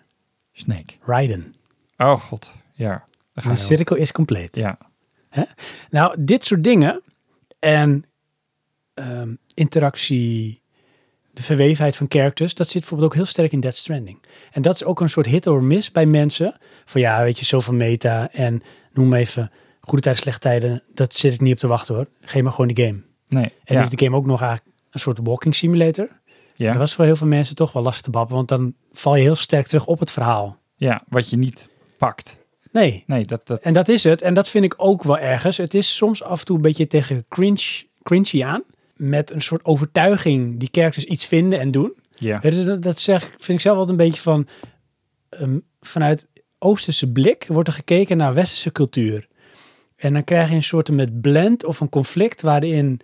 Speaker 2: Snake.
Speaker 1: Raiden.
Speaker 2: Oh god. Ja. Daar ga
Speaker 1: De
Speaker 2: je al.
Speaker 1: cirkel is compleet.
Speaker 2: Ja.
Speaker 1: Nou, dit soort dingen en ehm, interactie, de verwevenheid van characters, dat zit bijvoorbeeld ook heel sterk in Death Stranding. En dat is ook een soort hit or miss bij mensen. Van ja, weet je, zoveel meta en noem maar even goede tijden, slechte tijden. Dat zit ik niet op te wachten hoor. Geef maar gewoon de game.
Speaker 2: Nee.
Speaker 1: En
Speaker 2: ja.
Speaker 1: is de game ook nog eigenlijk een soort walking simulator.
Speaker 2: ja.
Speaker 1: Dat was voor heel veel mensen toch wel lastig te bappen, want dan val je heel sterk terug op het verhaal.
Speaker 2: ja. Wat je niet pakt.
Speaker 1: Nee,
Speaker 2: Nee, dat... dat
Speaker 1: En dat is het. En dat vind ik ook wel ergens. Het is soms af en toe een beetje tegen cringe, cringy aan. Met een soort overtuiging die characters iets vinden en doen.
Speaker 2: ja.
Speaker 1: Ja, dus dat, dat zeg, ik- vind ik zelf altijd een beetje van... ehm, vanuit oosterse blik wordt er gekeken naar westerse cultuur. En dan krijg je een soort met blend of een conflict... waarin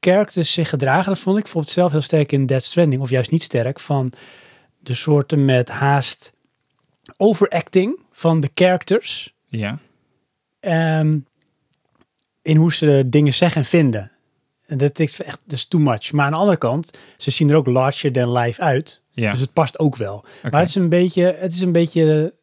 Speaker 1: characters zich gedragen. Dat vond ik bijvoorbeeld zelf heel sterk in Death Stranding. Of juist niet sterk. Van de soorten met haast overacting van de characters
Speaker 2: Ja.
Speaker 1: ehm, in hoe ze dingen zeggen en vinden. En dat is echt dat is too much. Maar aan de andere kant, ze zien er ook larger than life uit.
Speaker 2: Ja.
Speaker 1: Dus het past ook wel.
Speaker 2: Oké.
Speaker 1: Maar het is, een beetje, het is een beetje eh,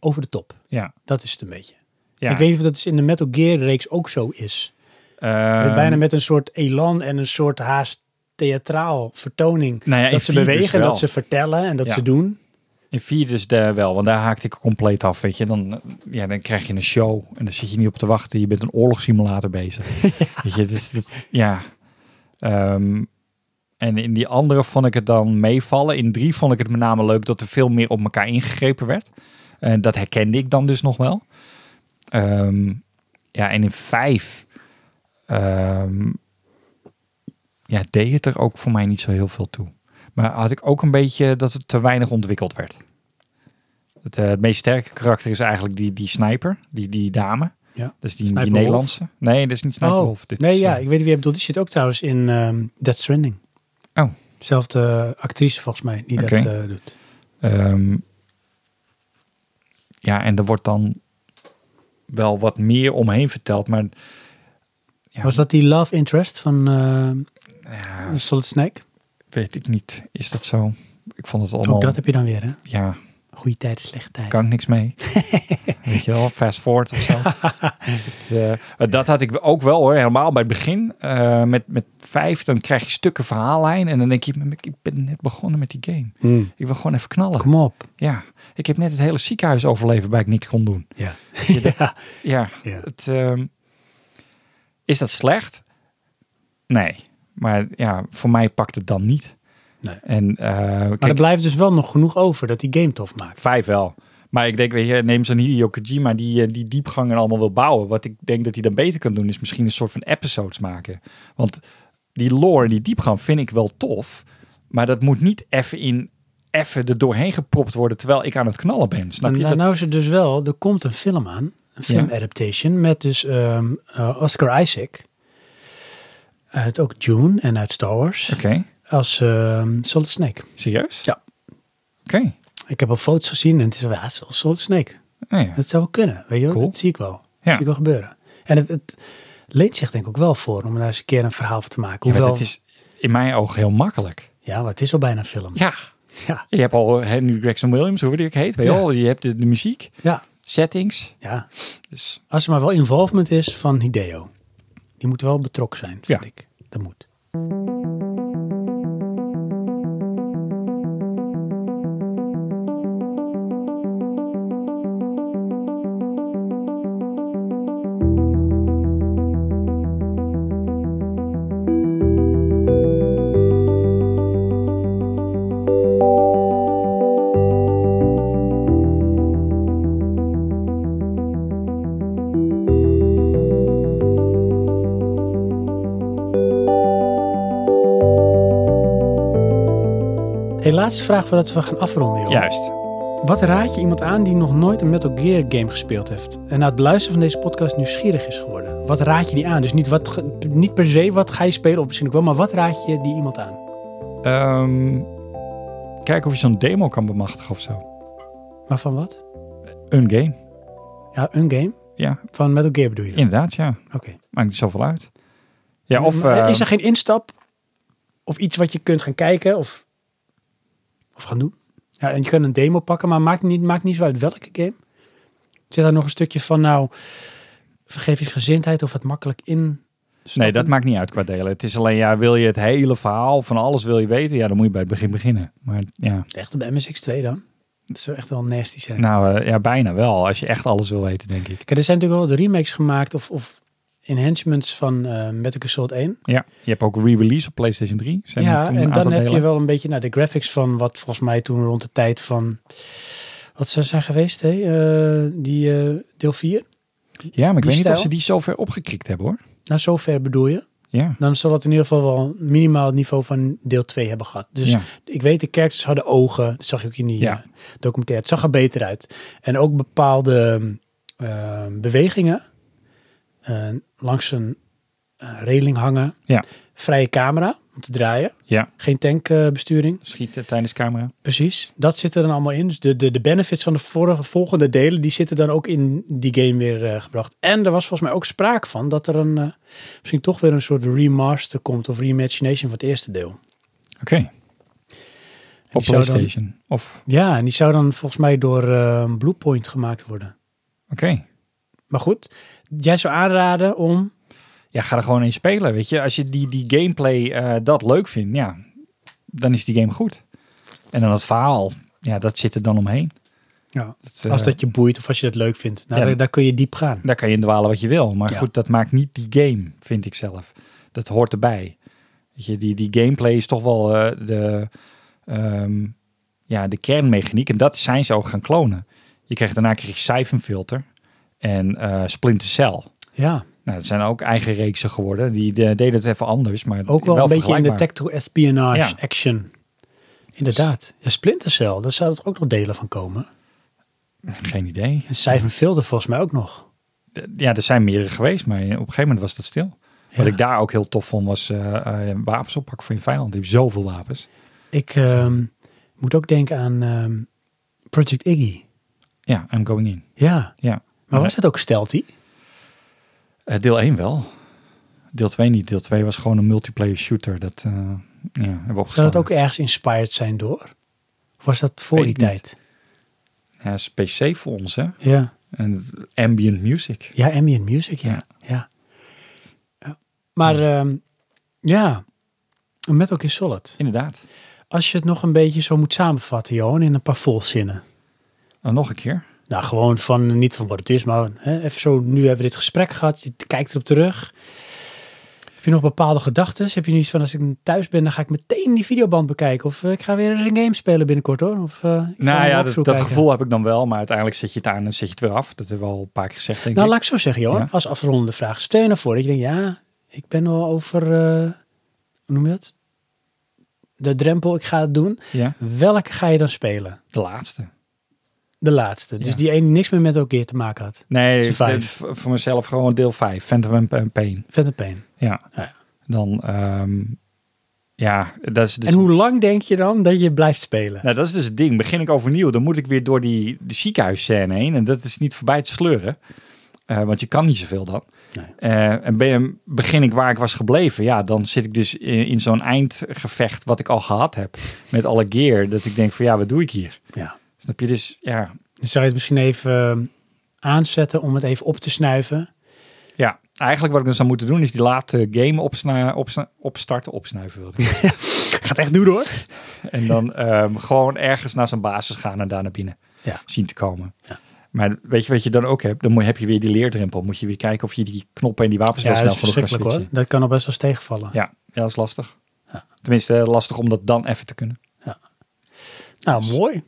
Speaker 1: over de top.
Speaker 2: ja.
Speaker 1: Dat is het een beetje.
Speaker 2: Ja.
Speaker 1: Ik weet niet of dat dus in de Metal Gear reeks ook zo is.
Speaker 2: Ehm,
Speaker 1: Bijna met een soort elan en een soort haast theatraal vertoning.
Speaker 2: Nou ja, in
Speaker 1: dat ze
Speaker 2: vier dus
Speaker 1: bewegen en
Speaker 2: wel.
Speaker 1: dat ze vertellen en dat
Speaker 2: Ja.
Speaker 1: ze doen.
Speaker 2: In vier dus daar wel, want daar haakte ik compleet af, weet je. Dan, eh, ja, dan krijg je een show en dan zit je niet op te wachten. Je bent een oorlogssimulator bezig. Weet je, dus dat, ja. Ehm, en in die andere vond ik het dan meevallen. In drie vond ik het met name leuk dat er veel meer op elkaar ingegrepen werd. En dat herkende ik dan dus nog wel. Ehm, ja, en in vijf ehm, ja, deed het er ook voor mij niet zo heel veel toe. Maar had ik ook een beetje dat het te weinig ontwikkeld werd. Het, eh, het meest sterke karakter is eigenlijk die, die sniper, die, die dame.
Speaker 1: Ja.
Speaker 2: Dus die, die
Speaker 1: Sniper Wolf.
Speaker 2: Nederlandse. Nee, dat is niet Sniper Wolf. Dit
Speaker 1: Oh. nee,
Speaker 2: is,
Speaker 1: ja,
Speaker 2: eh,
Speaker 1: ik weet niet wie je bedoelt. Die zit ook trouwens in ehm Death Stranding.
Speaker 2: Oh.
Speaker 1: Zelfde eh, actrice volgens mij die
Speaker 2: Oké.
Speaker 1: dat eh, doet.
Speaker 2: Ehm, ja, en er wordt dan wel wat meer omheen verteld, maar Ja.
Speaker 1: Was dat die love interest van eh,
Speaker 2: ja,
Speaker 1: Solid Snake?
Speaker 2: weet ik niet. Is dat zo? Ik vond het allemaal.
Speaker 1: Ook dat heb je dan weer, hè?
Speaker 2: Ja,
Speaker 1: Goeie tijd, slechte tijd.
Speaker 2: kan ik niks
Speaker 1: <laughs>
Speaker 2: mee. weet je wel, fast forward of zo. Het, eh, dat had ik ook wel hoor, helemaal bij het begin. Eh, met, met vijf, dan krijg je stukken verhaallijn en dan denk je, ik ben net begonnen met die game.
Speaker 1: Hmm.
Speaker 2: Ik wil gewoon even knallen.
Speaker 1: Kom op.
Speaker 2: Ja, ik heb net het hele ziekenhuis overleven waar ik niks kon doen.
Speaker 1: <laughs> Ja.
Speaker 2: Ja,
Speaker 1: Ja.
Speaker 2: Het, ehm, is dat slecht? Nee. Maar ja, voor mij pakt het dan niet.
Speaker 1: Nee.
Speaker 2: En eh
Speaker 1: Maar
Speaker 2: kijk,
Speaker 1: er blijft dus wel nog genoeg over dat die game tof maakt.
Speaker 2: vijf wel. Maar ik denk, weet je, neem zo'n Hideo Kojima die eh, die diepgang er allemaal wil bouwen. Wat ik denk dat hij dan beter kan doen, is misschien een soort van episodes maken. Want die lore en die diepgang vind ik wel tof. Maar dat moet niet even in even er doorheen gepropt worden terwijl ik aan het knallen ben. Snap
Speaker 1: En
Speaker 2: je?
Speaker 1: nou,
Speaker 2: Dat-
Speaker 1: nou is het dus wel, er komt een film aan. Een
Speaker 2: Ja.
Speaker 1: filmadaptation met dus ehm, eh, Oscar Isaac. Uit ook June en uit Star Wars.
Speaker 2: Oké,
Speaker 1: Als ehm, Solid Snake.
Speaker 2: serieus?
Speaker 1: Ja.
Speaker 2: Oké.
Speaker 1: Ik heb al foto's gezien en het is wel, ja, het is wel Solid Snake.
Speaker 2: Nou ja.
Speaker 1: Dat zou wel kunnen, weet je wel?
Speaker 2: Cool.
Speaker 1: Dat zie ik wel.
Speaker 2: Ja.
Speaker 1: Dat zie ik wel gebeuren. En het, het leent zich denk ik ook wel voor om daar eens een keer een verhaal van te maken.
Speaker 2: Ja,
Speaker 1: Hoewel,
Speaker 2: maar dat is in mijn ogen heel makkelijk.
Speaker 1: ja, maar het is al bijna een film.
Speaker 2: <laughs> Ja.
Speaker 1: Ja.
Speaker 2: Je hebt al Henry Gregson Williams, hoe die ook heet. weet je
Speaker 1: Ja.
Speaker 2: wel. Je hebt de, de muziek,
Speaker 1: Ja,
Speaker 2: settings.
Speaker 1: ja.
Speaker 2: Dus
Speaker 1: Als er maar wel involvement is van Hideo. Die moet wel betrokken zijn, vind
Speaker 2: Ja.
Speaker 1: ik. Dat moet. Hey, laatste vraag voordat we gaan afronden, joh.
Speaker 2: juist.
Speaker 1: Wat raad je iemand aan die nog nooit een Metal Gear game gespeeld heeft? En na het beluisteren van deze podcast nieuwsgierig is geworden. Wat raad je die aan? Dus niet, wat, ge- niet per se wat ga je spelen, of misschien ook wel, maar wat raad je die iemand aan?
Speaker 2: Ehm, kijken of je zo'n demo kan bemachtigen of zo.
Speaker 1: Maar van wat?
Speaker 2: Een game.
Speaker 1: Ja, een game?
Speaker 2: Ja,
Speaker 1: Van Metal Gear bedoel je? dan?
Speaker 2: inderdaad, ja.
Speaker 1: Oké.
Speaker 2: Maakt niet zoveel uit. Ja, of...
Speaker 1: Maar
Speaker 2: eh,
Speaker 1: is er geen instap? Of iets wat je kunt gaan kijken of, of gaan doen? Ja, en je kunt een demo pakken, maar maakt niet, maakt niet zo uit welke game. Zit daar nog een stukje van, nou, vergevingsgezindheid of wat makkelijk in?
Speaker 2: nee, dat maakt niet uit qua delen. Het is alleen, ja, wil je het hele verhaal van alles wil je weten? Ja, dan moet je bij het begin beginnen. Maar ja,
Speaker 1: Echt op de MSX2 dan? Dat zou echt wel nasty zijn.
Speaker 2: nou eh, ja, bijna wel. Als je echt alles wil weten, denk ik.
Speaker 1: Kijk, er zijn natuurlijk wel wat remakes gemaakt of, of enhancements van eh Metal Gear Solid 1.
Speaker 2: Ja, je hebt ook re-release op PlayStation 3. Zijn er
Speaker 1: ja,
Speaker 2: toen een
Speaker 1: en
Speaker 2: aantal
Speaker 1: dan heb je
Speaker 2: delen.
Speaker 1: wel een beetje nou, de graphics van wat volgens mij toen rond de tijd van... Wat ze zijn geweest, hè? Eh, die eh, deel 4.
Speaker 2: Ja, maar ik
Speaker 1: die
Speaker 2: weet niet of
Speaker 1: stijl.
Speaker 2: ze die zo ver opgekrikt hebben, hoor.
Speaker 1: Nou, zover bedoel je.
Speaker 2: Ja,
Speaker 1: Dan zal het in ieder geval wel minimaal het niveau van deel 2 hebben gehad. Dus
Speaker 2: ja.
Speaker 1: ik weet, de kerkers hadden ogen. Dat zag je ook in die
Speaker 2: Ja.
Speaker 1: ja. documentaire. Het zag er beter uit. En ook bepaalde eh, bewegingen. eh, langs een eh, reling hangen.
Speaker 2: Ja.
Speaker 1: Vrije camera om te draaien.
Speaker 2: Ja.
Speaker 1: Geen tankbesturing.
Speaker 2: Schieten tijdens camera.
Speaker 1: Precies, dat zit er dan allemaal in. Dus de, de, de benefits van de vorige, volgende delen, die zitten dan ook in die game weer eh, gebracht. En er was volgens mij ook sprake van dat er een, eh, misschien toch weer een soort remaster komt of reimagination van het eerste deel.
Speaker 2: Oké. Op
Speaker 1: zou dan-
Speaker 2: PlayStation. Of,
Speaker 1: Ja, en die zou dan volgens mij door eh, Bluepoint gemaakt worden.
Speaker 2: oké.
Speaker 1: Maar goed, jij zou aanraden om...
Speaker 2: Ja, ga er gewoon in spelen, weet je. Als je die, die gameplay eh, dat leuk vindt, ja, dan is die game goed. En dan het verhaal, ja, dat zit er dan omheen.
Speaker 1: Ja,
Speaker 2: Dat, eh,
Speaker 1: als dat je boeit of als je dat leuk vindt. Nou,
Speaker 2: Ja.
Speaker 1: daar, daar kun je diep gaan.
Speaker 2: Daar kan je in dwalen wat je wil. Maar
Speaker 1: Ja.
Speaker 2: goed, dat maakt niet die game, vind ik zelf. Dat hoort erbij. Weet je, die, die gameplay is toch wel eh, de, ehm, ja, de kernmechaniek. En dat zijn ze ook gaan klonen. Je kreeg, daarna kreeg je Siphonfilter en eh Splinter Cell.
Speaker 1: Ja,
Speaker 2: Nou, dat zijn ook eigen reeksen geworden. Die eh, deden het even anders, maar
Speaker 1: ook wel, een beetje in de
Speaker 2: vergelijkbaar.
Speaker 1: tech-to-espionage
Speaker 2: Ja.
Speaker 1: action. Inderdaad. Ja, Splinter Cell, daar zouden er ook nog delen van komen.
Speaker 2: Geen idee.
Speaker 1: En Siphon Filter volgens mij ook nog.
Speaker 2: D- Ja, er zijn meerdere geweest, maar op een gegeven moment was dat stil. Wat
Speaker 1: Ja.
Speaker 2: ik daar ook heel tof vond, was eh, eh, wapens oppakken voor je vijand. Die heeft zoveel wapens.
Speaker 1: Ik ehm, moet ook denken aan ehm, Project Iggy.
Speaker 2: Ja, I'm going in.
Speaker 1: Ja,
Speaker 2: Ja.
Speaker 1: maar was dat ook stealthy?
Speaker 2: Eh, deel 1 wel. Deel 2 niet. Deel 2 was gewoon een multiplayer shooter. Dat eh, ja, hebben we
Speaker 1: Zou
Speaker 2: opgeslagen.
Speaker 1: dat ook ergens inspired zijn door? Of was dat voor
Speaker 2: Weet
Speaker 1: die
Speaker 2: ik niet.
Speaker 1: tijd?
Speaker 2: Ja, is PC voor ons, hè?
Speaker 1: Ja.
Speaker 2: En het ambient music.
Speaker 1: ja, ambient music, ja.
Speaker 2: Ja.
Speaker 1: ja. Ja. Maar ehm ja, Metal Gear Solid.
Speaker 2: Inderdaad.
Speaker 1: Als je het nog een beetje zo moet samenvatten, Johan, in een paar volzinnen.
Speaker 2: Oh, nog een keer.
Speaker 1: Nou, gewoon van, niet van wat het is, maar hè, even zo, nu hebben we dit gesprek gehad, je kijkt erop terug. Heb je nog bepaalde gedachten? Heb je nu iets van, als ik thuis ben, dan ga ik meteen die videoband bekijken? Of eh, ik ga weer eens een game spelen binnenkort hoor? Of, eh, ik ga
Speaker 2: Nou
Speaker 1: een
Speaker 2: ja, dat,
Speaker 1: walkthrough
Speaker 2: dat
Speaker 1: kijken.
Speaker 2: gevoel heb ik dan wel. Maar uiteindelijk zet je het aan en zet je het weer af. Dat hebben we al een paar keer gezegd, denk
Speaker 1: Nou,
Speaker 2: ik.
Speaker 1: laat ik zo zeggen, Johan,
Speaker 2: Ja.
Speaker 1: als afrondende vraag. Stel je nou voor dat je denkt, ja, ik ben wel over, eh, hoe noem je dat? De drempel, ik ga het doen.
Speaker 2: Ja,
Speaker 1: Welke ga je dan spelen?
Speaker 2: de laatste.
Speaker 1: De laatste. Dus
Speaker 2: Ja.
Speaker 1: die ene die niks meer met elkaar te maken had.
Speaker 2: Nee,
Speaker 1: Is vijf.
Speaker 2: de- v- voor mezelf gewoon deel 5. Phantom and- and Pain.
Speaker 1: Vette pijn.
Speaker 2: Ja.
Speaker 1: Ja.
Speaker 2: Dan, ehm, ja, dat is dus...
Speaker 1: En hoe lang denk je dan dat je blijft spelen?
Speaker 2: Nou, dat is dus het ding. Begin ik overnieuw, dan moet ik weer door die, die ziekenhuisscène heen. En dat is niet voorbij te sleuren. Eh, want je kan niet zoveel dan.
Speaker 1: Nee.
Speaker 2: Eh, en ben, begin ik waar ik was gebleven. Ja, dan zit ik dus in, in zo'n eindgevecht wat ik al gehad heb. Met alle gear. Dat ik denk van ja, wat doe ik hier?
Speaker 1: Ja.
Speaker 2: Snap je? Dus ja,
Speaker 1: Dan zou je het misschien even ehm, aanzetten om het even op te snuiven.
Speaker 2: ja. eigenlijk wat ik dan zou moeten doen is die late game opsna- opsna- opstarten, opsnuiven wilde ik.
Speaker 1: <laughs> Gaat echt doen hoor.
Speaker 2: En dan ehm, gewoon ergens naar zijn basis gaan en daar naar binnen
Speaker 1: Ja.
Speaker 2: zien te komen.
Speaker 1: Ja.
Speaker 2: Maar weet je wat je dan ook hebt? Dan moet- heb je weer die leerdrempel. Moet je weer kijken of je die knoppen en die wapens
Speaker 1: Ja,
Speaker 2: wel
Speaker 1: dat
Speaker 2: snel
Speaker 1: is
Speaker 2: genoeg kan
Speaker 1: verschrikkelijk hoor.
Speaker 2: switchen.
Speaker 1: Dat kan al best wel eens tegenvallen.
Speaker 2: Ja, ja, dat is lastig. Tenminste, eh, lastig om dat dan even te kunnen.
Speaker 1: Nou, mooi.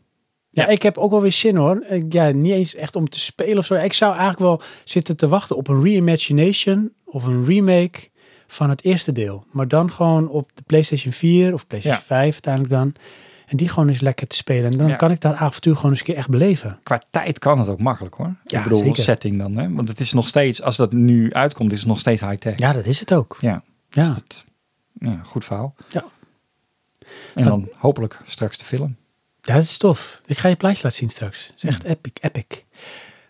Speaker 1: Ja,
Speaker 2: Ja.
Speaker 1: ik heb ook wel weer zin hoor. Ik- Ja, niet eens echt om te spelen of zo. Ik zou eigenlijk wel zitten te wachten op een reimagination of een remake van het eerste deel. Maar dan gewoon op de PlayStation 4 of PlayStation
Speaker 2: Ja.
Speaker 1: 5 uiteindelijk dan. En die gewoon eens lekker te spelen. En dan
Speaker 2: Ja.
Speaker 1: kan ik dat avontuur gewoon eens een keer echt beleven.
Speaker 2: Qua tijd kan het ook makkelijk hoor.
Speaker 1: Ja,
Speaker 2: ik bedoel,
Speaker 1: zeker.
Speaker 2: setting dan. Hè? Want het is nog steeds, als dat nu uitkomt, is het nog steeds high-tech.
Speaker 1: Ja, dat is het ook.
Speaker 2: Ja.
Speaker 1: Ja.
Speaker 2: Dus dat- ja, nou, goed verhaal.
Speaker 1: Ja.
Speaker 2: En dan hopelijk straks de film.
Speaker 1: Ja, dat is tof. Ik ga je plaatje laten zien straks. Het is echt epic, epic.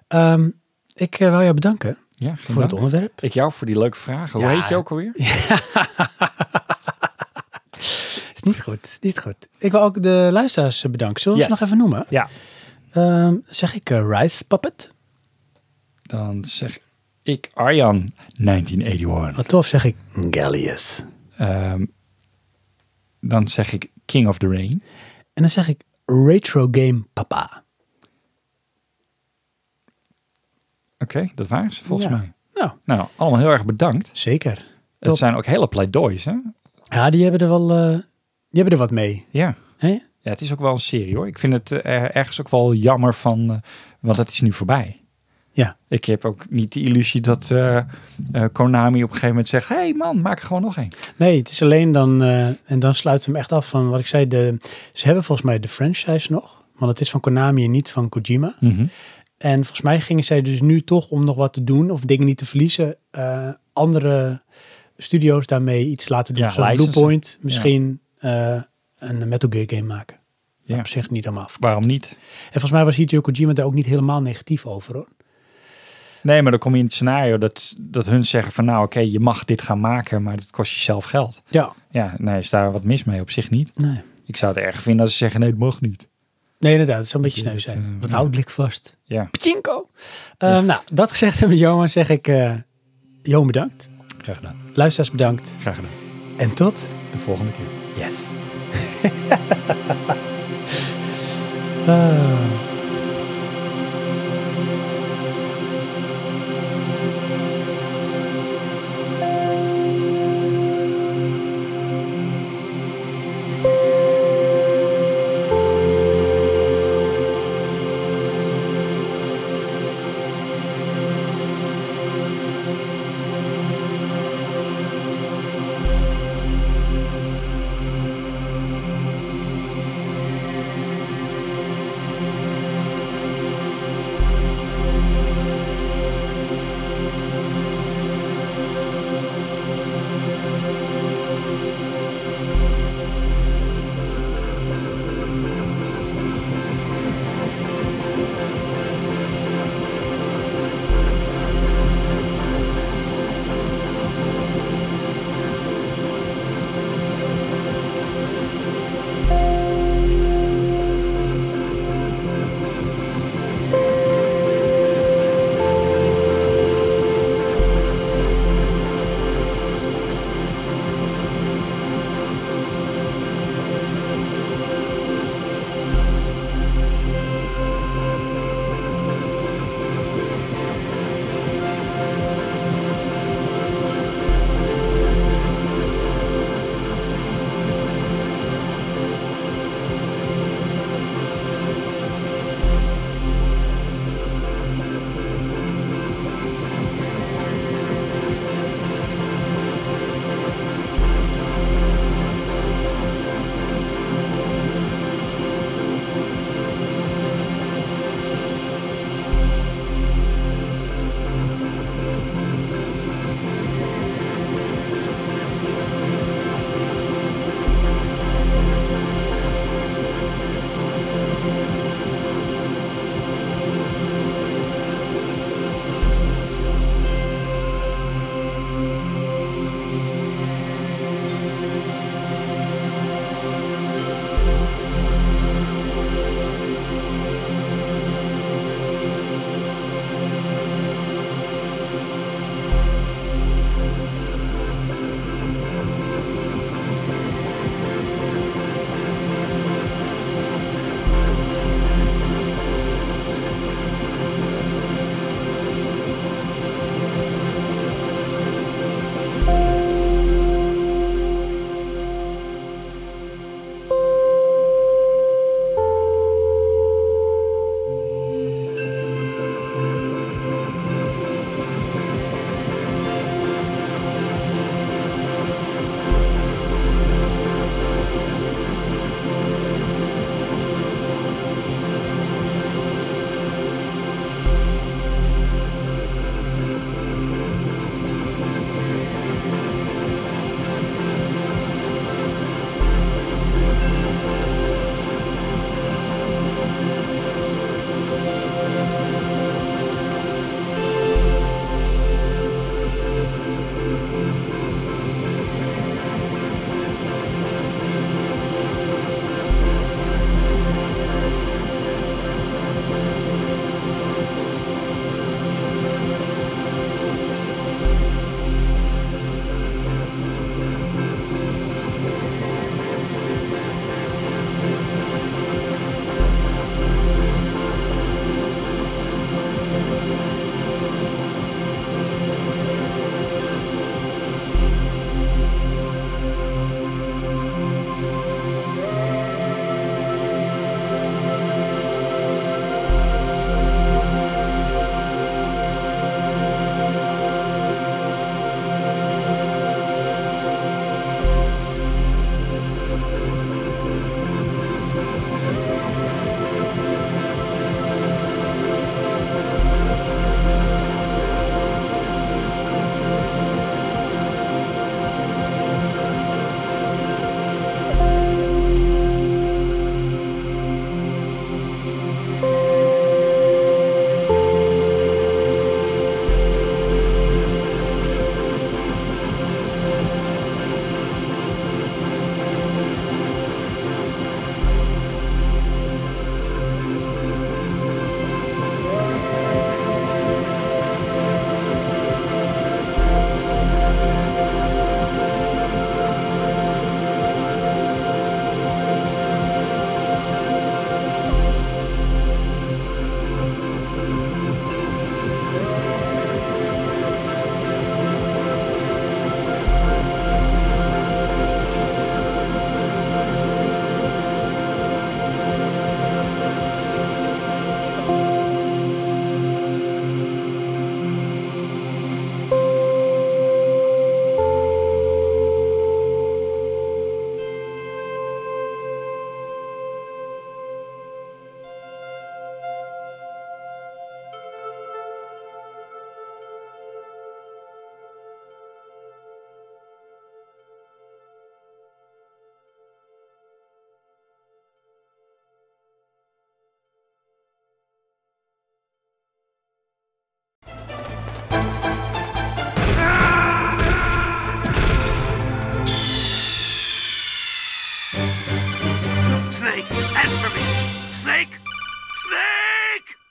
Speaker 1: Ehm, ik eh, wou jou bedanken
Speaker 2: Ja, geen
Speaker 1: voor het
Speaker 2: dank.
Speaker 1: onderwerp.
Speaker 2: Ik jou voor die leuke vragen. Hoe
Speaker 1: Ja.
Speaker 2: heet je ook alweer?
Speaker 1: Het is niet goed, het is niet goed. Ik wil ook de luisteraars eh, bedanken. Zullen we
Speaker 2: Yes.
Speaker 1: ze nog even noemen?
Speaker 2: Ja.
Speaker 1: Ehm, zeg ik eh, Rice Puppet?
Speaker 2: Dan zeg ik Arjan, 1981.
Speaker 1: Wat tof, zeg ik Gallius.
Speaker 2: Ehm, dan zeg ik King of the Rain.
Speaker 1: En dan zeg ik Retro Game Papa.
Speaker 2: Oké, dat waren ze volgens
Speaker 1: Ja.
Speaker 2: mij.
Speaker 1: Nou,
Speaker 2: Nou, allemaal heel erg bedankt.
Speaker 1: zeker. Top.
Speaker 2: Het zijn ook hele pleidoois, hè?
Speaker 1: Ja, die hebben er wel eh, die hebben er wat mee.
Speaker 2: Ja.
Speaker 1: Hè?
Speaker 2: ja, het is ook wel een serie, hoor. Ik vind het eh, er- ergens ook wel jammer van, eh, want het is nu voorbij.
Speaker 1: Ja.
Speaker 2: Ik heb ook niet de illusie dat eh, eh, Konami op een gegeven moment zegt... hey man, maak er gewoon nog één.
Speaker 1: Nee, het is alleen dan, eh, en dan sluiten we hem echt af van wat ik zei. De, ze hebben volgens mij de franchise nog, want het is van Konami en niet van Kojima.
Speaker 2: Mhm.
Speaker 1: En volgens mij gingen zij dus nu toch om nog wat te doen of dingen niet te verliezen, eh, andere studio's daarmee iets laten doen.
Speaker 2: Ja,
Speaker 1: Zoals
Speaker 2: licensen.
Speaker 1: Bluepoint misschien eh, een Metal Gear game maken.
Speaker 2: Ja.
Speaker 1: Op zich niet helemaal. af.
Speaker 2: Waarom niet?
Speaker 1: En volgens mij was Hideo Kojima daar ook niet helemaal negatief over hoor.
Speaker 2: Nee, maar dan kom je in het scenario dat, dat hun zeggen van... nou, oké, je mag dit gaan maken, maar dat kost je zelf geld.
Speaker 1: Ja,
Speaker 2: Ja, nee, is daar wat mis mee? Op zich niet.
Speaker 1: nee.
Speaker 2: Ik zou het erg vinden als ze zeggen... nee, het mag niet.
Speaker 1: Nee, inderdaad. Het zou een beetje sneu
Speaker 2: Dat,
Speaker 1: zijn.
Speaker 2: eh,
Speaker 1: Wat
Speaker 2: ja.
Speaker 1: houdt lik vast?
Speaker 2: Ja,
Speaker 1: Pachinko! Ehm, Nou, dat gezegd hebben, Johan, zeg ik... eh Johan bedankt.
Speaker 2: graag gedaan.
Speaker 1: Luisteraars bedankt.
Speaker 2: Graag gedaan.
Speaker 1: En tot...
Speaker 2: De volgende keer.
Speaker 1: Yes. <laughs> Ah.